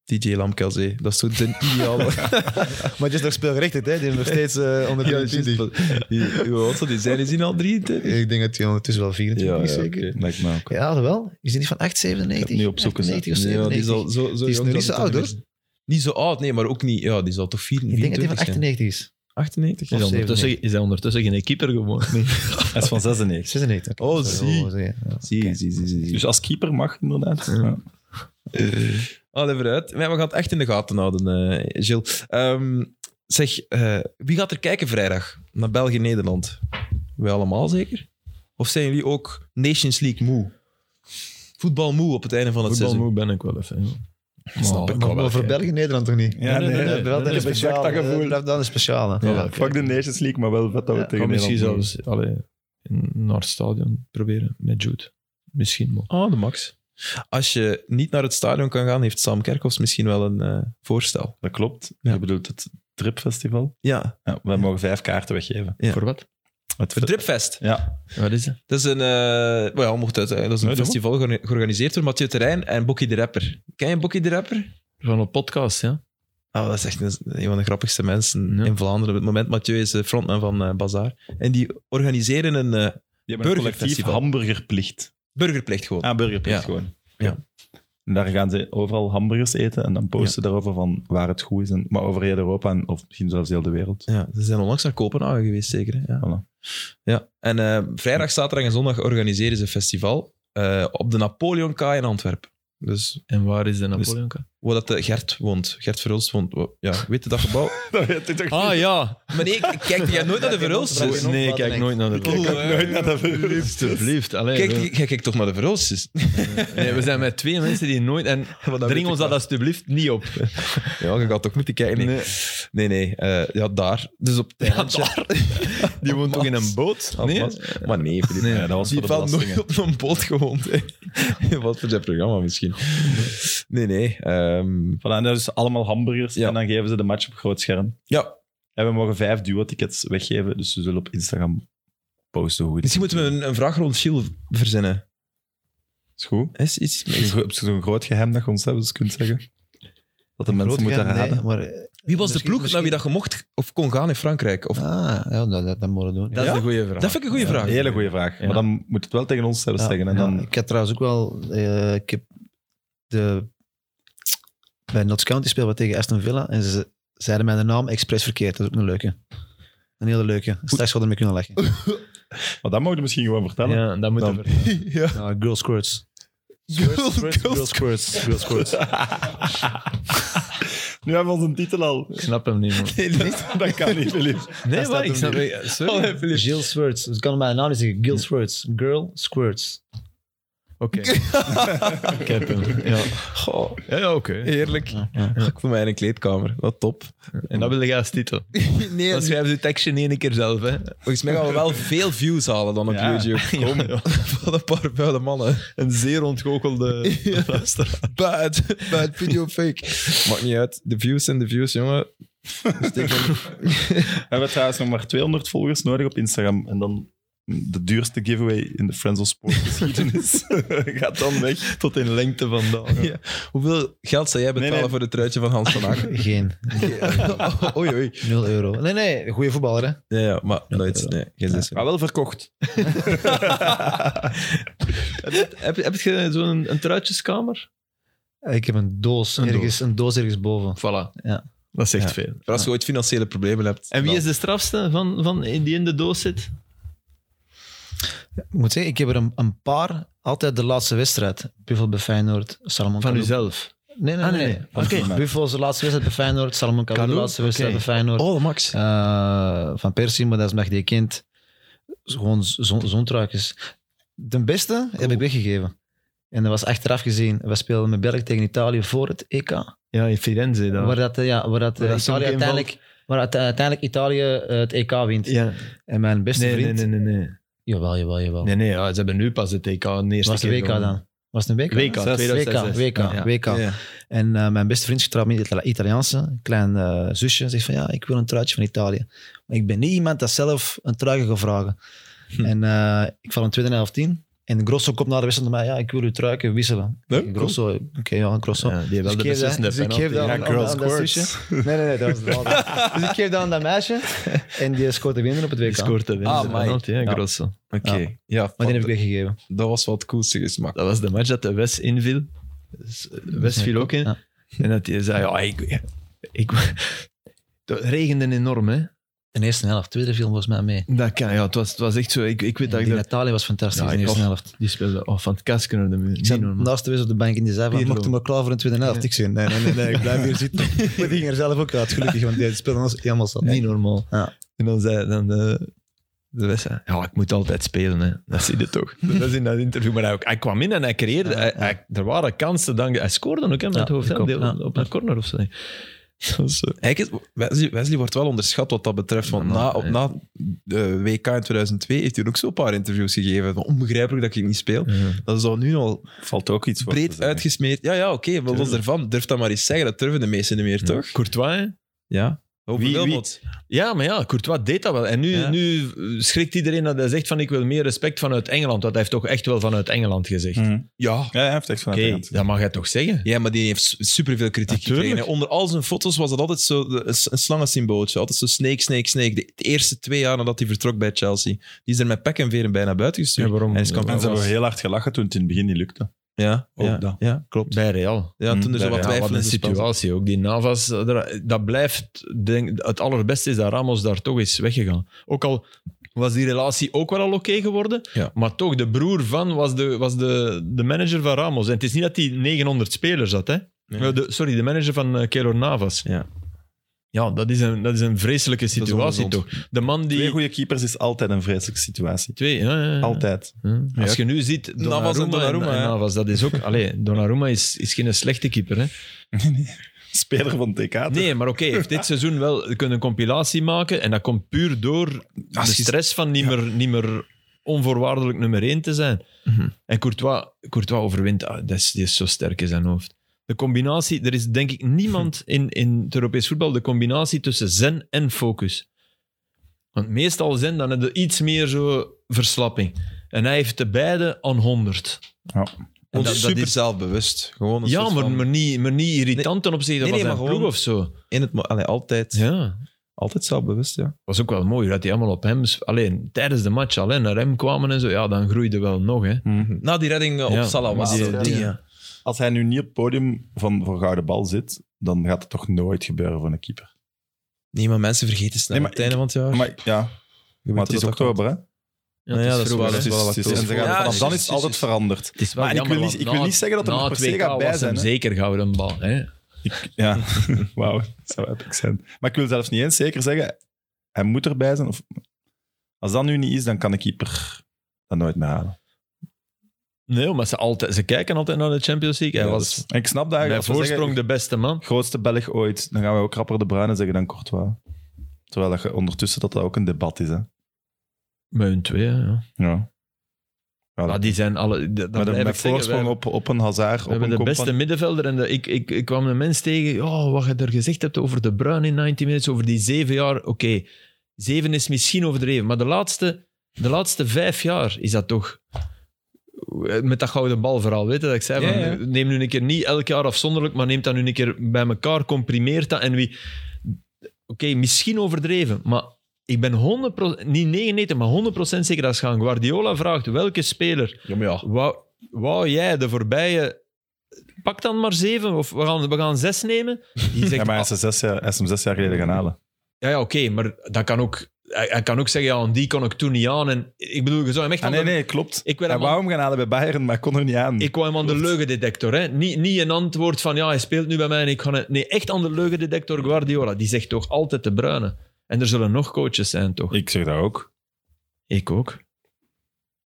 Speaker 1: DJ Lamkelzee. Dat is toch de ideale.
Speaker 4: Maar het is nog speelgerechtigd, hè? Die is nog steeds eh onder
Speaker 1: Ja,
Speaker 4: 24.
Speaker 1: juist. Die- Hoe oud zou die zijn? Is die al drie?
Speaker 4: Ik denk dat hij ondertussen wel 24 is, zeker.
Speaker 1: oké.
Speaker 2: Lijkt me ook.
Speaker 4: Ja, wel. Is die niet van 8, 97?
Speaker 2: Ik heb nu op zoek eens, hè.
Speaker 4: 90 of
Speaker 1: Nee, ja, die
Speaker 4: 97?
Speaker 1: is al zo, zo
Speaker 4: Die is
Speaker 1: jong dat
Speaker 4: nog niet zo
Speaker 1: het
Speaker 4: oud,
Speaker 1: niet meer- Niet zo oud, nee, maar ook niet. Ja, die zal toch 4,
Speaker 4: ik denk dat die van
Speaker 1: 94 zijn?
Speaker 4: 98 is.
Speaker 1: 98?
Speaker 3: Is hij
Speaker 4: Of
Speaker 3: ondertussen, is hij ondertussen geen keeper geworden? Nee.
Speaker 2: Hij is van 96.
Speaker 4: 96.
Speaker 1: Oh,
Speaker 4: Dat zou
Speaker 1: zie.
Speaker 4: ik wel zeggen, ja.
Speaker 1: Zie, zie, zie, zie. zie.
Speaker 2: Dus als keeper mag, inderdaad. Ja.
Speaker 1: Allee, vooruit. Maar we gaan het echt in de gaten houden, eh Gilles. Ehm, zeg, eh, wie gaat er kijken vrijdag naar België-Nederland? Wij allemaal zeker? Of zijn jullie ook Nations League moe? Voetbal moe op het einde van het seizoen.
Speaker 3: Voetbalmoe ben ik wel even. ja.
Speaker 1: Snap
Speaker 3: Maar-
Speaker 1: ik.
Speaker 4: Maar,
Speaker 1: wel
Speaker 4: maar voor
Speaker 1: kijken.
Speaker 4: België-Nederland toch niet?
Speaker 2: Ja, nee, nee,
Speaker 4: dat is wel
Speaker 3: nee,
Speaker 4: een
Speaker 3: dat is
Speaker 2: exact
Speaker 4: speciale.
Speaker 2: dat gevoel.
Speaker 4: eh, Dat is wel een speciale.
Speaker 1: Ja,
Speaker 4: Voilà.
Speaker 1: oké.
Speaker 2: Fuck de Nations League, maar wel vet dat we
Speaker 4: Ja,
Speaker 2: tegen
Speaker 3: Kan misschien
Speaker 2: Nederland
Speaker 3: zelfs allee, in- naar het stadion proberen met Jude. Misschien, maar...
Speaker 1: Ah, de max. Als je niet naar het stadion kan gaan, heeft Sam Kerkhoffs misschien wel een eh, voorstel.
Speaker 2: doen. Dat klopt.
Speaker 1: Ja.
Speaker 2: Je bedoelt het Dripfestival.
Speaker 1: Ja,
Speaker 2: Ja, wij mogen vijf kaarten weggeven.
Speaker 1: Ja.
Speaker 3: Voor wat?
Speaker 2: Het
Speaker 1: het Dripfest.
Speaker 2: Ja,
Speaker 3: Wat is dat?
Speaker 1: Dat is een, eh, wel, mocht het, eh, dat is een
Speaker 2: Nee, doe
Speaker 1: festival georga- georganiseerd door Mathieu Terrein en Bokkie de Rapper. Ken je Bokkie de Rapper?
Speaker 3: Van een podcast, ja?
Speaker 1: Ah, dat is echt een, een van de grappigste mensen
Speaker 3: Ja.
Speaker 1: in Vlaanderen op het moment. Mathieu is de frontman van eh, Bazaar. En die organiseren een eh,
Speaker 2: je hebt een collectief
Speaker 1: Burgerfestival.
Speaker 2: hamburgerplicht.
Speaker 1: burgerplicht gewoon.
Speaker 2: Ah, burgerplicht
Speaker 1: Ja.
Speaker 2: gewoon.
Speaker 1: Ja.
Speaker 2: En daar gaan ze overal hamburgers eten en dan posten daarover van waar het goed is. En, maar over heel Europa en, of misschien zelfs heel de wereld.
Speaker 1: Ja, ze zijn onlangs naar Kopenhagen geweest, zeker. Hè? Ja.
Speaker 2: Voilà.
Speaker 1: ja. En eh, vrijdag, zaterdag en zondag organiseren ze een festival eh, op de Napoleonkaai in Antwerpen. Dus
Speaker 3: En waar is de Napoleonka?
Speaker 1: waar dat de Gert woont. Gert Verhulst woont. wo- Ja, weet je dat gebouw?
Speaker 2: Dat weet je toch
Speaker 3: Ah, ja!
Speaker 1: maar nee, kijk jij nooit naar de Verhulst? dus-
Speaker 4: Dat is een
Speaker 3: Dus nee, ik kijk
Speaker 4: opvatting.
Speaker 3: nooit naar de
Speaker 1: Ik
Speaker 2: Ik
Speaker 1: kijk
Speaker 3: Verhulst.
Speaker 2: heb nooit naar dat verhuurd.
Speaker 3: Alsjeblieft. allee,
Speaker 1: Kijk,
Speaker 3: we-
Speaker 1: jij kijkt toch naar de Verhulst? dus-
Speaker 3: nee, we zijn met twee mensen die nooit... En dring ons dat alsjeblieft niet op.
Speaker 1: Ja, je gaat toch moeten kijken. Nee, nee, nee eh, ja, daar. Dus op
Speaker 3: Eh.
Speaker 1: het eilandje.
Speaker 3: Die woont toch in een boot?
Speaker 1: Alvast.
Speaker 3: Nee?
Speaker 1: Maar nee, Filip.
Speaker 3: Nee,
Speaker 2: dat was
Speaker 1: Die
Speaker 2: voor de
Speaker 1: valt nooit
Speaker 2: belastingen.
Speaker 1: op een boot gewoond. hè. Wat voor zijn programma misschien. Nee, nee. ehm,
Speaker 2: Voilà, en dat is allemaal hamburgers
Speaker 1: Ja.
Speaker 2: en dan geven ze de match op groot scherm.
Speaker 1: ja,
Speaker 2: En we mogen vijf duo-tickets weggeven, dus we zullen op Instagram posten hoe het
Speaker 1: misschien moeten we een, een vraag rond Gilles verzinnen.
Speaker 2: is goed.
Speaker 1: Is iets...
Speaker 2: Misschien gro- Zo'n groot geheim dat je ons zelfs kunt zeggen. Dat de mensen
Speaker 4: Groot
Speaker 2: moeten
Speaker 4: gaan, nee,
Speaker 2: raden.
Speaker 4: maar, eh,
Speaker 1: Wie was de
Speaker 4: misschien-
Speaker 1: ploeg naar wie dat je mocht of kon gaan in Frankrijk? Of,
Speaker 4: Ah, ja, dat, dat, dat mogen we doen.
Speaker 3: Dat
Speaker 4: ja.
Speaker 3: is een goede vraag.
Speaker 1: Dat vind ik een goede vraag.
Speaker 2: Hele goede vraag.
Speaker 3: Ja.
Speaker 2: Maar dan moet het wel tegen ons zelfs
Speaker 4: Ja,
Speaker 2: zeggen. En
Speaker 4: ja.
Speaker 2: dan,
Speaker 4: Ik heb trouwens ook wel... eh, ik heb de, bij Notts County speelden we tegen Aston Villa en ze zeiden mij de naam expres verkeerd. Dat is ook een leuke. Een hele leuke. Straks hadden we ermee kunnen lachen.
Speaker 2: Maar dat mogen we misschien gewoon vertellen.
Speaker 3: Ja, dat moeten
Speaker 2: Dan-
Speaker 3: we...
Speaker 1: ja.
Speaker 4: Nou, girl squirts.
Speaker 1: Girl, girl,
Speaker 4: Girl squirts. Girl squirts.
Speaker 2: Nu hebben we onze titel al.
Speaker 3: Ik snap hem niet, man.
Speaker 2: Nee, dat, dat kan niet, Filip.
Speaker 3: Nee,
Speaker 4: staat
Speaker 3: maar
Speaker 4: hem
Speaker 3: ik snap
Speaker 4: niet.
Speaker 3: hem Sorry. Oké.
Speaker 4: Jill Squirts. Dus ik kan hem bij de naam niet zeggen. Gil Squirts. Girl Squirts.
Speaker 3: ik heb hem. Ja,
Speaker 1: Goh,
Speaker 3: ja, ja oké.
Speaker 1: heerlijk.
Speaker 4: Ja, ja.
Speaker 1: Ik voel mij in een kleedkamer. Wat top.
Speaker 3: En dat wilde jij als titel.
Speaker 1: Nee,
Speaker 3: Dan schrijven ze tekstje niet één keer zelf, hè.
Speaker 1: volgens mij gaan we wel veel views halen dan op
Speaker 2: Ja.
Speaker 1: YouTube. Kom,
Speaker 3: Ja.
Speaker 1: van een paar vuile mannen.
Speaker 3: Een zeer ontgoochelde luisteraar.
Speaker 1: Bad, bad video fake. Maakt niet uit. De views zijn de views, jongen. Dus Steek hem-
Speaker 2: We hebben trouwens nog maar 200 volgers nodig op Instagram. En dan de duurste giveaway in de Friends of Sport geschiedenis gaat dan weg.
Speaker 3: Tot in lengte vandaan.
Speaker 1: Ja. Hoeveel geld zou jij betalen
Speaker 2: nee.
Speaker 1: voor het truitje van Hans van Aken?
Speaker 4: Geen.
Speaker 1: oei, oei.
Speaker 4: 0 euro. Nee, nee. Goede voetballer, hè.
Speaker 1: Ja, ja maar nooit. Nee, geen zes.
Speaker 2: Maar wel verkocht.
Speaker 3: Heb, heb je zo'n een truitjeskamer?
Speaker 4: Eh, Ik heb een doos.
Speaker 3: Een
Speaker 4: ergens, Een doos ergens boven.
Speaker 3: Voilà.
Speaker 4: Ja.
Speaker 3: Dat zegt
Speaker 1: Ja.
Speaker 3: veel.
Speaker 1: Maar als je ooit financiële problemen hebt.
Speaker 3: En wie is de strafste van, van die in de doos zit?
Speaker 4: Ik moet zeggen, ik heb er een, een paar. Altijd de laatste wedstrijd. Buffel bij Feyenoord. Salomon
Speaker 3: Van
Speaker 4: Kalou.
Speaker 3: uzelf.
Speaker 4: Nee, nee,
Speaker 3: Ah,
Speaker 4: nee.
Speaker 3: nee.
Speaker 4: nee.
Speaker 2: Oké.
Speaker 4: Buffel is de laatste wedstrijd bij Feyenoord. Salomon Kalou de
Speaker 3: Kalou?
Speaker 4: laatste wedstrijd
Speaker 3: Oké.
Speaker 4: bij Feyenoord.
Speaker 1: Oh, Max.
Speaker 4: Eh, van Persie, maar dat is omdat je die kent. Zo- Gewoon zo'n zo truikjes. De beste heb ik weggegeven. En dat was achteraf gezien. We speelden met België tegen Italië voor het EK.
Speaker 3: Ja, in Firenze dan.
Speaker 4: Waar, dat, eh, ja, waar, dat, eh,
Speaker 3: Waar dat zo'n
Speaker 4: Italië
Speaker 3: game
Speaker 4: uiteindelijk, waar uite- uiteindelijk Italië eh, het EK wint.
Speaker 3: Ja.
Speaker 4: En mijn beste
Speaker 3: Nee, nee,
Speaker 4: vriend...
Speaker 3: nee, nee. Nee,
Speaker 4: Jawel, jawel, jawel.
Speaker 3: nee, nee ja, ze hebben nu pas de TK. De eerste
Speaker 4: was de
Speaker 3: keer
Speaker 4: WK
Speaker 3: gewonnen.
Speaker 4: dan? Was het een WK?
Speaker 3: WK,
Speaker 4: Zes.
Speaker 3: 2006.
Speaker 4: WK, WK,
Speaker 3: Ja.
Speaker 4: WK. En eh, mijn beste vriendje, trouwens, met een Italiaanse, klein eh, zusje, zegt van ja, ik wil een truitje van Italië. Maar ik ben niet iemand dat zelf een truitje gaat vragen.
Speaker 1: Hm.
Speaker 4: En eh, ik val een tweede helft in. En Grosso komt naar de wedstrijd naar mij, ja, ik wil uw truitje wisselen.
Speaker 1: Ja,
Speaker 4: En Grosso, oké, ja, Grosso.
Speaker 3: Ja, die hebben wel
Speaker 4: Dus
Speaker 3: de
Speaker 4: ik geef dat-
Speaker 3: beslissende
Speaker 4: dus ik
Speaker 3: penalty.
Speaker 4: geef dat-
Speaker 2: Ja,
Speaker 4: Aan-
Speaker 2: girl
Speaker 4: aan dat
Speaker 2: squirts.
Speaker 4: Nee, nee, nee, dat was de andere. Dus ik geef dat aan dat meisje en die scoort de winnaar op het
Speaker 3: Die
Speaker 4: WK.
Speaker 3: scoort de winst.
Speaker 1: Ah, amai.
Speaker 3: penalty, hè,
Speaker 4: Ja.
Speaker 3: Grosso.
Speaker 1: Oké. Ja,
Speaker 4: Maar die
Speaker 1: want
Speaker 4: heb ik weggegeven.
Speaker 1: dat was wat het coolste gesmaakt.
Speaker 3: Dat was de match dat de West inviel. Dus West viel ook in.
Speaker 4: Ja.
Speaker 3: En dat hij zei, ja, ik, ik... Het regende enorm, hè.
Speaker 4: De eerste helft, tweede viel volgens mij mee.
Speaker 3: Dat kan, ja. Het was, het was echt zo. Ik, ik weet dat
Speaker 4: Die
Speaker 3: ik
Speaker 4: in
Speaker 3: er...
Speaker 4: Italië was fantastisch
Speaker 3: Ja,
Speaker 4: in de eerste
Speaker 3: toch.
Speaker 4: helft.
Speaker 3: Die speelde oh, van het kasken naar de muur.
Speaker 4: Ik
Speaker 3: Niet
Speaker 4: zat
Speaker 3: normaal.
Speaker 4: naast de wees op de bank en die zei van,
Speaker 3: Pedro.
Speaker 4: maakt u maar klaar voor een tweede helft? Ik zei, nee, nee, nee, nee, ik blijf hier zitten. Maar die ging er zelf ook uit, gelukkig, want die speelde ons helemaal zat.
Speaker 3: Niet normaal.
Speaker 4: Ja.
Speaker 3: En dan zei dan de, de West, zei, ja, ik moet altijd spelen, hè. Dat zie je toch. dat is in dat interview. Maar hij, ook- hij kwam in en hij creëerde...
Speaker 4: Ja,
Speaker 3: hij-
Speaker 4: ja.
Speaker 3: hij- er waren kansen. Dan, hij scoorde ook hè, met
Speaker 4: Ja,
Speaker 3: het hoofd.
Speaker 4: ik
Speaker 3: hè,
Speaker 4: ook,
Speaker 3: deel-
Speaker 4: ja.
Speaker 3: Op een corner of zo. Dat was, eh,
Speaker 1: Eigenlijk, Wesley, Wesley wordt wel onderschat wat dat betreft. Want
Speaker 3: Ja,
Speaker 1: na,
Speaker 3: maar,
Speaker 1: op,
Speaker 3: eh.
Speaker 1: na de WK in 2002 heeft hij ook zo'n paar interviews gegeven. Van, Onbegrijpelijk dat ik niet speel.
Speaker 3: ja.
Speaker 1: Dat is al nu al
Speaker 2: Valt ook iets voor te
Speaker 1: breed
Speaker 2: zeggen.
Speaker 1: uitgesmeerd. Ja, ja, oké. wat los daarvan. Durf dat maar eens zeggen. Dat durven de meesten niet meer, toch?
Speaker 3: Courtois, hè?
Speaker 1: Ja. Over
Speaker 2: Wie- wie-
Speaker 1: Wilmot.
Speaker 3: Ja, maar ja, Courtois deed dat wel. En nu,
Speaker 1: Ja.
Speaker 3: nu schrikt iedereen dat hij zegt van ik wil meer respect vanuit Engeland. Want hij heeft toch echt wel vanuit Engeland gezegd.
Speaker 2: Mhm.
Speaker 1: Ja.
Speaker 2: Ja, hij heeft echt van
Speaker 3: Oké, dat mag hij toch zeggen?
Speaker 1: Ja, maar die heeft s- superveel kritiek
Speaker 3: Natuurlijk.
Speaker 1: gekregen. hè. Onder al zijn foto's was dat altijd zo de- een, s- een slangensymbooltje. Altijd zo snake, snake, snake. De, de eerste twee jaar nadat hij vertrok bij Chelsea. Die is er met pek en veren bijna buiten gestuurd.
Speaker 3: Ja, waarom?
Speaker 1: Hij is
Speaker 2: En
Speaker 1: kampioen.
Speaker 2: ze hebben
Speaker 1: geworden.
Speaker 2: heel hard gelachen toen het in het begin niet lukte.
Speaker 1: Ja,
Speaker 2: Ook
Speaker 1: ja,
Speaker 2: dat.
Speaker 1: ja, klopt.
Speaker 3: Bij Real.
Speaker 1: Ja,
Speaker 2: Mm,
Speaker 1: toen er zo
Speaker 2: bij
Speaker 1: wat
Speaker 3: Ja, wat
Speaker 1: twijfel in
Speaker 3: een
Speaker 1: de spel zat.
Speaker 3: situatie ook. Die Navas, eh, daar- dat blijft... Denk, het allerbeste is dat Ramos daar toch is weggegaan. Ook al was die relatie ook wel al oké geworden,
Speaker 1: Ja.
Speaker 3: maar toch, de broer van was, de, was de, de manager van Ramos. En het is niet dat hij 900 spelers had, hè?
Speaker 1: Nee.
Speaker 3: Eh, de- sorry, de manager van eh, Keylor Navas.
Speaker 1: Ja.
Speaker 3: Ja, dat is een, dat is een vreselijke
Speaker 1: is
Speaker 3: situatie
Speaker 1: ongezond.
Speaker 3: toch? De man die...
Speaker 2: Twee goede keepers is altijd een vreselijke situatie.
Speaker 3: Twee, ja, ja, ja.
Speaker 2: Altijd.
Speaker 3: Ja.
Speaker 1: Ja.
Speaker 3: Als je nu ziet, Donnarumma,
Speaker 1: Navas en
Speaker 3: en
Speaker 1: Donnarumma,
Speaker 3: en
Speaker 1: ja.
Speaker 3: Navas, dat is ook... Allee, Donnarumma is, is geen slechte keeper, hè?
Speaker 2: Speler van Dus TK. toch?
Speaker 3: Nee, maar oké, heeft dit seizoen wel kunnen een compilatie maken en dat komt puur door de
Speaker 1: Als je-
Speaker 3: stress van niet, meer, niet meer onvoorwaardelijk nummer één te zijn.
Speaker 1: Mhm.
Speaker 3: En Courtois, Courtois overwint, ah, dat is, die is zo sterk in zijn hoofd. De combinatie, er is denk ik niemand in, in het Europees voetbal de combinatie tussen zen en focus. Want meestal zen, dan heb je iets meer zo verslapping. En hij heeft de beide aan 100.
Speaker 2: Ja.
Speaker 3: En
Speaker 1: Ons
Speaker 3: dat- dat
Speaker 1: super
Speaker 3: is-
Speaker 1: zelfbewust. Gewoon een
Speaker 3: ja,
Speaker 1: soort
Speaker 3: maar,
Speaker 1: dus van-
Speaker 3: maar, niet, maar niet irritant ten opzichte
Speaker 1: Nee,
Speaker 3: van
Speaker 1: nee,
Speaker 3: zijn
Speaker 1: maar
Speaker 3: ploeg
Speaker 1: gewoon-
Speaker 3: of zo.
Speaker 1: in het, mo- allee, altijd,
Speaker 3: Ja.
Speaker 1: altijd zelfbewust, ja.
Speaker 3: was ook wel mooi dat die allemaal op hem... Alleen tijdens de match alleen naar hem kwamen en zo. Ja, dan groeide wel nog, hè.
Speaker 2: Mhm.
Speaker 1: Na die redding eh, op
Speaker 3: Ja,
Speaker 1: Salah was
Speaker 2: maar die-
Speaker 1: zo,
Speaker 2: die-
Speaker 1: die, ja.
Speaker 2: Als hij nu niet op het podium van voor Gouden Bal zit, dan gaat het toch nooit gebeuren voor een keeper.
Speaker 1: Nee, maar mensen vergeten snel
Speaker 2: Nee, maar
Speaker 1: aan het einde van het jaar.
Speaker 2: Maar ja,
Speaker 1: Je weet
Speaker 2: maar het
Speaker 1: dat
Speaker 2: is
Speaker 1: dat
Speaker 2: oktober, hè? Dus
Speaker 1: Ja, ja, dat is
Speaker 3: vroeger,
Speaker 1: waar. Dat
Speaker 3: hè.
Speaker 1: is
Speaker 2: Het is-
Speaker 1: wel wat
Speaker 2: het is-
Speaker 1: oktober.
Speaker 2: en ze gaan-
Speaker 1: Ja,
Speaker 2: Vanaf dan is
Speaker 1: juist,
Speaker 2: het altijd
Speaker 1: juist.
Speaker 2: veranderd.
Speaker 3: Het is wel
Speaker 2: Maar en ik
Speaker 3: Nou, jammer,
Speaker 2: wil niet-
Speaker 3: want
Speaker 2: ik wil
Speaker 3: na-
Speaker 2: niet zeggen dat er
Speaker 3: na
Speaker 2: nog per
Speaker 3: het
Speaker 2: se
Speaker 3: WK
Speaker 2: gaat bij
Speaker 3: was hem
Speaker 2: zijn, hè.
Speaker 3: zeker gouden bal, hè.
Speaker 2: Ik, ja, wauw, dat zou epic zijn. Maar ik wil zelfs niet eens zeker zeggen, hij moet erbij zijn. Of, als dat nu niet is, dan kan de keeper dat nooit meer halen.
Speaker 3: Nee, maar ze, altijd, ze kijken altijd naar de Champions League. Hij
Speaker 2: Ja,
Speaker 3: was
Speaker 2: dus- en ik snap dat
Speaker 3: bij
Speaker 2: eigenlijk. Als we
Speaker 3: voorsprong
Speaker 2: zeggen,
Speaker 3: de beste man.
Speaker 2: grootste Belg ooit, dan gaan wij ook rapper de Bruyne zeggen dan Courtois. Terwijl dat je ondertussen dat, dat ook een debat is. Hè?
Speaker 3: Met hun twee, hè, ja.
Speaker 2: Ja. Ja,
Speaker 3: Maar
Speaker 2: dat-
Speaker 3: die zijn alle... Dat, dat
Speaker 2: maar
Speaker 3: blijf
Speaker 2: dan
Speaker 3: ik
Speaker 2: met
Speaker 3: zeggen,
Speaker 2: voorsprong
Speaker 3: wij-
Speaker 2: op, op een hazard, op
Speaker 3: We
Speaker 2: een
Speaker 3: hebben de
Speaker 2: Kompany.
Speaker 3: beste middenvelder. En de- ik, ik, ik kwam een mens tegen, oh, wat je er gezegd hebt over de Bruin in 19 minutes, over die zeven jaar. Oké, zeven is misschien overdreven, maar de laatste, de laatste vijf jaar is dat toch... eh, Met dat gouden bal vooral, weet je, dat ik zei,
Speaker 1: Ja,
Speaker 3: van,
Speaker 1: ja.
Speaker 3: neem nu een keer niet elk jaar afzonderlijk, maar neem dat nu een keer bij elkaar, comprimeert dat. En wie... Oké, misschien overdreven, maar ik ben 100%, niet 99, maar 100% zeker dat als je aan Guardiola vraagt welke speler
Speaker 1: Ja, maar ja.
Speaker 3: Wou, wou jij de voorbije... Pak dan maar zeven, of we gaan, we gaan zes nemen. Die
Speaker 2: Ja,
Speaker 3: zegt,
Speaker 2: maar hij is,
Speaker 3: ah,
Speaker 2: er zes jaar, hij is hem zes jaar geleden gaan halen.
Speaker 3: ja, ja, oké, maar dat kan ook, hij, hij kan ook zeggen, ja, aan die kon ik toen niet aan. En, ik bedoel, je zou hem echt
Speaker 2: Ah,
Speaker 3: aan
Speaker 2: nee,
Speaker 3: de-
Speaker 2: nee, klopt.
Speaker 3: Ik wil
Speaker 2: Hij
Speaker 3: hem
Speaker 2: wou
Speaker 3: aan,
Speaker 2: hem gaan halen bij Bayern, maar kon er niet aan.
Speaker 3: ik wou hem aan de leugendetector. Hè? Niet, niet een antwoord van, ja, hij speelt nu bij mij en ik ga... het- Nee, echt aan de leugendetector Guardiola. Die zegt toch altijd de bruine. En er zullen nog coaches zijn, toch?
Speaker 2: Ik zeg dat ook.
Speaker 3: Ik ook.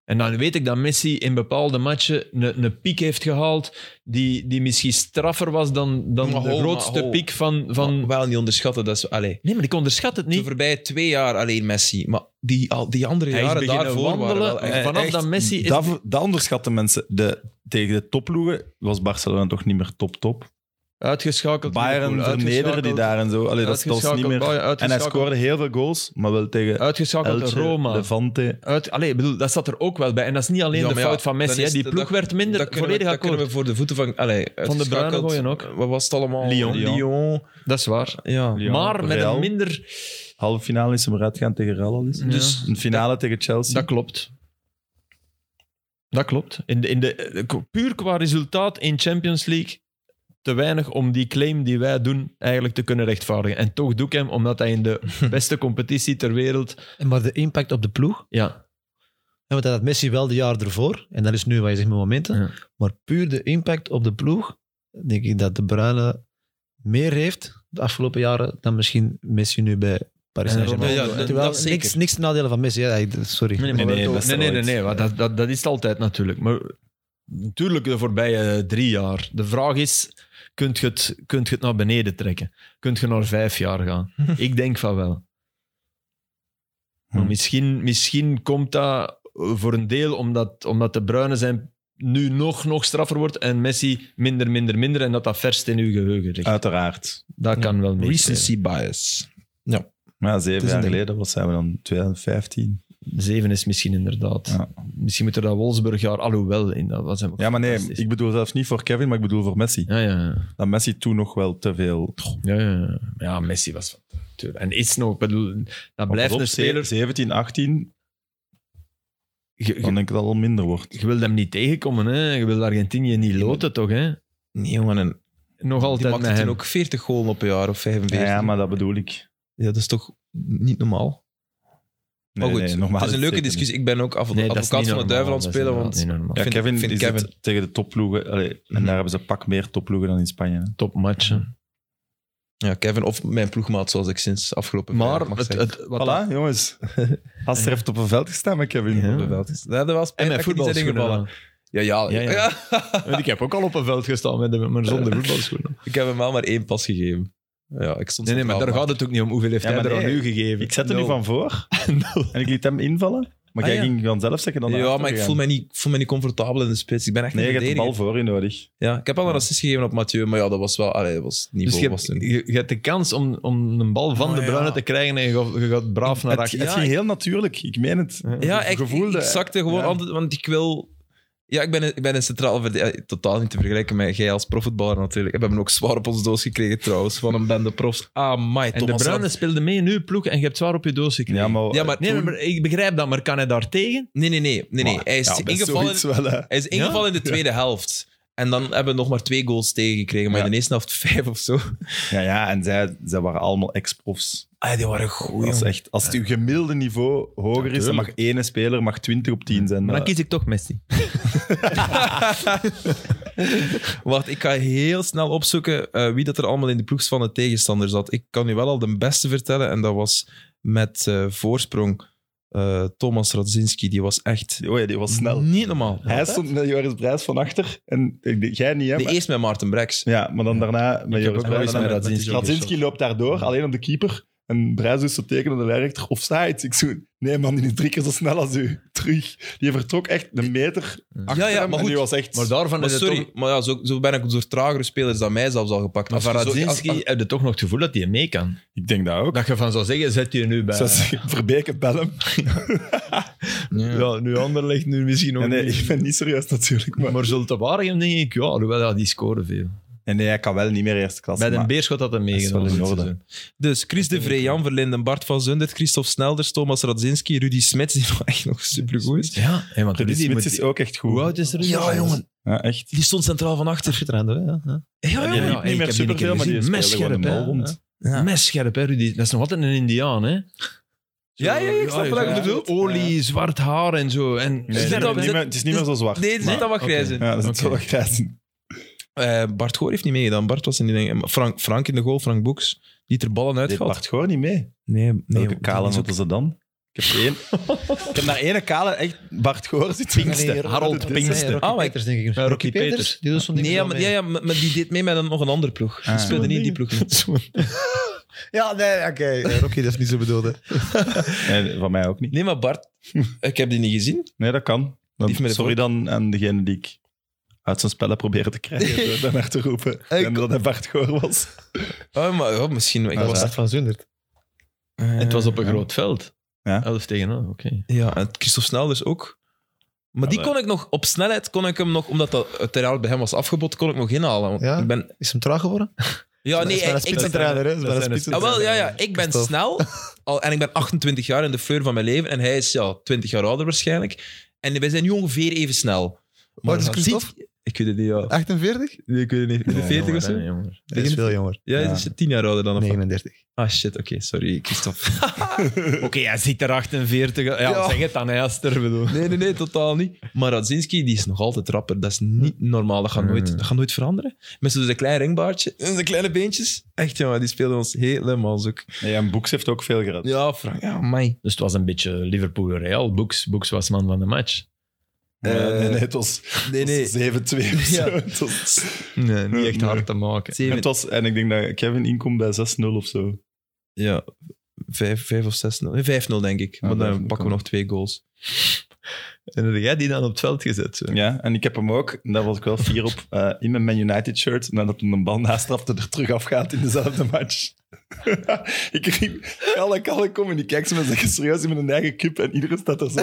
Speaker 3: En dan weet ik dat Messi in bepaalde matchen een, een piek heeft gehaald die, die misschien straffer was dan, dan
Speaker 1: Maar
Speaker 3: de
Speaker 1: ho,
Speaker 3: grootste
Speaker 1: maar ho.
Speaker 3: piek van... van...
Speaker 1: Van... Wel niet onderschatten, dat is... Allee.
Speaker 3: Nee, maar ik onderschat het
Speaker 1: De
Speaker 3: niet.
Speaker 1: voorbije twee jaar alleen Messi. Maar die, al, die andere
Speaker 3: Hij is
Speaker 1: jaren
Speaker 3: beginnen
Speaker 1: daarvoor waren
Speaker 3: wandelen
Speaker 1: wel echt-
Speaker 3: en vanaf
Speaker 1: echt-
Speaker 3: dat Messi is...
Speaker 2: dat, dat onderschatten mensen. De, tegen de topploegen was Barcelona toch niet meer top-top.
Speaker 3: Uitgeschakeld.
Speaker 2: Bayern
Speaker 3: Liverpool,
Speaker 2: vernederde die
Speaker 3: uitgeschakeld-
Speaker 2: daar en zo. Allee, dat, dat was niet
Speaker 3: uitgeschakeld
Speaker 2: meer...
Speaker 3: Bayern,
Speaker 2: En hij
Speaker 3: uitgeschakeld-
Speaker 2: scoorde heel veel goals, maar wel tegen
Speaker 3: Uitgeschakeld
Speaker 2: Elche,
Speaker 3: Roma.
Speaker 2: Levante.
Speaker 3: Uit, allee, ik bedoel, dat zat er ook wel bij. En dat is niet alleen
Speaker 1: Ja,
Speaker 3: de
Speaker 1: maar ja,
Speaker 3: fout van Messi.
Speaker 1: dan is
Speaker 3: Hè. Die
Speaker 1: het-
Speaker 3: ploeg
Speaker 1: dat-
Speaker 3: werd minder.
Speaker 1: dat kunnen, we,
Speaker 3: volledig
Speaker 1: dat
Speaker 3: akkoord.
Speaker 1: kunnen we voor de voeten van... Allee,
Speaker 3: van de Bruyne
Speaker 1: uitgeschakeld.
Speaker 3: gooien ook.
Speaker 1: Wat was het allemaal?
Speaker 2: Lyon.
Speaker 1: Lyon.
Speaker 3: Dat is waar.
Speaker 1: Ja.
Speaker 2: Lyon,
Speaker 3: maar met
Speaker 2: Real.
Speaker 3: een minder...
Speaker 2: Halve finale is hem eruit gaan tegen Real al eens.
Speaker 3: Dus
Speaker 2: Een finale tegen Chelsea.
Speaker 3: Dat klopt. Dat klopt. In de, in de, puur qua resultaat in Champions League te weinig om die claim die wij doen eigenlijk te kunnen rechtvaardigen. En toch doe ik hem, omdat hij in de beste competitie ter wereld...
Speaker 4: En Maar de impact op de ploeg,
Speaker 3: Ja,
Speaker 4: Ja, want dat had Messi wel de jaar ervoor. En dat is nu wat je zegt met momenten.
Speaker 3: Ja.
Speaker 4: Maar puur de impact op de ploeg, denk ik dat de Bruyne meer heeft de afgelopen jaren dan misschien Messi nu bij Paris
Speaker 3: En
Speaker 4: Saint-Germain.
Speaker 1: Ronaldo, Ja, ja,
Speaker 4: Terwijl
Speaker 1: dat zeker.
Speaker 4: niks, niks te nadelen van Messi. Hè. Sorry.
Speaker 3: Nee,
Speaker 2: Nee,
Speaker 3: nee, maar
Speaker 2: nee,
Speaker 3: dat-
Speaker 2: best
Speaker 3: nee, nee,
Speaker 2: wel
Speaker 3: nee,
Speaker 2: ooit.
Speaker 3: nee, maar dat, dat, dat is het altijd natuurlijk. Maar natuurlijk de voorbije drie jaar. De vraag is, kunt je het, kunt je het naar beneden trekken? Kunt je naar vijf jaar gaan? Ik denk van wel. Maar
Speaker 2: Hm.
Speaker 3: misschien, misschien komt dat voor een deel omdat, omdat de Bruinen zijn nu nog, nog straffer wordt en Messi minder, minder, minder en dat dat verst in uw geheugen
Speaker 2: Eh,
Speaker 3: ligt.
Speaker 2: Uiteraard.
Speaker 3: dat kan wel mee.
Speaker 1: Recency bias.
Speaker 2: Maar ja,
Speaker 1: Het
Speaker 2: zeven
Speaker 1: is
Speaker 2: jaar
Speaker 1: een ding.
Speaker 2: geleden, wat zijn we dan? 2015?
Speaker 3: Zeven is misschien inderdaad.
Speaker 2: Ja.
Speaker 3: Misschien moet er dat Wolfsburgjaar, alhoewel, in dat was hem ook
Speaker 2: Ja, maar nee,
Speaker 3: fantastisch.
Speaker 2: ik bedoel zelfs niet voor Kevin, maar ik bedoel voor Messi.
Speaker 3: Ja, ja, ja.
Speaker 2: Dat Messi toen nog wel te veel...
Speaker 3: Ja, ja, ja. ja, Messi was van. Tuurlijk. En is nog, ik bedoel, dat blijft
Speaker 2: Pas op,
Speaker 3: een speler.
Speaker 2: 17, 18,
Speaker 3: Je,
Speaker 2: dan
Speaker 3: je,
Speaker 2: denk ik dat het al minder wordt.
Speaker 3: je wil hem niet tegenkomen, hè? Je wil Argentinië niet loten, toch? Hè?
Speaker 1: Nee, jongen. En
Speaker 3: Nog
Speaker 1: die
Speaker 3: altijd
Speaker 1: maakte
Speaker 3: met
Speaker 1: toen
Speaker 3: hem.
Speaker 1: ook 40 goals op een jaar of 45.
Speaker 2: Ja, maar dat bedoel ik.
Speaker 1: Ja, dat is toch niet normaal?
Speaker 2: Nee,
Speaker 1: maar goed,
Speaker 2: nee, normaal
Speaker 1: het is een leuke
Speaker 2: zeker niet.
Speaker 1: discussie. Ik ben ook adv-
Speaker 3: Nee, dat is
Speaker 1: advocaat
Speaker 3: niet
Speaker 1: van de
Speaker 3: normaal,
Speaker 1: duivel aan het
Speaker 3: dat is
Speaker 1: spelen,
Speaker 3: inderdaad
Speaker 1: want
Speaker 3: niet normaal.
Speaker 2: Ja,
Speaker 1: Vind-
Speaker 2: Kevin
Speaker 1: vind
Speaker 2: is
Speaker 1: Kevin.
Speaker 2: het tegen de topploegen. Allee, en
Speaker 1: Mhm.
Speaker 2: daar hebben ze pak meer topploegen dan in Spanje. hè.
Speaker 3: Topmatchen.
Speaker 1: ja, Kevin of mijn ploegmaat, zoals ik sinds afgelopen vrijdag
Speaker 3: Maar
Speaker 1: mag
Speaker 3: het,
Speaker 1: zeggen.
Speaker 3: het, wat dat-
Speaker 2: Voilà, jongens. Als er heeft op een veld gestaan met Kevin.
Speaker 3: Ja.
Speaker 1: Op de veld is- Dat hadden we wel
Speaker 3: en
Speaker 1: spijt
Speaker 3: met
Speaker 1: dat ik niet zijn
Speaker 3: voetbalschoenen.
Speaker 1: ingevallen.
Speaker 3: aan.
Speaker 1: Ja, ja.
Speaker 3: Ja, ja. Want ik heb ook al op een veld gestaan met de, maar zonder voetbalschoenen.
Speaker 1: Ik heb hem wel maar één pas gegeven. Ja, ik stond
Speaker 3: Nee, nee, maar
Speaker 1: centraal,
Speaker 3: daar gaat het ook niet om. Hoeveel heeft
Speaker 2: Ja,
Speaker 3: hij
Speaker 2: maar
Speaker 3: er aan
Speaker 2: nee,
Speaker 3: u gegeven?
Speaker 2: Ik zet er
Speaker 3: Nul.
Speaker 2: nu van voor
Speaker 3: Nul.
Speaker 2: en ik liet hem invallen. Maar
Speaker 1: Ah,
Speaker 2: jij
Speaker 1: ja.
Speaker 2: ging dan zelf zeggen dan naar
Speaker 1: Ja,
Speaker 2: achter
Speaker 1: maar ik
Speaker 2: gegaan.
Speaker 1: voel, mij niet, ik voel mij niet comfortabel in de spits. Ik ben echt
Speaker 2: Nee, je
Speaker 1: niet
Speaker 2: hebt de bal
Speaker 1: verdediger.
Speaker 2: voor je nodig.
Speaker 1: Ja, ik heb al een assist gegeven op Mathieu, maar ja, dat was wel... Allee, dat was niet
Speaker 3: Dus je
Speaker 1: was
Speaker 3: hebt,
Speaker 1: toen.
Speaker 3: je, je hebt de kans om, om een bal van
Speaker 1: Oh,
Speaker 3: de
Speaker 1: ja.
Speaker 3: Bruyne te krijgen en je, gaat- je gaat braaf naar
Speaker 2: Het,
Speaker 3: achter.
Speaker 2: het ging heel natuurlijk, ik meen het.
Speaker 1: Ja, ik,
Speaker 2: Gevoel
Speaker 1: ik
Speaker 2: dat-
Speaker 1: zakte gewoon
Speaker 2: ja.
Speaker 1: altijd, want ik wil... Ja, ik ben, een- ik ben een centraal verdediger. Totaal niet te vergelijken met jij als profvoetballer natuurlijk. We hebben ook zwaar op ons doos gekregen trouwens, van een bende profs. Ah, my,
Speaker 3: En de Bruyne speelde mee in uw ploeg en je hebt zwaar op je doos gekregen.
Speaker 2: Ja, maar,
Speaker 1: Ja, maar
Speaker 3: nee,
Speaker 1: toen-
Speaker 3: maar ik begrijp dat, maar kan hij daar tegen?
Speaker 1: Nee, nee, nee. nee, nee.
Speaker 2: Maar-
Speaker 1: Hij is
Speaker 2: ja, bij
Speaker 1: ingevallen...
Speaker 2: zoiets wel, hè.
Speaker 1: Hij is ingevallen in de tweede helft. En dan hebben we nog maar twee goals tegengekregen. Maar in
Speaker 2: Ja.
Speaker 1: de eerste helft vijf of zo.
Speaker 2: Ja, ja, en zij, zij waren allemaal ex-profs.
Speaker 1: Ah, die waren goed,
Speaker 2: Dat is
Speaker 1: jongen.
Speaker 2: echt, als het uw gemiddelde niveau hoger is, dan mag ene speler mag 20 op 10 zijn.
Speaker 3: Maar dan
Speaker 2: Maar-
Speaker 3: kies ik toch Messi.
Speaker 1: Wacht, ik ga heel snel opzoeken eh, wie dat er allemaal in de ploegs van de tegenstander zat. Ik kan u wel al de beste vertellen en dat was met eh, voorsprong eh, Thomas Radzinski. Die was echt
Speaker 2: Oh ja, die was snel.
Speaker 1: niet normaal.
Speaker 2: Hij stond met Joris Brijs van achter. En ik denk, jij niet, hè?
Speaker 1: De
Speaker 2: maar-
Speaker 1: eerst met Maarten Brex.
Speaker 2: Ja, maar dan daarna met
Speaker 3: heb
Speaker 2: Joris
Speaker 3: ook wel
Speaker 2: Brijs.
Speaker 3: eens met Radzinski
Speaker 2: Radzinski loopt daardoor, alleen op de keeper. En Brijs doet zo tekenen de lijnrechter. Offside. Ik zo, nee man, die is drie keer zo snel als u. Terug. Die vertrok echt een meter achter
Speaker 1: ja,
Speaker 2: hem
Speaker 1: maar
Speaker 2: en die
Speaker 1: goed.
Speaker 2: was echt...
Speaker 3: Maar daarvan
Speaker 1: Maar
Speaker 3: is het
Speaker 1: sorry,
Speaker 3: toch-
Speaker 1: maar ja, zo, zo ben ik door tragere spelers dan mij zelfs al gepakt.
Speaker 3: Maar van
Speaker 1: Als je zo-
Speaker 3: Radzinski
Speaker 1: als-
Speaker 3: heb je toch nog het gevoel dat hij mee kan.
Speaker 2: Ik denk dat ook.
Speaker 3: Dat je van zou zeggen, zet je nu bij...
Speaker 2: Zoals Verbeke bellen.
Speaker 1: Ja.
Speaker 3: Ja, nu ander ligt nu misschien nog
Speaker 2: Nee, nee,
Speaker 3: niet.
Speaker 2: ik ben niet serieus natuurlijk. Maar...
Speaker 3: Maar zult te Waregem denk ik, ja, alhoewel ja, die scoren veel.
Speaker 2: Nee, nee, hij kan wel niet meer eerste klasse.
Speaker 3: Bij de
Speaker 2: maar-
Speaker 3: Beerschot had hij
Speaker 2: is
Speaker 3: meegenomen.
Speaker 2: wel in
Speaker 3: dit
Speaker 2: orde.
Speaker 3: seizoen.
Speaker 1: Dus Chris de Vree, Jan Verlinden, Bart van Zundert, Christophe Snelders, Thomas Radzinski, Rudy Smits, die nog echt nog supergoed is.
Speaker 3: Ja, hey, want
Speaker 2: Rudy
Speaker 3: Rudy
Speaker 2: Smits
Speaker 3: moet-
Speaker 2: is ook echt goed.
Speaker 3: Hoe oud is er?
Speaker 1: Ja, jongen.
Speaker 2: Ja, echt.
Speaker 1: Die stond centraal van achter.
Speaker 4: Schitterend, hè? Ja, ja.
Speaker 1: Ja,
Speaker 2: Die liep
Speaker 3: Ah, ja,
Speaker 1: jongen.
Speaker 3: ik
Speaker 2: niet
Speaker 3: heb die
Speaker 2: meer
Speaker 3: niet
Speaker 2: superveel, maar die
Speaker 3: gezien.
Speaker 2: speelde gewoon de
Speaker 3: Messcherp,
Speaker 2: bal
Speaker 3: hè?
Speaker 2: rond.
Speaker 1: Ja.
Speaker 3: Messcherp, hè, Rudy. Dat is nog altijd een Indiaan, hè?
Speaker 1: Ja, ja, ik snap wat je bedoelt.
Speaker 3: Olie, zwart haar en zo. En
Speaker 2: Nee,
Speaker 1: Zit
Speaker 2: nee,
Speaker 1: dat-
Speaker 2: nee, niet meer- het is niet meer zo zwart.
Speaker 1: Nee, er
Speaker 2: Maar-
Speaker 1: zit al wat
Speaker 3: Oké.
Speaker 1: grijs in.
Speaker 2: Ja, dat is
Speaker 3: Oké.
Speaker 2: wel grijs.
Speaker 1: Eh, Bart Goor heeft niet meegedaan. Bart was in die dingen. Frank, Frank in de goal, Frank Boeks. Die er ballen
Speaker 2: Dit
Speaker 1: uitgaat.
Speaker 2: part gewoon niet mee.
Speaker 1: Nee, nee.
Speaker 2: Welke kale
Speaker 1: die is ook-
Speaker 2: zitten ze dan? Ik heb, één, ik heb naar ene kale echt Bart Goor zit
Speaker 4: Nee, nee,
Speaker 2: Pinkster.
Speaker 4: Ro-
Speaker 3: Harold
Speaker 4: Ro-
Speaker 3: Pinkster.
Speaker 4: Nee, Rocky
Speaker 1: Ah, maar ik-
Speaker 4: Peters, denk ik.
Speaker 3: Rocky
Speaker 4: Rocky
Speaker 3: Peters.
Speaker 4: Peters? Die doet zo'n ding
Speaker 1: Nee, ja,
Speaker 4: wel
Speaker 1: maar,
Speaker 4: mee.
Speaker 1: ja, ja, maar maar die deed mee met een, nog een andere ploeg. Die
Speaker 2: Ah.
Speaker 1: speelde niet in die ploeg.
Speaker 4: Ja, nee, oké. eh, Rocky, dat is niet zo bedoeld. hè.
Speaker 2: Nee, van mij ook niet.
Speaker 1: Nee, maar Bart, ik heb die niet gezien.
Speaker 2: Nee, dat kan. Dan-
Speaker 1: Die heeft me de
Speaker 2: sorry dan aan degene die ik uit zijn spellen probeerde te krijgen door daarnaar te roepen. En dat hij Bart Goor was.
Speaker 1: Oh, maar oh, misschien. Ik
Speaker 2: Ah,
Speaker 4: Dat was
Speaker 1: was,
Speaker 2: ja.
Speaker 4: dat van Zundert. Ah,
Speaker 1: eh,
Speaker 3: Het was op een groot veld.
Speaker 2: Ja.
Speaker 3: 11 tegen 11, oké.
Speaker 1: Ja, en Christophe Snelders ook. Maar die
Speaker 2: maar-
Speaker 1: kon ik nog op snelheid, kon ik hem nog, omdat dat uiteraard bij hem was afgebod, kon ik nog inhalen. Want
Speaker 4: Ja?
Speaker 1: Ik ben,
Speaker 4: Is hem traag geworden?
Speaker 1: ja nee, ik, ik ben
Speaker 4: trainer, hè? Is
Speaker 3: dat
Speaker 4: maar een
Speaker 3: zijn de
Speaker 4: spitsen-
Speaker 1: Ah, wel, ja, ja. Ik ben
Speaker 4: Christophe.
Speaker 1: snel al, en ik ben 28 jaar in de fleur van mijn leven. En hij is ja, 20 jaar ouder waarschijnlijk. En wij zijn nu ongeveer even snel.
Speaker 4: Wat is
Speaker 1: dan
Speaker 4: Christophe?
Speaker 1: ziet- Ik weet het niet, ja.
Speaker 4: 48?
Speaker 1: Nee, ik weet het niet. In de 40 of zo?
Speaker 3: Nee, jonger.
Speaker 4: Dat is veel jonger.
Speaker 1: Ja,
Speaker 2: Ja.
Speaker 1: hij is 10 jaar ouder dan. of wat?
Speaker 4: 39.
Speaker 1: Ah, shit. Oké, sorry, Christophe.
Speaker 3: Oké, hij zit er 48. Ja,
Speaker 1: Ja.
Speaker 3: zeg het aan Heister, bedoel.
Speaker 1: Nee, nee, nee, totaal niet. Maar Radzinski, die is nog altijd rapper. Dat is niet normaal. Dat gaat nooit, dat gaat nooit veranderen. Met zo'n klein ringbaardje en zijn kleine beentjes. Echt, jongen, die speelden ons helemaal zoek.
Speaker 2: Nee, en Boeks heeft ook veel gered.
Speaker 1: Ja, Frank. Ja, mij.
Speaker 3: Dus het was een beetje Liverpool-Real. Boeks, Boeks was man van de match.
Speaker 2: Maar
Speaker 1: Eh,
Speaker 2: nee, nee, het was,
Speaker 1: Nee,
Speaker 2: het was
Speaker 1: nee.
Speaker 2: 7-2 of zo.
Speaker 1: Ja.
Speaker 2: Het was-
Speaker 3: Nee, niet echt
Speaker 2: Nee.
Speaker 3: hard te maken.
Speaker 2: en het was, en ik denk dat Kevin inkomt bij 6-0 of zo.
Speaker 1: Ja, 5, of 6 0 5-0 denk ik.
Speaker 2: Ja,
Speaker 1: maar dan
Speaker 2: vijf-
Speaker 1: pakken we nog twee goals.
Speaker 3: En heb jij die dan op het veld gezet? Zo?
Speaker 2: Ja, en ik heb hem ook, en daar was ik wel fier op, eh, in mijn Man United shirt, nadat hem een bal nastrapte er terug afgaat in dezelfde match. ik riep, alle kallen kom en die kijkt ze me zeggen serieus in mijn eigen cup en iedereen staat er zo.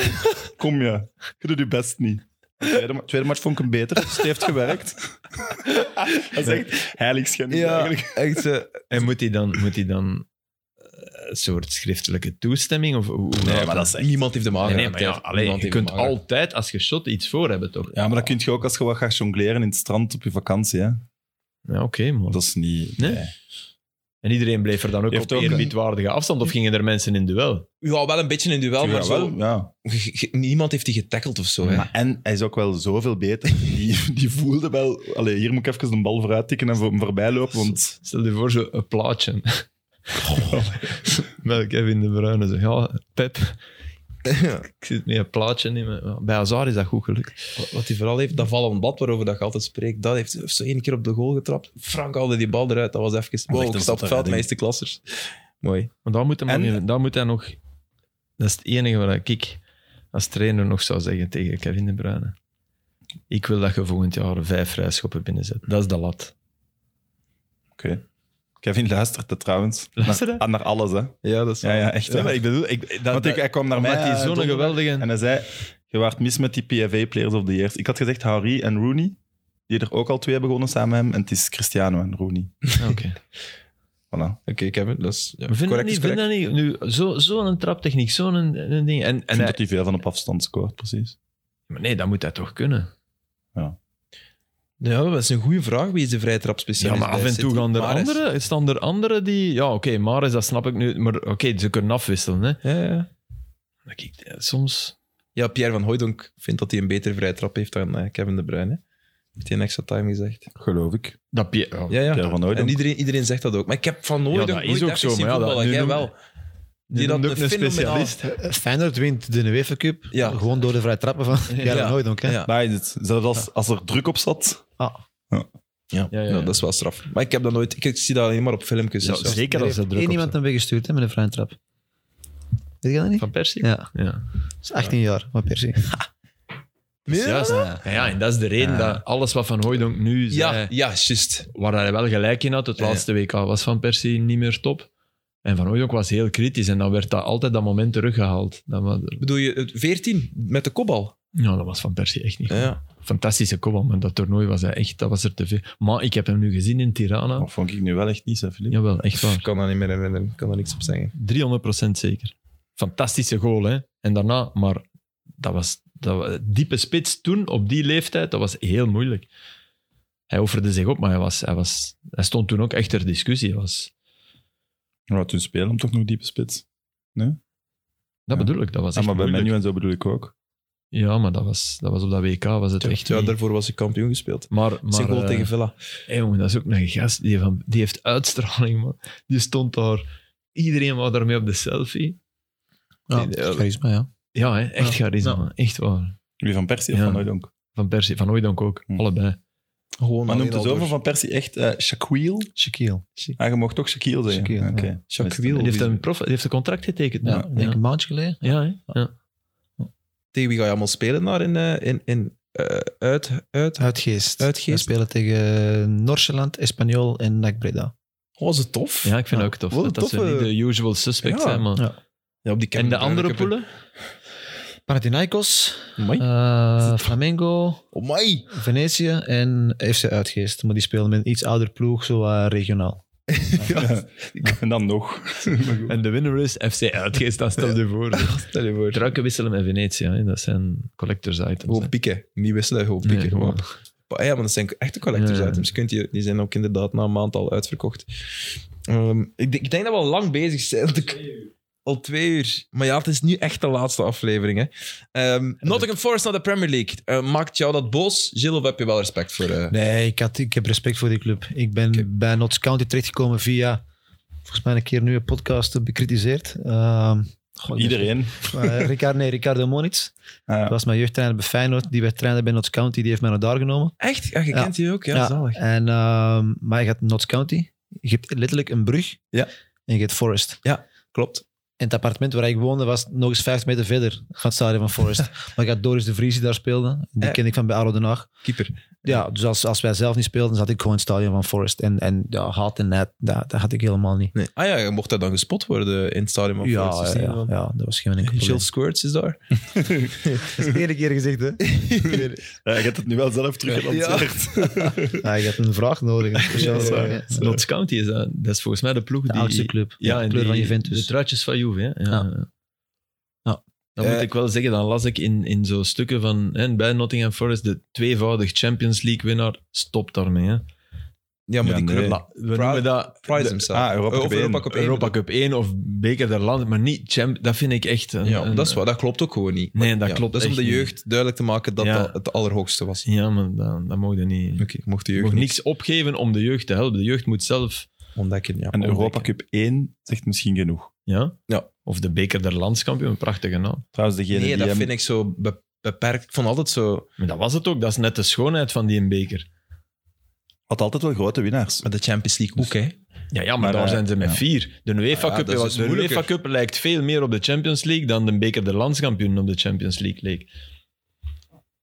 Speaker 2: Kom ja, je doet je best niet. Tweede, ma- tweede match vond ik hem beter, dus het heeft gewerkt. dat is echt heiligschennis
Speaker 1: Ja.
Speaker 2: eigenlijk.
Speaker 1: Echt, eh,
Speaker 3: En moet hij dan, moet hij dan eh, een soort schriftelijke toestemming? Of, hoe- hoe gaat
Speaker 1: niemand heeft hem
Speaker 3: Nee,
Speaker 1: aangeraakt.
Speaker 3: nee, maar ja,
Speaker 1: hè.
Speaker 3: allee,
Speaker 1: Niemand
Speaker 3: je
Speaker 1: heeft hem
Speaker 3: kunt
Speaker 1: aangeraakt.
Speaker 3: altijd als je shot iets voor hebben, toch?
Speaker 2: Ja, maar dat kun je ook als je wat gaat jongleren in het strand op je vakantie. Hè.
Speaker 3: Ja, oké, man.
Speaker 2: Dat is niet...
Speaker 3: Nee. En iedereen bleef er dan ook
Speaker 2: Je
Speaker 3: op
Speaker 2: hebt ook een-
Speaker 3: eerbiedwaardige afstand, of gingen er mensen in duel?
Speaker 1: Ja, wel een beetje in duel, maar
Speaker 2: Ja,
Speaker 1: zo,
Speaker 2: wel, ja.
Speaker 1: ge- ge- niemand heeft die getackeld of zo. Hè.
Speaker 2: Maar en hij is ook wel zoveel beter. Die, die voelde wel... Allee, hier moet ik even een bal vooruit tikken en voor hem voorbij lopen, want...
Speaker 3: Stel je voor, zo een plaatje. Met Kevin De Bruyne. Zo, ja, Pep, ik zit met een plaatje in mijn... Ja, Bij Azar is dat goed gelukt.
Speaker 1: Wat- Wat hij vooral heeft, dat vallend bad waarover dat je altijd spreekt, dat heeft heeft zo één keer op de goal getrapt. Frank haalde die bal eruit, dat was even...
Speaker 2: echt
Speaker 1: Wow,
Speaker 2: een
Speaker 1: ik stap het veld,
Speaker 2: redding.
Speaker 1: meesterklassers. Mooi.
Speaker 3: Maar daar moet, hij
Speaker 2: En-
Speaker 3: nog even- daar moet hij nog... Dat is het enige wat ik als trainer nog zou zeggen tegen Kevin De Bruyne. Ik wil dat je volgend jaar vijf vrijschoppen binnenzet. Dat is de lat.
Speaker 2: Oké. Kevin luistert het trouwens.
Speaker 3: Luistert
Speaker 2: naar,
Speaker 3: hij?
Speaker 2: naar alles, hè.
Speaker 1: Ja, dat is
Speaker 2: Ja, ja, echt. hè.
Speaker 3: maar ik bedoel... Ik, dat,
Speaker 2: want ik, hij kwam naar mij
Speaker 3: omdat die
Speaker 2: eh,
Speaker 3: zo'n
Speaker 2: donderdag
Speaker 3: geweldige...
Speaker 2: en hij zei... Je waart mis met die PFA-players of the years. Ik had gezegd Harry en Rooney, die er ook al twee hebben gewonnen samen met hem. En het is Cristiano en Rooney.
Speaker 3: Ah, Oké.
Speaker 2: Voilà.
Speaker 1: Oké, Kevin, dat is ja,
Speaker 3: Maar Vind dat
Speaker 1: correct.
Speaker 3: niet,
Speaker 1: is
Speaker 3: vind
Speaker 1: correct.
Speaker 3: dat niet. Nu, zo- zo'n traptechniek, zo'n een, een ding. En,
Speaker 2: Ik
Speaker 3: en
Speaker 2: vind
Speaker 3: hij-
Speaker 2: dat hij veel van op afstand scoort, precies.
Speaker 3: maar nee, dat moet hij toch kunnen.
Speaker 1: Ja, dat is een goede vraag. Wie is de vrije
Speaker 3: Ja,
Speaker 1: trapspecialist
Speaker 3: maar af
Speaker 1: bij
Speaker 3: en toe
Speaker 1: City?
Speaker 3: gaan er
Speaker 1: Mahrez.
Speaker 3: anderen, staan er anderen die... Ja, oké, Maris, dat snap ik nu. Maar oké, ze kunnen afwisselen. Hè.
Speaker 1: Ja, ja.
Speaker 3: Maar kijk, eh, soms...
Speaker 1: Ja, Pierre van Hooijdonk vindt dat hij een betere vrije trap heeft dan eh, Kevin De Bruyne. Heeft hij een extra time gezegd.
Speaker 2: Geloof ik.
Speaker 3: Dat Pie- ja.
Speaker 1: Ja, ja.
Speaker 2: Pierre van
Speaker 1: En
Speaker 2: Hooijdonk.
Speaker 1: iedereen, iedereen zegt dat ook. Maar ik heb van nooit
Speaker 3: Ja, dat
Speaker 1: ook
Speaker 3: is
Speaker 1: nooit
Speaker 3: ook
Speaker 1: echt
Speaker 3: zo,
Speaker 1: zien
Speaker 3: maar ja, dat-
Speaker 1: voetballen.
Speaker 3: nu
Speaker 1: Jij
Speaker 3: noemen-
Speaker 1: wel.
Speaker 3: Die
Speaker 1: Die dat
Speaker 3: noemt
Speaker 1: een
Speaker 3: een
Speaker 1: fenomenaal-
Speaker 3: specialist.
Speaker 4: Eh, Feyenoord wint de UEFA Cup.
Speaker 1: Ja.
Speaker 4: Gewoon door de vrije trappen van. Ja,
Speaker 1: Ja.
Speaker 4: nooit ook. Hè?
Speaker 1: Ja.
Speaker 2: Nee, het- zelfs als, als er druk op zat.
Speaker 4: Ah,
Speaker 1: Ja.
Speaker 3: Ja, ja,
Speaker 1: Nou,
Speaker 3: ja.
Speaker 1: dat is wel straf. Maar ik heb dat nooit... Ik, ik zie dat alleen maar op filmpjes. en zo.
Speaker 3: zeker
Speaker 4: er
Speaker 3: als
Speaker 4: heeft
Speaker 3: dat druk
Speaker 4: één
Speaker 3: op
Speaker 4: iemand
Speaker 3: staat.
Speaker 4: hem weggestuurd hè, met een vrije trap. Weet je dat niet?
Speaker 3: Van Persie?
Speaker 4: Ja,
Speaker 3: Ja.
Speaker 4: dat is 18 jaar, maar per se.
Speaker 3: Dus juist, ja, ja, en dat is de reden
Speaker 4: Ja.
Speaker 3: dat alles wat Van Hooijdonk nu
Speaker 1: Ja,
Speaker 3: zei,
Speaker 1: ja, juist.
Speaker 3: waar hij wel gelijk in had, het
Speaker 1: Ja.
Speaker 3: laatste WK was Van Persie niet meer top. En Van Hooijdonk was heel kritisch en dan werd dat altijd dat moment teruggehaald. Dat was,
Speaker 1: Bedoel je het 14 met de kopbal?
Speaker 3: ja, dat was Van Persie echt niet goed.
Speaker 1: Ja.
Speaker 3: Fantastische kopbal, maar dat toernooi was hij echt, dat was er te veel. Maar ik heb hem nu gezien in Tirana.
Speaker 2: Dat vond ik nu wel echt niet, hè, Filip.
Speaker 3: Jawel, echt
Speaker 1: Ik
Speaker 3: waar.
Speaker 1: kan daar niet meer herinneren. Ik kan daar niks op zeggen.
Speaker 3: 300% zeker. Fantastische goal, hè. En daarna, maar dat was, dat wa- diepe spits toen, op die leeftijd, dat was heel moeilijk. Hij offerde zich op, maar hij, was, hij, was, hij stond toen ook echt ter discussie. Hij Was,
Speaker 2: Ja, toen spelen hem toch nog diepe spits.
Speaker 3: dat
Speaker 2: Ja.
Speaker 3: bedoel ik, dat was
Speaker 2: Ja,
Speaker 3: echt
Speaker 2: maar bij
Speaker 3: moeilijk.
Speaker 2: Menu en zo bedoel ik ook.
Speaker 3: Ja, maar dat was, dat was op dat WK, was het echt
Speaker 1: ja,
Speaker 3: niet.
Speaker 1: daarvoor was ik kampioen gespeeld.
Speaker 3: Maar,
Speaker 1: Zijn
Speaker 3: maar
Speaker 1: goal
Speaker 3: eh,
Speaker 1: tegen Villa.
Speaker 3: Hey, jongen, dat is ook een gast. Die, van, die heeft uitstraling, man. Die stond daar. Iedereen wou daarmee op de selfie.
Speaker 4: Ja,
Speaker 3: Ja.
Speaker 4: charisma, Ah, ja.
Speaker 3: Ja, hè, echt
Speaker 4: Ja.
Speaker 3: charisma. man. Echt waar.
Speaker 2: Wie van Persie of
Speaker 3: Ja.
Speaker 2: van Hooijdonk?
Speaker 3: Van Persie, van Hooijdonk ook.
Speaker 2: Hm.
Speaker 3: Allebei.
Speaker 1: Gewoon
Speaker 2: Maar
Speaker 1: alleen
Speaker 2: noemt de
Speaker 1: al
Speaker 2: zover
Speaker 1: door.
Speaker 2: van Persie echt eh Shaquille?
Speaker 4: Shaquille.
Speaker 2: Ah, je mocht toch Shaquille zeggen?
Speaker 4: Shaquille,
Speaker 2: Oké.
Speaker 4: ja.
Speaker 2: Dat is
Speaker 1: Shaquille.
Speaker 3: Die
Speaker 2: dan-
Speaker 3: heeft, een prof, die heeft een contract getekend.
Speaker 4: Ja,
Speaker 3: man.
Speaker 4: ik denk
Speaker 3: ja.
Speaker 4: een maandje geleden.
Speaker 3: Ja, hè? ja.
Speaker 1: Tegen wie ga je allemaal spelen daar in... eh, in, in eh, uit, uit...
Speaker 4: Uitgeest.
Speaker 1: Uitgeest.
Speaker 4: We spelen tegen Norseland, Espanyol en NAC Breda.
Speaker 1: Oh, was het tof?
Speaker 3: Ja, ik vind
Speaker 1: Ja.
Speaker 3: het ook tof.
Speaker 1: Wat een
Speaker 3: Dat, dat ze
Speaker 1: toffe-
Speaker 3: niet de usual suspects
Speaker 1: Ja.
Speaker 3: zijn, man.
Speaker 4: Ja.
Speaker 1: Ja, op die
Speaker 3: En de
Speaker 1: Kevin
Speaker 3: andere
Speaker 1: Bruyne
Speaker 3: poelen?
Speaker 4: Panathinaikos,
Speaker 1: Cup.
Speaker 2: Hm?
Speaker 1: Amai.
Speaker 4: eh, Flamengo,
Speaker 1: Amai.
Speaker 4: Venetië en FC Uitgeest. Maar die spelen met een iets ouder ploeg, zo eh, regionaal.
Speaker 2: Ja. En dan
Speaker 1: Ah.
Speaker 2: nog. Maar goed.
Speaker 3: En de winnaar is FC Uitgeest, dat stel je voor.
Speaker 1: Stel je voor.
Speaker 3: Druiken wisselen met Venetië, hè. dat zijn collectors
Speaker 4: Oh,
Speaker 3: items.
Speaker 1: Gewoon
Speaker 3: hè.
Speaker 1: pieken. Niet wisselen, gewoon pieken.
Speaker 3: Nee,
Speaker 1: gewoon.
Speaker 3: gewoon.
Speaker 1: Maar ah ja, maar dat zijn echte collectors
Speaker 3: Ja, ja.
Speaker 1: items. Je Kunt die, die zijn ook inderdaad na een maand al uitverkocht. Ehm, ik, denk- ik denk dat we al lang bezig zijn. want ik- al twee uur. Maar ja, het is nu echt de laatste aflevering. Hè. Ehm, Nottingham Forest naar de Premier League. Eh, maakt jou dat boos? Gilles, of heb je wel respect voor... eh,
Speaker 4: Nee, ik, had, ik heb respect voor die club. Ik ben
Speaker 1: Oké.
Speaker 4: bij Notts County terechtgekomen via, volgens mij een keer nu een podcast eh, bekritiseerd. Ehm, goh, ik
Speaker 2: Iedereen.
Speaker 4: ben- eh, Ricard, nee, Ricardo Moniz.
Speaker 2: Ah, ja.
Speaker 4: Dat was mijn jeugdtrainer bij Feyenoord. Die werd trainer bij Notts County. Die heeft mij naar daar genomen.
Speaker 1: Echt? Ja, je
Speaker 4: Ja.
Speaker 1: kent die ook? Ja,
Speaker 4: Ja.
Speaker 1: zalig.
Speaker 4: En, ehm, maar je gaat Notts County. Je hebt letterlijk een brug.
Speaker 1: Ja.
Speaker 4: En je hebt Forest.
Speaker 1: Klopt.
Speaker 4: En het appartement waar ik woonde was nog eens 50 meter verder van het stadion van Forest. maar ik had Doris de Vries die daar speelde. Die
Speaker 1: Ja.
Speaker 4: ken ik van bij Aro Den Haag.
Speaker 1: Keeper.
Speaker 4: Ja, dus als, als wij zelf niet speelden, zat ik gewoon in het stadion van Forest. En, en ja, haat en net, dat, dat had ik helemaal niet.
Speaker 1: Nee. Ah ja, je mocht dat dan gespot worden in het stadion van
Speaker 4: Ja,
Speaker 1: Forest. dus
Speaker 4: ja, ja, ja, dat was geen enkel probleem.
Speaker 1: Gilles Squirts is daar.
Speaker 4: Dat is de ene keer gezegd, hè?
Speaker 2: Ja, je hebt het nu wel zelf teruggelanceerd.
Speaker 4: Ja, je had een vraag nodig.
Speaker 3: Ja,
Speaker 4: ja,
Speaker 3: sorry. Notts County is dat. Dat is volgens mij de ploeg
Speaker 4: De
Speaker 3: die...
Speaker 4: oudste club.
Speaker 3: Ja,
Speaker 4: de
Speaker 3: en
Speaker 4: kleur
Speaker 3: die-
Speaker 4: van
Speaker 3: De
Speaker 4: Juventus.
Speaker 3: truitjes van Juve, hè? Ja.
Speaker 4: Ja.
Speaker 3: ja.
Speaker 4: Ja.
Speaker 3: Dan moet
Speaker 1: Eh.
Speaker 3: ik wel zeggen, dan las ik in, in zo'n stukken van... Hè, bij Nottingham Forest, de tweevoudig Champions League winnaar, stopt daarmee. Hè.
Speaker 1: Ja, maar
Speaker 2: Ja,
Speaker 1: die
Speaker 2: nee.
Speaker 1: club...
Speaker 3: Maar we
Speaker 1: Pride-
Speaker 3: noemen dat...
Speaker 1: Prize
Speaker 3: de-
Speaker 1: himself.
Speaker 2: ah, Europa
Speaker 1: Eh,
Speaker 2: Cup
Speaker 1: of Europa Cup
Speaker 2: één.
Speaker 1: één.
Speaker 3: Europa Cup 1 of Beker der Landen, maar niet champ. Dat vind ik echt... Een,
Speaker 1: Ja,
Speaker 3: een-
Speaker 1: dat is waar. Dat klopt ook gewoon niet.
Speaker 3: Nee, dat
Speaker 1: Ja,
Speaker 3: klopt
Speaker 1: Dat is om
Speaker 3: echt
Speaker 1: de
Speaker 3: niet.
Speaker 1: jeugd duidelijk te maken dat
Speaker 3: Ja.
Speaker 1: dat het allerhoogste was.
Speaker 3: Ja, maar dat, dat mogen we niet...
Speaker 1: Oké, ik mocht de
Speaker 3: Je
Speaker 1: jeugd
Speaker 3: mag
Speaker 1: niet
Speaker 3: niks opgeven om de jeugd te helpen. De jeugd moet zelf...
Speaker 1: ontdekken. Ja.
Speaker 2: En Europa
Speaker 3: Ontdekken.
Speaker 2: Cup 1 zegt misschien genoeg.
Speaker 3: Ja?
Speaker 1: Ja.
Speaker 3: Of de Beker der Landskampioen, een prachtige naam.
Speaker 2: Trouwens, degene
Speaker 1: Nee,
Speaker 2: die
Speaker 1: dat
Speaker 2: hem-
Speaker 1: vind ik zo be- beperkt. Ik vond altijd zo...
Speaker 3: Maar dat was het ook. Dat is net de schoonheid van die beker.
Speaker 2: had altijd wel grote winnaars.
Speaker 1: Met de Champions League ook, hè.
Speaker 3: Ja, ja maar,
Speaker 2: Maar,
Speaker 3: daar
Speaker 2: eh,
Speaker 3: zijn ze met
Speaker 2: ja.
Speaker 3: vier. De UEFA
Speaker 1: Ah ja,
Speaker 3: Cup,
Speaker 1: dat is dus
Speaker 3: de
Speaker 1: moeilijker.
Speaker 3: UEFA Cup lijkt veel meer op de Champions League dan de beker der landskampioen op de Champions League leek.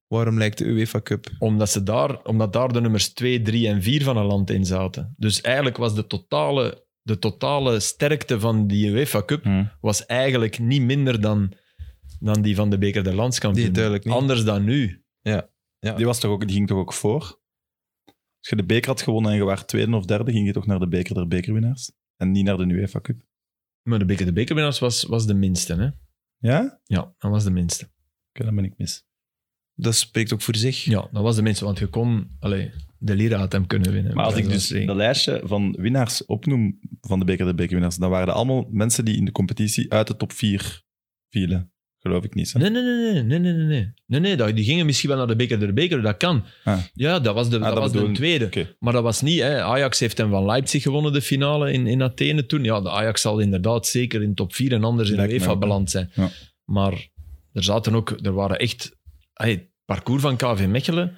Speaker 1: Waarom lijkt de UEFA Cup...
Speaker 3: Omdat, ze daar, omdat daar de nummers 2, 3 en 4 van een land in zaten. Dus eigenlijk was de totale, de totale sterkte van die UEFA Cup
Speaker 2: Hm.
Speaker 3: was eigenlijk niet minder dan, dan die van de beker der landskampioen.
Speaker 1: Nee, duidelijk niet.
Speaker 3: Anders dan nu.
Speaker 2: Die, was toch ook, die ging toch ook voor? Als je de beker had gewonnen en je was tweede of derde, ging je toch naar de beker der bekerwinnaars? En niet naar de UEFA Cup.
Speaker 3: Maar de beker der bekerwinnaars was, was de minste. Hè?
Speaker 2: Ja? Oké,
Speaker 3: Ja, dat was de minste.
Speaker 2: dan ben ik mis.
Speaker 1: Dat spreekt ook voor zich.
Speaker 3: Ja, dat was de minste, want je kon... Allee, de Lira had hem kunnen winnen.
Speaker 2: Maar als ik dus
Speaker 3: Dat,
Speaker 2: dat lijstje van winnaars opnoem van de beker der bekerwinnaars, dan waren dat allemaal mensen die in de competitie uit de top 4 vielen. Geloof ik niet. hè.
Speaker 3: Nee, nee, nee, nee, nee, nee, nee, nee. nee, nee dat, die gingen misschien wel naar de beker der beker, dat kan.
Speaker 2: Ah.
Speaker 3: Ja, dat was de, dat
Speaker 2: dat
Speaker 3: was de
Speaker 2: bedoel-
Speaker 3: tweede.
Speaker 2: Oké.
Speaker 3: Maar dat was niet, hè. Ajax heeft hem van Leipzig gewonnen, de finale in, in Athene toen. Ja, de Ajax zal inderdaad zeker in top 4 en anders in de
Speaker 2: Lijkt me
Speaker 3: UEFA
Speaker 2: ook, hè.
Speaker 3: beland zijn.
Speaker 2: Ja.
Speaker 3: Maar er zaten ook, er waren echt, hey, het parcours van KV Mechelen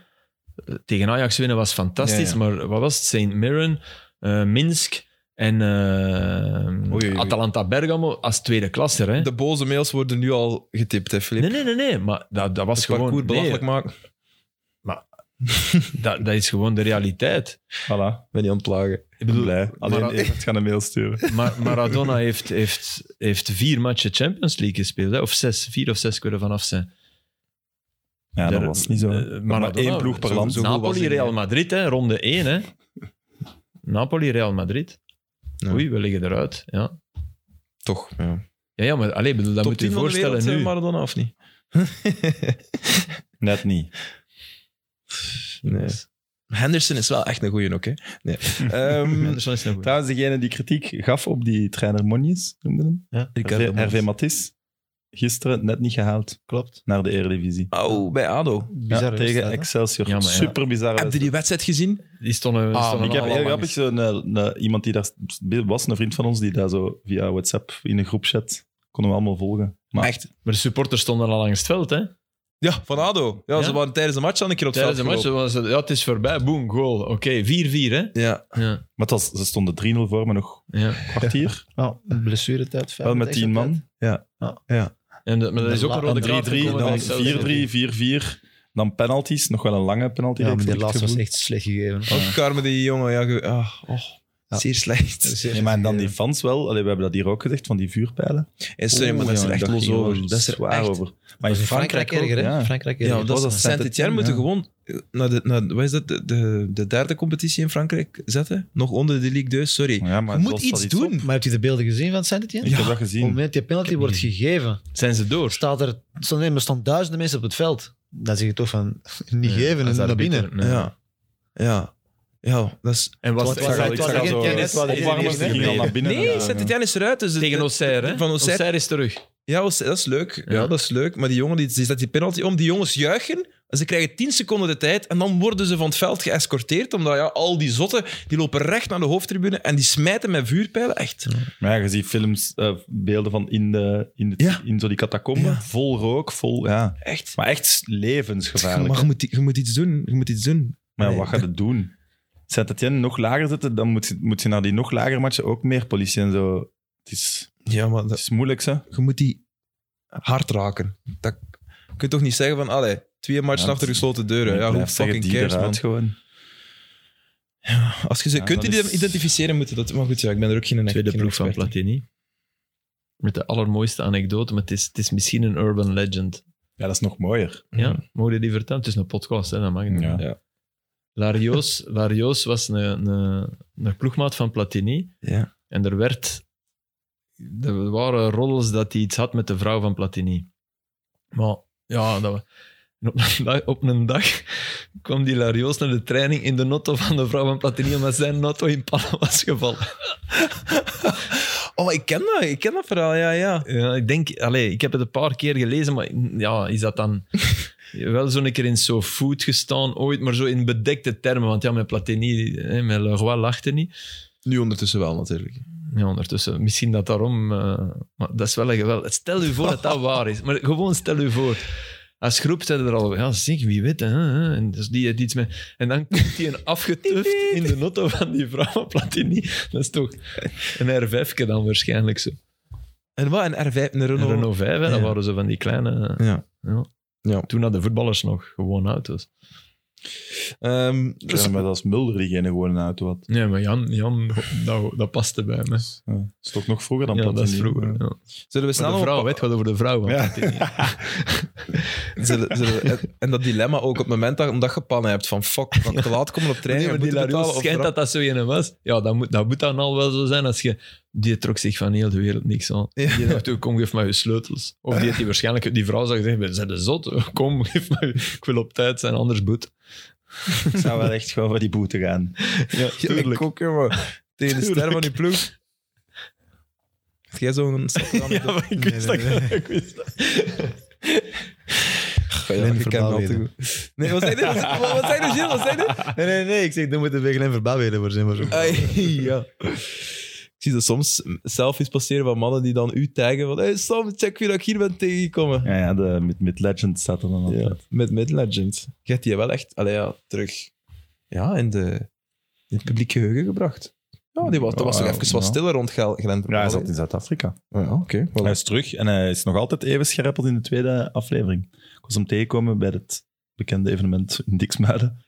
Speaker 3: eh, tegen Ajax winnen was fantastisch,
Speaker 2: Ja, ja.
Speaker 3: maar wat was het? St. Mirren, eh, Minsk en eh,
Speaker 2: Oei, oei.
Speaker 3: Atalanta Bergamo als tweede klasser. Hè.
Speaker 1: De boze mails worden nu al getipt, hè, Filip.
Speaker 3: Nee, nee, nee, nee, maar dat, dat was
Speaker 1: Het
Speaker 3: gewoon...
Speaker 1: parcours
Speaker 3: nee,
Speaker 1: belachelijk maken.
Speaker 3: dat, dat is gewoon de realiteit.
Speaker 2: Voilà.
Speaker 1: Ben niet aan het plagen.
Speaker 3: Ik
Speaker 2: Ik ben
Speaker 3: bedoel,
Speaker 2: blij. Alleen
Speaker 3: maar-
Speaker 2: Evert gaat een mail sturen.
Speaker 3: Ma- Maradona heeft, heeft, heeft vier matchen Champions League gespeeld. Hè? Of zes, vier of zes kunnen vanaf zijn.
Speaker 2: Ja, dat
Speaker 3: Er-
Speaker 2: was niet zo.
Speaker 3: eh,
Speaker 2: maar
Speaker 3: Maradona,
Speaker 2: één ploeg per
Speaker 3: zo-
Speaker 2: land.
Speaker 3: zo
Speaker 2: Zo
Speaker 3: Napoli,
Speaker 2: goed was hij niet,
Speaker 3: Real Madrid, hè? ronde één. Hè? Napoli, Real Madrid.
Speaker 1: Ja.
Speaker 3: Oei, we liggen eruit. Ja,
Speaker 1: Toch, ja.
Speaker 3: ja, ja maar allez, bedoel, dat moet je voorstellen nu.
Speaker 1: Maradona, of niet?
Speaker 2: Net niet.
Speaker 1: Nee. Henderson is wel echt een goeie ook, hè. Nee. Ehm,
Speaker 3: Henderson is nog goed.
Speaker 2: Trouwens, degene die kritiek gaf op die trainer Monjes, noemde hem.
Speaker 1: Ricardo
Speaker 2: RV,
Speaker 1: Mons.
Speaker 2: RV Matisse. Gisteren net niet gehaald
Speaker 4: Klopt.
Speaker 2: naar de Eredivisie.
Speaker 3: Ah,
Speaker 1: Oh, bij Ado.
Speaker 2: Ja,
Speaker 4: Bizar.
Speaker 2: tegen Excelsior.
Speaker 3: Ja, maar ja.
Speaker 2: Super bizarre
Speaker 1: Heb je die wedstrijd gezien?
Speaker 3: Die stonden, die
Speaker 1: Ah,
Speaker 3: stonden
Speaker 2: Ik heb
Speaker 3: allemaal
Speaker 2: heel
Speaker 3: langs.
Speaker 2: grappig zo'n, eh, een- iemand die daar was, een vriend van ons, die daar zo via WhatsApp in een groepchat konden we allemaal volgen. Maar
Speaker 1: Echt?
Speaker 3: Maar de supporters stonden al langs het veld. Hè?
Speaker 1: Ja, van ADO. Ja,
Speaker 3: Ja?
Speaker 1: ze waren tijdens de match aan een keer op het
Speaker 3: Tijdens de
Speaker 1: veld
Speaker 3: match
Speaker 1: gelopen.
Speaker 3: was het, ja, het is voorbij, boom, goal. Oké, 4-4 hè?
Speaker 1: Ja.
Speaker 3: Ja,
Speaker 2: Maar het was, ze stonden 3-0 voor, maar nog
Speaker 3: ja.
Speaker 2: een kwartier.
Speaker 4: Ja, blessuretijd.
Speaker 2: Wel met 10 man. Ja.
Speaker 4: Ja.
Speaker 2: ja.
Speaker 3: En dat, maar dat is ook een rode
Speaker 4: En
Speaker 3: kaart
Speaker 2: 3-3,
Speaker 3: gekomen bij
Speaker 2: dan
Speaker 3: Excelsior.
Speaker 2: 4-3, 4-4. Dan penalties, nog wel een lange penalty.
Speaker 4: Ja,
Speaker 2: reeks,
Speaker 4: maar
Speaker 2: heb
Speaker 4: die
Speaker 2: ik
Speaker 4: laatste
Speaker 2: het
Speaker 4: was
Speaker 2: gevoel.
Speaker 4: echt slecht gegeven.
Speaker 1: Ook Carmen die jongen. Ja, ge- ah, oh,
Speaker 4: Ja.
Speaker 1: Zeer slecht.
Speaker 2: Nee, maar en dan die fans wel. Allee, we hebben dat hier ook gezegd, van die vuurpijlen.
Speaker 1: En sorry, maar dat is er echt los over. Dat is er
Speaker 2: waar
Speaker 1: echt...
Speaker 2: over. Maar in
Speaker 4: Frankrijk,
Speaker 2: Frankrijk,
Speaker 4: erger,
Speaker 2: ook,
Speaker 4: hè?
Speaker 2: ja.
Speaker 4: Frankrijk erger.
Speaker 1: Ja, want
Speaker 2: was
Speaker 1: dat
Speaker 2: dat
Speaker 1: is Saint-Etienne
Speaker 2: Saint-Etienne,
Speaker 1: moeten
Speaker 2: ja.
Speaker 1: gewoon eh, naar de, naar, wat is dat, de, de, de derde competitie in Frankrijk zetten. Nog onder de Ligue 2, sorry.
Speaker 2: Ja, maar
Speaker 1: je
Speaker 2: het
Speaker 1: moet
Speaker 2: lost wel
Speaker 1: iets doen.
Speaker 2: op.
Speaker 4: Maar heb je de beelden gezien van Saint-Etienne?
Speaker 2: Ik heb dat
Speaker 4: Op het
Speaker 2: gezien.
Speaker 4: moment die penalty
Speaker 3: Ik
Speaker 4: wordt
Speaker 3: niet.
Speaker 4: gegeven,
Speaker 3: Zijn ze door?
Speaker 4: staat er, staan, nee, maar staan duizenden mensen op het veld. Dan zeg je toch van, niet geven en naar binnen.
Speaker 1: Ja. Ja. Ja, dat is...
Speaker 3: En was
Speaker 4: Het was-
Speaker 2: al-
Speaker 4: het was
Speaker 2: zag al
Speaker 4: geen
Speaker 2: zo
Speaker 4: kennis, het was
Speaker 2: opwarmen,
Speaker 4: geen
Speaker 2: ze gingen al naar binnen. eh,
Speaker 1: Nee,
Speaker 2: Ja, ja.
Speaker 1: Saint-Etienne is eruit. Dus de-
Speaker 3: tegen
Speaker 1: de-
Speaker 3: Auxerre, hè?
Speaker 1: Van Auxerre.
Speaker 3: is terug.
Speaker 1: Ja, was- dat is leuk. Ja.
Speaker 3: Ja.
Speaker 1: dat is leuk. Maar die jongen die, die zet die penalty om. Die jongens juichen. Ze krijgen 10 seconden de tijd en dan worden ze van het veld geëscorteerd. Omdat ja, al die zotten die lopen recht naar de hoofdtribune en die smijten met vuurpijlen. Echt.
Speaker 2: Maar ja, je ziet films, eh, beelden van in, de, in, de,
Speaker 1: Ja.
Speaker 2: in zo die catacomben.
Speaker 1: Ja.
Speaker 2: Vol rook, vol... Ja.
Speaker 1: echt.
Speaker 2: Maar echt levensgevaarlijk.
Speaker 1: Maar
Speaker 2: Maar,
Speaker 1: je moet, je moet iets doen. Je moet iets doen.
Speaker 2: ja, wat gaat het doen? Saint-Etienne nog lager zetten, dan moet je, moet je naar die nog lager matchen ook meer politie en zo. Het is,
Speaker 1: Ja, maar
Speaker 2: het
Speaker 1: dat-
Speaker 2: is moeilijk, hè?
Speaker 1: je moet die hard raken. Dat, je kunt toch niet zeggen van, allee, twee matchen
Speaker 2: Ja,
Speaker 1: achter
Speaker 2: het-
Speaker 1: gesloten deuren. Ja,
Speaker 2: Ik
Speaker 1: hoe
Speaker 2: blijf zeggen,
Speaker 1: fucking
Speaker 2: die
Speaker 1: cares,
Speaker 2: eruit
Speaker 1: man.
Speaker 2: gewoon.
Speaker 1: Als je ze
Speaker 2: Ja,
Speaker 1: kunt
Speaker 2: dan is-
Speaker 1: identificeren, moet je dat... Maar goed, ja, ik ben er ook geen echt-
Speaker 3: Tweede
Speaker 1: geen
Speaker 3: ploeg van
Speaker 1: expert in.
Speaker 3: Platini. Met de allermooiste anekdote, maar het is, het is misschien een urban legend.
Speaker 2: Ja, dat is nog mooier.
Speaker 3: Ja, mogen die vertellen? Het is een podcast, hè? dat mag niet.
Speaker 2: Ja.
Speaker 1: Ja.
Speaker 3: Larios, Larios was een, een, een ploegmaat van Platini.
Speaker 1: Ja.
Speaker 3: En er werd... Er waren roddels dat hij iets had met de vrouw van Platini. Maar ja, dat, wa- en op, een dag, op een dag kwam die Larios naar de training in de notto van de vrouw van Platini, omdat zijn notto in pannen was gevallen.
Speaker 1: Oh, ik ken dat. Ik ken dat verhaal, ja, ja.
Speaker 3: Ja, ik denk, allee, ik heb het een paar keer gelezen, maar ja, is dat dan wel zo'n keer in zo'n food gestaan ooit, maar zo in bedekte termen, want ja, met Platini, hè, met Leroy lachte niet.
Speaker 1: Nu ondertussen wel, natuurlijk.
Speaker 3: Ja, ondertussen, misschien dat daarom, eh, maar dat is wel een geweld. Stel u voor dat dat waar is, maar gewoon stel u voor. Als groep zeiden er al, ja, zeg, wie weet, hè, hè. En, dus die heeft iets met, en dan komt hij een afgetuft in de notto van die vrouw van Platini. Dat is toch een R5 dan waarschijnlijk zo.
Speaker 1: En wat? Een R5, een
Speaker 3: Een
Speaker 1: Renault.
Speaker 3: Renault 5, hè, dat
Speaker 1: Ja.
Speaker 3: waren zo van die kleine... eh,
Speaker 1: Ja.
Speaker 3: Toen hadden voetballers nog gewoon auto's.
Speaker 1: Ehm, dus-
Speaker 2: Ja, maar dat is Mulder diegene gewoon een auto had. Dus,
Speaker 3: Nee, maar Jan, Jan dat, dat paste bij me.
Speaker 2: Ja. Dat is toch nog vroeger dan
Speaker 3: Ja, dat is
Speaker 2: Platini.
Speaker 3: vroeger.
Speaker 2: Ja.
Speaker 3: Ja.
Speaker 1: zullen we
Speaker 3: Maar
Speaker 1: snel
Speaker 3: de vrouw,
Speaker 1: op,
Speaker 3: hè, het gaat over de vrouw.
Speaker 2: Ja.
Speaker 3: want het-
Speaker 1: zullen, zullen we- en- en dat dilemma ook op het moment dat omdat je pannen hebt van fuck, kan ik te laat komen op
Speaker 3: Nee,
Speaker 1: training
Speaker 3: maar
Speaker 1: en
Speaker 3: die
Speaker 1: moeten
Speaker 3: Larios
Speaker 1: betalen of
Speaker 3: schijnt dat dat zo ene was. Ja, dat moet, dat moet dan al wel zo zijn. Als je, die trok zich van heel de wereld niks aan.
Speaker 1: Ja.
Speaker 3: Die dacht, kom, geef mij je sleutels. Of die, had die waarschijnlijk, die vrouw zou zeggen, zijn de zot? Kom, geef mij, ik wil op tijd zijn, anders boet.
Speaker 2: Ik zou wel echt gewoon voor die boete gaan.
Speaker 3: Ja,
Speaker 1: Ja, ik ook, jongen. Tegen de ster van die ploeg. Heb jij zo'n
Speaker 2: Ja, maar ik wist
Speaker 4: Nee, nee,
Speaker 2: dat. Ik wist dat.
Speaker 4: Glenn
Speaker 1: ik ken hem al te
Speaker 4: Verbaal
Speaker 1: goed. Nee, wat zei je? Wat wat zei je, Gilles? Wat zei je?
Speaker 4: Nee, nee, nee. Ik zeg, dan moeten we Glenn Verbaal voor zijn. Maar zo.
Speaker 1: Ai, ja. Ik zie dat soms selfies passeren van mannen die dan u taggen van hey Sam, check wie dat ik hier ben tegengekomen.
Speaker 2: Ja, ja de, met, met Legend staat er dan altijd.
Speaker 1: Ja, met Mid-Legend. Je hebt die wel echt allee, ja, terug ja, in, de, in het publiek geheugen gebracht. Ja, die was, dat was toch
Speaker 2: Ja,
Speaker 1: even wat
Speaker 2: ja.
Speaker 1: stiller rond Gel- Glenn
Speaker 2: Ja, hij
Speaker 1: Verbaal,
Speaker 2: zat in Zuid-Afrika.
Speaker 1: hè? Ja, oké. voilà.
Speaker 2: Hij is terug en hij is nog altijd even scherpeld in de tweede aflevering. Ik was hem tegengekomen bij het bekende evenement in Diksmuiden.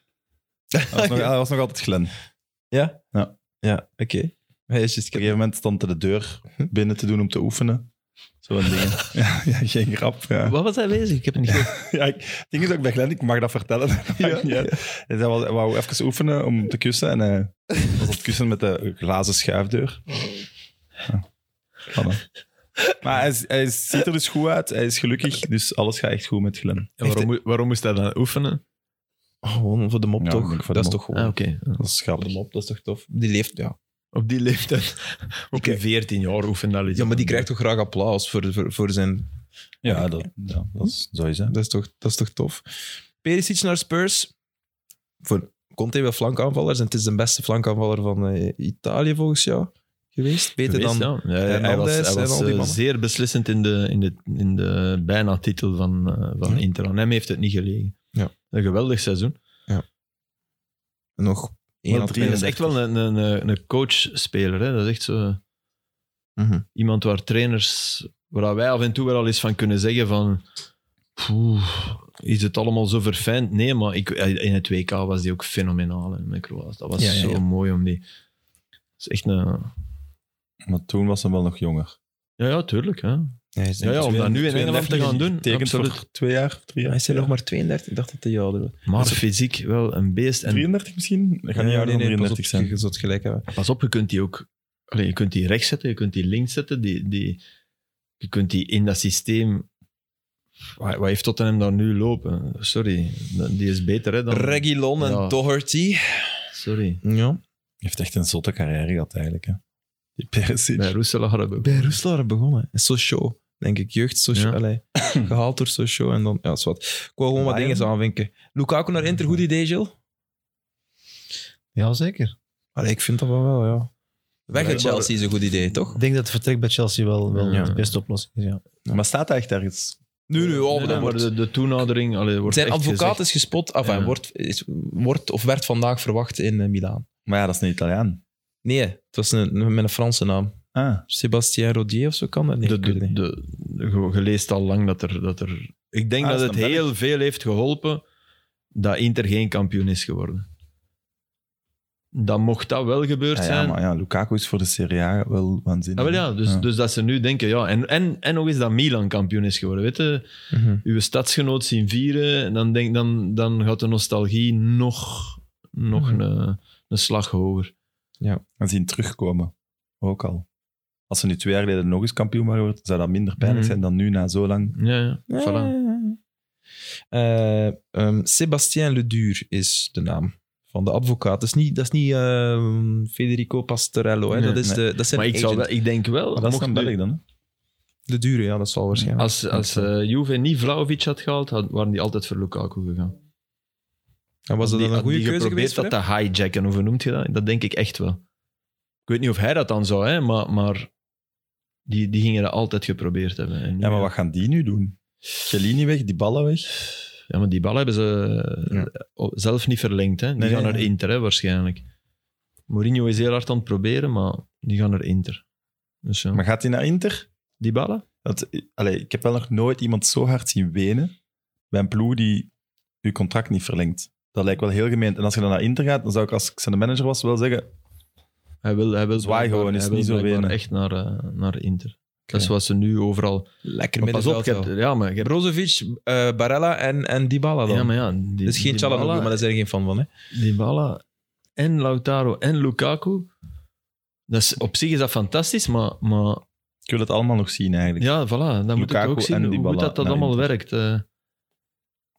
Speaker 2: Hij was nog, hij was nog altijd Glen. Op
Speaker 1: Ja?
Speaker 2: Ja.
Speaker 1: Ja, oké. Hij is just
Speaker 2: een gegeven moment stond hij de deur binnen te doen om te oefenen. Zo'n ding. Ja, ja, geen grap. Ja.
Speaker 3: Wat was hij bezig? Ik heb het niet gehoord.
Speaker 2: Ja, ik, het ding is ook bij Glenn, ik mag dat vertellen. Ja. Dus Hij wou, hij wou even oefenen om te kussen en hij was aan het kussen met de glazen schuifdeur. Ja. Voilà. Maar hij, is- hij is- ziet er dus goed uit, hij is gelukkig, dus alles gaat echt goed met Glenn.
Speaker 3: En waarom, moe- waarom moest hij dan oefenen?
Speaker 1: Oh, Gewoon voor de mop,
Speaker 2: Ja,
Speaker 1: toch?
Speaker 2: voor de
Speaker 1: dat is
Speaker 2: mop.
Speaker 1: toch gewoon...
Speaker 3: Ah, oké.
Speaker 2: Dat is
Speaker 1: Voor de
Speaker 2: grappig.
Speaker 1: mop, dat is toch tof? Die leeft, ja.
Speaker 3: Op die leeftijd, op je 14 jaar oefenen. dat is-
Speaker 1: Ja, maar die krijgt toch graag applaus voor, voor, voor zijn...
Speaker 2: Ja, dat, ja, dat is, zou je zeggen.
Speaker 1: Dat is toch, dat is toch tof. Perisic naar Spurs. Voor Conte wel flankaanvallers. En het is de beste flankaanvaller van eh, Italië volgens jou geweest. Beter
Speaker 3: Geweest,
Speaker 1: dan...
Speaker 3: ja. Ja, hij was,
Speaker 1: Hernandez
Speaker 3: hij
Speaker 1: en
Speaker 3: was,
Speaker 1: al die
Speaker 3: eh,
Speaker 1: mannen.
Speaker 3: zeer beslissend in de, in de, in de bijna titel van, eh,
Speaker 1: Ja.
Speaker 3: van Inter. Aan hem heeft het niet gelegen.
Speaker 1: Ja.
Speaker 3: Een geweldig seizoen.
Speaker 1: Nog één
Speaker 2: Wel
Speaker 1: of
Speaker 2: drie
Speaker 1: twee.
Speaker 3: dat is echt wel een, een, een- een coachspeler. Hè? Dat is echt zo
Speaker 1: Mhm.
Speaker 3: iemand waar trainers, waar wij af en toe wel al eens van kunnen zeggen van "Poeh, is het allemaal zo verfijnd? Nee, maar ik, eh, in het WK was die ook fenomenaal hè, met Kroatië. Dat was
Speaker 1: Ja, ja,
Speaker 3: zo
Speaker 1: ja.
Speaker 3: mooi om die... Dat is echt een...
Speaker 2: Maar toen was hij wel nog jonger. Dus
Speaker 3: Ja, ja, tuurlijk. Hè.
Speaker 1: Hij is,
Speaker 3: Ja, ja, om dat nu in Engeland
Speaker 2: 32
Speaker 3: te gaan doen,
Speaker 2: Tekent
Speaker 3: absoluut.
Speaker 2: voor twee jaar, drie jaar.
Speaker 1: hij is er nog maar 32. Ik dacht dat hij ouder was.
Speaker 3: Maar
Speaker 1: Dus-
Speaker 3: fysiek wel een beest. En
Speaker 2: 33 misschien? Dat gaat niet ouder dan
Speaker 1: pas op,
Speaker 2: 33 zijn.
Speaker 1: Je zult gelijk hebben.
Speaker 3: pas op, je kunt die ook... allee, je kunt die rechts zetten, je kunt die links zetten. Die, die, je kunt die in dat systeem... Wat, wat heeft Tottenham daar nu lopen? Sorry, die is beter hè, dan...
Speaker 1: Reguilon en
Speaker 3: Ja.
Speaker 1: Doherty.
Speaker 3: Sorry.
Speaker 1: Ja.
Speaker 2: Hij heeft echt een zotte carrière gehad eigenlijk. Hè. Die Perisic.
Speaker 3: Bij Roeselaar hadden we ook.
Speaker 1: Bij Roeselaar begonnen. En Sochaux, denk ik. Jeugd Sochaux.
Speaker 3: Ja.
Speaker 1: Allee, Gehaald door Sochaux. En dan, ja, is wat. Ik wil gewoon wat
Speaker 2: Bayern.
Speaker 1: dingen aanvinken. Lukaku naar Inter, goed idee, Jill?
Speaker 4: Ja, zeker.
Speaker 1: Allee, ik vind dat wel wel, ja. Weg uit Chelsea is een goed idee, toch?
Speaker 4: Ik denk dat het vertrek bij Chelsea wel, wel
Speaker 1: Ja.
Speaker 4: de beste oplossing is. Ja.
Speaker 2: Maar staat hij echt ergens?
Speaker 1: Nu, nu,
Speaker 3: Nee, nee, maar de, de toenadering... Allee, wordt
Speaker 1: Zijn
Speaker 3: echt
Speaker 1: advocaat
Speaker 3: gezegd.
Speaker 1: is gespot, enfin,
Speaker 3: Ja.
Speaker 1: wordt, is, wordt of werd vandaag verwacht in eh, Milaan.
Speaker 2: Maar ja, dat is een Italiaan.
Speaker 1: Nee, het was een, met een Franse naam.
Speaker 2: Ah,
Speaker 1: Sébastien Rodier of zo kan dat niet.
Speaker 3: de,
Speaker 1: ik weet
Speaker 3: de,
Speaker 1: het niet.
Speaker 3: de, de- je leest al lang dat er... Dat er ik denk
Speaker 2: Ah,
Speaker 3: dat
Speaker 2: is
Speaker 3: het
Speaker 2: een Belg.
Speaker 3: heel veel heeft geholpen dat Inter geen kampioen is geworden. Dan mocht dat wel gebeurd
Speaker 2: ja, ja,
Speaker 3: zijn.
Speaker 2: maar ja, Lukaku is voor de Serie A wel waanzinnig.
Speaker 3: Ah, wel ja, dus, dus dat ze nu denken, ja, en, en, en nog eens dat Milan kampioen is geworden. Weet je,
Speaker 1: Mhm.
Speaker 3: uw stadsgenoot zien vieren, en dan, denk, dan, dan gaat de nostalgie nog, nog
Speaker 1: Mhm.
Speaker 3: een, een slag hoger.
Speaker 2: En zien terugkomen. Ook al. Als ze nu twee jaar geleden nog eens kampioen waren geworden, zou dat minder pijnlijk
Speaker 3: Mhm.
Speaker 2: zijn dan nu na zo lang.
Speaker 3: Ja, ja, voilà.
Speaker 1: Eh, ehm, Sébastien Ledur is de naam van de advocaat. Dat is niet, dat is niet ehm, Federico Pastorello. Hè?
Speaker 3: Nee,
Speaker 1: dat, is
Speaker 2: nee.
Speaker 1: de, dat zijn
Speaker 3: Maar ik, zou
Speaker 1: agent.
Speaker 3: wel, ik denk wel...
Speaker 2: Maar dat is
Speaker 3: mocht
Speaker 2: dan
Speaker 3: nu-
Speaker 2: België dan, hè?
Speaker 1: De dure, ja, dat zal waarschijnlijk.
Speaker 3: Als, als eh, Juve niet Vlaovic had gehaald, had- waren die altijd voor Lukaku gegaan.
Speaker 1: en was dat
Speaker 3: die,
Speaker 1: dan een goede
Speaker 3: die
Speaker 1: keuze
Speaker 3: geprobeerd
Speaker 1: geweest? voor
Speaker 3: dat te hijacken, hoe noemt je dat? Dat denk ik echt wel. Ik weet niet of hij dat dan zou, hè, maar, maar die, die gingen dat altijd geprobeerd hebben. En nu-
Speaker 2: Ja, maar wat gaan die nu doen? Cellini weg, die ballen weg.
Speaker 3: Ja, maar die bal hebben ze eh, o- zelf niet verlengd. Hè. Die
Speaker 2: Nee,
Speaker 3: gaan
Speaker 2: nee,
Speaker 3: naar
Speaker 2: nee.
Speaker 3: Inter, hè, waarschijnlijk. Mourinho is heel hard aan het proberen, maar die gaan naar Inter. Dus ja.
Speaker 2: Maar gaat hij naar Inter?
Speaker 3: die ballen?
Speaker 2: Dat, allee, ik heb wel nog nooit iemand zo hard zien wenen bij een ploeg die je contract niet verlengt. Dat lijkt wel heel gemeen. En als je dan naar Inter gaat, dan zou ik als ik zijn manager was wel zeggen...
Speaker 3: Hij wil, hij wil
Speaker 2: Zwaai
Speaker 3: blijkbaar-
Speaker 2: gewoon, is
Speaker 3: hij wil
Speaker 2: niet zo
Speaker 3: blijkbaar
Speaker 2: wenen.
Speaker 3: echt naar, eh, naar Inter. Dat is wat ze nu overal...
Speaker 1: Lekker
Speaker 3: Maar pas op,
Speaker 1: middenveld.
Speaker 3: je hebt,
Speaker 1: wel.
Speaker 3: ja, maar je hebt
Speaker 1: Brozovic, eh, Barella en, en Dybala dan.
Speaker 3: Ja, maar ja, die,
Speaker 1: dat is geen Chalanoglu, maar
Speaker 3: Dybala-
Speaker 1: daar is er geen fan van. Hè?
Speaker 3: Dybala en Lautaro en Lukaku. Dat is, op zich is dat fantastisch, maar, maar
Speaker 2: Ik wil het allemaal nog zien, eigenlijk.
Speaker 3: ja, voilà. Dan moet je
Speaker 2: Lukaku
Speaker 3: ook
Speaker 2: en
Speaker 3: zien hoe
Speaker 2: Dybala
Speaker 3: goed dat, dat
Speaker 2: naar
Speaker 3: allemaal
Speaker 2: Inter.
Speaker 3: werkt. eh.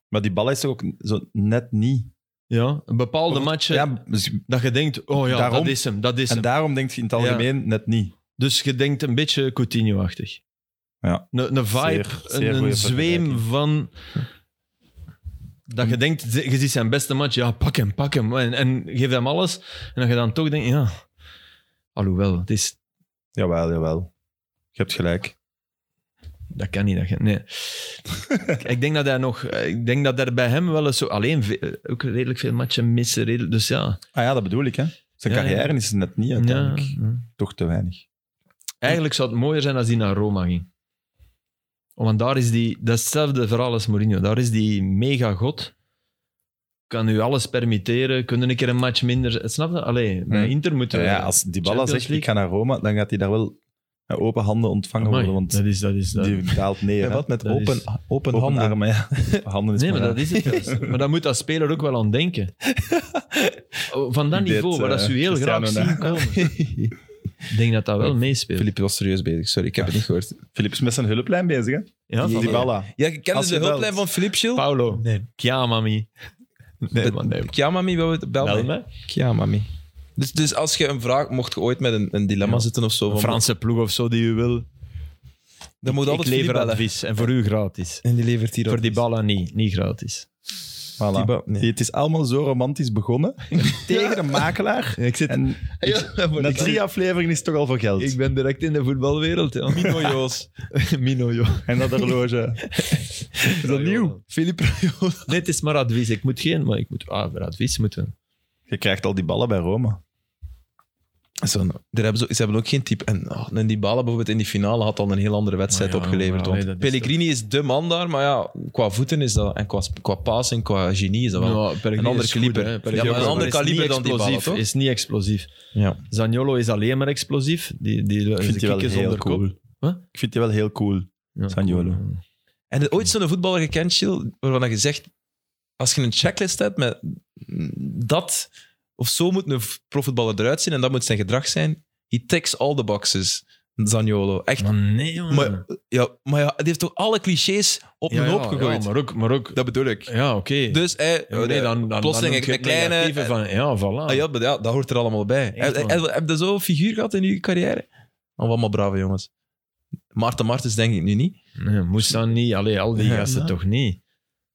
Speaker 2: Maar die bal is toch ook zo net niet.
Speaker 3: ja, een bepaalde match
Speaker 2: Ja, dus-
Speaker 3: dat je denkt, oh ja,
Speaker 2: Daarom-
Speaker 3: dat is hem, dat is
Speaker 2: en
Speaker 3: hem.
Speaker 2: daarom denk je in het algemeen net niet.
Speaker 3: Dus je denkt een beetje Coutinho-achtig.
Speaker 2: Ja.
Speaker 3: Een, een vibe,
Speaker 2: Zeer- zeer
Speaker 3: een- een,
Speaker 2: goeie
Speaker 3: zweem
Speaker 2: vergelijking. Hm.
Speaker 3: van... Dat je denkt, je ziet zijn beste match, ja, pak hem, pak hem. En, en geef hem alles. En dat je dan toch denkt, ja... Alhoewel, het is,
Speaker 2: Jawel, jawel. Je hebt gelijk.
Speaker 3: dat kan niet. Dat, je- nee. ik, ik denk dat hij nog... Ik denk dat er bij hem wel eens zo... Alleen ve- ook redelijk veel matchen missen. redelijk- dus ja.
Speaker 2: Ah ja, dat bedoel ik, hè. Zijn
Speaker 3: Ja, ja.
Speaker 2: carrière is het net niet,
Speaker 3: ja. hm.
Speaker 2: uiteindelijk. Toch te weinig.
Speaker 3: Eigenlijk zou het mooier zijn als hij naar Roma ging. Oh, Want daar is die, dat is hetzelfde verhaal als Mourinho. Daar is die mega god. Kan u alles permitteren, kunnen een keer een match minder. Snap je? Allee, bij
Speaker 2: Hmm.
Speaker 3: Inter moeten
Speaker 2: Ja,
Speaker 3: we.
Speaker 2: ja, als Dybala
Speaker 3: Champions
Speaker 2: zegt, ik
Speaker 3: League.
Speaker 2: ga naar Roma, dan gaat hij daar wel met open handen ontvangen
Speaker 3: Amai,
Speaker 2: worden. Want
Speaker 3: dat is, dat is, dat-
Speaker 2: die daalt neer.
Speaker 1: Ja,
Speaker 2: hè.
Speaker 1: wat met
Speaker 3: dat
Speaker 1: open,
Speaker 3: is-
Speaker 1: open
Speaker 2: Open
Speaker 1: handen?
Speaker 2: armen, ja. Open handen is
Speaker 3: Nee, maar
Speaker 2: maar
Speaker 3: dat is het juist. maar daar moet dat speler ook wel aan denken. Oh, Van dat
Speaker 2: Die
Speaker 3: niveau,
Speaker 2: deed,
Speaker 3: waar dat ze u
Speaker 2: eh,
Speaker 3: heel graag
Speaker 2: Cristiano
Speaker 3: zien komen. Ik denk dat dat wel meespeelt.
Speaker 1: Filip was serieus bezig, sorry, ik heb het niet gehoord.
Speaker 2: Filip is met zijn hulplijn bezig, hè?
Speaker 3: Ja, van-
Speaker 2: Dybala.
Speaker 1: Ja, ik kende
Speaker 2: Als
Speaker 1: de
Speaker 2: je belt.
Speaker 1: hulplijn van Filip Schill.
Speaker 3: Paolo.
Speaker 4: Nee.
Speaker 3: Kiamami. Nee, man, nee. man.
Speaker 1: Kiamami, wil het
Speaker 3: Bel
Speaker 1: bel mij.
Speaker 3: me.
Speaker 1: Kiamami. Dus, dus als je een vraag, mocht je ooit met een, een dilemma
Speaker 3: Ja.
Speaker 1: zitten of zo,
Speaker 3: Een
Speaker 1: van,
Speaker 3: Franse ploeg of zo die u wil.
Speaker 1: dan moet je altijd
Speaker 3: ik lever
Speaker 1: Filip bellen.
Speaker 3: advies en voor u gratis.
Speaker 1: En die levert hier
Speaker 3: Voor die ballen niet, niet gratis.
Speaker 2: Voilà.
Speaker 1: Dybala, nee.
Speaker 2: Die- Het is allemaal zo romantisch begonnen. Tegen de makelaar.
Speaker 3: Ik, zit,
Speaker 2: En na drie afleveringen is het toch al voor geld.
Speaker 3: ben direct in de voetbalwereld. Ja. Mino Joos. Mino Joos.
Speaker 2: En dat horloge. is dat nieuw?
Speaker 1: Filip
Speaker 3: Nee, het is maar advies. Ik moet geen, maar ik moet... Ah, voor advies moeten.
Speaker 2: Je krijgt al die ballen bij Roma.
Speaker 1: Zo'n- daar hebben ze, ze hebben ook geen type. En, oh, en die balen bijvoorbeeld in die finale had al een heel andere wedstrijd
Speaker 3: Maar ja,
Speaker 1: opgeleverd.
Speaker 3: maar
Speaker 1: want
Speaker 3: nee, dat is
Speaker 1: Pellegrini is de man daar, maar ja, qua voeten is dat, en qua, qua paas en qua genie is dat wel.
Speaker 3: een
Speaker 1: ander kaliber. Ja, maar een ander kaliber dan die ballen, toch?
Speaker 3: Is niet explosief.
Speaker 1: Ja.
Speaker 3: Zaniolo is alleen maar explosief. Die, die,
Speaker 2: Ik vind die wel heel cool.
Speaker 3: Huh?
Speaker 2: Ik vind die wel heel cool. Zaniolo.
Speaker 1: En er- ooit zo'n voetballer gekend, Chill, waarvan je zegt: als je een checklist hebt met mm, dat of zo moet een v- profvoetballer eruit zien en dat moet zijn gedrag zijn, he ticks all the boxes. Zaniolo. Echt.
Speaker 3: Maar nee, jongen.
Speaker 1: Maar, ja, maar ja, die heeft toch alle clichés op
Speaker 3: Hmm. Ja,
Speaker 1: een hoop
Speaker 3: ja,
Speaker 1: gegooid?
Speaker 3: Ja, maar ook... Maar ook
Speaker 1: Dat bedoel ik.
Speaker 3: ja, oké.
Speaker 1: Dus hij,
Speaker 3: Ja, nee, dan, dan,
Speaker 1: plotseling
Speaker 3: dan noem je
Speaker 1: een
Speaker 3: het
Speaker 1: kleine-
Speaker 3: negatieve Van, ja, voilà.
Speaker 1: ah, ja, maar ja, dat hoort er allemaal bij.
Speaker 3: Echt,
Speaker 1: Heb-
Speaker 3: man.
Speaker 1: Heb heb je zo'n figuur gehad in je carrière? Oh, wat maar brave jongens. Maarten Martens denk ik nu niet.
Speaker 3: Nee, moest dan niet. Allee, al die
Speaker 1: Ja,
Speaker 3: gasten
Speaker 1: maar-
Speaker 3: toch niet.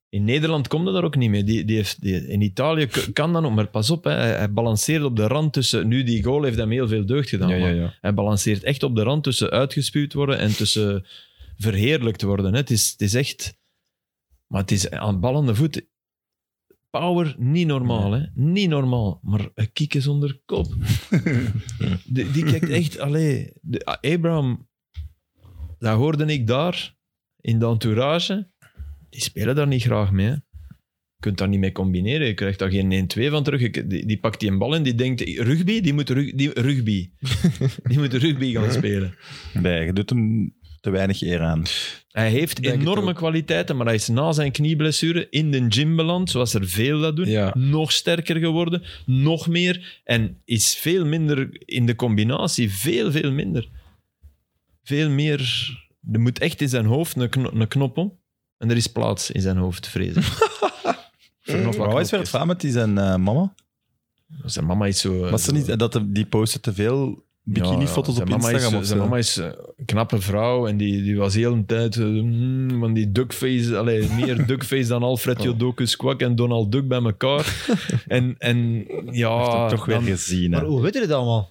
Speaker 3: In Nederland komt dat daar ook niet mee. Die, die heeft, die- in Italië k- kan dat nog, maar pas op. Hè. Hij hij balanceert op de rand tussen... Nu, die goal heeft hem heel veel deugd gedaan. maar Hij balanceert echt op de rand tussen uitgespuwd worden en tussen verheerlijkt worden. Hè. Het, is, het is echt... Maar het is aan ballende voet... Power, niet normaal, hè. Niet normaal. Maar een kiek is onder kop. die, die kijkt echt... Allee, de, Abraham, dat hoorde ik daar, in de entourage. Die spelen daar niet graag mee, hè. Je kunt daar niet mee combineren. Je krijgt daar geen 1-2 van terug. Je- Die, die pakt die een bal en die denkt... Rugby? Die moet rug, die, rugby. die moet rugby gaan spelen.
Speaker 2: Nee, je doet hem te weinig eer aan.
Speaker 3: Hij heeft
Speaker 1: Denk het
Speaker 3: enorme
Speaker 1: ook.
Speaker 3: kwaliteiten, maar hij is na zijn knieblessure in de gym beland, zoals er veel dat doen.
Speaker 1: Ja.
Speaker 3: Nog sterker geworden, nog meer. En is veel minder in de combinatie. Veel, veel minder. Veel meer... Er moet echt in zijn hoofd een, kno- een knop om. En er is plaats in zijn hoofd, vrees ik. Voor nog wat
Speaker 2: Eh, Maar wat is weer het
Speaker 3: knopjes.
Speaker 2: verhaal met die zijn eh, mama?
Speaker 3: Zijn mama is zo...
Speaker 2: Was er niet dat de- die posten te veel bikinifoto's
Speaker 3: Eh, Ja,
Speaker 2: op
Speaker 3: zijn mama
Speaker 2: Instagram
Speaker 3: Is,
Speaker 2: of
Speaker 3: zijn
Speaker 2: zo?
Speaker 3: mama is eh, een knappe vrouw en die, die was heel een tijd eh, mm, van die duckface, allee, meer duckface dan Alfred
Speaker 2: Oh.
Speaker 3: Jodokus Kwak en Donald Duck bij elkaar. en, en ja,
Speaker 2: Ah, toch weer
Speaker 3: dan-
Speaker 2: gezien. hè.
Speaker 4: Maar hoe weet je dit allemaal?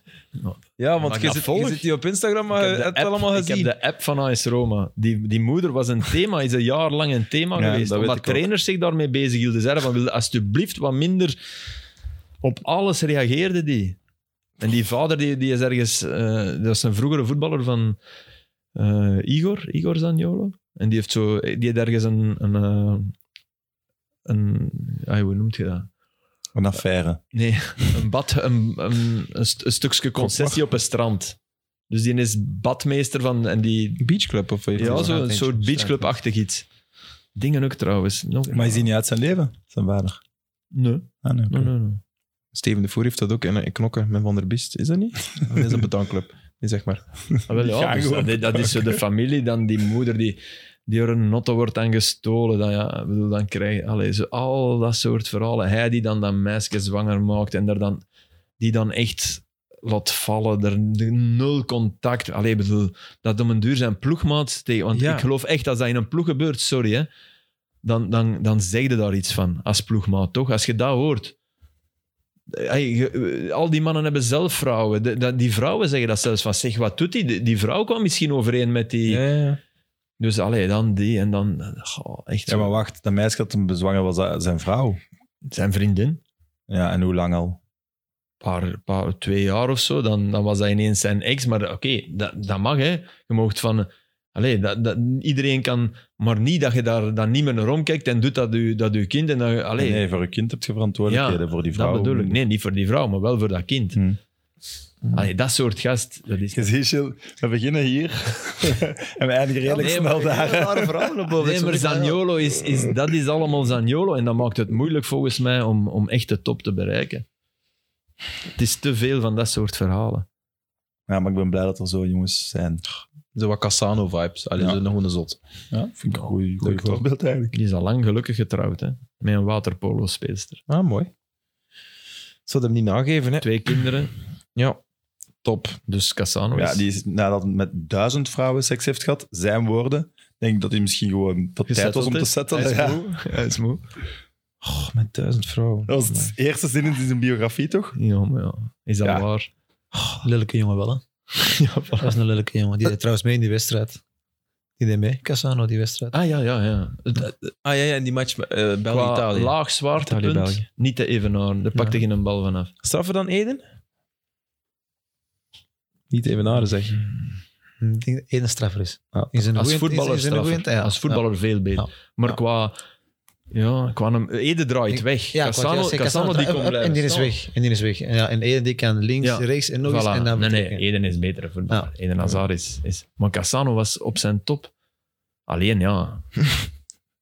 Speaker 1: Ja,
Speaker 3: Maar
Speaker 1: want je
Speaker 3: dat
Speaker 1: zit,
Speaker 3: volg.
Speaker 1: je zit die op Instagram, maar
Speaker 3: ik
Speaker 1: je
Speaker 3: heb,
Speaker 1: hebt
Speaker 3: de
Speaker 1: het
Speaker 3: app-
Speaker 1: allemaal
Speaker 3: ik heb
Speaker 1: gezien.
Speaker 3: de app van AS Roma. Die, die moeder was een thema, is een jaar lang een thema
Speaker 2: Ja,
Speaker 3: geweest.
Speaker 2: dat weet
Speaker 3: Omdat
Speaker 2: ik ook.
Speaker 3: trainers zich daarmee bezig hielden. Zeiden van, wil je alsjeblieft wat minder... Op alles reageerde die. En die vader, die, die is ergens... eh, dat is een vroegere voetballer van eh, Igor, Igor Zaniolo. En die heeft, zo, die heeft ergens een... een, eh, een ah, hoe noemt je dat?
Speaker 2: Een affaire.
Speaker 3: Nee, een bad, een, een, een, st- een stukje concessie op een strand. Dus die is badmeester van, en die,
Speaker 1: Beachclub of
Speaker 3: ja, zo een soort beachclub-achtig iets. Dingen ook trouwens. Nog,
Speaker 2: Maar is die niet uit zijn leven, zijn vader?
Speaker 3: Nee,
Speaker 2: Ah, nee, oké.
Speaker 3: nee, nee. nee.
Speaker 1: Steven de Voer heeft dat ook in, in knokken met Van der Biest. Is dat niet? Of is dat een betanclub? Nee, zeg maar.
Speaker 3: Ah, wel, ja,
Speaker 2: Gaan
Speaker 3: dus
Speaker 2: gewoon
Speaker 3: dat, dat is zo de familie, dan die moeder die, die door een notto wordt dan gestolen. Dan, ja, ik bedoel, dan krijg je allee, zo, al dat soort verhalen. Hij die dan dat meisje zwanger maakt en daar dan, die dan echt laat vallen, er nul contact. Allee, ik bedoel, dat om een duur zijn ploegmaat tegen. Want
Speaker 1: Ja.
Speaker 3: ik geloof echt, als dat in een ploeg gebeurt, sorry hè, dan, dan, dan zeg je daar iets van als ploegmaat, toch? Als je dat hoort. Hey, je- eh, al die mannen hebben zelf vrouwen. De- dat- die vrouwen zeggen dat zelfs van, zeg, wat doet die? Die, die vrouw kwam misschien overeen met die...
Speaker 1: Ja, ja.
Speaker 3: Dus allee, dan die en dan... eh, goh, echt
Speaker 2: Ja, maar wacht, dat meisje dat hem bezwangen was, dat zijn vrouw.
Speaker 3: zijn vriendin.
Speaker 2: Ja, en hoe lang al?
Speaker 3: paar, paar, twee jaar of zo, dan, dan was dat ineens zijn ex. Maar eh, oké, dat, dat mag, hè. Je mag van... eh, Allee, dat, dat, iedereen kan... Maar niet dat je daar dan niet meer naar omkijkt en doet dat je, dat je kind. En dat, je- allee,
Speaker 2: Nee, voor een kind heb je verantwoordelijkheden,
Speaker 3: Ja,
Speaker 2: voor die vrouw.
Speaker 3: dat bedoel ik. Nee, niet voor die vrouw, maar wel voor dat kind.
Speaker 2: Hmm.
Speaker 3: Allee, dat soort gast, dat is...
Speaker 2: Je ziet, Gilles, we beginnen hier en we eindigen redelijk snel daar.
Speaker 3: Nee, maar Zaniolo is, is... Dat is allemaal Zaniolo. En dat maakt het moeilijk volgens mij om, om echt de top te bereiken. Het is te veel van dat soort verhalen.
Speaker 2: Ja, maar ik ben blij dat er zo jongens zijn.
Speaker 1: Zo wat Cassano-vibes. Alleen
Speaker 2: Ja.
Speaker 1: zo nog een zot.
Speaker 2: Ja, vind ik een
Speaker 1: Leuk
Speaker 2: goed
Speaker 1: wel.
Speaker 2: voorbeeld eigenlijk.
Speaker 3: Die is al lang gelukkig getrouwd, hè. Met een waterpolo-speelster.
Speaker 1: Ah, mooi. Ik zou hem niet nageven, hè.
Speaker 3: twee kinderen.
Speaker 1: Ja, top.
Speaker 3: Dus Cassano is...
Speaker 2: Ja, die is, nadat hij met duizend vrouwen seks heeft gehad, zijn woorden, denk ik dat hij misschien gewoon dat tijd was om te settelen.
Speaker 3: Hij is
Speaker 2: Ja.
Speaker 3: moe. Hij is moe.
Speaker 1: Oh, met duizend vrouwen.
Speaker 2: Dat was de eerste zin in zijn biografie, toch?
Speaker 3: Ja, maar ja. Is dat
Speaker 2: Ja.
Speaker 3: waar?
Speaker 4: Lelijke jongen wel, hè?
Speaker 3: Ja,
Speaker 4: Dat is een lelijke jongen. Die deed trouwens mee in die wedstrijd. Die deed mee, Cassano, die wedstrijd.
Speaker 3: Ah ja, ja, ja. Dat-
Speaker 1: Ah ja, ja in die match met
Speaker 3: qua
Speaker 1: België-Italië.
Speaker 3: laag zwaartepunt,
Speaker 1: Italië-België.
Speaker 3: niet te evenaren. Daar pakte geen een bal vanaf.
Speaker 1: Straffen dan Eden? Niet evenaren, zeg je.
Speaker 4: Hm, Ik denk dat één straffer is.
Speaker 1: Ja.
Speaker 4: Is een
Speaker 3: Als
Speaker 4: goeie-
Speaker 3: voetballer,
Speaker 4: is een goeie-
Speaker 3: straffer.
Speaker 4: ja.
Speaker 3: Als voetballer veel beter. Maar
Speaker 1: Ja.
Speaker 3: qua... Ja, qua een, Ede draait
Speaker 4: Ik-
Speaker 3: weg.
Speaker 4: Ja, ik wou
Speaker 3: Cassano,
Speaker 4: juist zeggen,
Speaker 3: Cassano die
Speaker 4: Up,
Speaker 3: komt
Speaker 4: up,
Speaker 3: blijven
Speaker 4: En die is
Speaker 3: staan.
Speaker 4: weg. En die is weg. En Ja, en Eden die kan links,
Speaker 3: Ja.
Speaker 4: rechts en nog eens.
Speaker 3: Voilà.
Speaker 4: En dan
Speaker 3: nee, nee,
Speaker 4: vertrekken.
Speaker 3: Eden is beter voetballer.
Speaker 4: Ja.
Speaker 3: Eden Hazard is, is... Maar Cassano was op zijn top. Alleen, ja...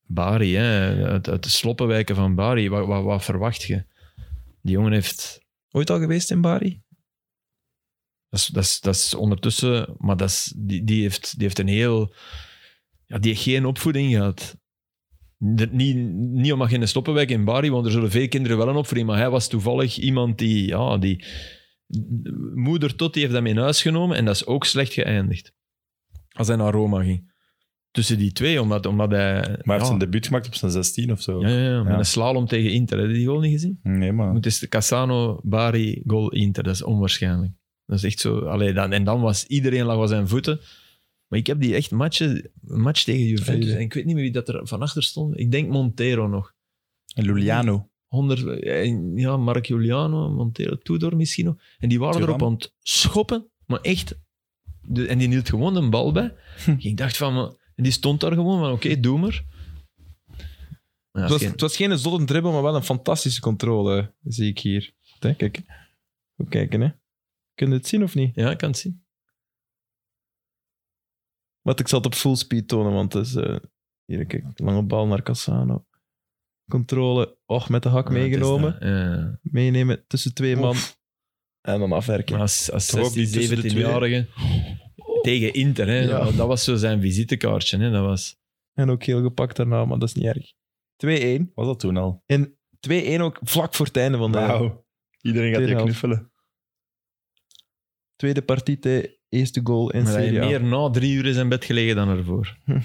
Speaker 3: Bari, hè. Uit, uit de sloppenwijken van Bari. Wat, wat, wat verwacht je? Die jongen heeft...
Speaker 1: Ooit al geweest in Bari?
Speaker 3: Dat is, dat is, dat is ondertussen... Maar dat is, die, die, heeft, die heeft een heel... Ja, die heeft geen opvoeding gehad. De- niet, niet omdat je in een sloppenwijk in Bari, want er zullen veel kinderen wel een opvoeding, maar hij was toevallig iemand die... Ja, die moeder tot die heeft hem in huis genomen en dat is ook slecht geëindigd. Als hij naar Roma ging. Tussen die twee, omdat, omdat hij...
Speaker 2: Maar hij heeft
Speaker 3: ja,
Speaker 2: zijn debuut gemaakt op zijn 16 of zo.
Speaker 3: ja, ja, ja, met
Speaker 2: Ja.
Speaker 3: een slalom tegen Inter. Heb je die goal niet gezien?
Speaker 2: Nee, maar...
Speaker 3: Het is de Cassano, Bari, goal, Inter. Dat is onwaarschijnlijk. Dat is echt zo. Allee, dan, en dan was iedereen lag aan zijn voeten. Maar ik heb die echt matchen, een match tegen Juventus.
Speaker 2: Vele.
Speaker 3: En ik weet niet meer wie dat er van achter stond. Ik denk Montero nog.
Speaker 2: En Luliano.
Speaker 3: 100, eh, ja, Mark Juliano, Montero, Tudor misschien nog. En die waren
Speaker 2: Thuram.
Speaker 3: erop aan het schoppen. Maar echt. De, en die hield gewoon een bal bij.
Speaker 1: Hm.
Speaker 3: ik dacht van. maar- En die stond daar gewoon van: oké, doe maar. Maar ja,
Speaker 1: het, was,
Speaker 3: geen-
Speaker 1: het was geen zotte dribbel, maar wel een fantastische controle, zie ik hier. Hè, Kijk. Goed kijken, hè. Kun je het zien of niet?
Speaker 3: ja, ik kan het zien.
Speaker 1: Want ik zal het op full speed tonen, want het is... eh, hier, kijk. Lange bal naar Cassano. Controle. Och, met de hak meegenomen.
Speaker 3: Ja, het is dat. Ja.
Speaker 1: Meenemen tussen twee man. En dan afwerken.
Speaker 3: Maar als, als
Speaker 2: Toch ook
Speaker 3: 16,
Speaker 2: die tussen de
Speaker 3: 17-jarige tegen Inter. Hè.
Speaker 1: Ja.
Speaker 3: Dat, dat was zo zijn visitekaartje. Hè. Dat was,
Speaker 1: En ook heel gepakt daarna, maar dat is niet erg. 2-1.
Speaker 2: Was dat toen al?
Speaker 1: 2-1 ook vlak voor het einde van de
Speaker 2: Wauw. Iedereen gaat
Speaker 1: Tweede
Speaker 2: je
Speaker 1: helft.
Speaker 2: knuffelen.
Speaker 1: tweede partite. Eerste goal in
Speaker 3: maar hij
Speaker 1: Serie
Speaker 3: heeft
Speaker 1: A.
Speaker 3: meer na drie uur in zijn bed gelegen dan ervoor.
Speaker 1: Van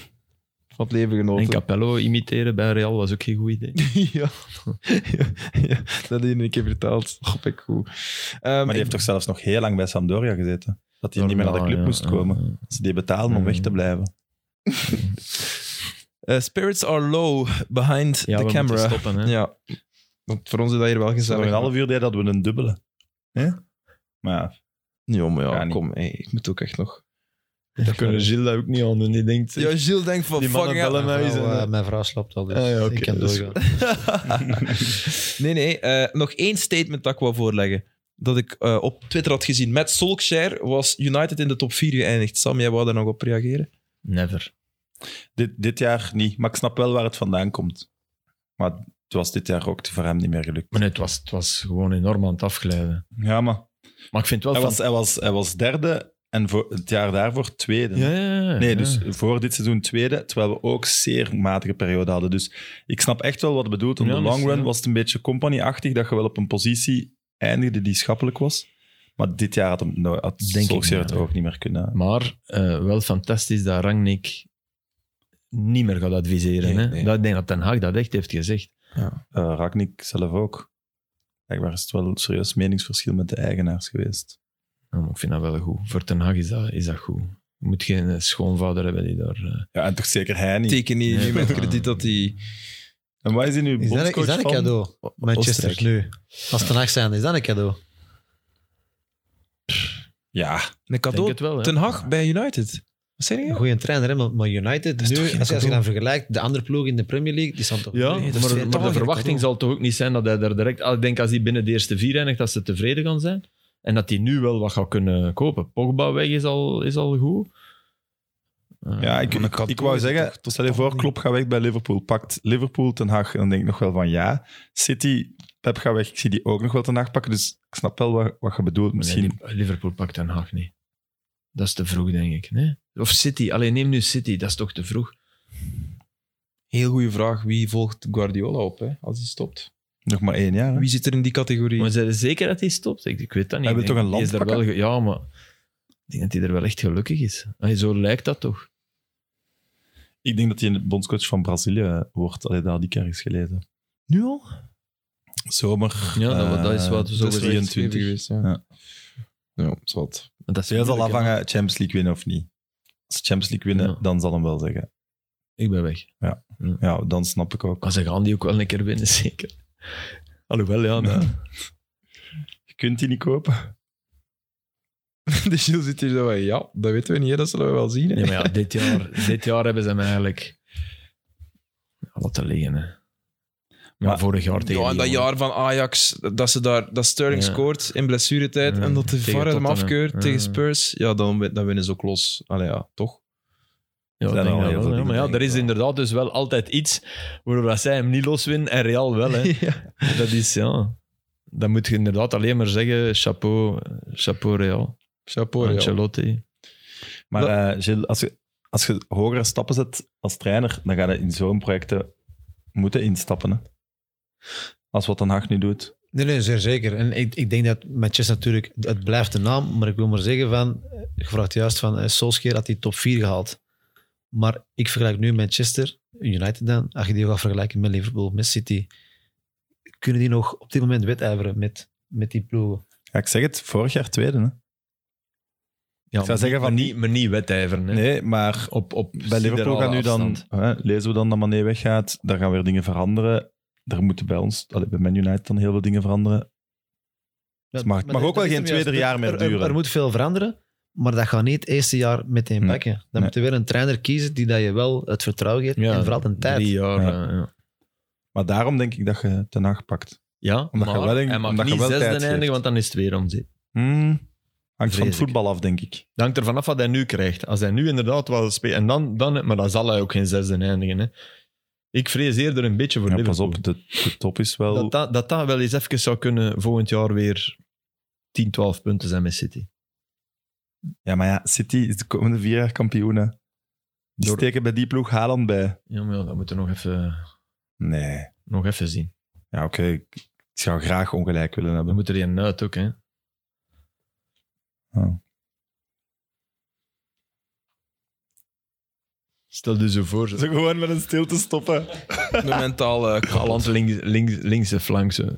Speaker 1: het leven
Speaker 3: En
Speaker 1: genoten.
Speaker 3: Capello imiteren bij Real was ook geen goed idee.
Speaker 1: ja. ja, dat heb je een keer vertaald. Hop, ik goed. Ehm,
Speaker 2: Maar die heeft toch zelfs nog heel lang bij Sampdoria gezeten? Dat hij niet meer naar de club
Speaker 3: Ja,
Speaker 2: moest
Speaker 3: ja,
Speaker 2: komen.
Speaker 3: ja.
Speaker 2: Ze die betalen om
Speaker 3: Mm.
Speaker 2: weg te blijven.
Speaker 1: eh, spirits are low behind
Speaker 3: Ja,
Speaker 1: the
Speaker 3: we moeten
Speaker 1: camera.
Speaker 3: stoppen. Hè.
Speaker 1: Ja. Want voor ons is dat hier wel
Speaker 2: Nog
Speaker 1: gezellig.
Speaker 2: een half uur deed dat we een dubbele. Hè? Maar ja,
Speaker 1: Ja, maar ja,
Speaker 2: Ja, niet.
Speaker 1: kom. hey, ik moet ook echt nog...
Speaker 3: Daar kunnen Gilles dat ook niet aan doen. Die denkt...
Speaker 1: Ja, Gilles denkt van
Speaker 3: Die mannen
Speaker 1: fucking hell.
Speaker 3: bellen mij.
Speaker 4: Mijn vrouw,
Speaker 3: Ja.
Speaker 4: eh, mijn vrouw slaapt al, dus
Speaker 3: Ah, ja, oké,
Speaker 4: ik kan
Speaker 3: dat is
Speaker 4: doorgaan.
Speaker 1: nee, nee. eh, nog één statement dat ik wou voorleggen. Dat ik eh, op Twitter had gezien. Met Solskjaer was United in de top 4 geëindigd. Sam, jij wou daar nog op reageren?
Speaker 3: Never.
Speaker 2: dit, dit jaar niet. Maar ik snap wel waar het vandaan komt. Maar het was dit jaar ook voor hem niet meer gelukt.
Speaker 3: Maar nee, het, was, het was gewoon enorm aan het afglijden.
Speaker 2: Ja, maar
Speaker 3: Maar ik vind
Speaker 2: hij
Speaker 3: het wel...
Speaker 2: was, hij was, hij was derde en voor, het jaar daarvoor tweede.
Speaker 3: van- ja, ja, ja, ja.
Speaker 2: Nee,
Speaker 3: Ja.
Speaker 2: dus voor dit seizoen tweede, terwijl we ook zeer matige periode hadden. Dus ik snap echt wel wat het bedoelt. In
Speaker 3: Ja,
Speaker 2: de
Speaker 3: dus,
Speaker 2: long run
Speaker 3: ja.
Speaker 2: was het een beetje company-achtig dat je wel op een positie eindigde die schappelijk was. Maar dit jaar had, hem, nou, had
Speaker 3: Denk
Speaker 2: Solskjaer
Speaker 3: ik niet,
Speaker 2: het ook niet meer kunnen.
Speaker 3: Maar eh, wel fantastisch dat Rangnick niet meer gaat adviseren.
Speaker 1: Nee,
Speaker 3: hè?
Speaker 1: nee.
Speaker 3: Dat, ik denk dat Ten Hag dat echt heeft gezegd.
Speaker 2: Eh Ragnik zelf ook. Blijkbaar is het wel een serieus meningsverschil met de eigenaars geweest.
Speaker 3: Ja, maar ik vind dat wel goed. Voor Ten Hag is dat, is dat goed. Je moet geen eh, schoonvader hebben die daar... eh,
Speaker 2: Ja, en toch zeker hij niet.
Speaker 1: Teken hier nu met krediet dat hij...
Speaker 2: En waar is hij nu
Speaker 4: Is dat,
Speaker 2: bondscoach
Speaker 4: is dat een
Speaker 2: van?
Speaker 4: cadeau? Manchester
Speaker 2: Oostenrijk.
Speaker 4: nu. Als ten acht zijn, is dat een cadeau?
Speaker 2: Ja,
Speaker 1: Een
Speaker 3: Ik denk
Speaker 1: cadeau.
Speaker 3: het wel. hè.
Speaker 1: Ten Hag bij United. Wat zeg
Speaker 4: Een
Speaker 1: je?
Speaker 4: goede trainer, hè? maar maar United
Speaker 1: is toch geen
Speaker 4: nu, als je, als je
Speaker 1: cadeau?
Speaker 4: dan vergelijkt, de andere ploeg in de Premier League, die staan toch...
Speaker 1: Nee,
Speaker 3: Ja,
Speaker 1: dat is
Speaker 3: maar,
Speaker 1: twee
Speaker 3: maar de
Speaker 1: talen,
Speaker 3: verwachting
Speaker 1: cadeau.
Speaker 3: zal toch ook niet zijn dat hij daar direct... Ah, Ik denk als hij binnen de eerste vier eindigt, dat ze tevreden gaan zijn. En dat hij nu wel wat gaat kunnen kopen. Pogba weg is al, is al goed. Eh,
Speaker 2: ja ik,
Speaker 1: Maar een
Speaker 2: ik, ik
Speaker 1: cadeau
Speaker 2: wou
Speaker 1: is het
Speaker 2: zeggen,
Speaker 1: toch
Speaker 2: stel je
Speaker 1: totaal
Speaker 2: voor,
Speaker 1: niet.
Speaker 2: Klopp gaat weg bij Liverpool, pakt Liverpool ten Haag, dan denk ik nog wel van ja. City, Pep gaat weg, ik zie die ook nog wel ten Haag pakken, dus ik snap wel wat, wat je bedoelt. Misschien
Speaker 3: Nee, die- Liverpool pakt Den Haag niet. Dat is te vroeg, denk ik. Nee? Of City. Alleen neem nu City. Dat is toch te vroeg.
Speaker 1: Heel goede vraag. Wie volgt Guardiola op hè, als hij stopt?
Speaker 2: nog maar één jaar. hè.
Speaker 1: Wie zit er in die categorie?
Speaker 3: Maar zijn ze zeker dat hij stopt? Ik, ik weet dat niet.
Speaker 2: Hij wil
Speaker 3: Ik
Speaker 2: toch
Speaker 3: denk,
Speaker 2: een
Speaker 3: die is daar
Speaker 2: landpakker?
Speaker 3: wel ge- Ja, maar ik denk dat hij er wel echt gelukkig is. Allee, zo lijkt dat toch.
Speaker 2: Ik denk dat hij een bondscoach van Brazilië eh, wordt, allee, dat had ik ergens gelezen.
Speaker 1: nu al?
Speaker 2: Zomer.
Speaker 3: Ja, dat-
Speaker 2: eh,
Speaker 3: dat is wat we zo
Speaker 1: Dat is
Speaker 3: gezegd
Speaker 2: 23.
Speaker 1: geweest, ja.
Speaker 2: Ja.
Speaker 1: Ja, zot.
Speaker 3: Want Dat is
Speaker 2: Heel zal
Speaker 3: moeilijk, hè.
Speaker 2: afhangen Champions League winnen of niet. Als ze Champions League winnen,
Speaker 3: Ja.
Speaker 2: dan zal hem wel zeggen.
Speaker 3: Ik ben weg.
Speaker 2: Ja, dan snap ik ook.
Speaker 3: Maar ze gaan die ook wel een keer winnen, zeker. Alhoewel, ja.
Speaker 2: Ja.
Speaker 3: nee.
Speaker 2: Je kunt die niet kopen.
Speaker 1: De Gilles zit hier zo van, ja, dat weten we niet, hè, dat zullen we wel zien. hè.
Speaker 3: Ja, maar ja, dit, jaar, dit jaar hebben ze hem eigenlijk ja, laten liggen. Hè. Maar
Speaker 2: Maar-
Speaker 3: vorig jaar tegen
Speaker 1: Ja, en dat
Speaker 3: Lyon.
Speaker 1: jaar van Ajax, dat, ze daar, dat Sterling
Speaker 3: Ja.
Speaker 1: scoort in blessuretijd
Speaker 3: Ja,
Speaker 1: en dat de
Speaker 3: tegen
Speaker 1: VAR hem
Speaker 3: Tottenham.
Speaker 1: afkeurt
Speaker 3: Ja.
Speaker 1: tegen Spurs, ja, dan, win- dan winnen ze ook los. Allee, ja, toch?
Speaker 3: Ja,
Speaker 2: Zijn
Speaker 3: ik denk
Speaker 2: al
Speaker 3: dat
Speaker 2: heel
Speaker 3: wel,
Speaker 2: veel
Speaker 3: ja. Maar
Speaker 2: dingen,
Speaker 3: ja, er
Speaker 2: denk ik
Speaker 3: is
Speaker 2: wel.
Speaker 3: inderdaad dus wel altijd iets waardoor dat zij hem niet loswinnen en Real wel. Hè. Dat is, ja... Dan moet je inderdaad alleen maar zeggen, chapeau, chapeau Real.
Speaker 1: Chapeau, ja.
Speaker 3: Ancelotti.
Speaker 2: Maar eh, Gilles, als je, als je hogere stappen zet als trainer, dan ga je in zo'n projecten moeten instappen. Hè? Als wat Den Haag nu doet.
Speaker 4: Nee, nee, zeer zeker. En ik, ik denk dat Manchester natuurlijk, het blijft de naam, maar ik wil maar zeggen van, eh, je vraagt juist van, eh, Solskjaer had die top 4 gehaald. Maar ik vergelijk nu Manchester, United dan, als je die gaat vergelijken met Liverpool, met City, kunnen die nog op dit moment wedijveren met, met die ploegen?
Speaker 2: Ja, ik zeg het, vorig jaar tweede. Hè?
Speaker 3: Ja,
Speaker 2: zou zeggen van
Speaker 3: maar
Speaker 2: niet-
Speaker 3: niet, maar niet wedijveren. Hè.
Speaker 2: Nee, maar
Speaker 3: Op, op
Speaker 2: bij Liverpool
Speaker 3: siderale
Speaker 2: gaan nu dan,
Speaker 3: afstand.
Speaker 2: hè, lezen we dan dat Mané weggaat, daar gaan weer dingen veranderen. Daar moeten bij ons, allee, bij Man United dan heel veel dingen veranderen. Het mag- mag ook
Speaker 4: dat-
Speaker 2: wel
Speaker 4: dat is
Speaker 2: geen
Speaker 4: hem juist.
Speaker 2: tweede jaar
Speaker 4: Er-
Speaker 2: meer
Speaker 4: er- er-
Speaker 2: duren.
Speaker 4: Er, moet veel veranderen, maar dat gaat niet het eerste jaar meteen
Speaker 2: Nee.
Speaker 4: pakken. Dan
Speaker 2: Nee.
Speaker 4: moet je weer een trainer kiezen die dat je wel het vertrouwen geeft en vooral de tijd.
Speaker 3: Drie jaar,
Speaker 2: Ja.
Speaker 3: ja. ja.
Speaker 2: Maar daarom denk ik dat je Ten Haag pakt.
Speaker 3: Ja,
Speaker 2: Omdat je
Speaker 3: maar
Speaker 2: wel in-
Speaker 3: hij mag
Speaker 2: omdat je
Speaker 3: niet
Speaker 2: wel
Speaker 3: zesde
Speaker 2: tijd
Speaker 3: eindigen,
Speaker 2: geeft.
Speaker 3: want dan is het weer om zeep.
Speaker 2: Hmm, hangt van
Speaker 4: Vrees
Speaker 2: het
Speaker 4: ik.
Speaker 2: voetbal af, denk ik.
Speaker 3: Dat hangt er vanaf wat hij nu krijgt. Als hij nu inderdaad wel speelt, en dan, dan, maar dan zal hij ook geen zesde eindigen. Hè. Ik vrees eerder een beetje voor
Speaker 2: Ja, pas
Speaker 3: Liverpool.
Speaker 2: op, de, de top is wel...
Speaker 3: Dat, dat, dat dat wel eens even zou kunnen volgend jaar weer 10, 12 punten zijn met City.
Speaker 2: Ja, maar ja, City is de komende vier jaar kampioenen. Die
Speaker 3: Door-
Speaker 2: steken bij die ploeg Haaland bij.
Speaker 3: Ja, maar ja, dat moeten we nog even,
Speaker 2: Nee.
Speaker 3: nog even zien.
Speaker 2: Ja, oké. Ik ik zou graag ongelijk willen
Speaker 3: We
Speaker 2: hebben.
Speaker 3: moeten die uit ook, hè.
Speaker 2: Oh.
Speaker 3: Stel dus zo voor.
Speaker 2: Zo gewoon met een stilte stoppen.
Speaker 1: Mentaal eh, kapot.
Speaker 3: Haaland links, links, linkse flank. Zo.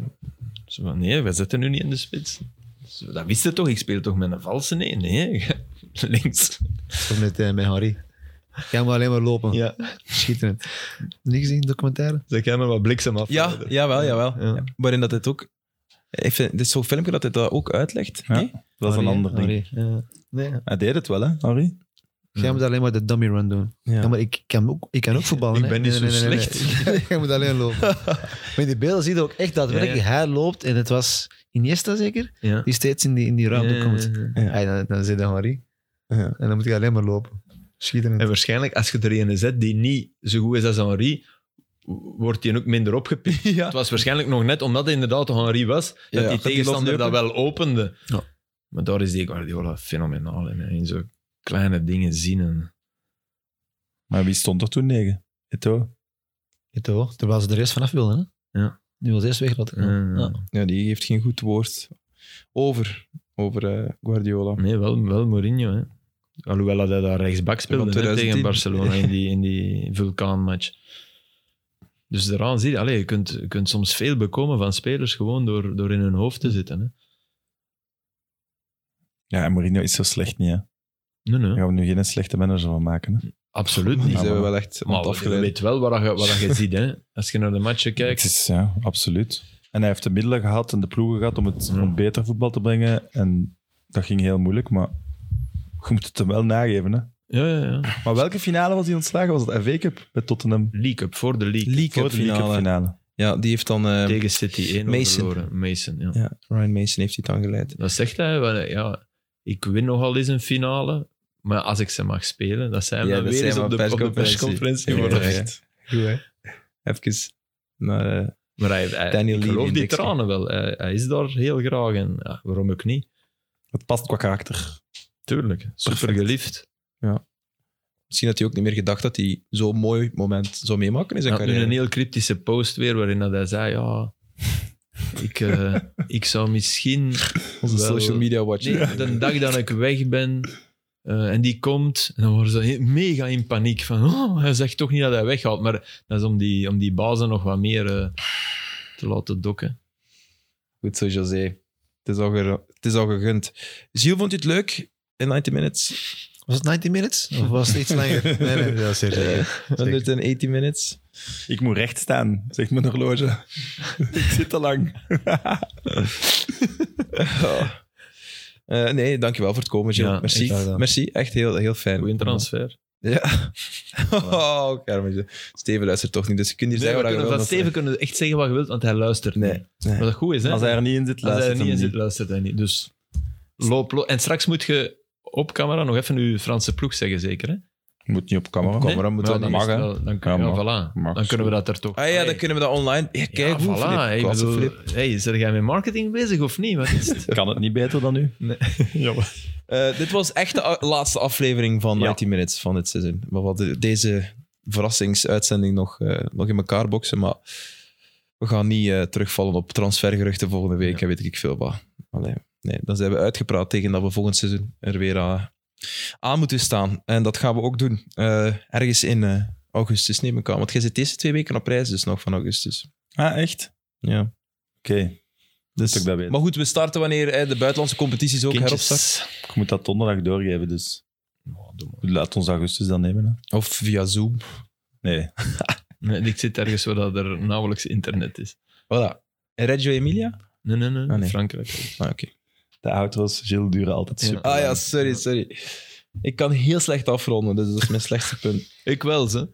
Speaker 3: Zo van, nee, wij zitten nu niet in de spits. Zo, dat wist je toch? Ik speel toch met een valse? Nee, nee. links.
Speaker 4: Of met, eh, met Harry. Ga maar alleen maar lopen.
Speaker 3: Ja.
Speaker 4: Schitterend. Niet gezien, documentaire?
Speaker 3: Zeg jij maar wat bliksem af.
Speaker 1: Ja, jawel, jawel.
Speaker 3: Ja.
Speaker 1: Waarin dat het ook... Heeft, dit is zo'n filmpje dat hij dat ook uitlegt.
Speaker 2: Ja.
Speaker 1: Nee?
Speaker 2: Dat is een ander ding.
Speaker 4: nee. ja.
Speaker 2: Hij deed het wel, hè, Harry?
Speaker 4: Jij moet alleen maar de dummy run doen. Ja. maar ik kan ook, ik kan ook voetballen.
Speaker 3: Ik
Speaker 4: hè.
Speaker 3: ben niet zo
Speaker 4: Nee. Jij moet alleen lopen. maar in die beelden zie je ook echt dat
Speaker 3: Ja, ja.
Speaker 4: hij loopt. En het was Iniesta zeker,
Speaker 3: Ja.
Speaker 4: die steeds in die, in die ruimte
Speaker 3: Ja,
Speaker 4: komt.
Speaker 3: ja, ja.
Speaker 4: Hey, dan, dan zit hij Harry.
Speaker 1: Ja.
Speaker 4: En dan moet hij alleen maar lopen. Schitterend.
Speaker 3: En waarschijnlijk, als je er een zet die niet zo goed is als Henri, wordt die ook minder opgepikt.
Speaker 1: Ja.
Speaker 3: Het was waarschijnlijk nog net omdat hij inderdaad Henri was, dat
Speaker 1: Ja,
Speaker 3: die
Speaker 1: dat die
Speaker 3: tegenstander dat
Speaker 1: losleupen.
Speaker 3: wel opende.
Speaker 4: Ja.
Speaker 3: Maar daar is die Guardiola fenomenaal in. hè. In zo'n kleine dingen zien. En...
Speaker 2: Maar wie stond er toen negen? Eto'o.
Speaker 4: Eto'o, terwijl ze de rest vanaf wilden. Hè?
Speaker 3: Ja.
Speaker 4: Nu was eerst weg. laten gaan.
Speaker 3: Ja, ja.
Speaker 4: Ja.
Speaker 1: Ja, die heeft geen goed woord over over eh, Guardiola.
Speaker 3: Nee, wel, wel Mourinho. Hè. Alhoewel dat hij daar rechtsback
Speaker 1: Van
Speaker 3: speelde hè,
Speaker 1: 2010.
Speaker 3: tegen Barcelona in die, in die vulkaanmatch. Dus daaraan zie je, allez, je, kunt, je kunt soms veel bekomen van spelers gewoon door, door in hun hoofd te zitten. Hè.
Speaker 2: Ja, en Mourinho is zo slecht niet, hè.
Speaker 3: Nee, nee,
Speaker 2: Daar gaan we nu geen slechte manager van maken, hè.
Speaker 3: absoluut
Speaker 1: Die
Speaker 3: niet.
Speaker 1: zijn we
Speaker 2: maar-
Speaker 1: wel echt aan
Speaker 3: Maar
Speaker 1: het
Speaker 3: je
Speaker 1: afgeleiden.
Speaker 3: weet wel wat je, wat je ziet. Hè. Als je naar de matchen
Speaker 2: Het
Speaker 3: kijkt,
Speaker 2: is, ja, absoluut. En hij heeft de middelen gehad en de ploegen gehad om het
Speaker 3: Ja.
Speaker 2: om beter voetbal te brengen. En dat ging heel moeilijk, maar je moet het hem wel nageven. Hè.
Speaker 3: ja, ja, ja.
Speaker 2: Maar welke finale was hij ontslagen? Was het FA Cup bij Tottenham?
Speaker 3: League Cup, voor de League,
Speaker 1: League Cup
Speaker 2: Voor de League Cup
Speaker 1: finale.
Speaker 2: finale.
Speaker 1: Ja, die heeft dan... eh,
Speaker 3: tegen City 1-0
Speaker 1: Mason.
Speaker 3: verloren. Mason, ja.
Speaker 1: ja, Ryan Mason heeft die dan geleid.
Speaker 3: Dat zegt hij, wel, ja, ik win nogal eens een finale, maar als ik ze mag spelen, dat zijn we
Speaker 1: Ja, dat
Speaker 3: weer
Speaker 1: zijn
Speaker 3: eens
Speaker 1: we
Speaker 3: op de,
Speaker 1: op
Speaker 3: op de persconferentie.
Speaker 1: persconferentie.
Speaker 2: Ja,
Speaker 1: worden.
Speaker 2: ja, ja.
Speaker 1: Goed, hè? Even naar... eh,
Speaker 3: Maar hij, hij
Speaker 1: Daniel
Speaker 3: ik
Speaker 1: Levy
Speaker 3: geloof die
Speaker 1: Dixon.
Speaker 3: tranen wel. Hij, hij is daar heel graag en ja, waarom ook niet?
Speaker 2: Het past qua karakter.
Speaker 3: Tuurlijk, super geliefd.
Speaker 1: misschien had hij ook niet meer gedacht dat hij zo'n mooi moment zou meemaken in
Speaker 3: Hij
Speaker 1: zijn
Speaker 3: had nu
Speaker 1: carrière.
Speaker 3: een heel cryptische post weer, waarin dat hij zei, ja, ik, eh, ik zou misschien...
Speaker 1: Onze
Speaker 3: wel-
Speaker 1: social media watcher.
Speaker 3: Nee, de dag dat ik weg ben eh, en die komt, en dan worden ze he- mega in paniek van, oh, hij zegt toch niet dat hij weggaat. Maar dat is om die, om die bazen nog wat meer eh, te laten dokken.
Speaker 1: Goed zo, José. Het is al, ge- het is al gegund. Gilles, vond je het leuk in 90 Minutes?
Speaker 4: Was het 90 minutes? Ah. Of was het iets langer? Nee, nee, dat is zeer zeker.
Speaker 1: 180 Minutes?
Speaker 2: Ik moet recht staan, zegt mijn horloge. ik zit te lang.
Speaker 1: Ja. Eh, nee, dankjewel voor het komen, Gilles.
Speaker 3: Ah. Ja,
Speaker 1: Merci.
Speaker 4: echt wel.
Speaker 1: Merci, echt heel, heel fijn.
Speaker 3: Goeie transfer.
Speaker 1: Ja. Oh, Carmen. Steven luistert toch niet, dus je kunt hier
Speaker 3: Nee, we
Speaker 1: zeggen wat
Speaker 3: kunnen
Speaker 1: je
Speaker 3: van
Speaker 1: wil.
Speaker 3: Steven kunnen echt zeggen wat je wilt, want hij luistert niet.
Speaker 1: Nee. nee.
Speaker 3: Wat dat goed is, hè?
Speaker 2: Als hij er niet in zit,
Speaker 3: Als hij er
Speaker 2: luistert
Speaker 3: niet
Speaker 2: hij
Speaker 3: in
Speaker 2: niet.
Speaker 3: zit, luistert hij niet. Dus loop, loop. En straks moet je op camera nog even uw Franse ploeg zeggen, zeker, hè?
Speaker 2: Moet niet op camera.
Speaker 1: camera
Speaker 3: Nee?
Speaker 1: moet
Speaker 3: Maar
Speaker 1: wel,
Speaker 3: dan
Speaker 2: dat mag,
Speaker 3: is het
Speaker 2: hè.
Speaker 3: wel- Dan, kun-
Speaker 2: Ja,
Speaker 3: ja,
Speaker 2: mag.
Speaker 3: voilà.
Speaker 2: Mag,
Speaker 3: dan kunnen we dat er toch...
Speaker 1: Ah ja,
Speaker 3: Allee.
Speaker 1: dan kunnen we dat online... Ja, kijk
Speaker 3: ja,
Speaker 1: hoe,
Speaker 3: voilà.
Speaker 1: Filip.
Speaker 3: Hey, ik
Speaker 1: Klasse,
Speaker 3: bedoel,
Speaker 1: Filip.
Speaker 3: hey, zijn jij met marketing bezig of niet? Wat is het?
Speaker 2: Kan het niet beter dan nu?
Speaker 1: Eh, dit was echt de a- laatste aflevering van
Speaker 2: Ja.
Speaker 1: 90 Minutes van dit seizoen. We hadden deze verrassingsuitzending nog, eh, nog in elkaar boksen, maar we gaan niet eh, terugvallen op transfergeruchten volgende week en weet ik veel wat. Allee, nee, dan zijn we uitgepraat tegen dat we volgend seizoen er weer aan, aan moeten staan. En dat gaan we ook doen. Eh, ergens in eh, augustus neem ik aan, want jij zit deze twee weken op reis dus nog van augustus.
Speaker 2: Ah, echt?
Speaker 1: Ja.
Speaker 2: Oké,
Speaker 1: Dus,
Speaker 2: dat ik dat weet.
Speaker 1: maar goed, we starten wanneer eh, de buitenlandse competities ook heropstarten.
Speaker 2: Ik moet dat donderdag doorgeven, dus
Speaker 3: Oh, doe maar.
Speaker 2: laat ons augustus dan nemen. Hè.
Speaker 1: Of via Zoom.
Speaker 2: Nee,
Speaker 3: Nee, ik zit ergens waar dat er nauwelijks internet is.
Speaker 1: Voilà. En Reggio Emilia?
Speaker 3: Nee, nee, nee.
Speaker 1: Ah, nee.
Speaker 3: Frankrijk.
Speaker 1: Ah, oké.
Speaker 2: de auto's, Gilles, duren altijd
Speaker 3: Ja.
Speaker 2: super.
Speaker 1: Ah ja, sorry, sorry. Ik kan heel slecht afronden, dus dat is mijn slechtste punt.
Speaker 3: Ik wel, ze.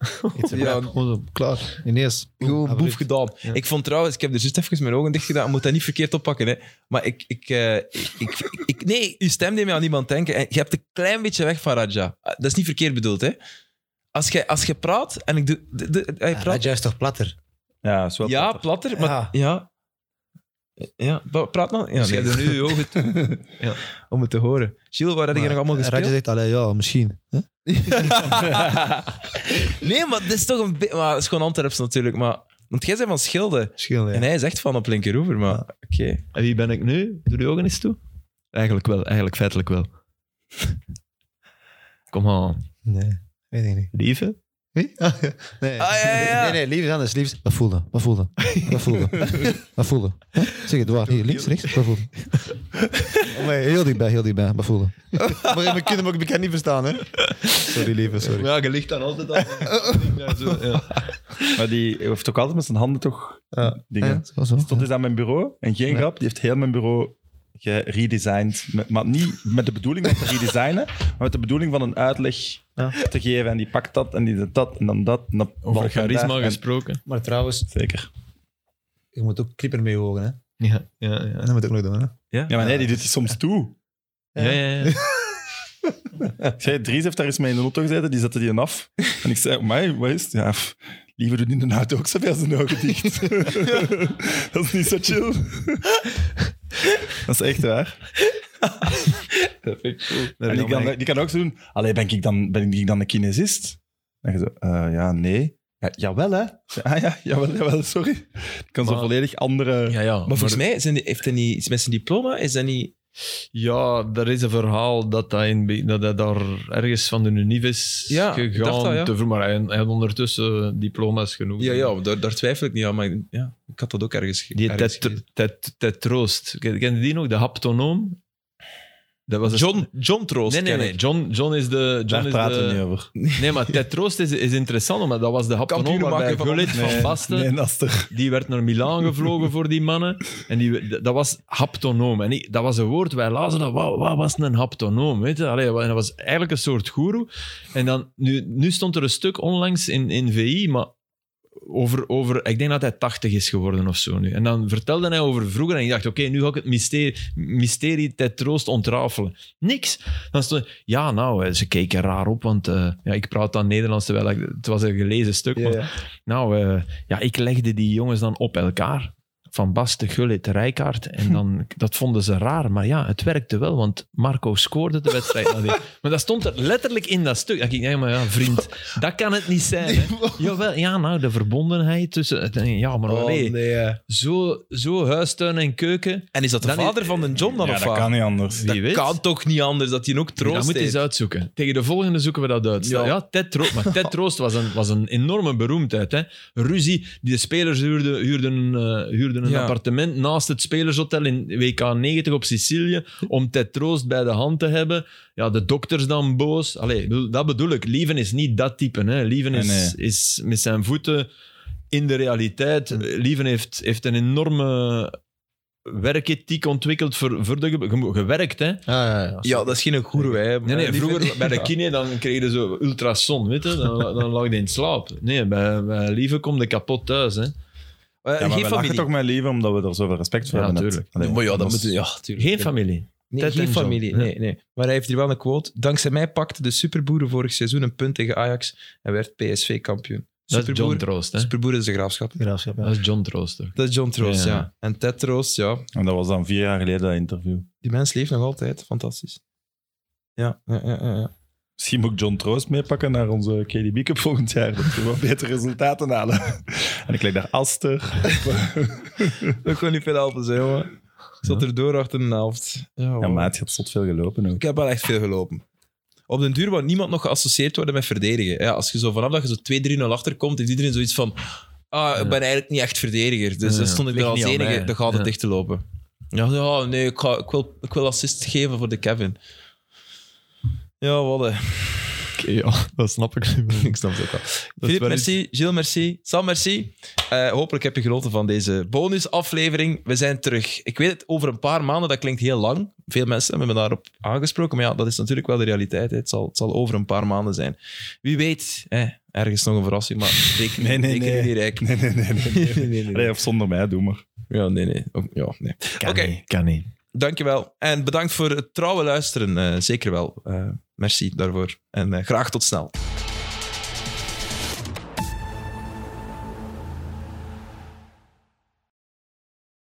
Speaker 1: Ja,
Speaker 4: Gewoon zo, klaar. Ineens.
Speaker 1: gewoon boef
Speaker 4: Abrupt.
Speaker 1: gedaan.
Speaker 3: Ja.
Speaker 1: Ik vond trouwens, ik heb er juist even mijn ogen dicht gedaan. Ik moet dat niet verkeerd oppakken, hè. Maar ik... ik, eh, ik, ik, ik- nee, uw stem deed mij aan iemand denken. En je hebt een klein beetje weg van Raja. Ah, Dat is niet verkeerd bedoeld, hè. Als je, als je praat en ik doe... de- de- hij
Speaker 4: Ja,
Speaker 1: praat,
Speaker 4: Raja is toch platter?
Speaker 2: Ja, is wel
Speaker 1: ja,
Speaker 2: prettig.
Speaker 1: platter, maar... Ja.
Speaker 4: Ja.
Speaker 1: ja. ba- praat dan. Ja,
Speaker 3: Dus jij
Speaker 1: nee.
Speaker 3: doet nu je ogen Ja.
Speaker 1: Om het te horen. Gilles, waar heb je nog
Speaker 4: Maar
Speaker 1: allemaal
Speaker 4: Raja
Speaker 1: gespeeld?
Speaker 4: zegt, allee, ja, misschien. Hè?
Speaker 1: nee, maar dit is toch een beetje... Maar het is gewoon Antwerps natuurlijk, maar... Want jij bent van Schilde.
Speaker 4: Misschien, ja.
Speaker 1: En hij is echt van op linkeroever, maar... Oké.
Speaker 3: En wie ben ik nu? Doe je ogen eens toe? Eigenlijk wel. Eigenlijk feitelijk wel. Kom aan.
Speaker 4: Nee, weet ik niet.
Speaker 3: Lieve?
Speaker 4: Wie? Ah, ja. nee.
Speaker 1: Ah, ja, ja, ja.
Speaker 4: nee, nee, lief is anders. Lief is... Wat voelde? Wat voelde? Wat voelde? Wat voelde? Hè? Zeg het waar. Hier, links, rechts. Wat voelde? Oh, nee, heel dichtbij, heel dichtbij. Wat voelde? Maar we kunnen hem ook bekend niet verstaan, hè? Sorry, lieve, sorry.
Speaker 3: Ja, je ligt dan altijd aan. Ja, zo, ja.
Speaker 2: Maar die heeft ook altijd met zijn handen toch
Speaker 4: Ja.
Speaker 2: dingen.
Speaker 4: Ja, zo, zo.
Speaker 2: Stond eens aan mijn bureau en geen
Speaker 4: Ja.
Speaker 2: grap, die heeft heel mijn bureau geredesigned. Met- Maar niet met de bedoeling om te redesignen, maar met de bedoeling van een uitleg
Speaker 4: Ja.
Speaker 2: te geven. En die pakt dat en die doet dat en dan dat. En dan
Speaker 3: Over
Speaker 2: valt hij
Speaker 3: charisma
Speaker 2: daar. En-
Speaker 3: gesproken.
Speaker 4: Maar trouwens,
Speaker 2: Zeker.
Speaker 4: je moet ook clipper mee horen, hè?
Speaker 3: Ja, ja, ja.
Speaker 4: Dat moet ik ook nog doen, hè?
Speaker 2: Ja, maar nee, die doet die soms toe.
Speaker 3: ja, ja, ja.
Speaker 2: Ik zei, Dries heeft daar eens mee in de auto gezeten, die zette die een af. En ik zei, mij, wat is het? Ja, pff, liever doet in de auto ook zoveel zijn ogen dicht. dat is niet zo chill. dat is echt waar.
Speaker 1: Dat vind ik cool.
Speaker 2: En die, kan, die kan ook zo doen, allee, ben ik dan, ben ik dan een kinesist? En je zo, eh, ja, nee. Ja, jawel, hè. Ah ja, jawel, jawel, sorry. Ik kan zo
Speaker 3: Maar-
Speaker 2: volledig andere...
Speaker 3: ja, ja.
Speaker 1: Maar volgens mij zijn die, heeft hij niet iets met zijn diploma? Is dat niet...
Speaker 3: Ja, er is een verhaal dat hij, in, be- dat hij daar ergens van de Univ is
Speaker 1: Ja, ik
Speaker 3: gegaan.
Speaker 1: dacht dat, ja.
Speaker 3: te vroeg, maar hij, hij had ondertussen diploma's genoeg.
Speaker 1: Ja, ja daar, daar twijfel ik niet aan, maar ik- ja, ik had dat ook ergens ge-
Speaker 3: Die
Speaker 1: ergens
Speaker 3: tet,
Speaker 1: gelezen.
Speaker 3: tet, tetroost. Ken ken je die nog? De haptonoom? Dat was een-
Speaker 1: John, John Troost
Speaker 3: Nee, nee,
Speaker 1: ken
Speaker 3: nee.
Speaker 1: ik.
Speaker 3: John, John is de... John
Speaker 2: Daar
Speaker 3: is
Speaker 2: praten
Speaker 3: de,
Speaker 2: we niet over.
Speaker 3: Nee, maar tetroost is, is interessant, maar dat was de haptonoom
Speaker 1: Kampioenen
Speaker 3: waarbij
Speaker 1: maken van-
Speaker 3: Gullit van Basten...
Speaker 2: nee, dat is er.
Speaker 3: Die werd naar Milaan gevlogen voor die mannen. En die, dat was haptonoom. En ik- dat was een woord, wij lazen dat. Wat, wat was een haptonoom? Weet je? Allee, en dat was eigenlijk een soort goeroe. En dan, nu, nu stond er een stuk onlangs in, in VI, maar over, over, ik denk dat hij 80 is geworden of zo nu. En dan vertelde hij over vroeger. En ik dacht, oké, nu ga ik het mysterie, mysterie ter troost ontrafelen. Niks. Dan stond, ja, nou, eh, ze keken raar op, want eh, ja, ik praat dan Nederlands, terwijl ik, het was een gelezen stuk. maar nou, eh, ja, ik legde die jongens dan op elkaar. Van Basten, Gullit, Rijkaard. En dan, dat vonden ze raar. Maar ja, het werkte wel, want Marco scoorde de wedstrijd. nadien. maar dat stond er letterlijk in dat stuk. Dat ik denk, maar ja, vriend, dat kan het niet zijn. Hè. Jawel, ja, nou, de verbondenheid tussen... Ja, maar allee, zo, zo huistuin en keuken.
Speaker 1: En is dat de
Speaker 3: Dan is-
Speaker 1: vader van de John dan
Speaker 2: Ja,
Speaker 1: of
Speaker 2: dat
Speaker 1: wat?
Speaker 2: kan niet anders.
Speaker 3: Wie
Speaker 1: Dat
Speaker 3: weet.
Speaker 1: kan toch niet anders dat hij ook troost
Speaker 3: dat moet je
Speaker 1: heeft?
Speaker 3: eens uitzoeken. Tegen de volgende zoeken we dat uit.
Speaker 1: Ja.
Speaker 3: Ja, Ted Troost. Maar Ted Troost was een, was een enorme beroemdheid. Hè. Ruzie. Die spelers huurden, huurden, eh, huurden een
Speaker 1: Ja.
Speaker 3: appartement naast het spelershotel in WK90 op Sicilië om Ted Troost bij de hand te hebben. Ja, de dokters dan boos. Allee, ik bedoel, dat bedoel ik. Lieven is niet dat type. Hè. Lieven is,
Speaker 2: Nee,
Speaker 3: is met zijn voeten in de realiteit. Lieven heeft, heeft een enorme werkethiek ontwikkeld voor, voor de... ge- ge- Gewerkt, hè.
Speaker 4: Ah, ja, ja.
Speaker 1: Ja, dat is geen goeroe, hè.
Speaker 3: Nee, nee,
Speaker 1: Die
Speaker 3: vroeger
Speaker 1: vind-
Speaker 3: bij de kine dan kreeg je zo ultrason, weet je? Dan, dan lag je in slaap. Nee, bij, bij Lieve kom je kapot thuis. Hè?
Speaker 1: Eh,
Speaker 2: Ja, maar
Speaker 1: geen
Speaker 2: we lachen
Speaker 1: familie.
Speaker 2: toch mijn leven, omdat we er zoveel respect voor
Speaker 3: Ja,
Speaker 2: hebben.
Speaker 3: tuurlijk.
Speaker 2: Allee,
Speaker 1: maar ja, dat
Speaker 2: ons-
Speaker 1: moet... Ja, tuurlijk.
Speaker 3: Geen familie.
Speaker 1: Nee,
Speaker 3: Ted
Speaker 1: geen
Speaker 3: en John.
Speaker 1: familie. Nee, nee. Maar hij heeft hier wel een quote. Dankzij mij pakte de Superboeren vorig seizoen een punt tegen Ajax en werd PSV kampioen.
Speaker 3: Dat is John
Speaker 1: Superboer,
Speaker 3: Troost. Hè?
Speaker 1: Superboer is de graafschap.
Speaker 4: Graafschap, ja.
Speaker 3: Dat is John Troost. Toch?
Speaker 1: Dat is John Troost, ja.
Speaker 3: Ja.
Speaker 1: En Ted Troost, ja.
Speaker 2: En dat was dan vier jaar geleden, dat interview.
Speaker 1: Die mens leeft nog altijd. Fantastisch. Ja, ja, ja. ja, ja.
Speaker 2: Misschien moet ik John Troost meepakken naar onze KDB Cup volgend jaar. Dat we wat betere resultaten halen. En ik leg daar Aster.
Speaker 1: Dat kon niet veel helpen, zijn, jongen. Zat er door achter de helft. Ja,
Speaker 2: Ja,
Speaker 1: wow.
Speaker 2: maat, je hebt zot veel gelopen ook.
Speaker 1: Ik heb wel echt veel gelopen. Op den duur wou niemand nog geassocieerd worden met verdedigen. Ja, als je zo vanaf dat je zo 2-3-0 achterkomt, heeft iedereen zoiets van... Ah, ik ben eigenlijk niet echt verdediger. Dus
Speaker 3: Ja,
Speaker 1: dan stond ik
Speaker 3: ligt
Speaker 1: er als
Speaker 3: niet aan
Speaker 1: enige
Speaker 3: mij.
Speaker 1: de gaten
Speaker 3: Ja.
Speaker 1: dicht te lopen. Ja, ja nee, ik, ga- ik, wil, ik wil assist geven voor de Kevin. Ja, wat hè.
Speaker 3: ja, dat snap ik niet meer.
Speaker 1: Ik snap het ook wel.
Speaker 3: Dat is
Speaker 1: Philippe,
Speaker 3: wel
Speaker 1: merci. Gilles, merci. Sam, merci. Eh, hopelijk heb je genoten van deze bonusaflevering. We zijn terug. Ik weet het, over een paar maanden, dat klinkt heel lang. Veel mensen hebben me daarop aangesproken. Maar ja, dat is natuurlijk wel de realiteit. hè. Het, zal, het zal over een paar maanden zijn. Wie weet, hè, ergens nog een verrassing. Maar reken,
Speaker 2: Nee, nee,
Speaker 1: reken
Speaker 2: nee.
Speaker 1: niet rijk.
Speaker 2: Nee, nee, nee. nee, nee.
Speaker 1: nee, nee, nee.
Speaker 2: Allee, of zonder mij, doe maar.
Speaker 1: Ja, nee, nee. Ook- Ja, nee.
Speaker 3: Kan
Speaker 1: Oké.
Speaker 3: niet, kan niet.
Speaker 1: Dankjewel. En bedankt voor het trouwe luisteren. eh, zeker wel. Eh, merci daarvoor. En eh, graag tot snel.